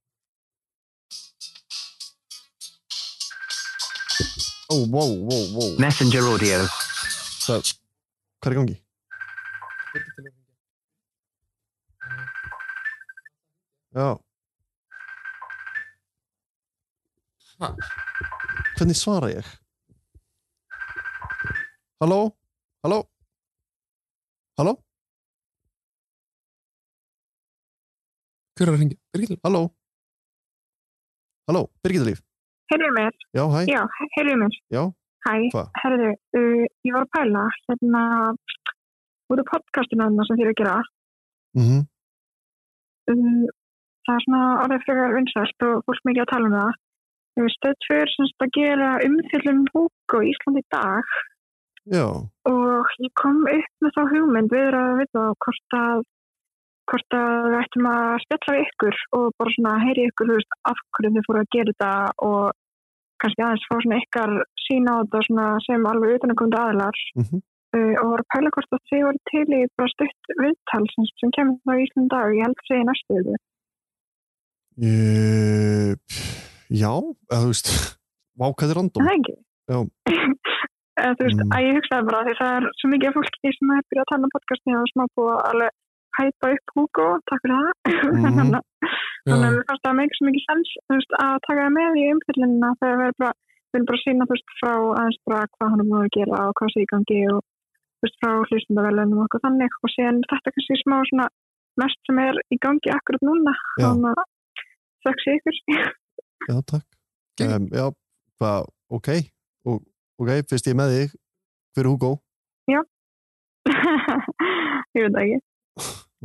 Speaker 2: Ó, wow, wow, wow.
Speaker 7: Messenger audio.
Speaker 2: Það, hvað er í gangi? Já.
Speaker 5: Ha?
Speaker 2: Hvernig svara ég? Halló? Halló? Halló?
Speaker 5: Hver er að ringja? Birgit,
Speaker 2: Halló? Halló? Birgitta Líf?
Speaker 14: Heyrðu mér,
Speaker 2: Já, hæ?
Speaker 14: já, heyrðu mér.
Speaker 2: Já.
Speaker 14: Hæ,
Speaker 2: Hvað?
Speaker 14: heyrðu, uh, ég var að pæla, hérna, út af podcastinu hennar sem þér eru að gera,
Speaker 2: Mhm.
Speaker 14: uh, það er svona orðið frekar vinsælt og fólk mikið að tala um það. Uh, Stöð 2 er sem sagt að gera um umfyllum húk og Ísland í dag
Speaker 2: Já.
Speaker 14: og ég kom upp með þá hugmynd við erum að vita hvort að hvort að við ættum að spjalla við ykkur og bara svona heyri ykkur þú veist, af hverju þið fóru að gera þetta og kannski aðeins fá svona ykkar sína á þetta svona sem alveg utanakomandi aðilar uh, og voru að pæla hvort að þið voru til í bara stutt viðtal sem, sem kemur þá í Ísland dag ég held að segja næstu yfir
Speaker 2: Ég- Já, eða þú veist <laughs> Vá, hvað þetta er random
Speaker 14: það er ekki
Speaker 2: Já,
Speaker 14: eða þú veist,
Speaker 2: Mm.
Speaker 14: að ég hugsaði bara því það er svo mikið af fólki sem er byrjað að tala um podcastin og smá búið að alveg hæpa upp Hugo, takk fyrir það
Speaker 7: Mhm.
Speaker 14: <laughs> þannig að- þannig að
Speaker 7: Já.
Speaker 14: við fannst það meikið svo mikið sens þú veist, að taka það með í umfyllunina þegar við erum bara, við erum bara sína þú veist, frá aðeins bara hvað hann er búin að gera og hvað sé í gangi og þú veist, frá hlustendavelunum og okkur þannig og síðan þetta kannski smá svona mest sem er í gangi akkurat núna
Speaker 2: Já.
Speaker 14: þannig að þökk sé ykkur <laughs>
Speaker 2: já takk um, Já, hvað, ok og, Ok, fyrst ég er með þig Hver er Hugo?
Speaker 14: já <laughs> ég veit það ekki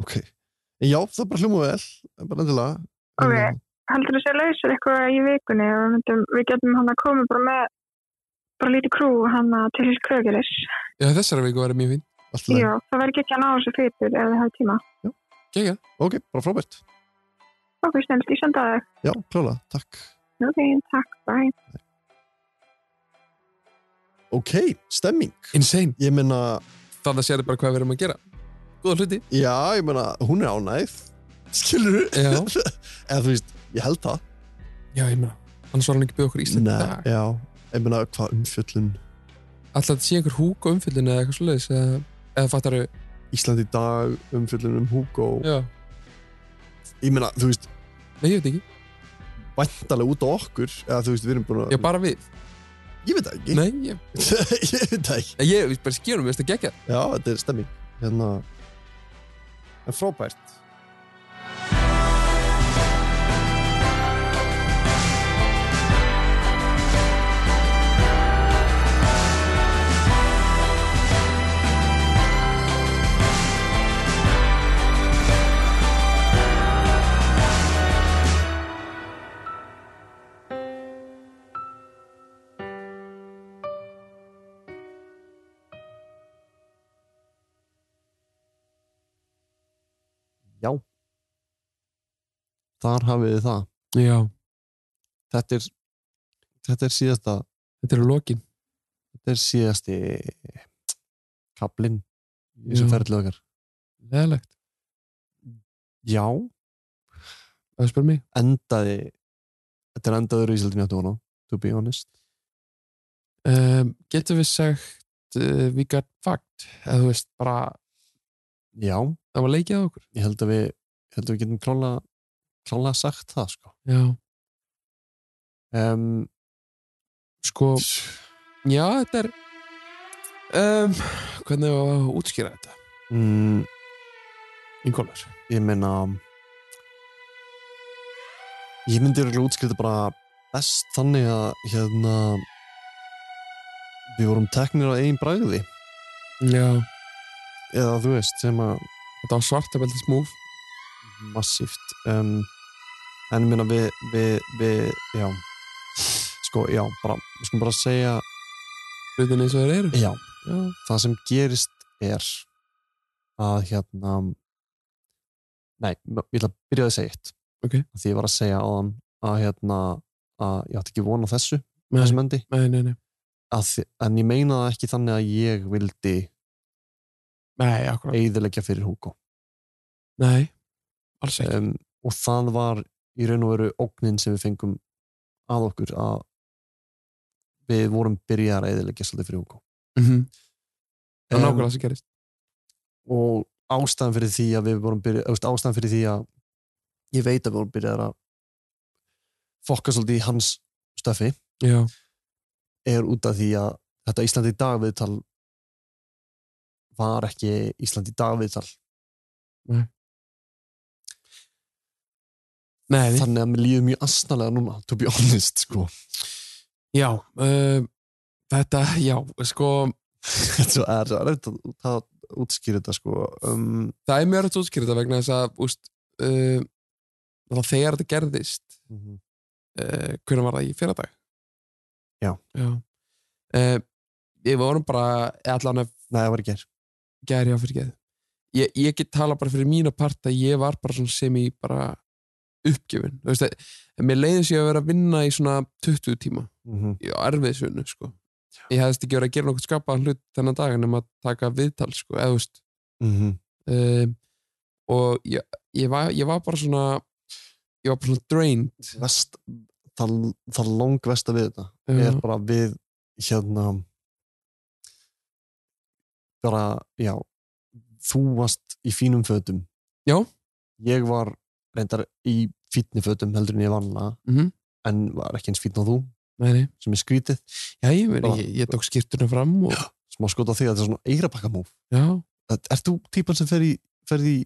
Speaker 2: Ok En Já, það bara hljóma vel en bara endilega
Speaker 14: Ok, heldur þú að sé lausur eitthvað í vikunni og við, myndum, við getum hann að koma bara með bara lítið krú hann til krögilis
Speaker 5: Já, þessara viku verið mjög fín.
Speaker 14: Já, það verður ekki að ná þessu fyrir ef þið hafa tíma
Speaker 5: Gekja.
Speaker 2: Ok, bara frábært
Speaker 14: Ok, snill, ég senda það
Speaker 2: Já, klála, takk
Speaker 14: Ok, takk, bæ
Speaker 2: Ok, stemming
Speaker 5: Insane
Speaker 2: Ég meina
Speaker 5: Þannig að sér bara hvað við erum að gera Góða hluti
Speaker 2: Já, ég meina, hún er ánægð Skilur þú?
Speaker 5: Já
Speaker 2: <laughs> Eða þú veist, ég held það
Speaker 5: Já, ég meina Annars var hann ekki byggð okkur Ísland
Speaker 2: Nei, já Ég meina, hvað umfjöllun
Speaker 5: Alltaf þetta sé einhver húk á umfyllinu eða eitthvað svoleiðis eða, eða fattar þau
Speaker 2: Ísland í dag, umfjöllun um Hugo
Speaker 5: Já
Speaker 2: Ég meina, þú veist
Speaker 5: Nei, ég veit ekki
Speaker 2: Væntalega út á okkur Eða þú veist, við erum búin að
Speaker 5: Já, bara við
Speaker 2: Ég veit það ekki
Speaker 5: Nei, ég
Speaker 2: <laughs> Ég veit það ekki
Speaker 5: Ég, ég bara skýrum, við veist að gegja
Speaker 2: Já, þetta er stemming Hérna En frábært Já Þar hafið þið það
Speaker 5: Já
Speaker 2: Þetta er Þetta er síðasta
Speaker 5: Þetta er lokin
Speaker 2: Þetta er síðasti Kablin Í
Speaker 5: Já.
Speaker 2: þessu ferðlið okkar
Speaker 5: Leðalegt
Speaker 2: Já
Speaker 5: Það spyr mig
Speaker 2: Endaði Þetta er endaður í Ísildin Játtu hana To be honest
Speaker 5: um, Getum við sagt uh, We got fucked Eða þú veist, bara
Speaker 2: Já
Speaker 5: Það var leikið á okkur
Speaker 2: Ég held að við Ég held að við getum klálega Klálega sagt það sko
Speaker 5: Já
Speaker 2: um,
Speaker 5: Sko Já, þetta er um, Hvernig á að útskýra þetta?
Speaker 2: mm, <laughs>
Speaker 5: Ingólfur
Speaker 2: Ég meina Ég myndi örugglega útskýra þetta bara best þannig að hérna við vorum teknir á einn bragði
Speaker 5: Já
Speaker 2: eða þú veist sem að
Speaker 5: Þetta var svartabeltis múf
Speaker 2: massíft um, en ég meina við, við, við já sko já bara, við skulum bara segja
Speaker 5: hlutin eins og þeir eru
Speaker 2: já, já. það sem gerist er að hérna nei, ég ætla að byrja að segja eitt
Speaker 5: okay.
Speaker 2: því ég var að segja á þann að hérna að ég átti ekki von á þessu
Speaker 5: Nei.
Speaker 2: þessum endi
Speaker 5: Nei, nei, nei
Speaker 2: að, þi- en ég meina það ekki þannig að ég vildi
Speaker 5: Nei, akkurat
Speaker 2: eigðilegja fyrir Hugo
Speaker 5: Nei, alls ekki
Speaker 2: um, og það var í raun og veru ógnin sem við fengum að okkur að við vorum byrjar að eigðilegja svolítið fyrir Hugo
Speaker 5: Mhm. Það er
Speaker 2: Em,
Speaker 5: nákvæmlega sem gerist
Speaker 2: og ástæðan fyrir því að við vorum byrja, veist, ástæðan fyrir því að ég veit að við vorum byrjað að fokka svolítið í hans stöfi
Speaker 5: Já.
Speaker 2: er út af því að þetta Ísland í dag viðtal var ekki Ísland í dag viðtal
Speaker 5: Nei. Nei,
Speaker 2: þannig að mér líður mjög asnalega núna to be honest sko
Speaker 5: Já, uh, þetta, já, sko
Speaker 2: Þetta er svo erfitt að það útskýra þetta sko um,
Speaker 5: Það er mjög rætt útskýrða vegna þess að úst, uh, það þegar þetta gerðist
Speaker 2: mm -hmm.
Speaker 5: uh, hvernig var það í fyrradag
Speaker 2: Já.
Speaker 5: Já uh, Eh, Við vorum bara allan að
Speaker 2: Nei, það var í gær
Speaker 5: Gær, já, fyrir geð ég, ég get tala bara fyrir mína part að ég var bara svona sem í bara uppgjöfin þú veist að mér leiðis ég að vera að vinna í svona 20 tíma
Speaker 2: Mhm.
Speaker 5: í erfiðsvinnu sko ég hefðist ekki verið að gera nokkuð skapa hlut þennan dag nema að taka viðtal sko eða þú veist
Speaker 2: Mhm.
Speaker 5: um, og ég, ég, var, ég var bara svona ég var bara svona drained
Speaker 2: Vest, það, það langvesta við þetta
Speaker 5: Já.
Speaker 2: er bara við hérna bara, já þú varst í fínum fötum
Speaker 5: já.
Speaker 2: ég var reyndar í fínni fötum heldur en ég vanna
Speaker 5: Mhm.
Speaker 2: en var ekki eins fínn á þú
Speaker 5: Nei, nei.
Speaker 2: sem er skrítið
Speaker 5: já, ég, meina, ég, ég tók skýrtuna fram og...
Speaker 2: smá skot á því að þetta er svona eirabakkamúf
Speaker 5: Já.
Speaker 2: er þú típan sem fer í, fer í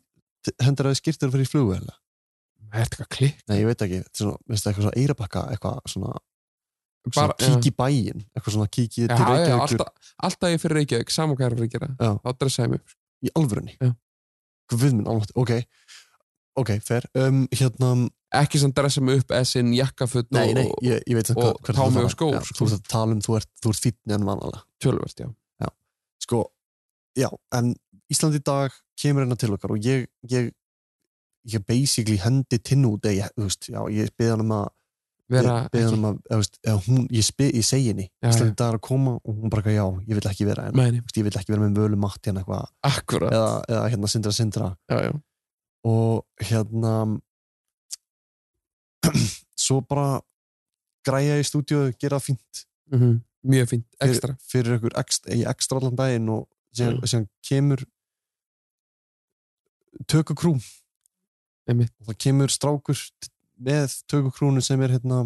Speaker 2: hendur að skýrtur og fer í flugu eða?
Speaker 5: Er þetta eitthvað klikk?
Speaker 2: Nei, ég veit ekki, þetta er svona, minnst það eitthvað svona eirabakka, eitthvað svona, svona
Speaker 5: Bara-
Speaker 2: kíki bæinn, eitthvað svona kíki
Speaker 5: Já,
Speaker 2: til
Speaker 5: já,
Speaker 2: Reykjavíkur.
Speaker 5: alltaf, alltaf ég fyrir Reykjavík saman hvað er að gera
Speaker 2: Já.
Speaker 5: þá dressaði mig upp, sko.
Speaker 2: Í alvörunni?
Speaker 5: Já.
Speaker 2: Guð minn, alveg, ok. Ok, fer. Um, hérna...
Speaker 5: Ekki sem dressa mig upp eða sinn jakkafutt
Speaker 2: Nei,
Speaker 5: og-
Speaker 2: nei, ég, ég veit samt
Speaker 5: og
Speaker 2: hvert
Speaker 5: támi
Speaker 2: þú ert að
Speaker 5: og
Speaker 2: fara.
Speaker 5: skór,
Speaker 2: Já,
Speaker 5: sko.
Speaker 2: Þú ert að tala um, þú ert, þú ert fínn en vanalega.
Speaker 5: Tölvöld, já.
Speaker 2: Já, sko, já, en Ísland í dag kemur hérna til okkar og ég, ég, ég basically hendi tinn út, eða ég, þú veist, já, ég beði hann um að
Speaker 5: Vera
Speaker 2: beði
Speaker 5: ekki.
Speaker 2: hann um að, eða, þú veist, eða hún, ég, spe, ég segi henni,
Speaker 5: Já,
Speaker 2: Ísland
Speaker 5: já.
Speaker 2: í dag er að koma og hún bara, eitthvað, já, ég vil ekki vera henni,
Speaker 5: Nei, nei.
Speaker 2: Þú veist, ég vil ekki vera með völu matti henni eitthvað,
Speaker 5: Akkúrat.
Speaker 2: eða, eða hérna sindra sindra,
Speaker 5: já, já.
Speaker 2: og hérna, <clears throat> svo bara græja í stúdíu, gera fínt,
Speaker 5: Mhm. mjög fínt,
Speaker 2: ekstra fyrir, fyrir ykkur ekstra, í ekstra allan daginn og síðan,
Speaker 5: Já.
Speaker 2: síðan kemur tökukrú
Speaker 5: Einmitt.
Speaker 2: og það kemur strákur t- með tökukrúnu sem er hérna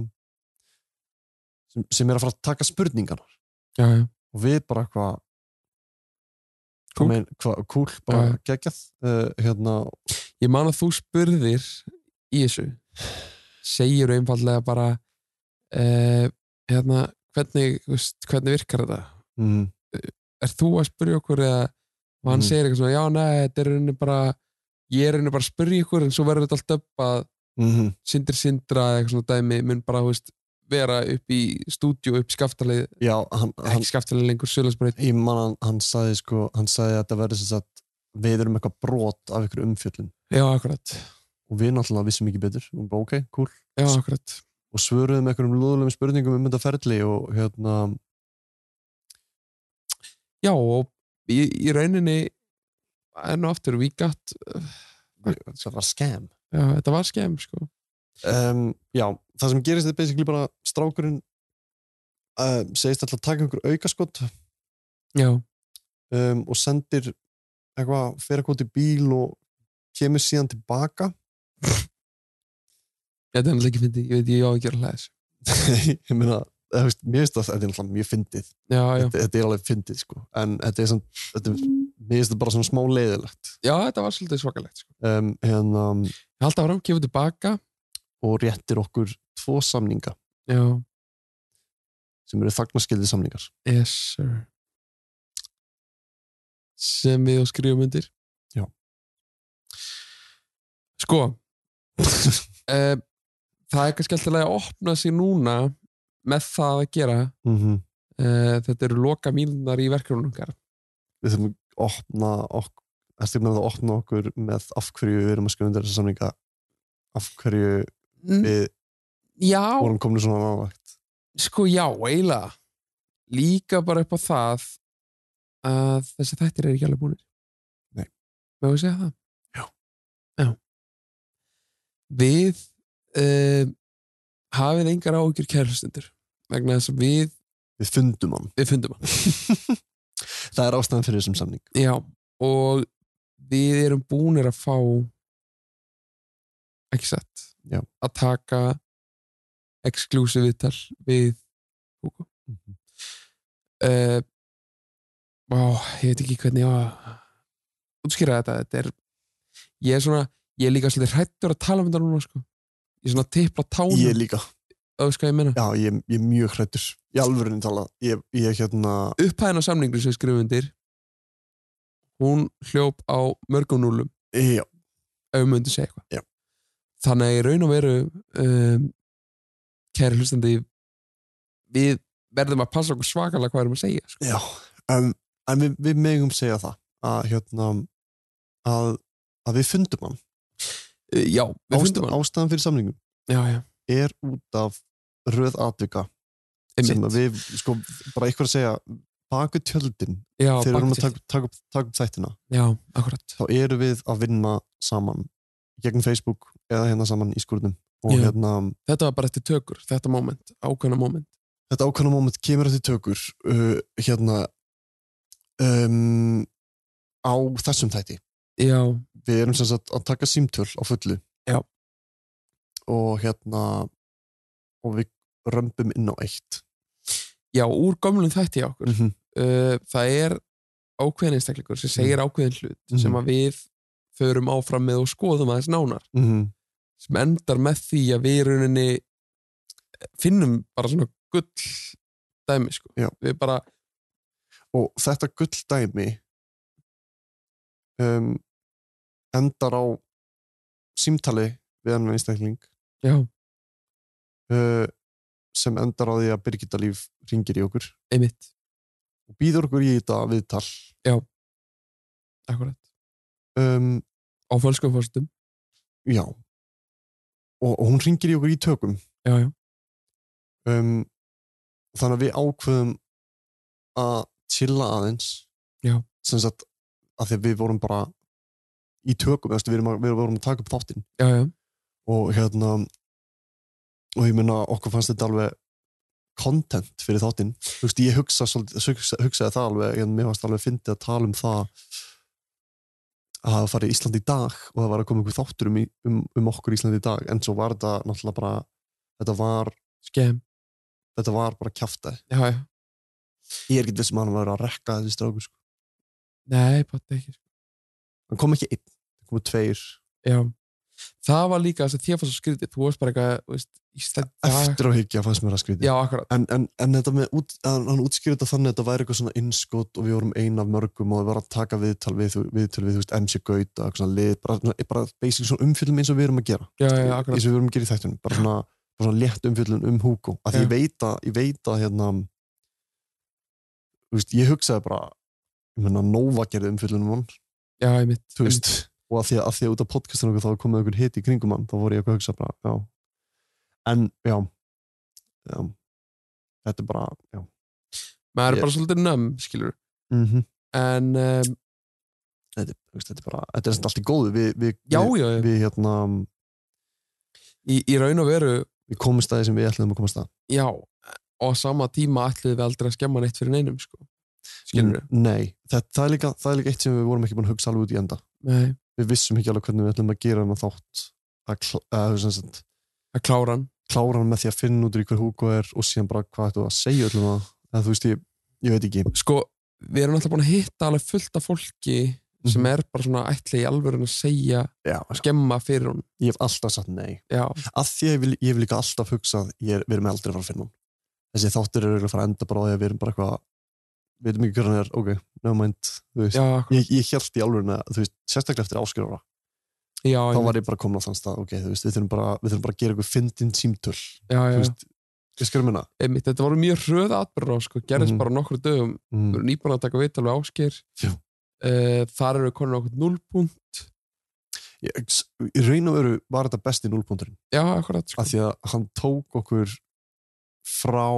Speaker 2: sem, sem er að fara að taka spurningarnar
Speaker 5: já, já.
Speaker 2: og við bara eitthvað
Speaker 5: Kúl.
Speaker 2: Cool. Hva, cool, bara
Speaker 5: Já.
Speaker 2: geggjað uh, hérna,
Speaker 5: Eh, ég man að þú spurðir í þessu segir einfallega bara uh, hérna hvernig, þú veist, hvernig virkar þetta Eh,
Speaker 2: Mhm.
Speaker 5: er þú að spyrja okkur eða og hann
Speaker 2: Mhm.
Speaker 5: segir eitthvað svona, já nei, þetta er rauninni bara ég er rauninni bara að spyrja ykkur en svo verður þetta allt upp að
Speaker 2: Mhm.
Speaker 5: sindri sindra eða eitthvað svona dæmi mun bara, þú veist, vera upp í stúdíu, upp í skaftalið
Speaker 2: já, hann,
Speaker 5: ekki skaftalið lengur, sölansbreyt
Speaker 2: ég man hann, hann sagði sko hann sagði að það verður sem sagt við erum eitthvað brot af ykkur umfjöllun
Speaker 5: já, akkurat
Speaker 2: og við náttúrulega vissum ekki betur og bara ok, cool
Speaker 5: Já, akkurat.
Speaker 2: og svöruðum einhverjum lúðulegum spurningum um þetta ferli og hérna
Speaker 5: já, og í, í rauninni enn og aftur, við gatt
Speaker 2: þetta var skem
Speaker 5: já, þetta var skem, sko
Speaker 2: um, já, það sem gerist er basically bara strákurinn uh, segist alltaf að taka einhver aukaskott
Speaker 5: já,
Speaker 2: um, og sendir eitthvað, fer eitthvað út í bíl og kemur síðan tilbaka
Speaker 5: þetta er náttúrulega ekki fyndið, ég veit ég á ekki að hlæða þessu
Speaker 2: <laughs> ég meina, eða, veist, mér finnst að þetta er náttúrulega mjög fyndið
Speaker 5: já, já,
Speaker 2: þetta, þetta er alveg fyndið sko en þetta er samt, þetta, er- mér finnst þetta bara svona smá leiðilegt
Speaker 5: já, þetta var svolítið svakalegt sko.
Speaker 2: um, hérna,
Speaker 5: held að fram, gefur tilbaka
Speaker 2: og réttir okkur tvo samninga
Speaker 5: já,
Speaker 2: sem eru þagnaskildið samningar
Speaker 5: yes sir sem við og skrifum undir
Speaker 2: Já.
Speaker 5: sko <laughs> uh, það er kannski alltaf að opna sig núna með það að gera
Speaker 2: Mhm.
Speaker 5: uh, þetta eru loka mínunar í verkefnungar
Speaker 2: við þurfum að opna okkur ertu með að opna okkur með af hverju við erum að skrifa undir þessa samninga af hverju við
Speaker 5: Mm. já,
Speaker 2: vorum komin svona návægt
Speaker 5: sko já, eiginlega líka bara upp á það að þessi þættir er ekki alveg búinir
Speaker 2: Nei.
Speaker 5: Má við segja það? Já. Við uh, hafið engar áhyggjur kærlustundur vegna þess að við
Speaker 2: Við fundum hann.
Speaker 5: Við fundum hann. <laughs>
Speaker 2: það er ástæðan fyrir þessum samning
Speaker 5: já, og við erum búinir að fá ekki satt
Speaker 2: Já.
Speaker 5: að taka exclusive viðtal við Hugo
Speaker 2: Mhm.
Speaker 5: uh, Vá, ég veit ekki hvernig ég á að útskýra þetta, þetta er ég er svona, ég er líka svolítið hrættur að tala um þetta núna, sko ég er svona að tipla tánum
Speaker 2: ég líka
Speaker 5: Þú veist hvað ég meina?
Speaker 2: Já, ég, ég er mjög hrættur. Í alvörunni tala. Ég, ég hérna...
Speaker 5: upphæðin á samningur sem við skrifum undir hún hljóp á mörgum núlum
Speaker 2: já.
Speaker 5: ef við myndum segja eitthvað
Speaker 2: já.
Speaker 5: þannig að í raun og veru um, kæri hlustandi við verðum að passa okkur svakalega hvað við erum að segja sko.
Speaker 2: Já. En, en við, við megum segja það að hérna að, að við fundum hann
Speaker 5: Eh, já,
Speaker 2: við fundum hann ástæðan fyrir samlingum
Speaker 5: já, já.
Speaker 2: er út af röð atvika sem að við, sko, bara eitthvað að segja baku tjöldin
Speaker 5: Já,
Speaker 2: þegar við erum að
Speaker 5: bak við
Speaker 2: taka, taka, upp- taka upp þættina
Speaker 5: Já, akkurat
Speaker 2: þá eru við að vinna saman gegn Facebook eða hérna saman í skúrunum og
Speaker 5: Já.
Speaker 2: hérna
Speaker 5: þetta var bara eftir tökur, þetta moment ákveðna moment
Speaker 2: þetta ákvæmna moment kemur eftir tökur uh, hérna um, á þessum þætti
Speaker 5: Já.
Speaker 2: við erum sem sagt að taka símtöl á fullu
Speaker 5: Já.
Speaker 2: og hérna og við römbum inn á eitt
Speaker 5: já, úr gömlum þætti hjá okkur
Speaker 2: Mhm.
Speaker 5: uh, það er ákveðin einstaklingur sem segir ákveðin hlut
Speaker 2: Mhm.
Speaker 5: sem að við förum áfram með og skoðum aðeins nánar
Speaker 2: Mhm.
Speaker 5: sem endar með því að við í rauninni eh, finnum bara svona gull dæmi sko. við bara
Speaker 2: og þetta gulldæmi um, endar á símtali við ennum einstakling
Speaker 5: Já.
Speaker 2: uh, sem endar á því að Birgitta Líf ringir í okkur
Speaker 5: Einmitt.
Speaker 2: og býður okkur í þetta viðtal
Speaker 5: Já, akkurat
Speaker 2: um,
Speaker 5: Á fölskum fórstum
Speaker 2: Já og, og hún ringir í okkur í tökum
Speaker 5: Já, já
Speaker 2: um, Þannig að við ákveðum að chilla aðeins
Speaker 5: Já.
Speaker 2: sem sagt að því að við vorum bara í tökum, eftir, við, erum að, við vorum að taka upp þáttinn
Speaker 5: já, já,
Speaker 2: og hérna og ég meina okkur fannst þetta alveg content fyrir þáttinn þú veist, ég hugsa, svolítið- hugsa, hugsaði það alveg en mér varst alveg fyndið að tala um það að það fari Ísland í dag og það var að koma einhver þáttur um, í- um, um okkur Ísland í dag en svo var þetta náttúrulega bara þetta var
Speaker 5: Skem.
Speaker 2: þetta var bara kjaftaði
Speaker 5: já, já.
Speaker 2: ég er ekki vissum að hann var að rekka þessi strákur sko.
Speaker 5: Nei, patti ekki sko.
Speaker 2: hann kom ekki einn, það komu tveir
Speaker 5: Já, það var líka þess að þér fannst svo skrítið, þú varst bara eitthvað þú veist, Ísland,
Speaker 2: eftir á higgja fannst mér að skrítið
Speaker 5: Já, akkurat
Speaker 2: en, en, en þetta með, út, hann, hann útskýrði þetta þannig að þetta væri eitthvað svona innskot og við vorum ein af mörgum og við varum að taka viðtal við, viðtal við þú veist, MC Gauta, eitthvað svona lið bara, svona- bara basic svona umfyllum eins og við erum að gera
Speaker 5: Já, já, já, akkurat.
Speaker 2: eins og við erum að gera í þættunum bara svona, bara svona létt umfyllun um Hugo af því
Speaker 5: Já.
Speaker 2: ég veit að, ég veit að hérna þú veist, ég hugsaði bara ég meina, Nova gerði umfyllunum hann
Speaker 5: já, ég mitt
Speaker 2: þú veist, og að því að, að því að út af podcastinu þá var komið einhver hit í kringum hann, þá voru ég eitthvað að hugsa bara, já en, já, já þetta er bara, já
Speaker 5: maður
Speaker 2: Ég-
Speaker 5: er bara svolítið nömm, skilur
Speaker 2: Mhm.
Speaker 5: en um,
Speaker 2: þetta, er- þú veist, þetta er bara, þetta er samt allt í góðu við, við,
Speaker 5: Já,
Speaker 2: við,
Speaker 5: já, já.
Speaker 2: við hérna
Speaker 5: í, í raun og veru
Speaker 2: við komumst að því sem við ætlum að komast að
Speaker 5: já, og á sama tíma ætluðum við aldrei að skemma neitt fyrir neinum sko. skilur
Speaker 2: N- nei, þetta, það, er líka, það er líka eitt sem við vorum ekki búin að hugsa alveg út í enda
Speaker 5: Nei.
Speaker 2: við vissum ekki alveg hvernig við ætlum að gera hann þátt að, kl að, að,
Speaker 5: að klára hann
Speaker 2: klára hann með því að finna út í hver Hugo er og síðan bara hvað ættum við að segja öllum að, að þú veist, ég, ég veit ekki
Speaker 5: sko, við erum alltaf búin að hitta alveg fullt af fólki sem er bara svona ætli í alvöru að segja
Speaker 2: Mhm. já,
Speaker 5: skemma fyrir hún
Speaker 2: ég hef alltaf sagt nei
Speaker 5: Já.
Speaker 2: að því að ég vil, ég hef líka alltaf hugsað ég er, við erum aldrei að fara að finna hún þessi þáttur eru örugglega að fara að enda bara á því að við erum bara eitthvað við veitum ekki hver hann er, ok, no mind þú veist,
Speaker 5: Já,
Speaker 2: ég, ég held í alveg þú veist, sérstaklega eftir áskjöra
Speaker 5: Já,
Speaker 2: þá var ég bara komin á þann stað, ok, þú veist við þurfum bara, við þurfum bara að gera eitthvað fyndin símtöl
Speaker 5: já, já.
Speaker 2: þú veist, ég skilur minna
Speaker 5: Einmitt, þetta voru mjög hröð atbyrra sko, gerðist
Speaker 2: Mhm.
Speaker 5: bara á nokkru dögum
Speaker 2: Mhm.
Speaker 5: við erum nýbúin að taka vital við ásker uh, þar eru konin okkur núlpunt
Speaker 2: ég, í raun og veru var þetta besti núlpunkturinn
Speaker 5: já, akkurat sko.
Speaker 2: af því að hann tók okkur frá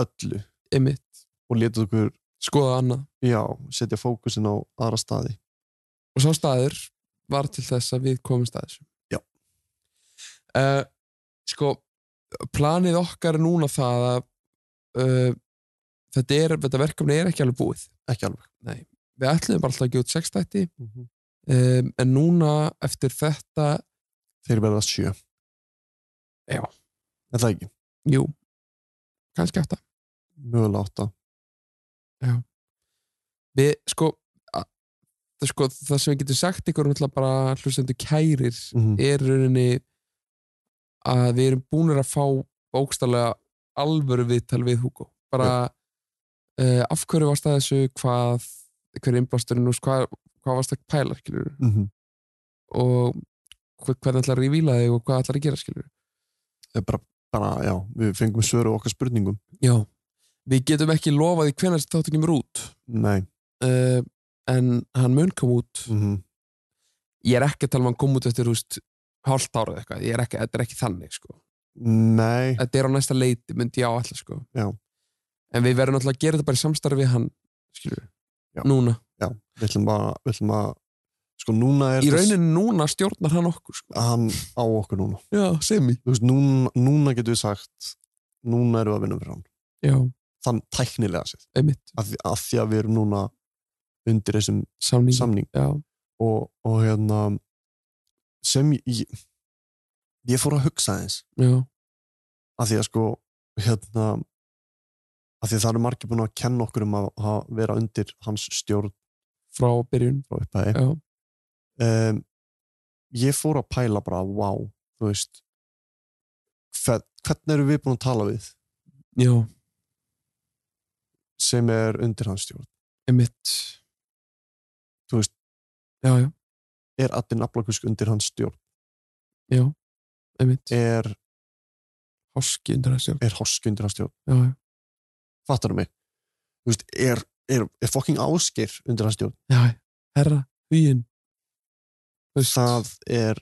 Speaker 2: öllu
Speaker 5: Einmitt.
Speaker 2: og letið okkur
Speaker 5: skoða annað
Speaker 2: já, setja fókusin á aðra staði
Speaker 5: og sá staður var til þess að við komum staðis
Speaker 2: Já.
Speaker 5: uh, sko planið okkar er núna það að uh, þetta, er, þetta verkefni er ekki alveg búið
Speaker 2: ekki alveg Mhm.
Speaker 5: Nei. við ætlum bara alltaf að gefa út sex þætti um, en núna eftir þetta
Speaker 2: þeir verða sjö
Speaker 5: já,
Speaker 2: er það ekki?
Speaker 5: jú, kannski átta
Speaker 2: mögulega átta
Speaker 5: við sko a- það, sko, það sem við getum sagt ykkur um náttúrulega bara hlustendur kærir er rauninni að við erum búinir að fá bókstallega alvöru viðtal við Hugo bara uh, af hverju varst það þessu hvað, hver er innblasturinn og hvað, hvað varst það pæla skilur
Speaker 2: Mhm.
Speaker 5: og hver- hvernig ætlar að revíla þig og hvað ætlar að gera skilur
Speaker 2: Það er bara, bara, já, við fengum svöru á okkar spurningum
Speaker 5: Já, við getum ekki lofað í hvenær þetta kemur út
Speaker 2: nei,
Speaker 5: uh, en hann mun koma út
Speaker 2: Mhm.
Speaker 5: ég er ekki að tala um að hann koma út eftir húst hálft ára eða eitthvað, ég er ekki, þetta er ekki þannig sko.
Speaker 2: Nei
Speaker 5: þetta er á næsta leiti, myndi ég á alltaf sko.
Speaker 2: Já.
Speaker 5: en við verðum náttúrulega að gera þetta bara í samstarfi við hann, skilur við núna,
Speaker 2: Já, við ætlum að, við ætlum að sko núna er
Speaker 5: í rauninu núna stjórnar hann okkur sko.
Speaker 2: hann á okkur núna
Speaker 5: Já, semi
Speaker 2: Þú veist, núna, núna getum við sagt núna erum við að vinna fyrir hann
Speaker 5: Já.
Speaker 2: þann tæknilega sér
Speaker 5: Einmitt.
Speaker 2: að, því- að því að við erum núna undir þessum
Speaker 5: samning,
Speaker 2: samning. Og, og hérna sem ég, ég- ég fór að hugsa aðeins
Speaker 5: Já.
Speaker 2: að því að sko hérna að því að það eru margir búin að kenna okkur um að, að vera undir hans stjórn
Speaker 5: frá byrjun
Speaker 2: frá upphæði um, ég fór að pæla bara wow, þú veist hver, hvernig eru við búin að tala við
Speaker 5: já
Speaker 2: sem er undir hans stjórn
Speaker 5: emitt
Speaker 2: þú veist
Speaker 5: já, já.
Speaker 2: er allir naflakusk undir hans stjórn
Speaker 5: já, emitt
Speaker 2: er
Speaker 5: háski undir hans stjórn
Speaker 2: er háski undir hans stjórn
Speaker 5: já, já.
Speaker 2: fattar mig þú veist, er, er, er fucking áskir undir hans stjórn
Speaker 5: já, herra, hvíinn
Speaker 2: það er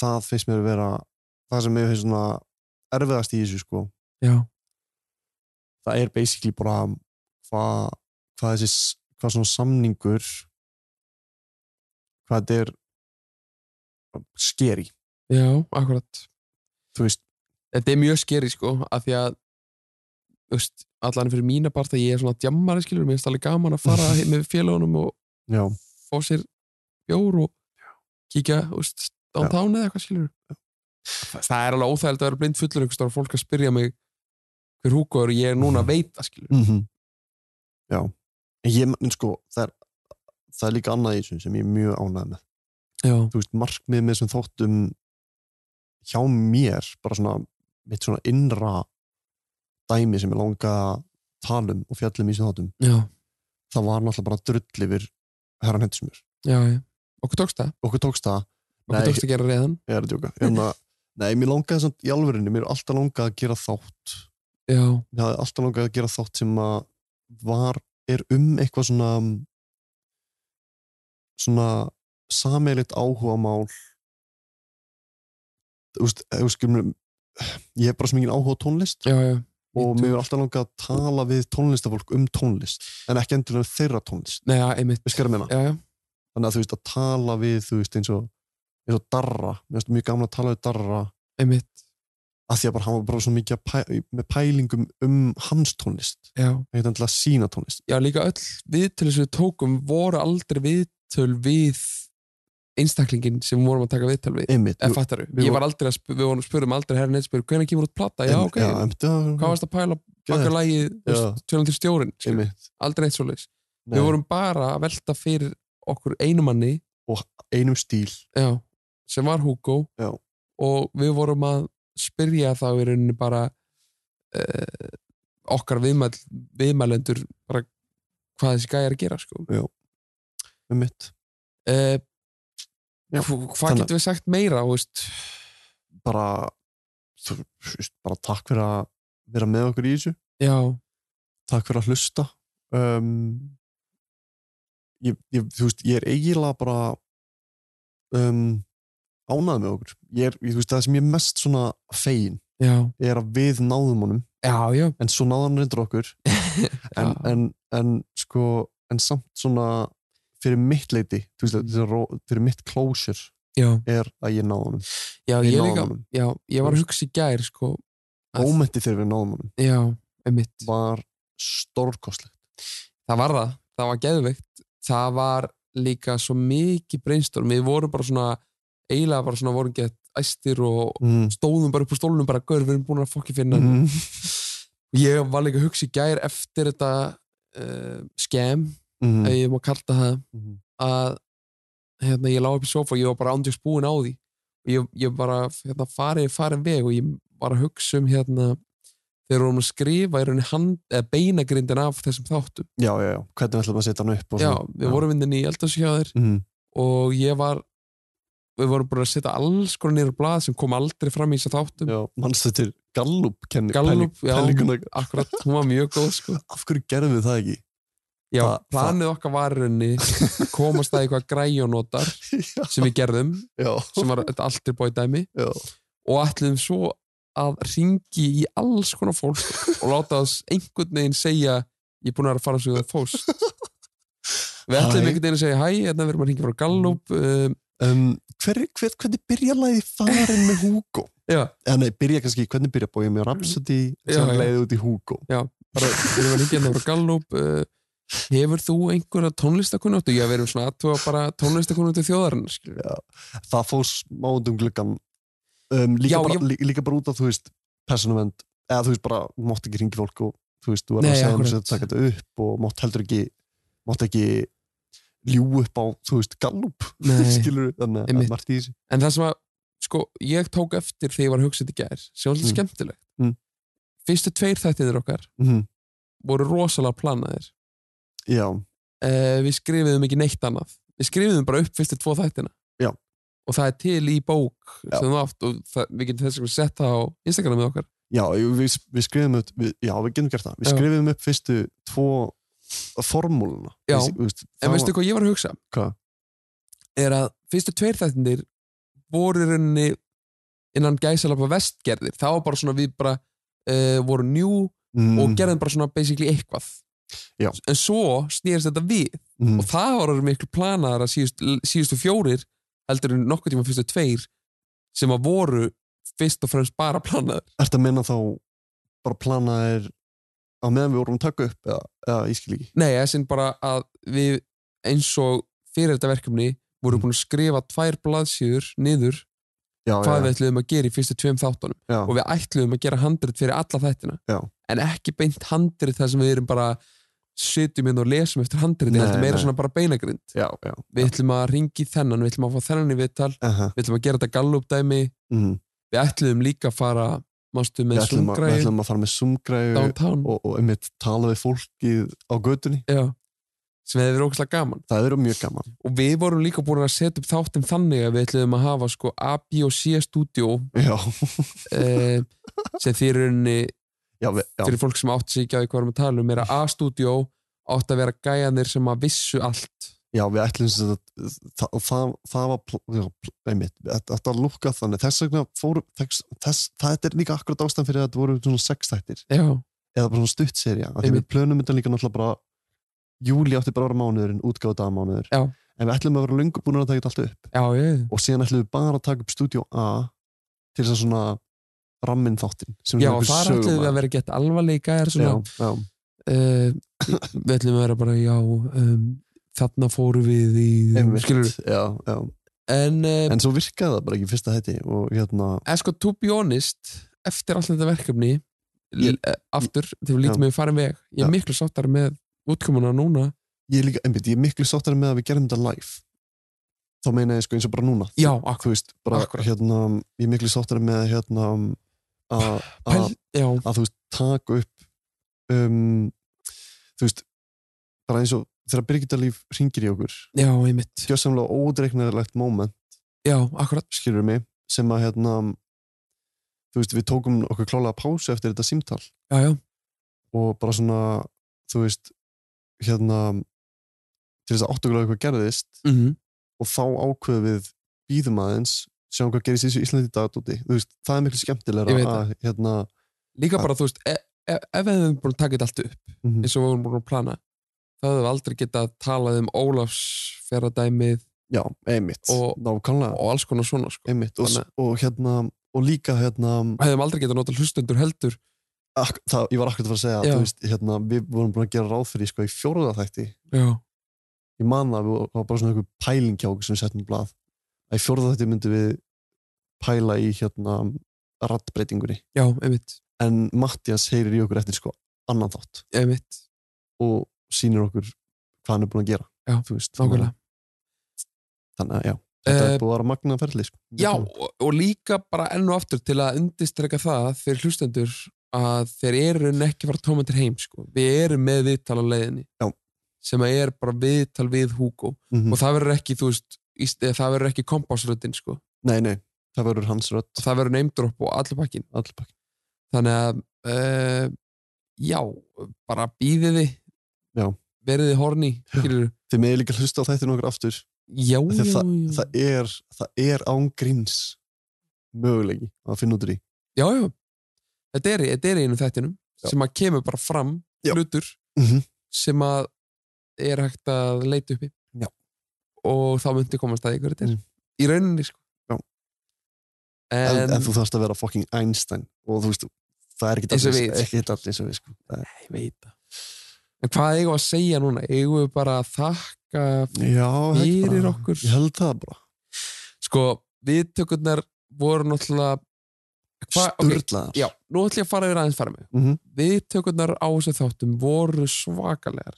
Speaker 2: það finnst mér að vera það sem mér finnst svona erfiðast í þessu sko
Speaker 5: já,
Speaker 2: það er basically bara hvað hva þessi s- hvað svona samningur hvað þetta er skeri
Speaker 5: já, akkurat
Speaker 2: þú veist
Speaker 5: þetta er mjög skeri sko af því að þú veist, allan fyrir mína part að ég er svona djammari skilur, mér finnst alveg gaman að fara
Speaker 2: <laughs>
Speaker 5: heim með félagunum og
Speaker 2: já,
Speaker 5: fá sér bjór og kíkja þú veist, downtown eða eitthvað skilur það það er alveg óþægild að vera blind fullur einhvers staðar og fólk að spyrja mig hver húkur ég er núna að veita skilur
Speaker 2: mm -hmm. já En ég, en sko, það er, það er líka annað í þessu sem ég er mjög ánægð með
Speaker 5: já,
Speaker 2: þú veist, markmið með sem þóttum hjá mér bara svona, mitt svona innra dæmi sem ég langa að tala um og fjallum í sem þóttum
Speaker 5: já,
Speaker 2: það var náttúrulega bara drull yfir herran hendismur
Speaker 5: já, já. okkur tókst það
Speaker 2: okkur tókst það
Speaker 5: Okkur tókst að gera reiðan.
Speaker 2: ég er að djóka Hérna, nei, mér langaði samt í alvörinu mér er alltaf langað að gera þátt
Speaker 5: já,
Speaker 2: mér hafði alltaf langað að gera þátt sem að var, er um eitthvað svona svona sameiligt áhugamál þú veist, þú veist skilur mér, ég hef bara svo mikið áhuga á tónlist
Speaker 5: já, já.
Speaker 2: og mér er alltaf langað að tala við tónlistafólk um tónlist en ekki endilega um þeirra tónlist
Speaker 5: Nei, já, einmitt
Speaker 2: Við skerum hérna
Speaker 5: já, já.
Speaker 2: þannig að þú veist að tala við þú veist eins og, eins og darra mér finnst mjög gamla að tala við darra
Speaker 5: einmitt
Speaker 2: að því að bara hann var bara svo mikið að pæ, með pælingum um hans tónlist
Speaker 5: <laughs> já.
Speaker 2: ekkert endilega sína tónlist
Speaker 5: já, líka öll viðtölu sem við tókum voru aldrei viðtöl við einstaklingin sem við vorum að taka viðtöl við
Speaker 2: Einmitt.
Speaker 5: eða fattar
Speaker 2: Við
Speaker 5: við, ég var aldrei að sp við vorum spurum aldrei herra neitt spyrir, hvernig kemur út plata, já
Speaker 2: Einmitt,
Speaker 5: ok
Speaker 2: já, einmitt, já, já.
Speaker 5: hvað varst að pæla baka
Speaker 2: Geðveikt.
Speaker 5: lagið þú
Speaker 2: Já.
Speaker 5: veist, tölum til stjórin, aldrei neitt svoleiðis
Speaker 2: Nei.
Speaker 5: við vorum bara að velta fyrir okkur einu manni
Speaker 2: og einum stíl
Speaker 5: já, sem var Hugo
Speaker 2: já.
Speaker 5: og við vorum að spyrja þá í rauninni bara uh, okkar viðmæl, viðmælendur bara hvað þessi gæja er að gera sko.
Speaker 2: já, um mitt
Speaker 5: uh,
Speaker 2: já,
Speaker 5: hvað getum við sagt meira þú veist?
Speaker 2: bara þú veist, bara takk fyrir að vera með okkur í þessu
Speaker 5: já,
Speaker 2: takk fyrir að hlusta um, ég, ég, þú veist, ég er eiginlega bara um, ánað með okkur ég er, ég, þú veist, það sem ég er mest svona fegin
Speaker 5: já,
Speaker 2: er að við náðum honum
Speaker 5: já, já.
Speaker 2: en svo náðan reyndur
Speaker 5: <laughs>
Speaker 2: okkur en, en, en sko en samt svona fyrir mitt leiti þú veist, þetta er ró- fyrir mitt closure
Speaker 5: Mm. Já.
Speaker 2: er að ég náði honum
Speaker 5: já,
Speaker 2: Við
Speaker 5: ég,
Speaker 2: náðum
Speaker 5: líka,
Speaker 2: honum.
Speaker 5: já, ég var að hugsa í gær sko, að-
Speaker 2: Mómentið þegar við náðum honum
Speaker 5: já, einmitt
Speaker 2: var stórkostlegt
Speaker 5: það var það, það var geðveikt það var líka svo mikið brainstorm, við vorum bara svona eiginlega bara svona vorum gett æstir og stóðum bara upp úr stólunum bara gaur, við erum búin að fokki finna hann." ég var líka að hugsa í gær eftir þetta uh, skem
Speaker 2: Mhm.
Speaker 5: ef ég má kalla það að hérna, ég lág upp í sofa og ég var bara ándjöks búin á því og ég, ég bara hérna, farið farin veg og ég var að hugsa um hérna þegar við vorum að skrifa í rauninni hand, eða beinagrindin af þessum þáttum
Speaker 2: já, já, já, hvernig ætlum við að setja hann upp og
Speaker 5: já,
Speaker 2: svona.
Speaker 5: við vorum vindin í eldarskjáðir
Speaker 2: mm.
Speaker 5: <laughs> og ég var við vorum bara að setja alls konar niður á blað sem kom aldrei fram í þessum þáttum
Speaker 2: já, mannstu til Gallup kenni
Speaker 5: Gallup,
Speaker 2: pæling- pælinguna. <laughs>
Speaker 5: já, akkurat, hún var mjög góð sko.
Speaker 2: af hverju gerðum við það ekki
Speaker 5: Já, planið okkar var í rauninni
Speaker 2: <laughs>
Speaker 5: að komast að eitthvað græjónotar sem við gerðum
Speaker 2: Já.
Speaker 5: sem var þetta allt er bóið dæmi Já. og ætlum svo að ringi í alls konar fólk og
Speaker 2: <laughs>
Speaker 5: láta þess einhvern veginn segja ég er búin að vera að fara svo það fóst
Speaker 2: <laughs>
Speaker 5: Við
Speaker 2: Hæ.
Speaker 5: ætlum einhvern veginn að segja hæ, hérna verðum að ringa frá Gallup um,
Speaker 2: um, hver, hver, Hvernig byrja lagi farin með Hugo?
Speaker 5: Já.
Speaker 2: En nei, byrja kannski, hvernig byrja bóið með Rhapsody sem
Speaker 5: Já, já.
Speaker 2: leiði út í Hugo?
Speaker 5: Já, bara við erum að ringja hérna frá Gallup uh, Hefur þú einhverja tónlistakunnáttu? Já, við erum svona aðtúa bara tónlistakunnáttu þjóðarinnar skilur.
Speaker 2: Já, það fór smá undum gluggan um, líka,
Speaker 5: Já,
Speaker 2: bara,
Speaker 5: ég-
Speaker 2: lí, líka bara út af þú veist personuvennd, eða þú veist bara þú mátt ekki ringi fólk og þú veist þú er
Speaker 5: Nei,
Speaker 2: að segja um
Speaker 5: akkurat.
Speaker 2: þess að taka þetta upp og mátt heldur ekki mátt ekki ljú upp á þú veist gallup <laughs>
Speaker 5: Nei.
Speaker 2: skilur þannig að
Speaker 5: Einmitt.
Speaker 2: það er margt í þessu
Speaker 5: En það sem að, sko, ég tók eftir þegar ég var að hugsa þetta í gær, sem var svolítið
Speaker 2: Mm.
Speaker 5: skemmtilegt
Speaker 2: Mm.
Speaker 5: Fyrstu tveir þættinir okkar
Speaker 2: Mhm.
Speaker 5: voru rosalega planaðir
Speaker 2: Já,
Speaker 5: uh, Við skrifiðum ekki neitt annað Við skrifiðum bara upp fyrstu tvo þættina
Speaker 2: Já.
Speaker 5: Og það er til í bók sem þú átt og það, við getum þess að sett það á Instagramið okkar
Speaker 2: já jú, við, við skrifum upp, við, já við getum gert það við
Speaker 5: Já.
Speaker 2: skrifum upp fyrstu tvo formúluna
Speaker 5: Já,
Speaker 2: Við- þú veist, það
Speaker 5: En veistu
Speaker 2: var-
Speaker 5: hvað ég var að hugsa?
Speaker 2: Hvað?
Speaker 5: Er að fyrstu tveir þættinir voru í rauninni innan gæsalapa vestgerðir Það var bara svona við bara uh, voru njú
Speaker 2: Mm.
Speaker 5: og gerðum bara svona basically eitthvað
Speaker 2: Já.
Speaker 5: En svo snýrst þetta við
Speaker 2: Mm.
Speaker 5: og það var orðið miklu planaðar að síðust, síðustu fjórir heldur en nokkuð tíma fyrstu tveir sem að voru fyrst og fremst bara planaðar
Speaker 2: Ertu að minna þá bara plana er á meðan við vorum að taka upp eða, eða ég skil ekki
Speaker 5: Nei, þessi bara að við eins og fyrir þetta verkefni voru búin að skrifa tvær blaðsíður niður
Speaker 2: Mm. Já,
Speaker 5: hvað
Speaker 2: já, já.
Speaker 5: við ætluðum að gera í fyrstu tveim þáttunum
Speaker 2: Já.
Speaker 5: og við ætluðum að gera handrit fyrir alla þættina
Speaker 2: Já.
Speaker 5: en ekki beint handrit þar sem við erum bara sitjum inn og lesum eftir handrit
Speaker 2: Nei,
Speaker 5: heldur meira
Speaker 2: nei.
Speaker 5: svona bara beinagrind
Speaker 2: já, já.
Speaker 5: við ætlum að ringi þennan, við ætlum að fá þennan í viðtal
Speaker 2: Aha.
Speaker 5: við ætlum að gera þetta gallupdæmi
Speaker 2: Mm.
Speaker 5: við ætluðum líka að fara mástu
Speaker 2: við
Speaker 5: með
Speaker 2: ætlum, að, við
Speaker 5: sumgræði
Speaker 2: ætlum að fara með sumgræðu
Speaker 5: Downtown.
Speaker 2: og, og einmitt tala við fólkið á götunni
Speaker 5: Já. sem hefur ógæslega gaman
Speaker 2: það eru mjög gaman
Speaker 5: og við vorum líka búin að setja upp þáttum þannig að við ætluðum að hafa sko A, B og C stúdíó eh, sem því rauninni
Speaker 2: já, við, já.
Speaker 5: fyrir fólk sem átt sig ekki á því hvað við erum að tala um er að A stúdíó átt að vera gæjanir sem að vissu allt
Speaker 2: já, við ætlum sem sagt að það, það, það var pl- já, pl- einmitt, þetta þetta lúkka þannig þess vegna fóru þess, þess, það er líka akkurat ástæðan fyrir að þetta voru svona sex þættir
Speaker 5: Já.
Speaker 2: eða bara svona stutt serja því við
Speaker 5: Einmitt.
Speaker 2: plönum þetta líka náttúrulega bara júli átti bara að vera mánuðurinn, útgáðu dagmánuður
Speaker 5: Já.
Speaker 2: en við ætlum að vera löngu búin að taka þetta allt upp
Speaker 5: já, ég.
Speaker 2: og síðan ætlum við bara að taka upp Studio A til þess að svona rammin þáttin
Speaker 5: já, og þar ætluðum við að vera gett alvarlega gæjar svona
Speaker 2: já, já.
Speaker 5: uh, við ætlum að vera bara já um, þarna fórum við í
Speaker 2: Einmitt, já, já.
Speaker 5: en, um,
Speaker 2: en svo virkaði það bara ekki í fyrsta hætti og hérna
Speaker 5: en sko to be honest eftir alltaf þetta verkefni ég, aftur þegar við
Speaker 2: Já.
Speaker 5: lítum við farin veg ég
Speaker 2: Já.
Speaker 5: er miklu sáttar með útkomuna núna
Speaker 2: ég er, líka, einmitt, ég er miklu sáttar með að við gerum þetta live þá meina ég sko eins og bara núna
Speaker 5: Já,
Speaker 2: akkurat, veist, bara, hérna, ég er miklu sáttar með hérna, að að-
Speaker 5: Já.
Speaker 2: að þú veist taka upp um, þú veist bara eins og þegar Birgitalíf ringir í okkur
Speaker 5: já, einmitt
Speaker 2: gjössamlega ódreiknarlegt moment
Speaker 5: já, akkurat
Speaker 2: skilur mig, sem að hérna þú veist, við tókum okkur klálega pásu eftir þetta símtal
Speaker 5: já, já.
Speaker 2: og bara svona, þú veist hérna til þess að áttugulega eitthvað gerðist
Speaker 5: Mhm.
Speaker 2: og þá ákveðum við býðum aðeins, sjáum hvað gerist í þessu Íslandi í dag Dóti, þú veist, það er miklu
Speaker 5: Ég
Speaker 2: skemmtilega
Speaker 5: veit
Speaker 2: að hérna
Speaker 5: líka bara þú veist e e ef við hefum búin að taka þetta allt upp
Speaker 2: Mhm.
Speaker 5: eins og við hefum búin að plana þá hefum við aldrei getað talað um Ólafs ferradæmið
Speaker 2: já, einmitt,
Speaker 5: og,
Speaker 2: og
Speaker 5: alls konar svona sko.
Speaker 2: einmitt, og,
Speaker 5: Þannig-
Speaker 2: og hérna og líka hérna
Speaker 5: hefum aldrei getað nota hlustundur heldur
Speaker 2: ak, það, ég var akkur að fara að segja
Speaker 5: Já.
Speaker 2: þú veist, hérna, við vorum búin að gera ráð fyrir sko, í fjóruða þætti
Speaker 5: já,
Speaker 2: ég man það, við- það var bara svona einhver pæling hjá okkur sem við settum í blað að í fjórða þetta myndum við pæla í hérna rattbreytingunni
Speaker 5: já, einmitt,
Speaker 2: en Mattias heyrir í okkur eftir sko annan þátt
Speaker 5: einmitt.
Speaker 2: og sýnir okkur hvað hann er búin að gera
Speaker 5: já,
Speaker 2: veist,
Speaker 5: nákvæmlega
Speaker 2: þannig að já, þetta
Speaker 5: Eh,
Speaker 2: er búin að vera magna ferli sko.
Speaker 5: Já, og, og líka bara enn og aftur til að undistreka það fyrir hlustendur að þeir eru í rauninni ekki að fara tómendir heim sko. við erum með viðtal á leiðinni
Speaker 2: Já.
Speaker 5: sem að er bara viðtal við Hugo
Speaker 2: Mhm.
Speaker 5: og það verður ekki þú veist, íst, eða það verður ekki kompásröddin sko.
Speaker 2: nei, nei, það verður hans rödd
Speaker 5: og það verður neymdrop og allir pakkin
Speaker 2: Allir pakkin.
Speaker 5: eh, þannig að uh, já, bara býðiði
Speaker 2: já,
Speaker 5: verið þið horni
Speaker 2: Þið meði líka hlusta á þættinu okkur aftur
Speaker 5: Já,
Speaker 2: Þegar
Speaker 5: já,
Speaker 2: það,
Speaker 5: já.
Speaker 2: það er, það er án gríns mögulegi að finna út úr í
Speaker 5: Já, já, þetta er, þetta er í einu þættinum sem að kemur bara fram já. hlutur
Speaker 2: Mhm.
Speaker 5: sem að er hægt að leita uppi
Speaker 2: Já. Mm.
Speaker 5: og þá myndi komast að ykkur þetta er í rauninni sko
Speaker 2: Já.
Speaker 5: En,
Speaker 2: en, en þú þarfst að vera fucking Einstein og þú veist, það er ekkert
Speaker 5: Eins og
Speaker 2: allir-
Speaker 5: við.
Speaker 2: ekkert allir eins og við sko. Nei,
Speaker 5: ég veit það En hvað eigum við að segja núna? Eigum við bara að þakka
Speaker 2: Já, held
Speaker 5: fyrir
Speaker 2: bara.
Speaker 5: okkur?
Speaker 2: Ég held það bara.
Speaker 5: Sko, viðtökurnar voru náttúrulega
Speaker 2: Sturlaðar.
Speaker 5: okay, Já, nú ætlum ég að fara yfir aðeins fara mig
Speaker 2: Mhm.
Speaker 5: Viðtökurnar á þessu þáttum voru svakalegar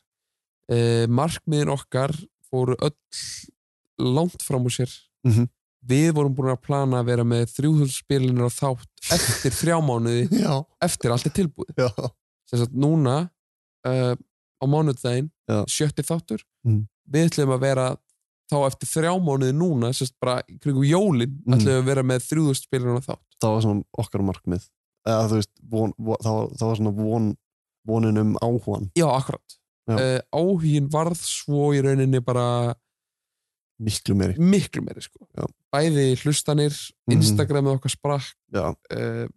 Speaker 5: eh, Markmiðin okkar fóru öll langt fram úr sér
Speaker 2: Mhm.
Speaker 5: Við vorum búin að plana að vera með 300 spilinir á þátt eftir þrjá mánuði
Speaker 2: <laughs> Já.
Speaker 5: eftir allt er tilbúið
Speaker 2: Já.
Speaker 5: sem sagt núna uh, á mánudaginn, sjötti þáttur
Speaker 2: Mm.
Speaker 5: við ætlum að vera þá eftir þrjá mánuði núna sem sagt bara í kringum jólin
Speaker 2: Mm.
Speaker 5: ætlum við að vera með 3000 spilinir á þátt
Speaker 2: það var svona okkar markmið eða þú veist, von, von, það, var, það var svona von, vonin um áhugan
Speaker 5: Já, akkurat.
Speaker 2: Já.
Speaker 5: Uh, áhugin varð svo í rauninni bara
Speaker 2: miklu meiri,
Speaker 5: miklu meiri sko. bæði hlustanir,
Speaker 2: Mhm.
Speaker 5: Instagramið okkar sprakk
Speaker 2: Já.
Speaker 5: uh,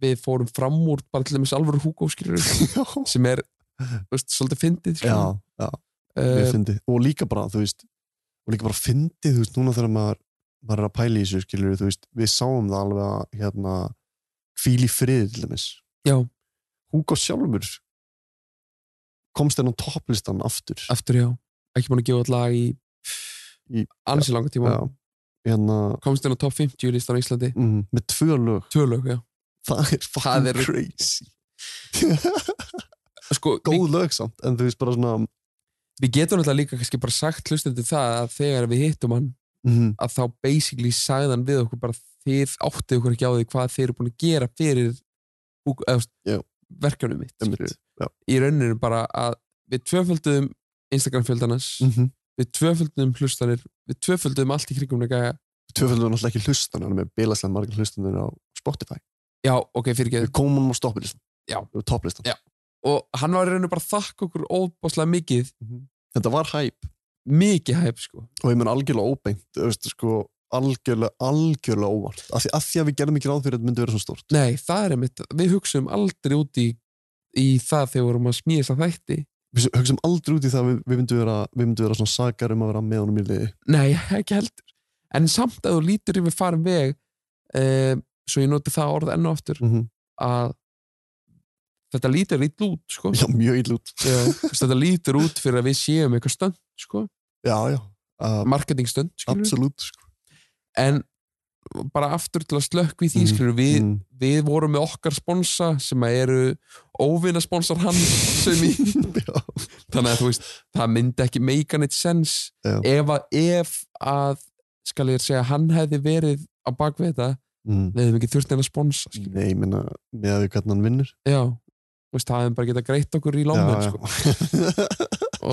Speaker 5: við fórum fram úr bara til þess alvöru húkó skilur
Speaker 2: <laughs>
Speaker 5: sem er þú veist, svolítið fyndið
Speaker 2: já,
Speaker 5: skilurðu.
Speaker 2: já,
Speaker 5: Eh,
Speaker 2: uh, fyndi og líka bara, þú veist og líka bara fyndi, þú veist, núna þegar maður maður er að pæla í þessu, skilur, þú veist við sáum það alveg að, hérna hvíl í friði til dæmis
Speaker 5: já.
Speaker 2: Hugo sjálfur komst enn á topplistan aftur
Speaker 5: aftur, já, ekki búin að gefa allag í,
Speaker 2: í
Speaker 5: ansi langa tíma
Speaker 2: já, hérna,
Speaker 5: komst inn á top 50 listan á Íslandi
Speaker 2: mm, með tvö lög
Speaker 5: tvö lög, já
Speaker 2: það er
Speaker 5: það
Speaker 2: fucking
Speaker 5: er
Speaker 2: crazy
Speaker 5: <laughs> sko,
Speaker 2: góð lög samt, en þú veist bara svona
Speaker 5: við getum náttúrulega líka kannski bara sagt hlustandi það að þegar við hittum hann
Speaker 2: Mhm.
Speaker 5: að þá basically sagði hann við okkur bara þið áttið okkur ekki á því hvað þið eru búin að gera fyrir búk- eða, þú veist, verkefnið mitt skilurðu. í rauninu bara að við tvöföldum Instagram fjöldanans
Speaker 2: Mhm.
Speaker 5: við tvöföldum hlustanir við tvöföldum allt í kringum nega
Speaker 2: tvöfaldur náttúrulega ekki hlustan hann er með bilaslega margar hlustandur á Spotify
Speaker 5: já, ok, fyrir ekki
Speaker 2: við komum hann á stopplistan
Speaker 5: já.
Speaker 2: topplistan
Speaker 5: já. og hann var í rauninu bara að þakka okkur óbáslega mikið
Speaker 2: Mhm. þetta var hæp
Speaker 5: mikið hæp sko
Speaker 2: og ég menn algjörlega óbeint þú veist, sko, algjörlega, algjörlega óvart af því, af því að við gerðum ekki ráð fyrir að þetta myndi vera svona stórt
Speaker 5: Nei, það er einmitt, við hugsaum aldrei út í, í það þegar við vorum að smíða þess að þætti
Speaker 2: við hugsaum aldrei út í það að við, við myndum vera, við myndum vera svona sakar um að vera með honum í liði
Speaker 5: Nei, ekki heldur En samt að þú lítur yfir farin veg eh, svo ég noti það orð enn og aftur
Speaker 2: Mhm.
Speaker 5: að þetta lítur ítl út sko.
Speaker 2: Já, mjög ítl út
Speaker 5: Þetta lítur út fyrir að við séum eitthvað stönd sko.
Speaker 2: Já, já uh,
Speaker 5: Marketing stönd
Speaker 2: Absolutt sko.
Speaker 5: En bara aftur til að slökk við því mm, við, við vorum með okkar sponsa sem að eru óvinna sponsar hann sem í
Speaker 2: <laughs>
Speaker 5: þannig að þú veist, það myndi ekki make any sense ef að, ef að skal ég segja, hann hefði verið á bakvið þetta
Speaker 2: Mm.
Speaker 5: við hefðum ekki þurft neina sko. að sponsa skilur.
Speaker 2: nei, ég minna, með að við hvernig hann vinnur
Speaker 5: já, þú veist, það hefðum bara getað greitt okkur í lómin
Speaker 2: Já, já.
Speaker 5: sko.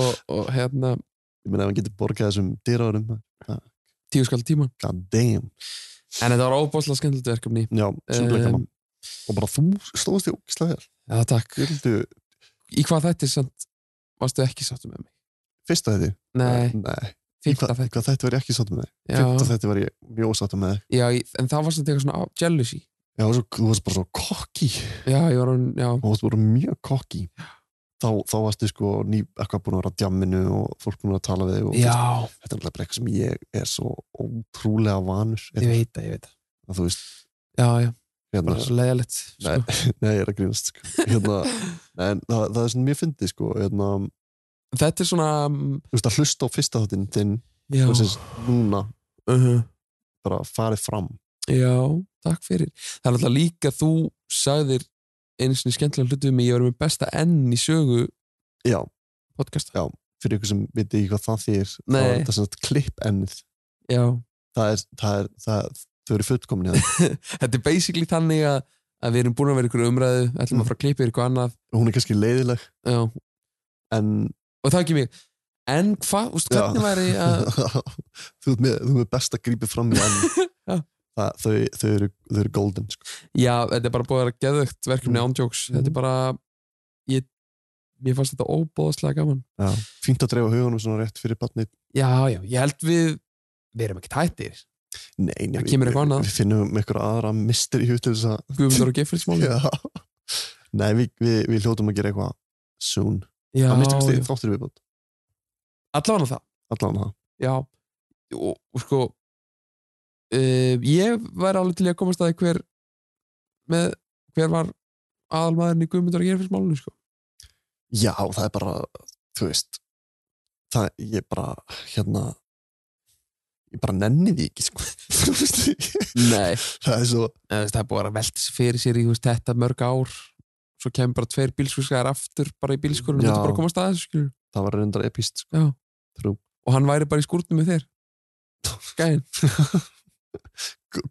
Speaker 2: <laughs>
Speaker 5: og, og hérna
Speaker 2: ég minna, ef hann getur borgað þessum dyrárum
Speaker 5: tíu skall tíma
Speaker 2: god damn
Speaker 5: en þetta var óbáslega skemmtilegt verkefni
Speaker 2: já, sjúklega gaman. og bara þú stóðst í ógislega vel
Speaker 5: Já, takk
Speaker 2: Vildu...
Speaker 5: Í hvað þetta er samt varstu ekki sáttu með mig?
Speaker 2: Fyrsta þetta?
Speaker 5: Nei.
Speaker 2: Nei. Fyrta þetta. Hvað þetta var ég ekki sáttum með?
Speaker 5: Já.
Speaker 2: Fyrta þetta var ég mjög sáttum með.
Speaker 5: já, ég- en það var samt eitthvað svona á- jealousy
Speaker 2: Já, svo, þú varst bara svo kokki.
Speaker 5: Já, ég var hann, já.
Speaker 2: Þú varst bara mjög kokki. Þá, þá varstu sko ný, eitthvað búin að vera á djamminu og fólk búin að tala við þig. og
Speaker 5: Já.
Speaker 2: þú veist, Þetta er náttúrulega bara eitthvað sem ég er svo ótrúlega vanur.
Speaker 5: Ég veit það, ég veit það.
Speaker 2: Að þú veist.
Speaker 5: Já, já.
Speaker 2: Hérna.
Speaker 5: Bara svo sko. leiðilegt.
Speaker 2: Nei, nei, <laughs> ég er að grínast. Sko. Hérna,
Speaker 5: <laughs>
Speaker 2: nei, en það, það er svona mjög fyndið sko. Hérna,
Speaker 5: þetta er svona... mm,
Speaker 2: Þú veist að hlusta á fyrsta þáttinn þinn.
Speaker 5: Já. Uh-huh.
Speaker 2: Og sérst núna.
Speaker 5: -huh.
Speaker 2: Bara farið fram.
Speaker 5: Já, takk fyrir. Það er alltaf líka þú sagðir einu sinni skemmtilega hlutu um mig, ég verið með besta enn í sögu
Speaker 2: Já.
Speaker 5: Podcast.
Speaker 2: Já, fyrir ykkur sem viti ekki hvað það þýr
Speaker 5: Nei.
Speaker 2: það er þetta svona klipp ennið
Speaker 5: Já.
Speaker 2: það er, það er, það þau eru fullkomin í það
Speaker 5: <laughs> Þetta er basically þannig að, að við erum búin að vera ykkur umræðu, ætlum að fara að klippa yfir eitthvað annað.
Speaker 2: Mm. hún er kannski leiðileg
Speaker 5: Já.
Speaker 2: En...
Speaker 5: Og það ekki mig. En hvað, úst, hvernig væri að...
Speaker 2: <laughs> þú ert með, þú ert best að grípa fram í ennið
Speaker 5: <laughs>
Speaker 2: það, þau, þau, eru, þau eru golden sko. Mm.
Speaker 5: Já, þetta er bara búið að vera geðvögt verkefni ándjóks. Þetta er bara, ég mér fannst þetta óbóðslega gaman
Speaker 2: Já, fínt að dreifa hugunum svona rétt fyrir barnið.
Speaker 5: já, já, ég held við við erum ekki tættir
Speaker 2: Nei, nei,
Speaker 5: Það kemur
Speaker 2: við-
Speaker 5: eitthvað annað.
Speaker 2: Við finnum eitthvað aðra misteri í til þess að...
Speaker 5: Guðmundur og Geirfinnsmál.
Speaker 2: Já. Nei, við, við, við hljótum að gera eitthvað soon.
Speaker 5: Já,
Speaker 2: Að mistum við
Speaker 5: já.
Speaker 2: þáttir viðbútt.
Speaker 5: allavega það
Speaker 2: Allan það.
Speaker 5: já, og, og sko uh, ég væri alveg til í að komast að því hver með, hver var aðalmaðurinn í Guðmundur og Geirfinnsmálunum sko.
Speaker 2: Já, það er bara, þú veist, það, ég bara, hérna, ég bara nenni því ekki, sko. <laughs> Þú veist,
Speaker 5: Nei
Speaker 2: Það er svo
Speaker 5: Það er búið að velta sér fyrir sér í þú veist, þetta mörg ár Svo kemur bara tveir bílskurskar aftur bara í bílskurinn og
Speaker 2: Já.
Speaker 5: þetta bara að komast að þessu skilur
Speaker 2: það var reyndar epist,
Speaker 5: sko.
Speaker 2: Trú.
Speaker 5: Og hann væri bara í skúrnum með þér Skæin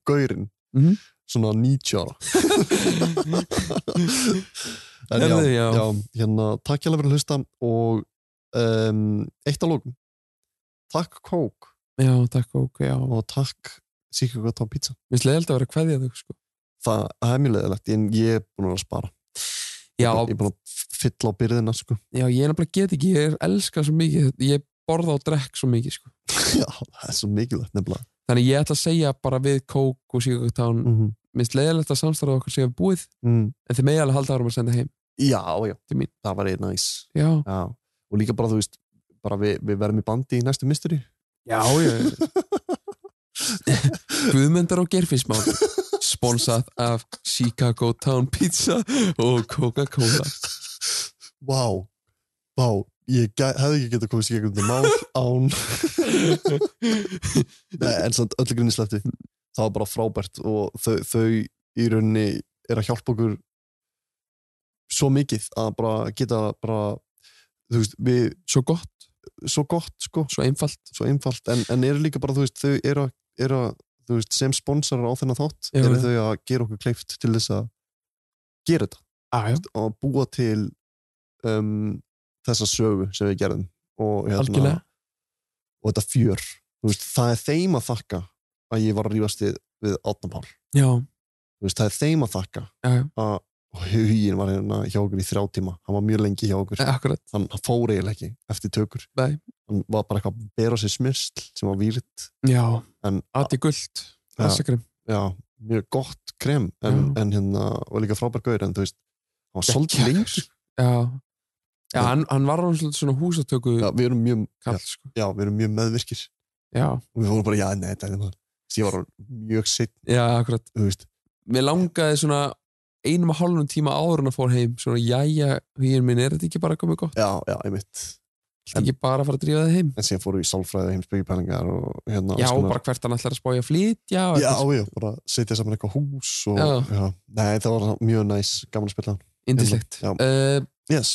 Speaker 2: gaurinn,
Speaker 5: Mhm.
Speaker 2: svona 90
Speaker 5: <laughs>
Speaker 2: ára. En
Speaker 5: Herðu, já.
Speaker 2: já, hérna, takk hjá fyrir að hlusta og um, eitt að lókum. Takk Kók
Speaker 5: Já, takk Kók, já.
Speaker 2: Og takk Sýkjöku að tá pizza.
Speaker 5: Mér finnst leiðilegt að vera að kveðja þau, sko.
Speaker 2: Það það er mjög leðilegt, en ég er búin að vera að spara.
Speaker 5: Já.
Speaker 2: Ég er búin að fylla á byrðina, sko.
Speaker 5: Já, ég nefnilega get ekki, ég er elskað svo mikið Ég borða og drekk svo mikið sko.
Speaker 2: <laughs> Já, það er svo mikilvægt nefnilega.
Speaker 5: Þannig ég ætla að segja bara við Kók og Sigurgután mm
Speaker 2: -hmm.
Speaker 5: Minnst leiðilegt að samstarfa okkar séu búið
Speaker 2: Mm.
Speaker 5: En þið megi alveg halda árum að senda heim
Speaker 2: Já, já,
Speaker 5: mín.
Speaker 2: það var einn næs.
Speaker 5: Já.
Speaker 2: Og líka bara, þú veist, bara við, við verðum í bandi í næstu mystery.
Speaker 5: Já, já Guðmyndar og
Speaker 2: <laughs>
Speaker 5: gerfismál Sponsað af Chicago Town Pizza og Coca-Cola
Speaker 2: Vá, vá, ég gæ, hefði ekki getað komist í gegnum þetta
Speaker 5: <laughs>
Speaker 2: mál án. Nei, en samt öllu grinni slefti. Það var bara frábært og þau, þau í rauninni er að hjálpa okkur svo mikið að bara geta bara, þú veist, við...
Speaker 5: Svo gott.
Speaker 2: Svo gott, sko.
Speaker 5: Svo einfalt.
Speaker 2: Svo einfalt, en, en eru líka bara, þú veist, þau eru að, eru að þú veist, sem sponsorar á þennan þátt
Speaker 5: Já,
Speaker 2: eru
Speaker 5: já.
Speaker 2: þau að gera okkur kleift til þess að gera þetta
Speaker 5: ah,
Speaker 2: og búa til um, þessa sögu sem við gerðum og, hérna,
Speaker 5: Algjörlega.
Speaker 2: og þetta fjör Þú veist, það er þeim að þakka að ég var að rífast við, við Átnapál
Speaker 5: Já,
Speaker 2: veist, það er þeim að þakka
Speaker 5: Já.
Speaker 2: að og hugin var hérna hjá okkur í þrjá tíma hann var mjög lengi hjá okkur
Speaker 5: Eh, Akkurat.
Speaker 2: hann hann fór eiginlega ekki eftir tökur
Speaker 5: Nei.
Speaker 2: hann var bara eitthvað að bera á sér smyrsl sem var výrit
Speaker 5: já
Speaker 2: Ati
Speaker 5: gullt,
Speaker 2: já,
Speaker 5: assakrem.
Speaker 2: já, mjög gott krem en, en hérna, og líka frábær gaur en þú veist, hann var svolítið lengur
Speaker 5: já Já, hann, hann var alveg svolítið svona húsatöku
Speaker 2: já, við erum mjög,
Speaker 5: kall, já, sko.
Speaker 2: já, við erum mjög meðvirkir
Speaker 5: já.
Speaker 2: og við vorum bara, já, nei, þetta er maður Þessi, ég var orðinn mjög sitt
Speaker 5: já, akkurat
Speaker 2: veist.
Speaker 5: Mér langaði svona einum og hálfum tíma áður en að fór heim svona, jæja, hugin minn, er þetta ekki bara komið gott?
Speaker 2: já, já, einmitt
Speaker 5: Þetta ekki bara að fara að drífa það heim
Speaker 2: en síðan fórum við í sálfræði og heimsbyggjupælingar og hérna
Speaker 5: Já,
Speaker 2: alls konar-
Speaker 5: bara hvert hann ætlar að spája að flytja og
Speaker 2: já,
Speaker 5: eitthvað.
Speaker 2: já, bara setja saman eitthvað hús og,
Speaker 5: Já.
Speaker 2: já. Nei, það var mjög næs, gaman að spila hann.
Speaker 5: Yndislegt.
Speaker 2: Já.
Speaker 5: uh,
Speaker 2: yes.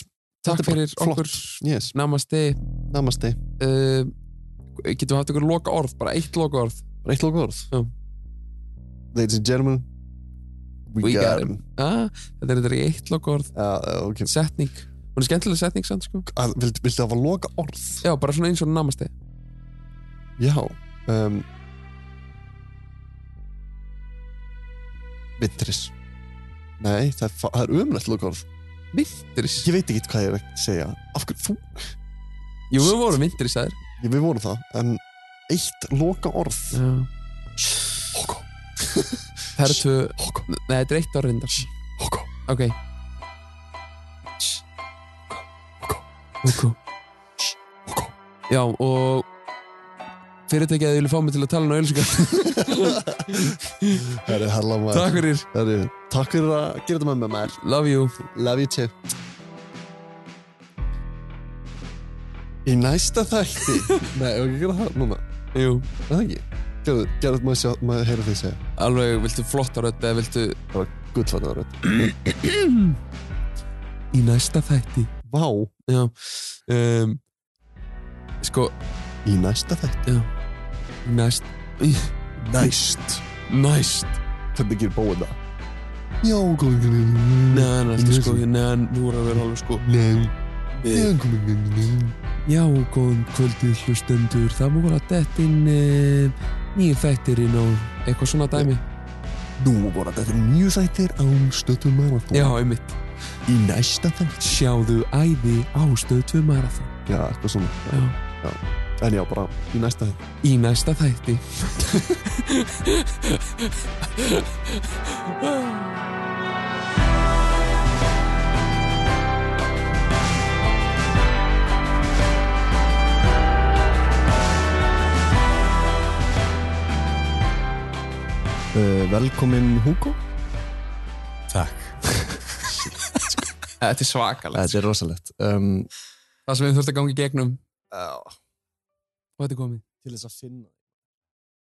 Speaker 5: Takk
Speaker 2: Þetta er bara
Speaker 5: fyrir
Speaker 2: flott.
Speaker 5: okkur
Speaker 2: yes.
Speaker 5: Namaste
Speaker 2: Namaste
Speaker 5: uh, Getum við haft okkur loka orð Bara eitt loka orð
Speaker 2: Bara eitt loka orð
Speaker 5: Já
Speaker 2: Ladies and gentlemen We,
Speaker 5: We
Speaker 2: got
Speaker 5: got
Speaker 2: him
Speaker 5: ah, Þetta er þetta er eitt loka orð
Speaker 2: uh, okay.
Speaker 5: Setning Hún er skemmtileg setning sann sko
Speaker 2: að, viltu, Ah, viltu hafa loka orð?
Speaker 5: Já, bara svona eins og namaste
Speaker 2: Já um, Vintris Hérna, Nei, það er, fa- það er umrætt loka orð
Speaker 5: Vintris?
Speaker 2: Ég veit ekki hvað ég er að segja Af hverju þú?
Speaker 5: Jú, við vorum vintris aðeir
Speaker 2: Ég, við vorum það, en eitt loka orð
Speaker 5: Já Það eru tvö Nei, þetta er eitt orð reyndar Hoko Ok Hoko Já, og fyrirtækið að þið vilja fá mig til að tala um
Speaker 2: <laughs>
Speaker 5: auðvilsingar
Speaker 2: Herri, hella maður.
Speaker 5: Takk fyrir.
Speaker 2: Herri, takk fyrir að gera þetta með mér maður.
Speaker 5: Love you.
Speaker 2: Love you too. Í næsta
Speaker 5: <laughs>
Speaker 2: þætti. Nei, ég var ekki að gera það núna.
Speaker 5: Jú.
Speaker 2: Er það ekki? Gerðu, gerðu, maður sjá, maður heyra því segja.
Speaker 5: Alveg, viltu flottar rödd eða viltu
Speaker 2: Það var gullfattar rödd
Speaker 5: Í næsta þætti
Speaker 2: Vá
Speaker 5: Já um, Sko
Speaker 2: Í næsta þætti
Speaker 5: Já Næst
Speaker 2: Næst
Speaker 5: Næst
Speaker 2: Hvernig gerir bóið það?
Speaker 5: Já, góðingur Nei, en alltaf sko <laughs> Nei, nú er að vera alveg sko Nei
Speaker 2: Já, komið
Speaker 5: Já, góðan kvöldið hlustendur Það múið að detta inn uh, nýjum þættirinn og eitthvað svona dæmi
Speaker 2: Nú voru þetta nýju þættir án stöttum marathón
Speaker 5: Já, einmitt í næsta þengt sjáðu æði á stöð 2 marathon
Speaker 2: Já, eitthvað svona
Speaker 5: Já.
Speaker 2: Já. En já, bara í næsta þætti
Speaker 5: í næsta þætti
Speaker 2: uh,
Speaker 5: Eh,
Speaker 2: Velkomin Hugo
Speaker 9: Takk
Speaker 5: <laughs> Þetta er svakalegt
Speaker 2: Þetta er rosalegt um,
Speaker 5: Það sem við þurfum að ganga í gegnum Já Og þetta er komið
Speaker 9: Til þess að finna